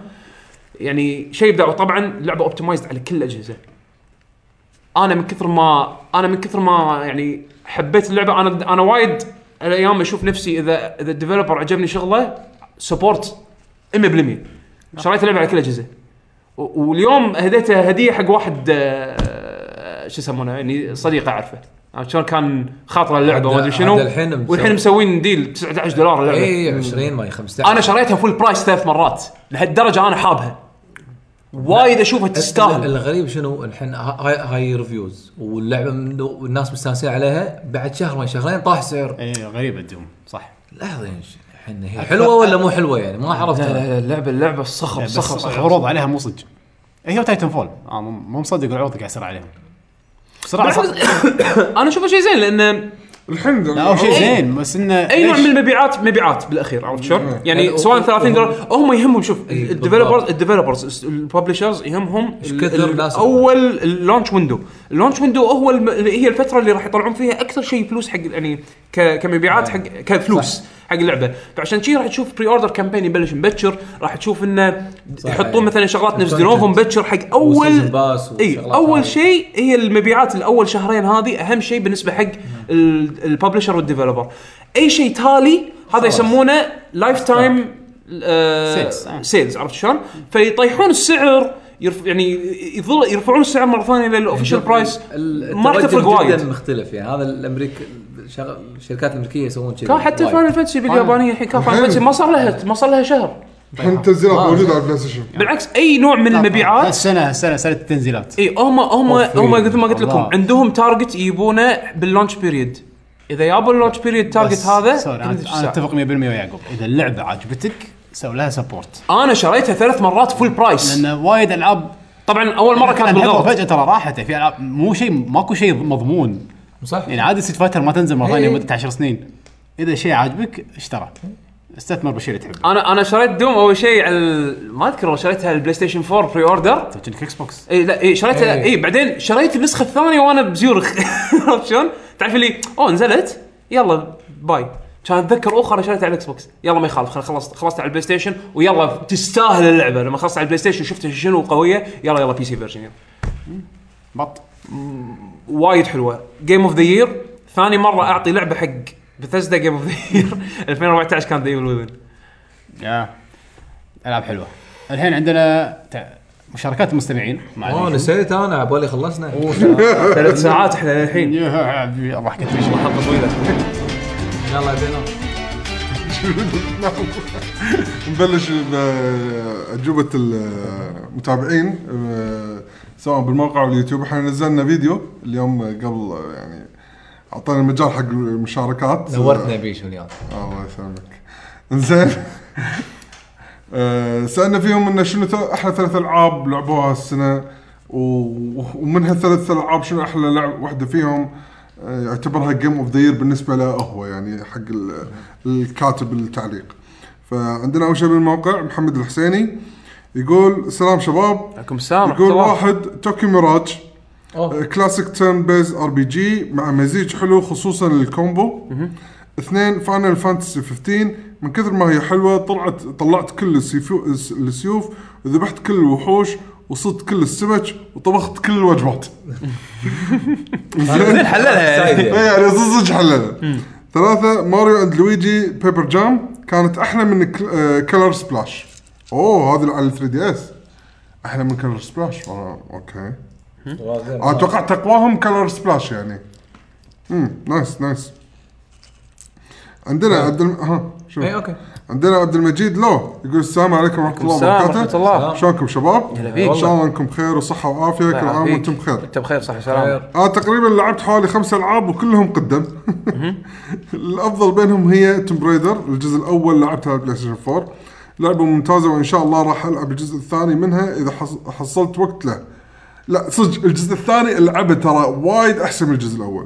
يعني شيء ابداع وطبعا اللعبه اوبتمايزد على كل الاجهزه انا من كثر ما انا من كثر ما يعني حبيت اللعبه انا انا وايد الايام اشوف نفسي اذا اذا الديفلوبر عجبني شغله سبورت 100% شريت اللعبه على كل الاجهزه و- واليوم هديتها هديه حق واحد آه، شو يسمونه يعني صديق اعرفه عرفت شلون كان خاطره اللعبه عاد- ما ادري شنو عاد الحين مسوي- والحين مسوين ديل 19 دولار اللعبه اي 20 إيه، ما هي 15 انا شريتها فول برايس ثلاث مرات لهالدرجه انا حابها وايد اشوفها تستاهل الغريب شنو الحين ه- هاي هاي ريفيوز واللعبه من- والناس مستانسين عليها بعد شهر ما شهرين طاح سعر اي غريبه الدوم إيه، صح لحظه يعني ش- الحين هي حلوه ولا مو حلوه يعني ما عرفت لا لا أنا. لا، اللعبه اللعبه صخب بس صخب صخب عروض عليها مو صدق هي تايتن فول آه مو- مو مصدق العروض قاعد يصير عليهم بسرعه صار- انا اشوفه شيء زين لان الحين لا هو شيء زين بس انه اي إيه. نوع ليش؟ من المبيعات مبيعات بالاخير عرفت شلون؟ يعني يعني سواء و- 30 دولار هم يهمهم شوف إي، الديفلوبرز بالضبط. الديفلوبرز الببلشرز يهمهم إيش ال- كثر ال- ناس- اول اللونش ويندو، اللونش ويندو هو الم- اللي هي الفتره اللي راح يطلعون فيها اكثر شيء فلوس حق يعني ك- كمبيعات حق كفلوس حق اللعبه، فعشان شي راح تشوف بري اوردر كامبين يبلش مبكر، راح تشوف انه يحطون إي. مثلا شغلات الcontent. نزلوهم مبكر حق إيه، اول وسيزن باس اي وشغلات اول هذه. شيء هي المبيعات الاول شهرين هذه اهم شيء بالنسبه حق ال- الببلشر والديفلوبر اي شيء تالي هذا يسمونه لايف تايم Sales. آه. سيلز عرفت شلون؟ فيطيحون السعر يرف يعني يظل يرفعون السعر مره ثانيه للاوفيشال برايس يعني ال- ما راح التوجه تفرق جدا وايد مختلف يعني هذا الامريكي شغل الشركات الامريكيه يسوون كذي كان حتى وايد. فاينل فانتسي باليابانيه الحين كان فاينل فانتسي ما صار لها ما صار لها شهر الحين التنزيلات موجوده على البلاي ستيشن بالعكس اي نوع من المبيعات إيه، السنه السنه سنه التنزيلات اي هم هم هم مثل ما قلت لكم الله. عندهم تارجت يبونه باللونش بيريد اذا يابوا اللونش بيريد تارجت بس- هذا سوري ينزل انا أنا السعر. اتفق 100% ويا يعقوب اذا اللعبه عجبتك سوي لها سبورت انا شريتها ثلاث مرات فول برايس لان وايد العاب طبعا اول مره كانت ألعبها بالغلط فجاه ترى راحت يعني في العاب مو شيء ماكو شيء مضمون صح يعني عادي ست فايتر ما تنزل مره ثانيه إيه. لمده 10 سنين اذا شيء عاجبك اشترى استثمر بالشيء اللي تحبه انا انا شريت دوم اول شيء على ال- ما اذكر والله شريتها على البلاي ستيشن 4 بري اوردر كأنك اكس طيب، بوكس اي إيه، لا اي شريتها إي. اي بعدين شريت النسخه الثانيه وانا بزيورخ عرفت شلون؟ تعرف اللي اوه نزلت يلا باي كان اتذكر اخرى شريتها على الاكس بوكس يلا ما يخالف خل- خلصت خلصت على البلاي ستيشن ويلا تستاهل اللعبه لما خلصت على البلاي ستيشن شفت شنو قويه يلا يلا بي سي فيرجن يلا بط وايد حلوه جيم اوف ذا يير ثاني مره اعطي لعبه حق بثزدا جيم اوف ذا يير 2014 كان ذا ايفل وذن يا العاب حلوه الحين عندنا تع- مشاركات المستمعين مع اوه الفيديو. نسيت انا على بالي خلصنا ثلاث ساعات احنا الحين يا عبي، الله حكيت في شيء حلقه طويله يلا بينا نبلش بأجوبة المتابعين آه، سواء بالموقع او اليوتيوب احنا نزلنا فيديو اليوم قبل آه، يعني اعطينا مجال حق المشاركات نورتنا بيشو اليوم آه، الله يسلمك زين آه، سالنا فيهم انه شنو ثل- احلى ثلاث العاب لعبوها السنه و- ومن هالثلاث العاب شنو احلى لعب واحده فيهم آه، يعتبرها جيم اوف ذا بالنسبه له هو يعني حق ال- الكاتب التعليق فعندنا اول شيء بالموقع محمد الحسيني يقول سلام شباب عليكم السلام يقول ورحمة واحد الله. توكي ميراج آه، كلاسيك تيرن بيز ار بي جي مع مزيج حلو خصوصا الكومبو اثنين فاينل فانتسي 15 من كثر ما هي حلوه طلعت طلعت كل السيفو الس- السيوف وذبحت كل الوحوش وصدت كل السمك وطبخت كل الوجبات زين حللها إيه يعني صدق صدق حللها ثلاثة ماريو اند لويجي بيبر جام كانت احلى من آه، كلر سبلاش اوه هذا على 3 دي اس احلى من كلر سبلاش اوكي آه، اتوقع تقواهم كلر سبلاش يعني امم نايس نايس عندنا عبد الم... ها شوف اي اوكي عندنا عبد المجيد لو يقول السلام عليكم ورحمه الله السلام وبركاته ورحمة الله. شلونكم شباب؟ ان شاء الله انكم بخير وصحه وعافيه كل الله عام يعافيك. وانتم بخير انت بخير صح وسلام انا تقريبا آه، لعبت حوالي خمس العاب وكلهم قدم الافضل بينهم هي توم بريدر الجزء الاول لعبتها على بلاي ستيشن 4 لعبه ممتازه وان شاء الله راح العب الجزء الثاني منها اذا حص- حصلت وقت له لا صدق الجزء الثاني لعبه ترى وايد احسن من الجزء الاول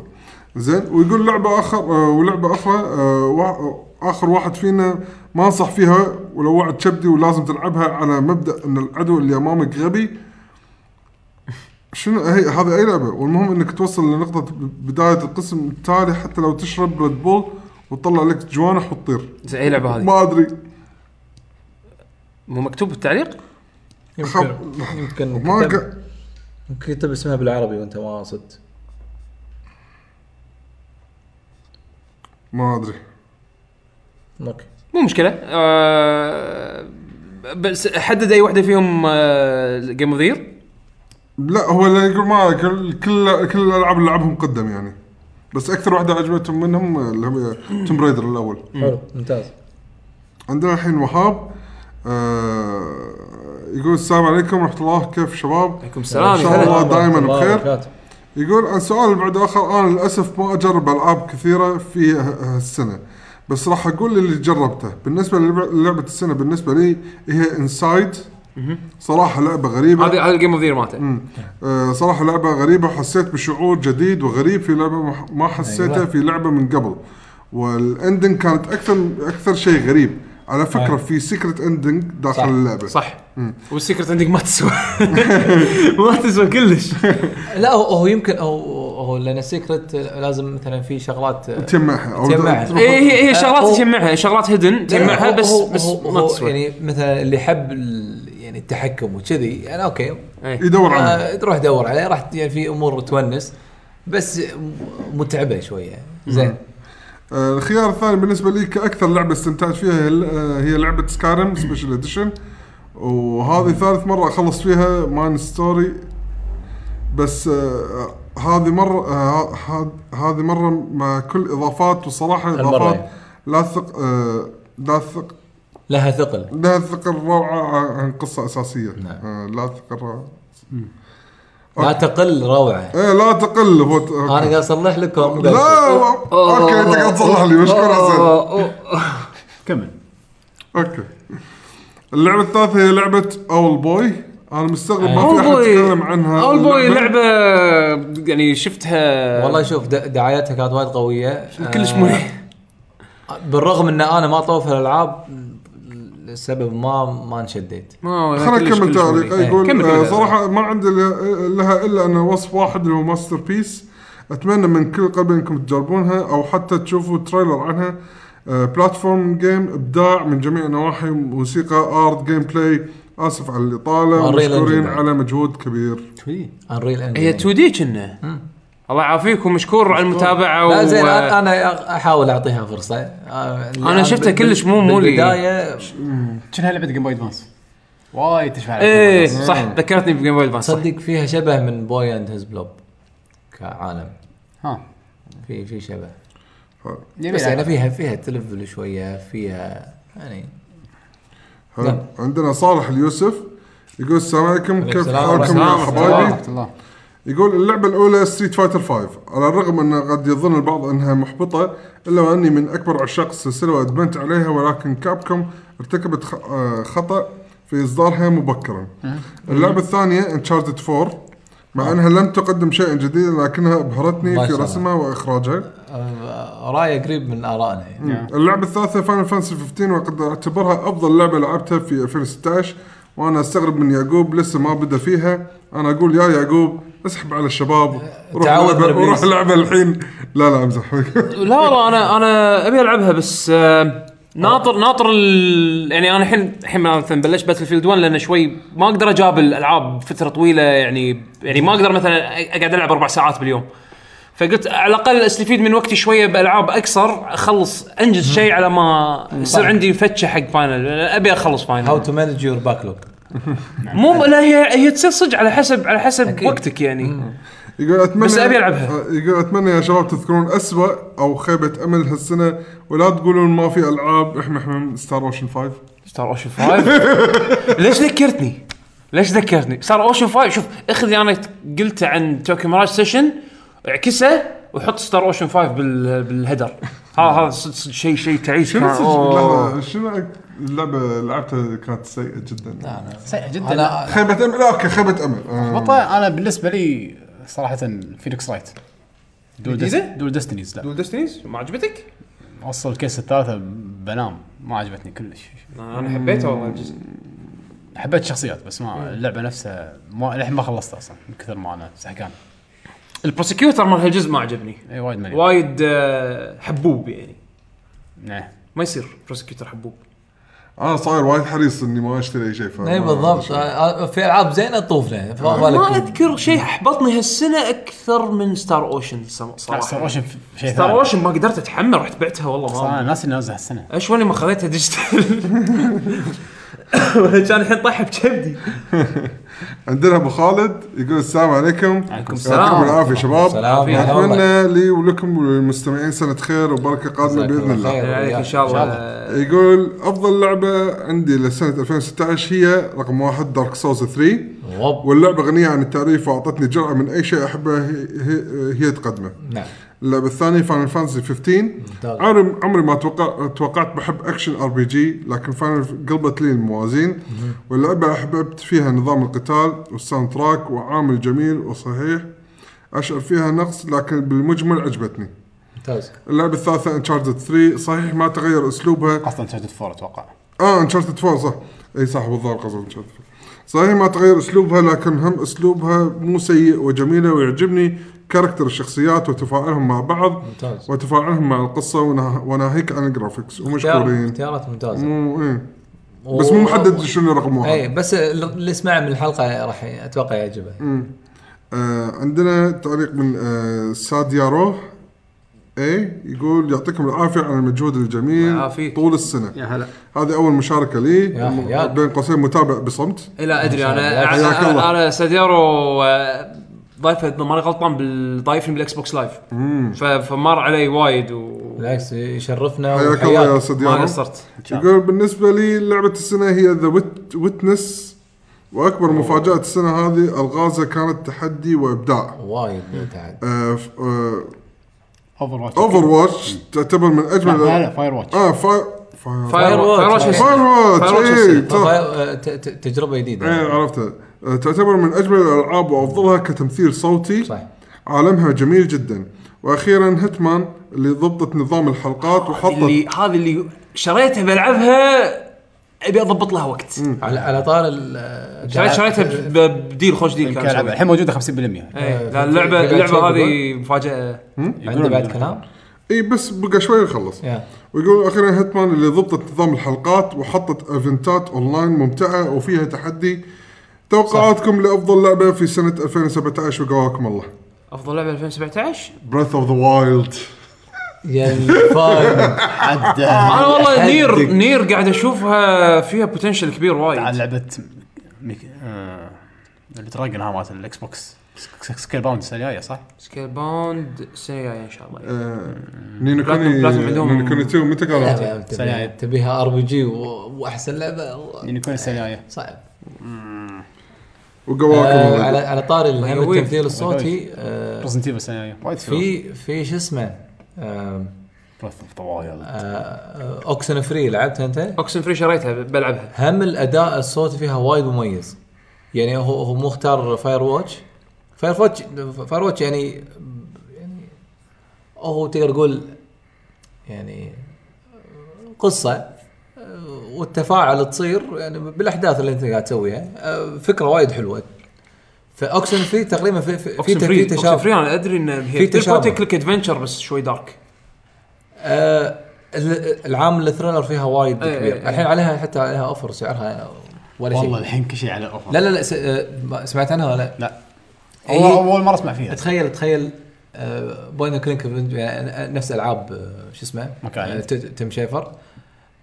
زين ويقول لعبه اخر آه، ولعبه اخرى آه، وا- اخر واحد فينا ما انصح فيها ولو وعد كبدي ولازم تلعبها على مبدا ان العدو اللي امامك غبي شنو هي هذا اي لعبه والمهم انك توصل لنقطه بدايه القسم التالي حتى لو تشرب ريد بول وتطلع لك جوانح وتطير زين اي لعبه إيه، هذه ما ادري مو مكتوب بالتعليق؟ خب... يمكن يمكن ما كتب- ق- يمكن كتب اسمها بالعربي وانت ما قصدت ما ادري اوكي مو مشكله آه بس حدد اي واحده فيهم جيم اوف ذير لا هو اللي يقول ما كل كل كل الالعاب اللي لعبهم قدم يعني بس اكثر واحده عجبتهم منهم اللي هو توم برايدر الاول حلو ممتاز عندنا الحين وهاب آه يقول السلام عليكم ورحمه الله كيف شباب؟ عليكم السلام ان شاء الله دائما الله بخير وبركاته. يقول عن سؤال بعد اخر انا للاسف ما اجرب العاب كثيره في ه- هالسنه بس راح اقول اللي جربته بالنسبه للعب- للعبه السنه بالنسبه لي هي انسايد صراحه لعبه غريبه هذه هذا جيم اوف ذير مالته آه، صراحة لعبة غريبة وحسيت بشعور جديد وغريب في لعبة ما- ما حسيته أيوة. في لعبة من قبل والاندنج كانت أكثر أكثر شيء غريب على فكرة أيوة. في سيكرت اندنج داخل صح. اللعبة صح والسيكرت عندك ما تسوى ما تسوى كلش لا هو هو يمكن هو هو لان السيكرت لازم مثلا في شغلات تجمعها أو تجمعها. تروح- اي هي هي هو- شغلات تجمعها شغلات هيدن تجمعها هو- بس نعم، هو- بس هو- ما هو تسوى يعني مثلا اللي يحب ال- يعني التحكم وكذي يعني اوكي إيه. يدور عنها آه، تروح دور عليه راح يعني في امور تونس بس متعبه شويه زين آه، الخيار الثاني بالنسبة لي كأكثر لعبة استمتعت فيها هي ال- آه، هي لعبة سكارم سبيشل اديشن وهذه ثالث مرة أخلص فيها مان ستوري بس آه، هذه مرة آه، هذ- هذه مرة مع كل إضافات وصراحة هالمرة إضافات يعني. لا ثق آه، لا ثق لها ثقل لا ثقل روعة عن قصة أساسية نعم. آه، لا ثقل روعة لا تقل روعه إيه لا تقل هو ت- انا قاعد اصلح لكم لا آه، اوكي انت قاعد تصلح لي مشكور حسين كمل اوكي اللعبه الثالثه هي لعبه اول بوي انا مستغرب ما في اول احد بوي يتكلم عنها اول بوي لعبه يعني شفتها والله شوف د- دعايتها كانت وايد قويه كلش آه، مريح بالرغم ان انا ما طوف الالعاب لسبب ما ما انشديت ما خلينا كلش- نكمل كلش مريح. تعليق إيه. كمل يقول كمل. آه، صراحه ما عندي ل- لها الا ان وصف واحد اللي هو ماستر بيس اتمنى من كل قلب انكم تجربونها او حتى تشوفوا تريلر عنها آه، بلاتفورم جيم ابداع من جميع النواحي موسيقى ارت جيم بلاي اسف على آه، الاطاله Unreal Engine ومشكورين بعد. على مجهود كبير انريل هي انجن 2 دي كنا الله يعافيك ومشكور على المتابعه لا زين و... انا أنا احاول اعطيها فرصه آه، لأن شفتها بال- كلش مو- مو لي. بالبدايه شنها لعبه جيم بوي ادفانس وايد تشبه على Game Boy ايه Advance. صح ذكرتني بجيم بوي ادفانس صح. صدق فيها شبه من بوي اند هيز بلوب كعالم ها في في شبه يبي بس يعني لعبة. فيها فيها تلفل شويه فيها يعني نعم. حلو عندنا صالح اليوسف يقول السلام عليكم كيف السلام حالكم يا ورحمة الله حبايبي ورحمة الله يقول اللعبة الأولى ستريت فايتر 5 على الرغم أن قد يظن البعض أنها محبطة إلا وأني من أكبر عشاق السلسلة وأدمنت عليها ولكن كابكم ارتكبت خ- آه، خطأ في إصدارها مبكرا اللعبة الثانية انشارتد 4 مع أنها لم تقدم شيئا جديدا لكنها آه. ما أبهرتني في شاء الله. رسمها وإخراجها آه، رايه قريب من ارائنا يعني. اللعبة الثالثة فاينل فانسي 15 وقد اعتبرها أفضل لعبة لعبتها في 2016 وأنا أستغرب من يعقوب لسه ما بدأ فيها أنا أقول يا يعقوب اسحب على الشباب وروح تعود لعبة وروح بالإبليس. لعبة الحين لا لا أمزح لا والله انا انا ابي العبها بس آه، ناطر ناطر ال... يعني انا الحين الحين مثلا بلشت باتل فيلد 1 لان شوي ما اقدر اجاب الالعاب فتره طويله يعني يعني ما اقدر مثلا اقعد العب اربع ساعات باليوم فقلت على الاقل استفيد من وقتي شويه بالعاب اكثر اخلص انجز شيء على ما يصير عندي فتشه حق فاينل ابي اخلص هاو فاينل تو مانج يور باكلوج مو لا هي هي تصير صدق على حسب على حسب أكيد. وقتك يعني يقول أتمنى بس أبي ألعبها. آه، يقول أتمنى يا شباب تذكرون أسوأ أو خيبة أمل هالسنة ولا تقولون ما في ألعاب احنا احنا ستار اوشن 5 ستار اوشن 5 ليش ذكرتني؟ ليش ذكرتني؟ ستار اوشن 5 شوف اخذ اللي انا قلته عن توكي مراج سيشن اعكسه وحط ستار اوشن 5 بال بالهيدر هذا هذا صدق صدق شيء شيء تعيس شنو كان- صدق أوه. لحظة، شنو اللعبة لعبتها كانت سيئة جدا سيئة جدا انا خيبة أمل لا أوكي خيبة أمل آه. بطة انا بالنسبه لي صراحه فينيكس رايت دول دست... جديدة؟ دول ديستنيز لا دول ديستنيز ما عجبتك؟ وصل الكيس الثالثه بنام ما عجبتني كلش انا حبيته والله الجزء حبيت الشخصيات بس ما اللعبه نفسها ما للحين ما خلصتها اصلا من كثر ما انا سحكان البروسكيوتر مال هالجزء ما عجبني اي إيه، وايد مليان وايد آه، حبوب يعني نعم ما يصير بروسكيوتر حبوب انا صاير وايد حريص اني ما اشتري اي شيء فما- اي إيه، بالضبط آه، آه، في العاب زينه طوفنا ما اذكر شيء احبطني هالسنه اكثر من ستار اوشن سم- صراحه ستار اوشن شيء ستار ثاني اوشن ما قدرت اتحمل رحت بعتها والله صراحة ما انا ناسي اني انزلها السنه ايش وين ما خذيتها ديجيتال ولا كان الحين طايحه بكبدي عندنا ابو خالد يقول السلام عليكم عليكم السلام. يعطيكم العافيه شباب سلام اتمنى لي ولكم وللمستمعين سنه خير وبركه قادمه باذن الله عليك ان شاء الله يقول افضل لعبه عندي لسنه 2016 هي رقم واحد دارك سوز 3 وب واللعبه غنيه عن التعريف واعطتني جرعه من اي شيء احبه هي, هي, هي تقدمه نعم اللعبه الثانيه فاينل فانسي 15 عمري عمري ما توقع توقعت بحب اكشن ار بي جي لكن فاينل قلبت لي الموازين واللعبه احببت فيها نظام القتال والساوند تراك وعامل جميل وصحيح اشعر فيها نقص لكن بالمجمل عجبتني ممتاز اللعبه الثالثه انشارتد 3 صحيح ما تغير اسلوبها اصلا شهادة فور اتوقع اه انشارتد 4 صح اي صح بالضبط قصدي انشارتد 4 صحيح ما تغير اسلوبها لكن هم اسلوبها مو سيء وجميله ويعجبني كاركتر الشخصيات وتفاعلهم مع بعض ممتاز. وتفاعلهم مع القصه ونه- وناهيك عن الجرافيكس اختيار- ومشكورين اختيارات ممتازه مو ايه بس مو محدد شنو رقم اي واحد إيه، بس ال- اللي سمع من الحلقه راح ي- اتوقع يعجبه آه عندنا تعليق من آه ساد يارو اي يقول يعطيكم العافيه على المجهود الجميل يعافيك. طول السنه يا هلا هذه اول مشاركه لي يا حياك. بين قوسين متابع بصمت إيه، لا ادري انا الله، أنا- حياك الله. انا انا ساديرو آه، ضايفه إذا ماني غلطان بال- ضايفني بالاكس بوكس لايف ف- فمر علي وايد وما بالعكس يشرفنا حياك الله يا وحياك. ساد يارو قصرت يقول بالنسبه لي لعبه السنه هي ذا ويتنس واكبر مفاجاه السنه هذه الغازها كانت تحدي آه، وابداع وايد ممتاز اوفر واتش اوفر واتش تعتبر من اجمل لا لا فاير واتش اه فا- فاير فاير واتش. واتش فاير واتش فاير اي طيب، واتش. إيه، ترى- تجربه جديده إيه، عرفتها آه، تعتبر من اجمل الالعاب وافضلها كتمثيل صوتي صح عالمها جميل جدا واخيرا هيتمان اللي ضبطت نظام الحلقات وحطت آه، اللي هذه اللي شريتها بلعبها ابي اضبط لها وقت على على طار شريت ال شريتها ب- ب- بديل خوش ديل كان يمكن ألعبها. مسوي. الحين موجوده 50% إيه، في- لا اللعبه في بعد اللعبه شيء هذه مفاجاه عنده بعد كلام؟ اي بس بقى شوي نخلص يا ويقول اخيرا هيتمان اللي ضبطت نظام الحلقات وحطت ايفنتات اونلاين ممتعه وفيها تحدي توقعاتكم لافضل لعبه في سنه 2017 وقواكم الله افضل لعبه 2017 بريث اوف ذا وايلد يعني فاين عدى انا والله حدك. نير نير قاعد اشوفها فيها بوتنشل كبير عن وايد لعبه ميك... آه... الدراجون ها مالت الاكس بوكس سك- سكيل باوند السنه الجايه صح؟ سكيل باوند السنه الجايه ان شاء الله نينو كوني بلاتنم- بلاتنم عندهم- نينو كوني 2 متى قالوا؟ أه، تبيها- تبيها ار بي جي واحسن لعبه يعني يكون السنه الجايه صعب آه، على وقواكم على طاري الهم يقويك. التمثيل الصوتي آه، بريزنت ايفل السنه الجايه وايد في في في شو اسمه آم، طوايل آه، اوكسن فري لعبتها انت؟ اوكسن فري شريتها ب- بلعبها هم الاداء الصوتي فيها وايد مميز يعني هو هو مو اختار فاير واتش فاير واتش فاير واتش يعني يعني هو تقدر تقول يعني قصه آه، والتفاعل تصير يعني بالاحداث اللي انت قاعد تسويها آه، فكره وايد حلوه فاوكسن فري تقريبا في في, في اوكسن في فري اوكسن تشابه فري انا ادري ان هي في تشابه. تلك كليك ادفنشر بس شوي دارك آه، ال- العام الثريلر فيها وايد إيه، كبير إيه. الحين عليها حتى عليها اوفر سعرها ولا والله شيء الحين كل شيء على اوفر لا لا لا س- آه، ما- سمعت عنها ولا لا؟ لا هي- والله اول مره اسمع فيها تخيل تخيل بوين كلينك يعني نفس العاب آه، شو اسمه Monkey Island. آه، ت- تيم شيفر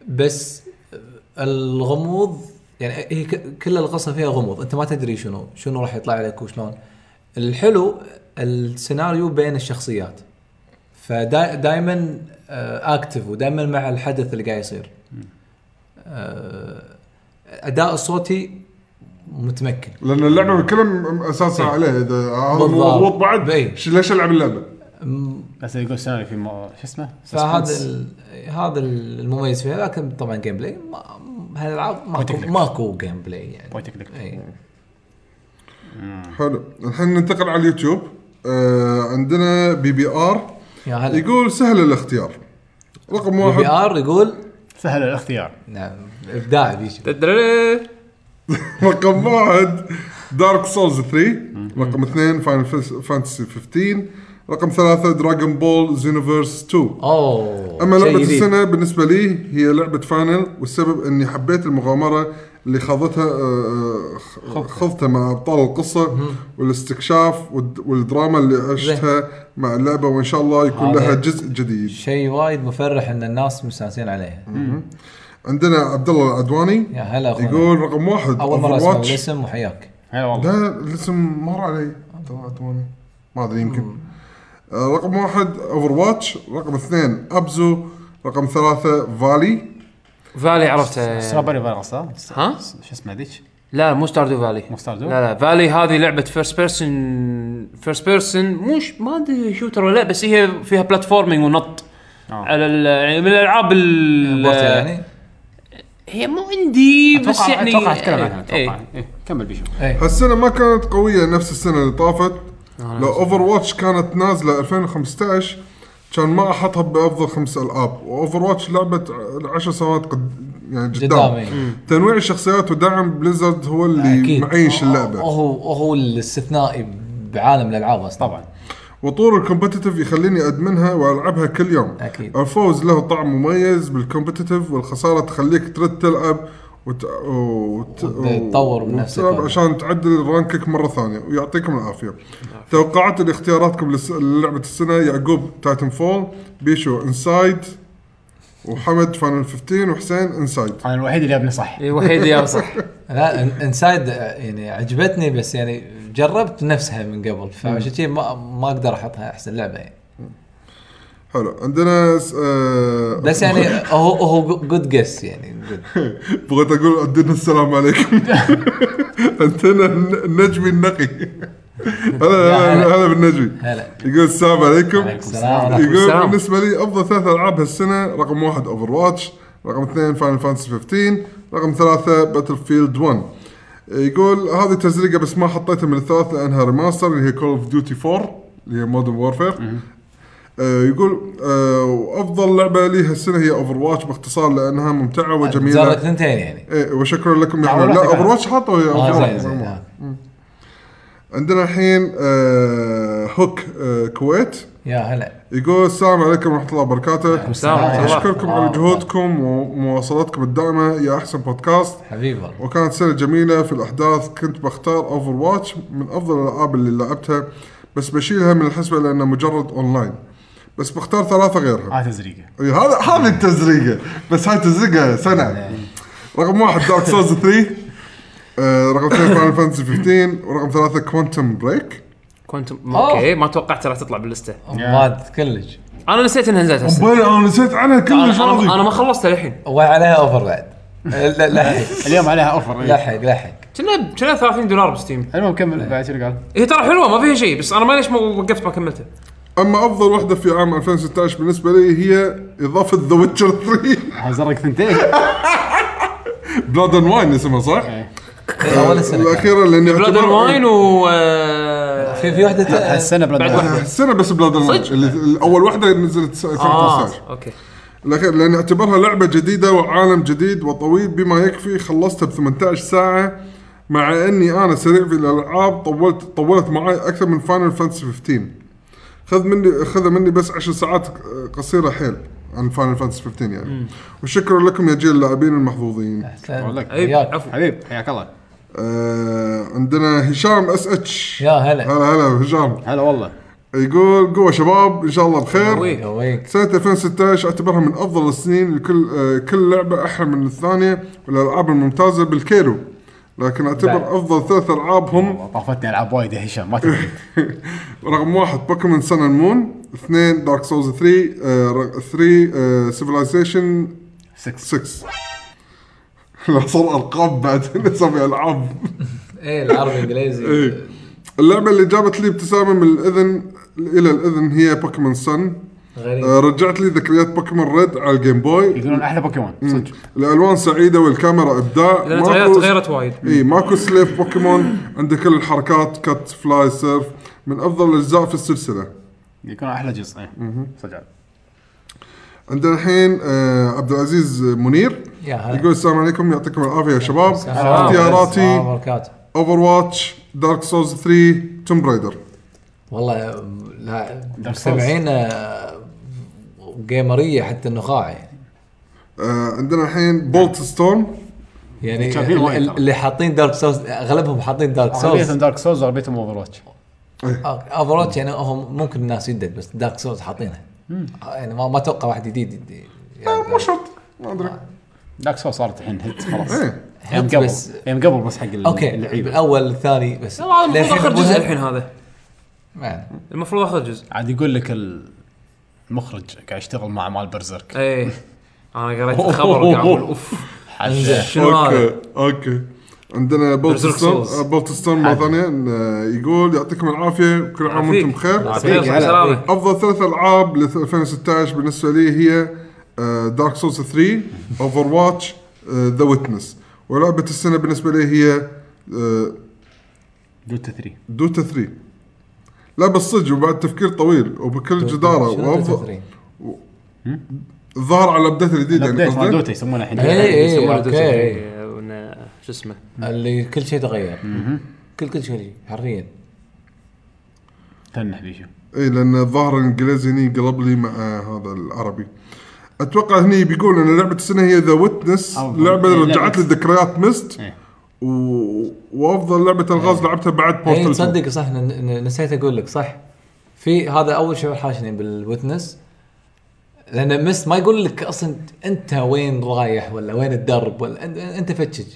بس آه، الغموض يعني هي ك- كل القصه فيها غموض انت ما تدري شنو شنو راح يطلع لك وشلون الحلو السيناريو بين الشخصيات فدائما اكتف ودائما مع الحدث اللي قاعد يصير آه، اداء الصوتي متمكن لان اللعبه كلها اساسها عليه اذا هذا مو إيه. بالضبط. مضبوط بعد إيه. ش- ليش العب اللعبه؟ بس يقول سيناريو في ما- شو اسمه؟ فهذا Suspense. ال- هذا المميز فيها لكن طبعا جيم بلاي ما هالالعاب Point ماكو and click. ماكو جيم بلاي يعني Point and click. اي حلو الحين ننتقل على اليوتيوب آه عندنا بي بي ار يا هلا يقول سهل الاختيار رقم بي واحد ار يقول سهل الاختيار نعم ابداع بيش تدري- رقم واحد دارك سولز 3 رقم اثنين فاينل فانتسي 15 رقم ثلاثة دراجون بول زينوفيرس 2 اوه اما شيء لعبه جديد. السنه بالنسبه لي هي لعبه فاينل والسبب اني حبيت المغامره اللي خاضتها آه، آه، خضتها مع ابطال القصه والاستكشاف والد- والدراما اللي عشتها مع اللعبه وان شاء الله يكون هذا- لها جزء جديد شيء وايد مفرح ان الناس مستانسين عليها عندنا عبد الله العدواني يا هلا اخوي يقول رقم واحد اول مره اسمع Overwatch. الاسم وحياك هلا والله لا الاسم مر علي عبد الله العدواني ما ادري يمكن آه، رقم واحد اوفر واتش رقم اثنين ابزو رقم ثلاثة فالي فالي عرفتها سترابري فايروس صح؟ ها؟ شو اسمه ذيك؟ لا مو ستاردو فالي مو Stardew؟ لا لا فالي هذه لعبه فيرست بيرسون فيرست بيرسون مش ما ادري شوتر ولا لا بس هي فيها بلاتفورمينج ونط على ال- يعني من الالعاب ال- بورتا آه. يعني هي مو عندي بس اتوقع يعني اتوقع اتكلم عنها إيه. اتوقع إيه، كمل بيشو هالسنه ما كانت قويه نفس السنه اللي آه، طافت لو اوفر واتش كانت نازله 2015 كان ما احطها بافضل خمس العاب واوفر واتش لعبه ع- عشر سنوات قد يعني قدام، قدام إيه. تنويع الشخصيات ودعم بليزرد هو اللي اكيد معيش اللعبه وهو وهو الاستثنائي بعالم الالعاب اصلا طبعا وطور الكومبتيتيف يخليني ادمنها والعبها كل يوم أكيد. الفوز له طعم مميز بالكومبتيتيف والخساره تخليك ترد تلعب وت... وت... وتطور من نفسك وتلعب والله. عشان تعدل رانكك مره ثانيه ويعطيكم العافيه. توقعات لاختياراتكم لس- للعبه السنه يعقوب تايتن فول، بيشو انسايد وحمد فاينل 15 وحسين انسايد. انا الوحيد اللي ابني صح إيه، وحيد يا صح لا إن- انسايد آه، يعني عجبتني بس يعني جربت نفسها من قبل فعشان كذي ما ما اقدر احطها احسن لعبه يعني حلو عندنا س- آه بس يعني هو هو جود جس يعني good. بغيت اقول عندنا السلام عليكم عندنا النجمي النقي هلا هلا هلا بالنجمي هلا يقول السلام عليكم السلام ورحمة يقول السلام. بالنسبه لي افضل ثلاث العاب هالسنه رقم واحد اوفر واتش رقم اثنين فاينل فانتسي 15 رقم ثلاثه باتل فيلد 1 يقول هذه تزريقه بس ما حطيتها من الثلاث لانها ريماستر اللي هي كول اوف ديوتي 4 اللي هي مودرن وورفير يقول آه، وافضل لعبه لي هالسنه هي اوفر واتش باختصار لانها ممتعه زرت وجميله ثنتين يعني ايه وشكرا لكم يا لا، حلو. ولا لا تبع. اوفر واتش حاطه ويا آه، أوفر زين، واتش. زين، آه. عندنا الحين آه، هوك آه، كويت يا هلا يقول السلام عليكم ورحمه الله وبركاته السلام ورحمة الله. اشكركم على جهودكم ومواصلاتكم الدائمه يا احسن بودكاست حبيبي والله وكانت سنه جميله في الاحداث كنت بختار اوفر واتش من افضل الالعاب اللي لعبتها بس بشيلها من الحسبه لانها مجرد اونلاين بس بختار ثلاثه غيرها هاي تزريقه إي، أيوة، هذا هذه التزريقه بس هاي تزريقه سنه رقم واحد دارك سولز 3 آه، رقم اثنين فاينل فانتسي 15 ورقم ثلاثه كوانتم بريك كوانتم اوكي ما توقعت راح تطلع باللسته ماد كلش انا نسيت انها نزلت هسه. بلى انا نسيت عنها انا كلش أنا- انا راضي ما خلصت الحين وعليها اوفر بعد لا لحق اليوم عليها اوفر إيه. لحق لحق كنا كنا 30 دولار بستيم المهم كمل بعد شنو قال؟ هي ترى حلوه ما فيها شيء بس انا ما ليش ما وقفت ما كملتها اما افضل وحده في عام 2016 بالنسبه لي هي اضافه ذا ويتشر 3 هاي زرق ثنتين بلاد اند واين اسمها صح؟ إيه. اول سنه الاخيره لاني بلاد أعتبر- واين و آه، في في وحده ت- هالسنه بلاد بعد بورن. واحده السنه بس بلاد اند واين صدق؟ اللي- اول واحده نزلت سنه 2015 اه اوكي الأخير لأن اعتبرها لعبة جديدة وعالم جديد وطويل بما يكفي خلصتها ب 18 ساعة مع أني أنا سريع في الألعاب طولت طولت معي أكثر من فاينل فانتسي 15 خذ مني خذ مني بس 10 ساعات قصيرة حيل عن فاينل فانتسي 15 يعني وشكرا لكم يا جيل اللاعبين المحظوظين أحسن. أقول لك. اي وياك. أيوة، عفوا حبيب حياك الله آه عندنا هشام اس اتش يا هلا هلا هلا هشام هلا والله يقول قوة شباب إن شاء الله بخير قوي. قويك سنة 2016 اعتبرها من افضل السنين الكل آه، كل لعبة احلى من الثانية والالعاب الممتازة بالكيرو لكن اعتبر بعد. افضل ثلاث العاب هم طافتني العاب وايد يا هشام ما تدري رقم واحد بوكيمون سن اند مون اثنين دارك سولز 3 آه، رق- 3 سيفلايزيشن 6 6 لا صار القاب بعد نسمي العاب ايه العربي انجليزي إيه. اللعبة اللي جابت لي ابتسامة من الاذن الى الاذن هي بوكيمون سن غريب رجعت لي ذكريات بوكيمون ريد على الجيم بوي يقولون احلى بوكيمون صدق الالوان سعيده والكاميرا ابداع لان تغيرت تغيرت وايد اي ماكو سليف بوكيمون عنده كل الحركات كت فلاي سيرف من افضل الاجزاء في السلسله يقولون احلى جزء إيه. صدق عندنا الحين آه عبد العزيز منير يا هلا يقول السلام عليكم يعطيكم العافيه يا شباب السلام. السلام اختياراتي وبركاته. اوفر واتش دارك سولز 3 توم برايدر والله أم، لا Souls. مستمعين آه، جيمريه حتى النخاع يعني آه عندنا الحين بولت ستورم يعني شايفين ال- وايد ال- ترى. اللي حاطين دارك سولز اغلبهم حاطين دارك اغلبيتهم سولز دارك سولز واغلبيتهم اوفر واتش اوفر يعني هم ممكن الناس يدد بس دارك سولز حاطينها آه، يعني ما ما اتوقع واحد جديد يد- يعني مو شرط ما ادري دارك سولز صارت الحين هيت خلاص ايه ايام هيت قبل بس- ايام قبل بس حق ال- اوكي اللعيبه الاول الثاني بس والله المفروض للحين اخر يبونها؟ جزء الحين هذا يعني المفروض اخر جزء عاد يقول لك ال- المخرج قاعد يشتغل مع مال برزرك إيه. اي انا إيه. قريت الخبر وقاعد اقول اوف حزة. شنو هذا؟ اوكي عندنا بولت Berserk Souls. ستون بولت ستون مره ثانيه آه، يقول يعطيكم العافيه وكل عام عافيك. وانتم بخير عافيك. يلا، سلامة. افضل ثلاث العاب ل 2016 بالنسبه لي هي آه، دارك سولز 3 اوفر واتش ذا ويتنس ولعبه السنه بالنسبه لي هي آه، دوتا 3 دوتا 3 لعبه صدق وبعد تفكير طويل وبكل جداره شنو وأفضل- تدري؟ ظهر على الابديت الجديد الابديت يعني مال قصدي دوتا يسمونه الحين إيه، إيه. يسمونه أوكي. دوتا إيه، ون- شو اسمه اللي كل شيء تغير كل كل شيء حرفيا تنح بيشو اي لان إيه، الظاهر الانجليزي هني قلب لي مع آه، هذا العربي اتوقع هني بيقول ان لعبه السنه هي ذا ويتنس أفضل. لعبه إيه، رجعت لي لعبة- ذكريات مست إيه. و... وافضل لعبه الغاز لعبتها بعد اي بورتل إيه. تصدق صح ن- ن- نسيت اقول لك صح في هذا اول شيء حاشني بالوتنس لان مس ما يقول لك اصلا انت وين رايح ولا وين تدرب ولا انت, انت فتشج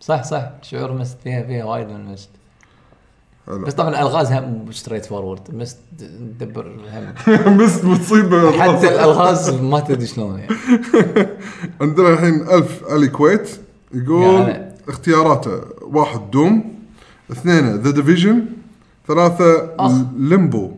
صح صح شعور مست فيها فيها وايد من مست هلا. بس طبعا الغازها مو ستريت فورورد مست تدبر الهم مست مصيبه حتى الالغاز ما تدري شلون يعني عندنا الحين الف الي كويت يا يقول هلا. اختياراته واحد دوم اثنين ذا ديفيجن ثلاثة أخ. ليمبو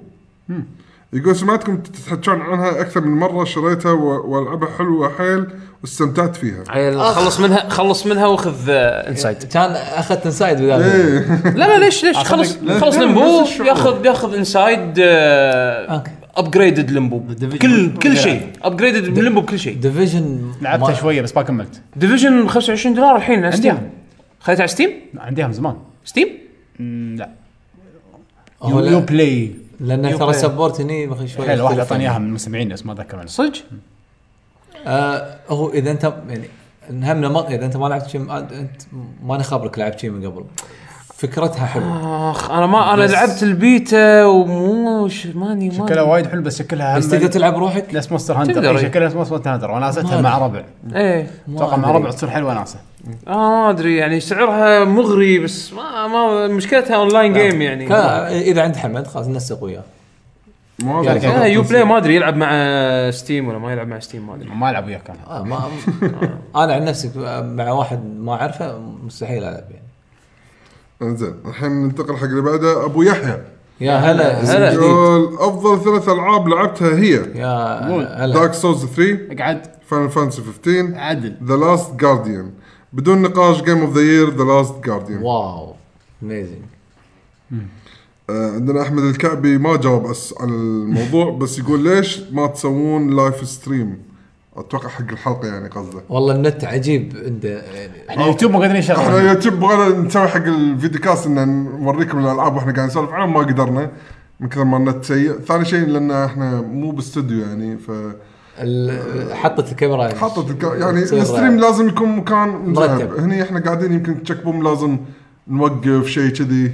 يقول سمعتكم تتحجون عنها أكثر من مرة شريتها و- والعبها حلوة حيل واستمتعت فيها عيل خلص منها خلص منها واخذ آه، انسايد كان اخذت انسايد بدال إيه لا لا ليش ليش خلص لا، خلص لا، لمبو نفس الشعور. ياخذ ياخذ انسايد اوكي ابجريدد لمبو كل كل شيء ابجريدد لمبو بكل شيء ديفيجن لعبتها شويه بس ما كملت ديفيجن 25 دولار الحين على عندي. ستيم خذيتها على ستيم؟ عنديها من زمان ستيم؟ مم، لا هو يو, لا. يو بلاي لان ترى سبورت هني بخي شوي حلو واحد يختلف اعطاني يعني. اياها من المستمعين بس ما اتذكر منه صدق؟ آه هو اذا انت يعني همنا ما اذا انت ما لعبت شيء انت ما انا خبرك لعبت شيء من قبل فكرتها حلوه اخ انا ما انا بس- لعبت البيتا ومو ش- ماني ما شكلها وايد حلو بس شكلها بس هم- تقدر تلعب روحك نفس مونستر هانتر تقدر، إي، إي. شكلها نفس مونستر هانتر وانا لعبتها مع ربع ايه اتوقع مع ربع تصير حلوه ناسه آه ما ادري يعني سعرها مغري بس ما ما مشكلتها اونلاين جيم يعني لا اذا عند حمد خلاص نسق وياه ما يعني أدري. آه، يو بلاي ما ادري يلعب مع ستيم ولا ما يلعب مع ستيم ما ادري ما العب وياك انا آه ما انا عن نفسي مع واحد ما اعرفه مستحيل العب يعني انزين الحين ننتقل حق اللي بعده ابو يحيى يا هلا اسم هلا. جديد يقول افضل ثلاث العاب لعبتها هي يا هلا دارك سولز 3 اقعد فاينل فانسي آه. 15 عدل ذا لاست جارديان بدون نقاش جيم اوف ذا يير ذا لاست جارديان واو اميزنج آه، عندنا احمد الكعبي ما جاوب أس على الموضوع بس يقول ليش ما تسوون لايف ستريم اتوقع حق الحلقه يعني قصده والله النت عجيب عنده يعني احنا يوتيوب ما قادرين احنا نشغل يوتيوب بغينا نسوي حق الفيديو كاست ان نوريكم الالعاب واحنا قاعدين نسولف عنها ما قدرنا من كثر ما النت سيء، ثاني شيء لان احنا مو باستوديو يعني ف ال- حطت الكاميرا حطت الك... يعني تصير الستريم لازم يكون مكان مذهب مرتب. هني احنا قاعدين يمكن تشيك بوم لازم نوقف شيء كذي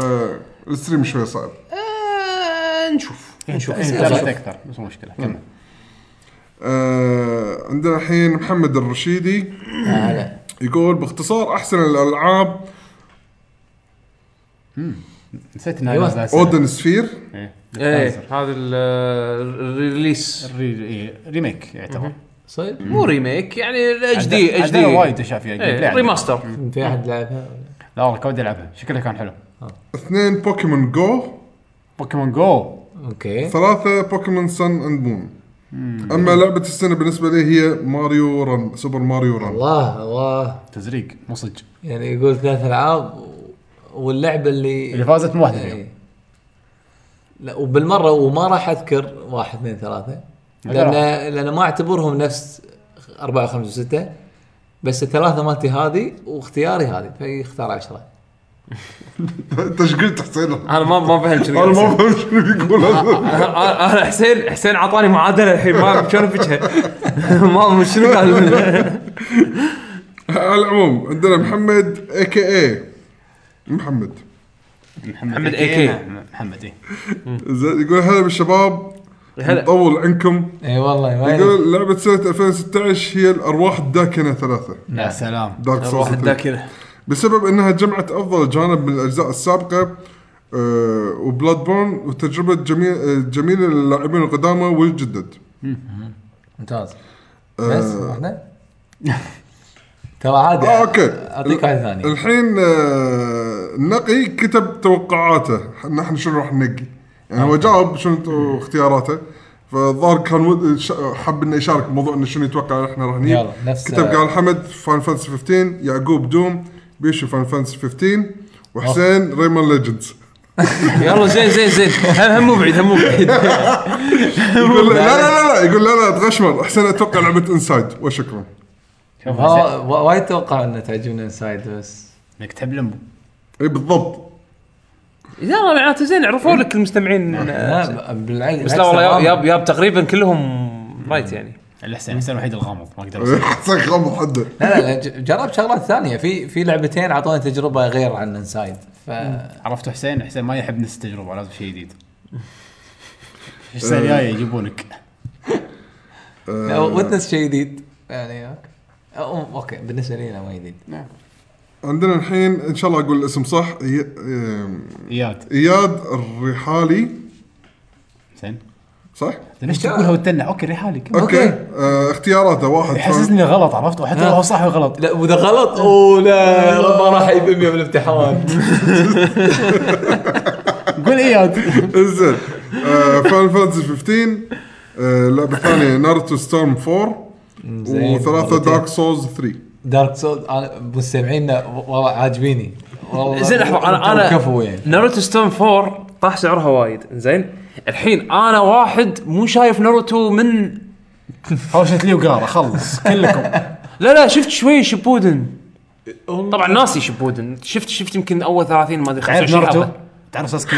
فالستريم شوي صعب آه، نشوف نشوف لعبت اكثر بس مو مشكله كمل آه عندنا الحين محمد الرشيدي هلا يقول باختصار احسن الالعاب نسيت انها أيوة. نازلة السنة. اودن سفير إيه. ايه الري- هذا ال- الريليس إيه، ريميك يعتبر صحيح مو ريميك يعني اتش دي عدل- اتش عدلها دي وايد اشياء فيها جيم إيه، بلاي عدل. ريماستر في احد لعبها ولا؟ لا والله كودي العبها شكلها كان حلو اثنين بوكيمون جو بوكيمون جو اوكي ثلاثة بوكيمون سن اند مون اما لعبة السنة بالنسبة لي هي ماريو رن سوبر ماريو رن الله الله تزريق مو صدق يعني يقول ثلاث العاب و- واللعبه اللي اللي فازت مو واحده فيهم إيه. لا وبالمره وما راح اذكر واحد اثنين ثلاثه لان لان ما اعتبرهم نفس اربعه وخمسه وسته بس الثلاثه مالتي هذه واختياري هذه فيختار عشره تشقيل تحصيل انا انا ما ما فهمت شنو قاعد ما فهمت شنو بيقول هذا. أنا- انا حسين حسين اعطاني معادله الحين ما شلون افجها ما شنو قال على العموم عندنا محمد اي كي اي محمد محمد AK. محمد اي زين يقول هلا بالشباب هلا. نطول عنكم اي والله وين يقول لعبة سنة 2016 هي الارواح الداكنة ثلاثة يا سلام دارك سولز واحد 3. ذاكره بسبب انها جمعت افضل جانب من الاجزاء السابقه آه، وبلاد بورن وتجربه جميل آه، جميله للاعبين القدامى والجدد ممتاز آه. بس واحده ترى عادي آه، أوكي. اعطيك واحده ثانيه الحين آه، النقي كتب توقعاته نحن شنو راح ننقي يعني هو جاوب شنو تو- اختياراته فالظاهر كان ود- ش- حب انه يشارك بموضوع انه شنو يتوقع احنا راح نجيب يلا، نفس- كتب قال حمد فان فانسي 15 يعقوب دوم بيشو فان فانسي 15 وحسين ريمان ليجندز يلا زين زين زين هم هم مو بعيد هم مو بعيد يقول لا لا لا لا يقول لا لا تغشمر احسن اتوقع لعبه انسايد وشكرا شوف ها- وا- وايد توقع انه تعجبني انسايد بس نكتب لهم اي بالضبط يلا معناته زين عرفوا لك المستمعين آه، لا ب- بالعكس بس لا والله بالعكس ياب ياب تقريبا كلهم رايت يعني الحسين الحسين الوحيد الغامض ما اقدر أسوي. احسن غمض حده لا لا لا ج- جربت شغلات ثانيه في في لعبتين اعطوني تجربه غير عن انسايد ف عرفت حسين حسين ما يحب نفس التجربه لازم شيء جديد حسين جاي يجيبونك وتنس شيء جديد يعني أوكي. أو- اوكي بالنسبه لي لا ما جديد عندنا الحين ان شاء الله اقول الاسم صح إي- آم، اياد اياد الرحالي حسين صح؟ ليش تقولها وتتنع اوكي ريحالي كمل. اوكي أوكي. آه، اختياراته واحد فان- يحسسني غلط عرفت وحتى لو هو صح وغلط لا واذا غلط اوه لا ما راح يبمي بالامتحان قول اياد انزين آه، فان فانتسي 15 آه، اللعبه الثانيه ناروتو ستورم 4 زين. وثلاثه مرتين. دارك سولز 3 دارك سول مستمعينا والله عاجبيني والله زين لحظه انا انا كفو يعني ناروتو ستون 4 طاح سعرها وايد زين الحين انا واحد مو شايف ناروتو من هوشت لي وقاره خلص كلكم لا لا شفت شوي شبودن طبعا ناسي شبودن شفت شفت يمكن اول 30 ما ادري تعرف 25 ناروتو حلقه تعرف ساسكي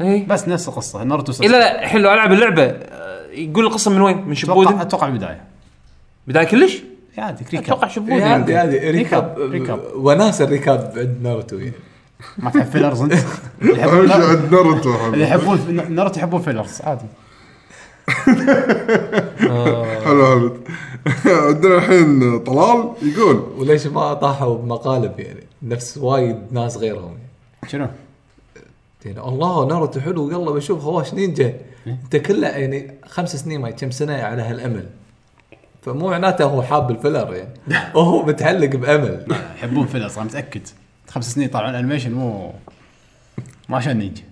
اي بس نفس القصه ناروتو إيه، ساسكي لا لا الحين لو العب اللعبه آه، يقول القصه من وين؟ من اتوقع شبودن اتوقع البدايه بدايه كلش؟ عادي ريكاب اتوقع شبوه إيه، يعني. هذه هذه ريكاب، ريكاب ريكاب. وناس الريكاب عند ناروتو يعني ما تحب فيلرز انت اللي يحبون اهم شيء نار- عند ناروتو اللي حلو يحبون ناروتو يحبون فيلرز عادي حلو حلو عندنا الحين طلال يقول وليش ما طاحوا بمقالب يعني نفس وايد ناس غيرهم يعني. شنو؟ يعني الله ناروتو حلو يلا بشوف هواش نينجا انت كله يعني خمس سنين ما كم سنه على هالامل فمو معناته هو حاب الفيلر يعني وهو متعلق بامل يحبون فيلرز انا متاكد خمس سنين طالعون انيميشن مو ما عشان نينجا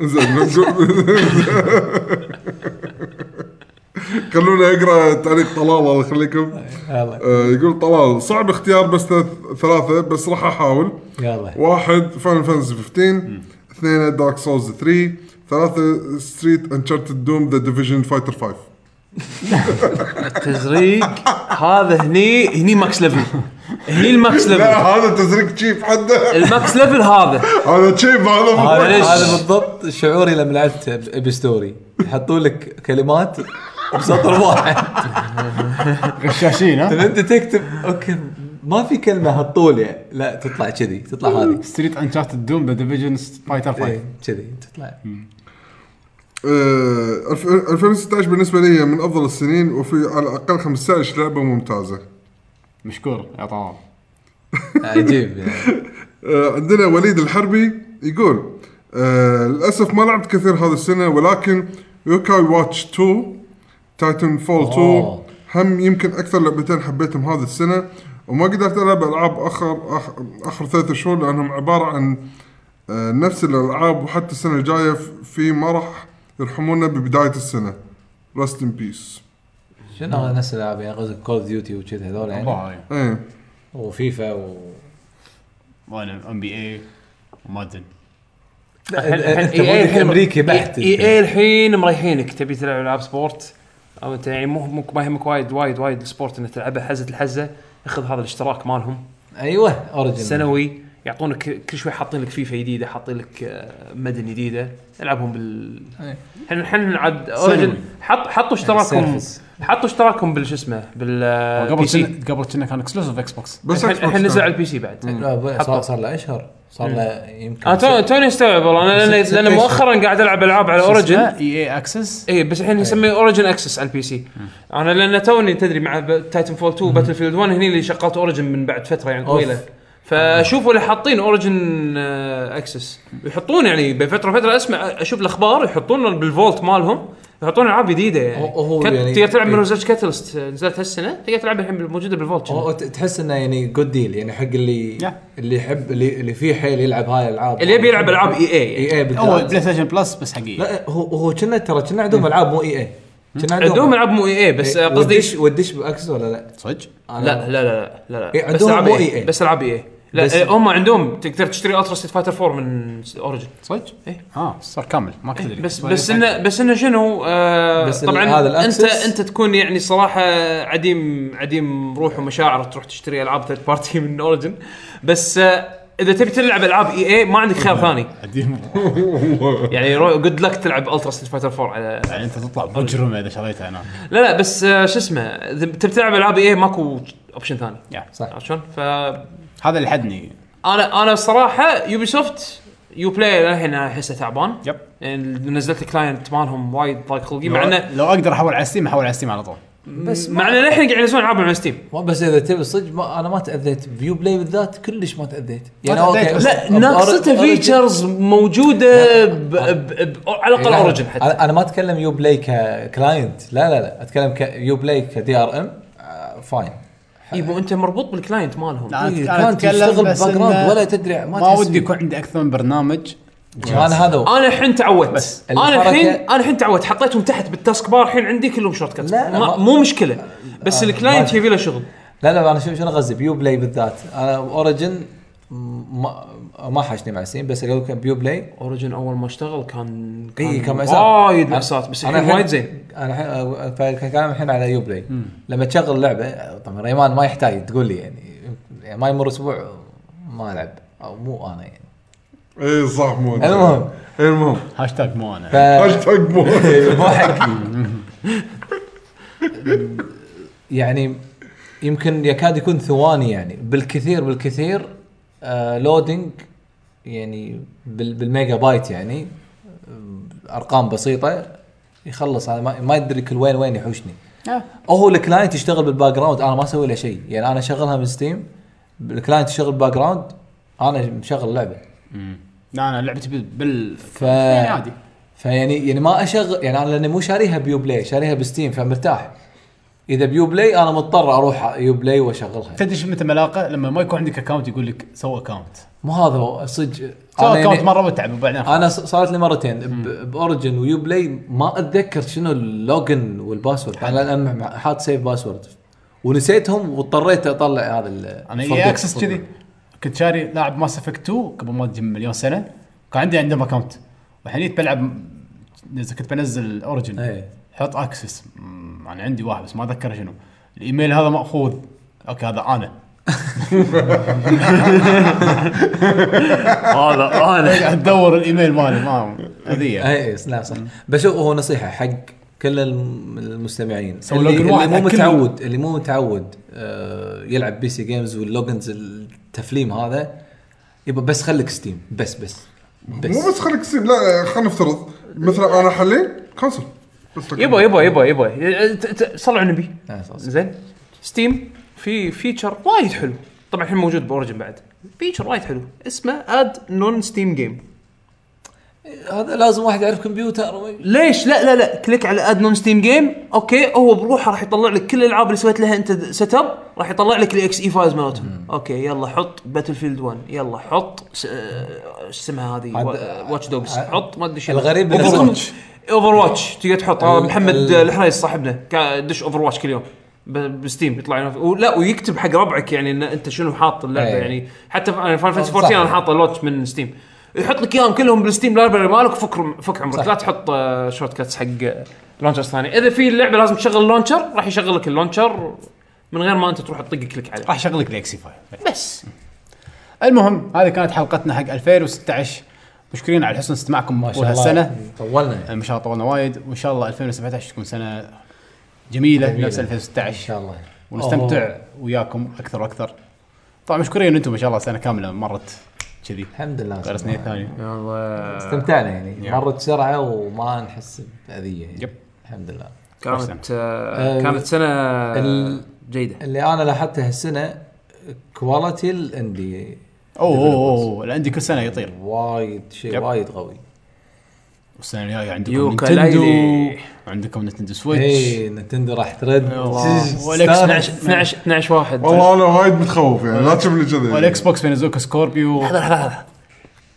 زين نقول- خلونا اقرا تعليق طلال الله يخليكم أيوة. يلا آه، يقول طلال صعب اختيار بس ثلاث- ثلاثه بس راح احاول يلا واحد فاينل فانتسي 15 اثنين دارك سولز 3 ثلاثة ستريت انشارتد دوم ذا ديفيجن فايتر 5 تزريق هذا هني هني ماكس ليفل هني الماكس لا ليفل هذا تزريق تشيب حده الماكس ليفل هذا هذا تشيب هذا هذا معلش. هذا بالضبط شعوري لما لعبت بستوري يحطوا لك كلمات بسطر واحد غشاشين ها فانت تكتب اوكي ما في كلمه هالطول يعني لا تطلع كذي تطلع هذه ستريت انشارتد دوم ذا ديفيجن فايتر 5 إيه، كذي تطلع آه، الف- 2016 بالنسبة لي من أفضل السنين وفي على الأقل 15 لعبة ممتازة مشكور يا طلال عجيب يعني آه، عندنا وليد الحربي يقول آه، للأسف ما لعبت كثير هذه السنة ولكن يوكاي واتش 2 تايتن فول 2 أوه. هم يمكن أكثر لعبتين حبيتهم هذه السنة وما قدرت ألعب ألعاب آخر آخر, آخر ثلاثة شهور لأنهم عبارة عن آه، نفس الألعاب وحتى السنة الجاية ف- في ما راح يرحمونا ببداية السنة رست ان بيس شنو هذا نفس الالعاب يعني قصدك كول اوف ديوتي وكذي هذول يعني الله يعني. ايه وفيفا و وانا ام بي اي وما ادري انت إيه مو الحين امريكي بحت اي اي إيه الحين مريحينك تبي تلعب العاب سبورت او انت يعني مو مو ما يهمك وايد وايد وايد السبورت انك تلعبها حزه الحزه اخذ هذا الاشتراك مالهم ايوه اوريجن سنوي يعطونك كل شوي حاطين لك فيفا جديده حاطين لك آه، مدن جديده العبهم بال أي. الحين الحين عاد سنوي. اوريجن حط حطوا اشتراكهم سيرفس. حطوا اشتراكهم بال آه، شو اسمه بال بي قبل سي كنا قبل كنا كان اكسلوسيف اكس بوكس بس الحين- Xbox الحين كان. نزل على البي سي بعد لا، ب- حطوا. صار صار له اشهر صار له يمكن انا تو- توني استوعب والله انا لان ست- لأن ست- مؤخرا قاعد العب العاب على اوريجن اي اي اكسس اي إيه، بس إيه. الحين يسميه اوريجن اكسس على البي سي انا لان توني تدري مع تايتن فول 2 باتل فيلد 1 هني اللي شغلت اوريجن من بعد فتره يعني أوف. طويله فاشوفوا اللي حاطين اوريجن اكسس يحطون يعني بين فتره وفتره اسمع اشوف الاخبار يحطون بالفولت مالهم يحطون العاب جديده يعني هو- هو كت- يعني- تقدر تلعب من إيه. ريزرش كاتلست آه، نزلت هالسنه تقدر تلعب الحين موجوده بالفولت أو- أو ت- تحس انه يعني جود ديل يعني حق اللي Yeah. اللي يحب اللي, اللي فيه حيل يلعب هاي الالعاب اللي يبي يلعب E العاب اي اي اي اي اول بلاي بالذات ستيشن بلس بس حق اي لا هو هو كنا ترى كنا عندهم العاب مو اي اي كنا عندهم العاب مو اي اي بس إيه. آه، قصدي ودش ودش باكس ولا لا؟ صدق أنا- لا لا لا لا إيه، لا بس عندهم العاب مو EA. EA. بس العاب اي لا بس- إيه، هم عندهم تقدر تشتري الترا ستيت فايتر 4 من اوريجن صدق؟ إيه. اه صار كامل ما كنت ادري بس بس انه بس انه شنو آه بس بس ال- طبعا هذا هذا انت الأكسس- انت تكون يعني صراحه عديم عديم روح ومشاعر تروح تشتري العاب ثيرد بارتي من اوريجن بس آه اذا تبي تلعب العاب اي اي ما عندك خيار ثاني قديم يعني جود لك تلعب الترا ستيت فايتر 4 على يعني انت تطلع مجرم اذا شريته هناك لا لا بس آه شو اسمه اذا تبي تلعب العاب اي ماكو اوبشن ثاني يا. صح. عرفت شلون؟ ف هذا اللي حدني انا انا الصراحه يوبي سوفت يو بلاي للحين أنا احسه تعبان يب. يعني نزلت الكلاينت مالهم وايد ضايق خلقي مع لو, انه لو اقدر احول على ستيم احول على ستيم على طول بس مع انه للحين قاعد ينزلون العابهم على ستيم ما بس اذا تبي صدق ما انا ما تاذيت بيو بلاي بالذات كلش ما يعني تاذيت تأذيت، بس- لا ناقصته فيتشرز موجوده ب ب ب على الاقل اوريجن حتى انا إيه، أنا ما اتكلم يو بلاي ككلاينت لا لا لا اتكلم كيو بلاي آه، كدي ار ام فاين اي مو انت مربوط بالكلاينت مالهم لا، أنا- إيه، أنا كان أتكلم تشتغل بس بباك جراوند إنه ولا تدري، ما ما تحس ودي فيه. يكون عندي اكثر من برنامج انا هذا هو. انا الحين تعودت بس انا الحركة- الحين انا الحين تعودت حطيتهم تحت بالتاسك بار الحين عندي كلهم شورت كات لا، لا، ما- ما- آه، مو مشكله بس الكلاينت ما- يبي له شغل لا لا انا شو شنو قصدي بيو بلاي بالذات انا اوريجن ما ما حاشني مع سين بس اقول لك بيو بلاي اوريجن اول ما اشتغل كان اي إيه، كان مأساة وايد أنا- مأساة بس أنا الحين الحين- وايد زين انا الحين آه، فكان كلام الحين على يو بلاي لما تشغل لعبه طبعا ريمان ما يحتاج تقول لي يعني يعني ما يمر اسبوع ما العب او مو انا يعني اي إيه، صح مو المهم. آه. إيه، المهم هاشتاج مو انا ف- هاشتاج مو مو حقي يعني يمكن يكاد يكون ثواني يعني بالكثير بالكثير آه لودنج يعني بال بالميجا بايت يعني آه، ارقام بسيطه يخلص انا ما, ما ادري كل وين وين يحوشني آه. هو الكلاينت يشتغل بالباك جراوند انا ما اسوي له شيء يعني انا اشغلها من ستيم الكلاينت يشتغل باك جراوند انا مشغل لعبه لا انا لعبتي بال- بال ف يعني عادي فيعني يعني ما اشغل يعني انا لاني مو شاريها بيو بلاي شاريها بستيم فمرتاح اذا بيو بلاي انا مضطر اروح يو بلاي واشغلها تدري شو متى ملاقه لما ما يكون عندك اكونت يقول لك سو اكونت مو هذا هو صدق سو انا اكونت يعني مره متعب وبعدين خلاص. انا ص- صارت لي مرتين ب- باوريجن ويو بلاي ما اتذكر شنو اللوجن والباسورد انا الان مع- حاط سيف باسورد ونسيتهم واضطريت اطلع هذا ال انا folder. اي اكسس كذي كنت شاري لاعب ماس افكت 2 قبل ما اجي مليون سنه كان عندي عندهم اكونت والحين بلعب نزل كنت بنزل اوريجن إيه. حط اكسس مم، انا عندي واحد بس ما اتذكر شنو الايميل هذا ماخوذ اوكي هذا انا هذا انا قاعد ادور الايميل مالي ما اذيه اي اي إيه، لا صح بس هو نصيحه حق كل الم- المستمعين سوي اللي, لوجن اللي واحد مو حق كل- متعود اللي مو متعود آه، يلعب بي سي جيمز واللوجنز التفليم هذا يبقى بس خليك ستيم بس بس مو بس بس خليك سيم لا خلينا نفترض مثلا انا حلين كنسل بس لك- يبا يبا يبا يبا إيه، ت- ت- صلوا على النبي آه، صح، صح. زين ستيم في فيتشر وايد حلو طبعا الحين موجود باورجن بعد فيتشر وايد حلو اسمه اد نون ستيم جيم هذا لازم واحد يعرف كمبيوتر ليش لا لا لا كليك على اد نون ستيم جيم اوكي هو بروحه راح يطلع لك كل الالعاب اللي سويت لها انت سيت اب راح يطلع لك الاكس اي فايلز مالتهم اوكي يلا حط باتل فيلد 1 يلا حط س- آه، ايش اسمها هذه عاد- واتش دوجز عاد- حط ما ادري شنو الغريب إنه Overwatch. اوفر واتش تقدر تحط آه، ال- محمد ال- آه، الحريص صاحبنا قاعد يدش اوفر واتش كل يوم ب- بستيم يطلع لنا- ولا ويكتب حق ربعك يعني ان انت شنو حاط اللعبه إيه. يعني حتى فاينل فانتسي صح. 14 انا حاطه لوتش من ستيم يحط لك اياهم كلهم بالستيم لايبرري مالك وفك فك عمرك صح. لا تحط آه، شورت كاتس حق لونشرز ثاني اذا في اللعبه لازم تشغل لونشر راح يشغل لك اللونشر من غير ما انت تروح تطق كليك عليه راح اشغلك الاكسي فايل بس المهم هذه كانت حلقتنا حق 2016 مشكورين على حسن استماعكم ما طول شاء الله هالسنه طولنا يعني. ما شاء الله طولنا وايد وان شاء الله 2017 تكون سنه جميله, جميلة. نفس ان 2016 شاء الله ونستمتع أوه. وياكم اكثر واكثر طبعا مشكورين انتم ما شاء الله سنه كامله مرت كذي الحمد لله غير سنين ثانيه استمتعنا يعني يب. مرت بسرعه وما نحس باذيه يعني. يب. الحمد لله كانت آه، آه كانت سنه ال- جيده اللي انا لاحظته هالسنه كواليتي الاندي اوه اوه اوه الاندي كل سنه يطير وايد شيء يب. وايد قوي والسنه الجايه عندكم يوكا نينتندو ليلي. عندكم نينتندو سويتش اي إيه، نتندو راح ترد والإكس آه، 12 12 12 واحد والله انا وايد متخوف يعني لا تشوفني كذا والاكس بوكس بينزلوك سكوربيو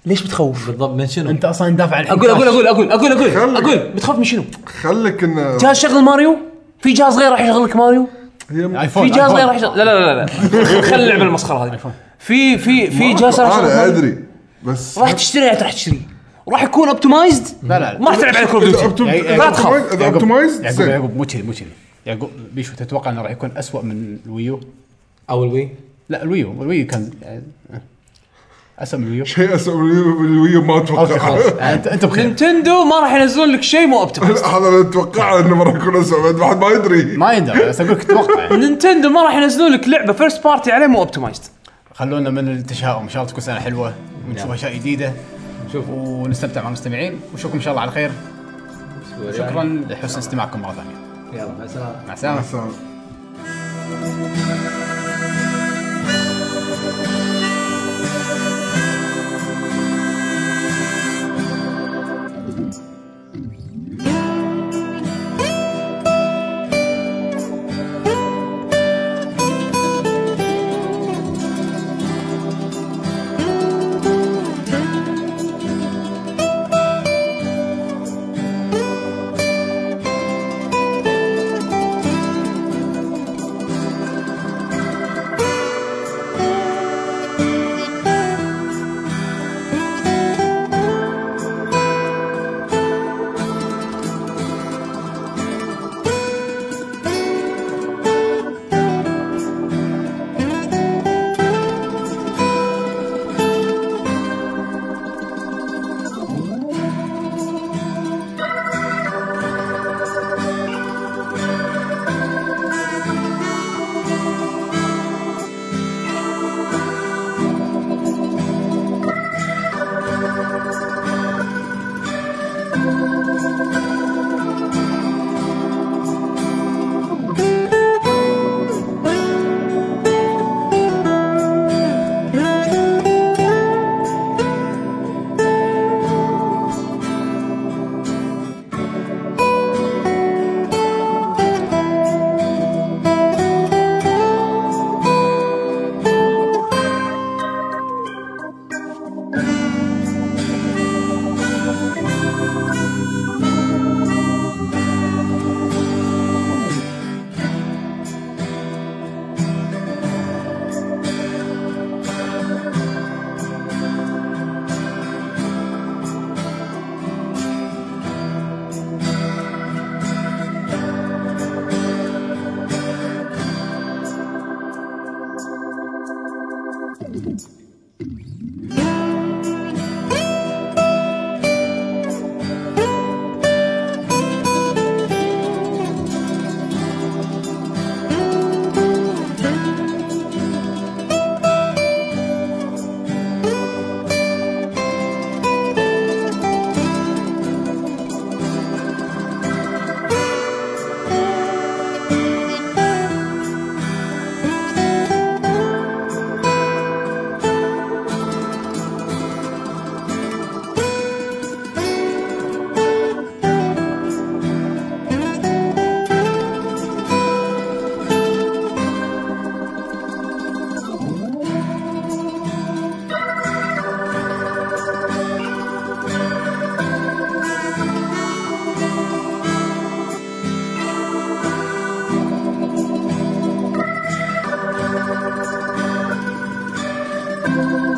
ليش متخوف؟ بالضبط من شنو؟ انت اصلا دافع عن اقول اقول اقول اقول اقول اقول اقول متخوف من شنو؟ خليك انه جهاز شغل ماريو في جهاز غير راح يشغل لك ماريو هي ايفون في جهاز غير راح آيفون. يشغل لا لا لا لا خلي اللعبه المسخره هذه في في في جهاز راح يشغل انا ماريو. ادري بس راح تشتري راح تشتري راح يكون اوبتمايزد لا لا ما راح تلعب على كول إذا ديوتي أوبتم- يعني- لا إذا أوبتمايز- تخاف. اذا يعقوب- اوبتمايز يعقوب زين يعقوب مو كذي مو كذي يعقوب بيشو تتوقع انه راح يكون اسوء من الويو؟ او الوي لا الويو الويو كان يعني اسوء من الويو شيء اسوء من الويو- من الويو ما اوكي خلاص اتوقع انت انت بخير نينتندو ما راح ينزلون لك شيء مو اوبتمايزد هذا اللي اتوقعه انه ما راح يكون اسوء بعد واحد ما يدري ما يندرى بس اقول لك اتوقع يعني. نينتندو ما راح ينزلون لك لعبه فيرست بارتي عليه مو اوبتمايزد خلونا من التشاؤم ان شاء الله تكون سنه حلوه ونشوف اشياء جديده نشوف. ونستمتع مع المستمعين ونشوفكم ان شاء الله على خير شكرا لحسن استماعكم مره ثانيه يلا مع السلامه مع السلامه السلام. Thank you.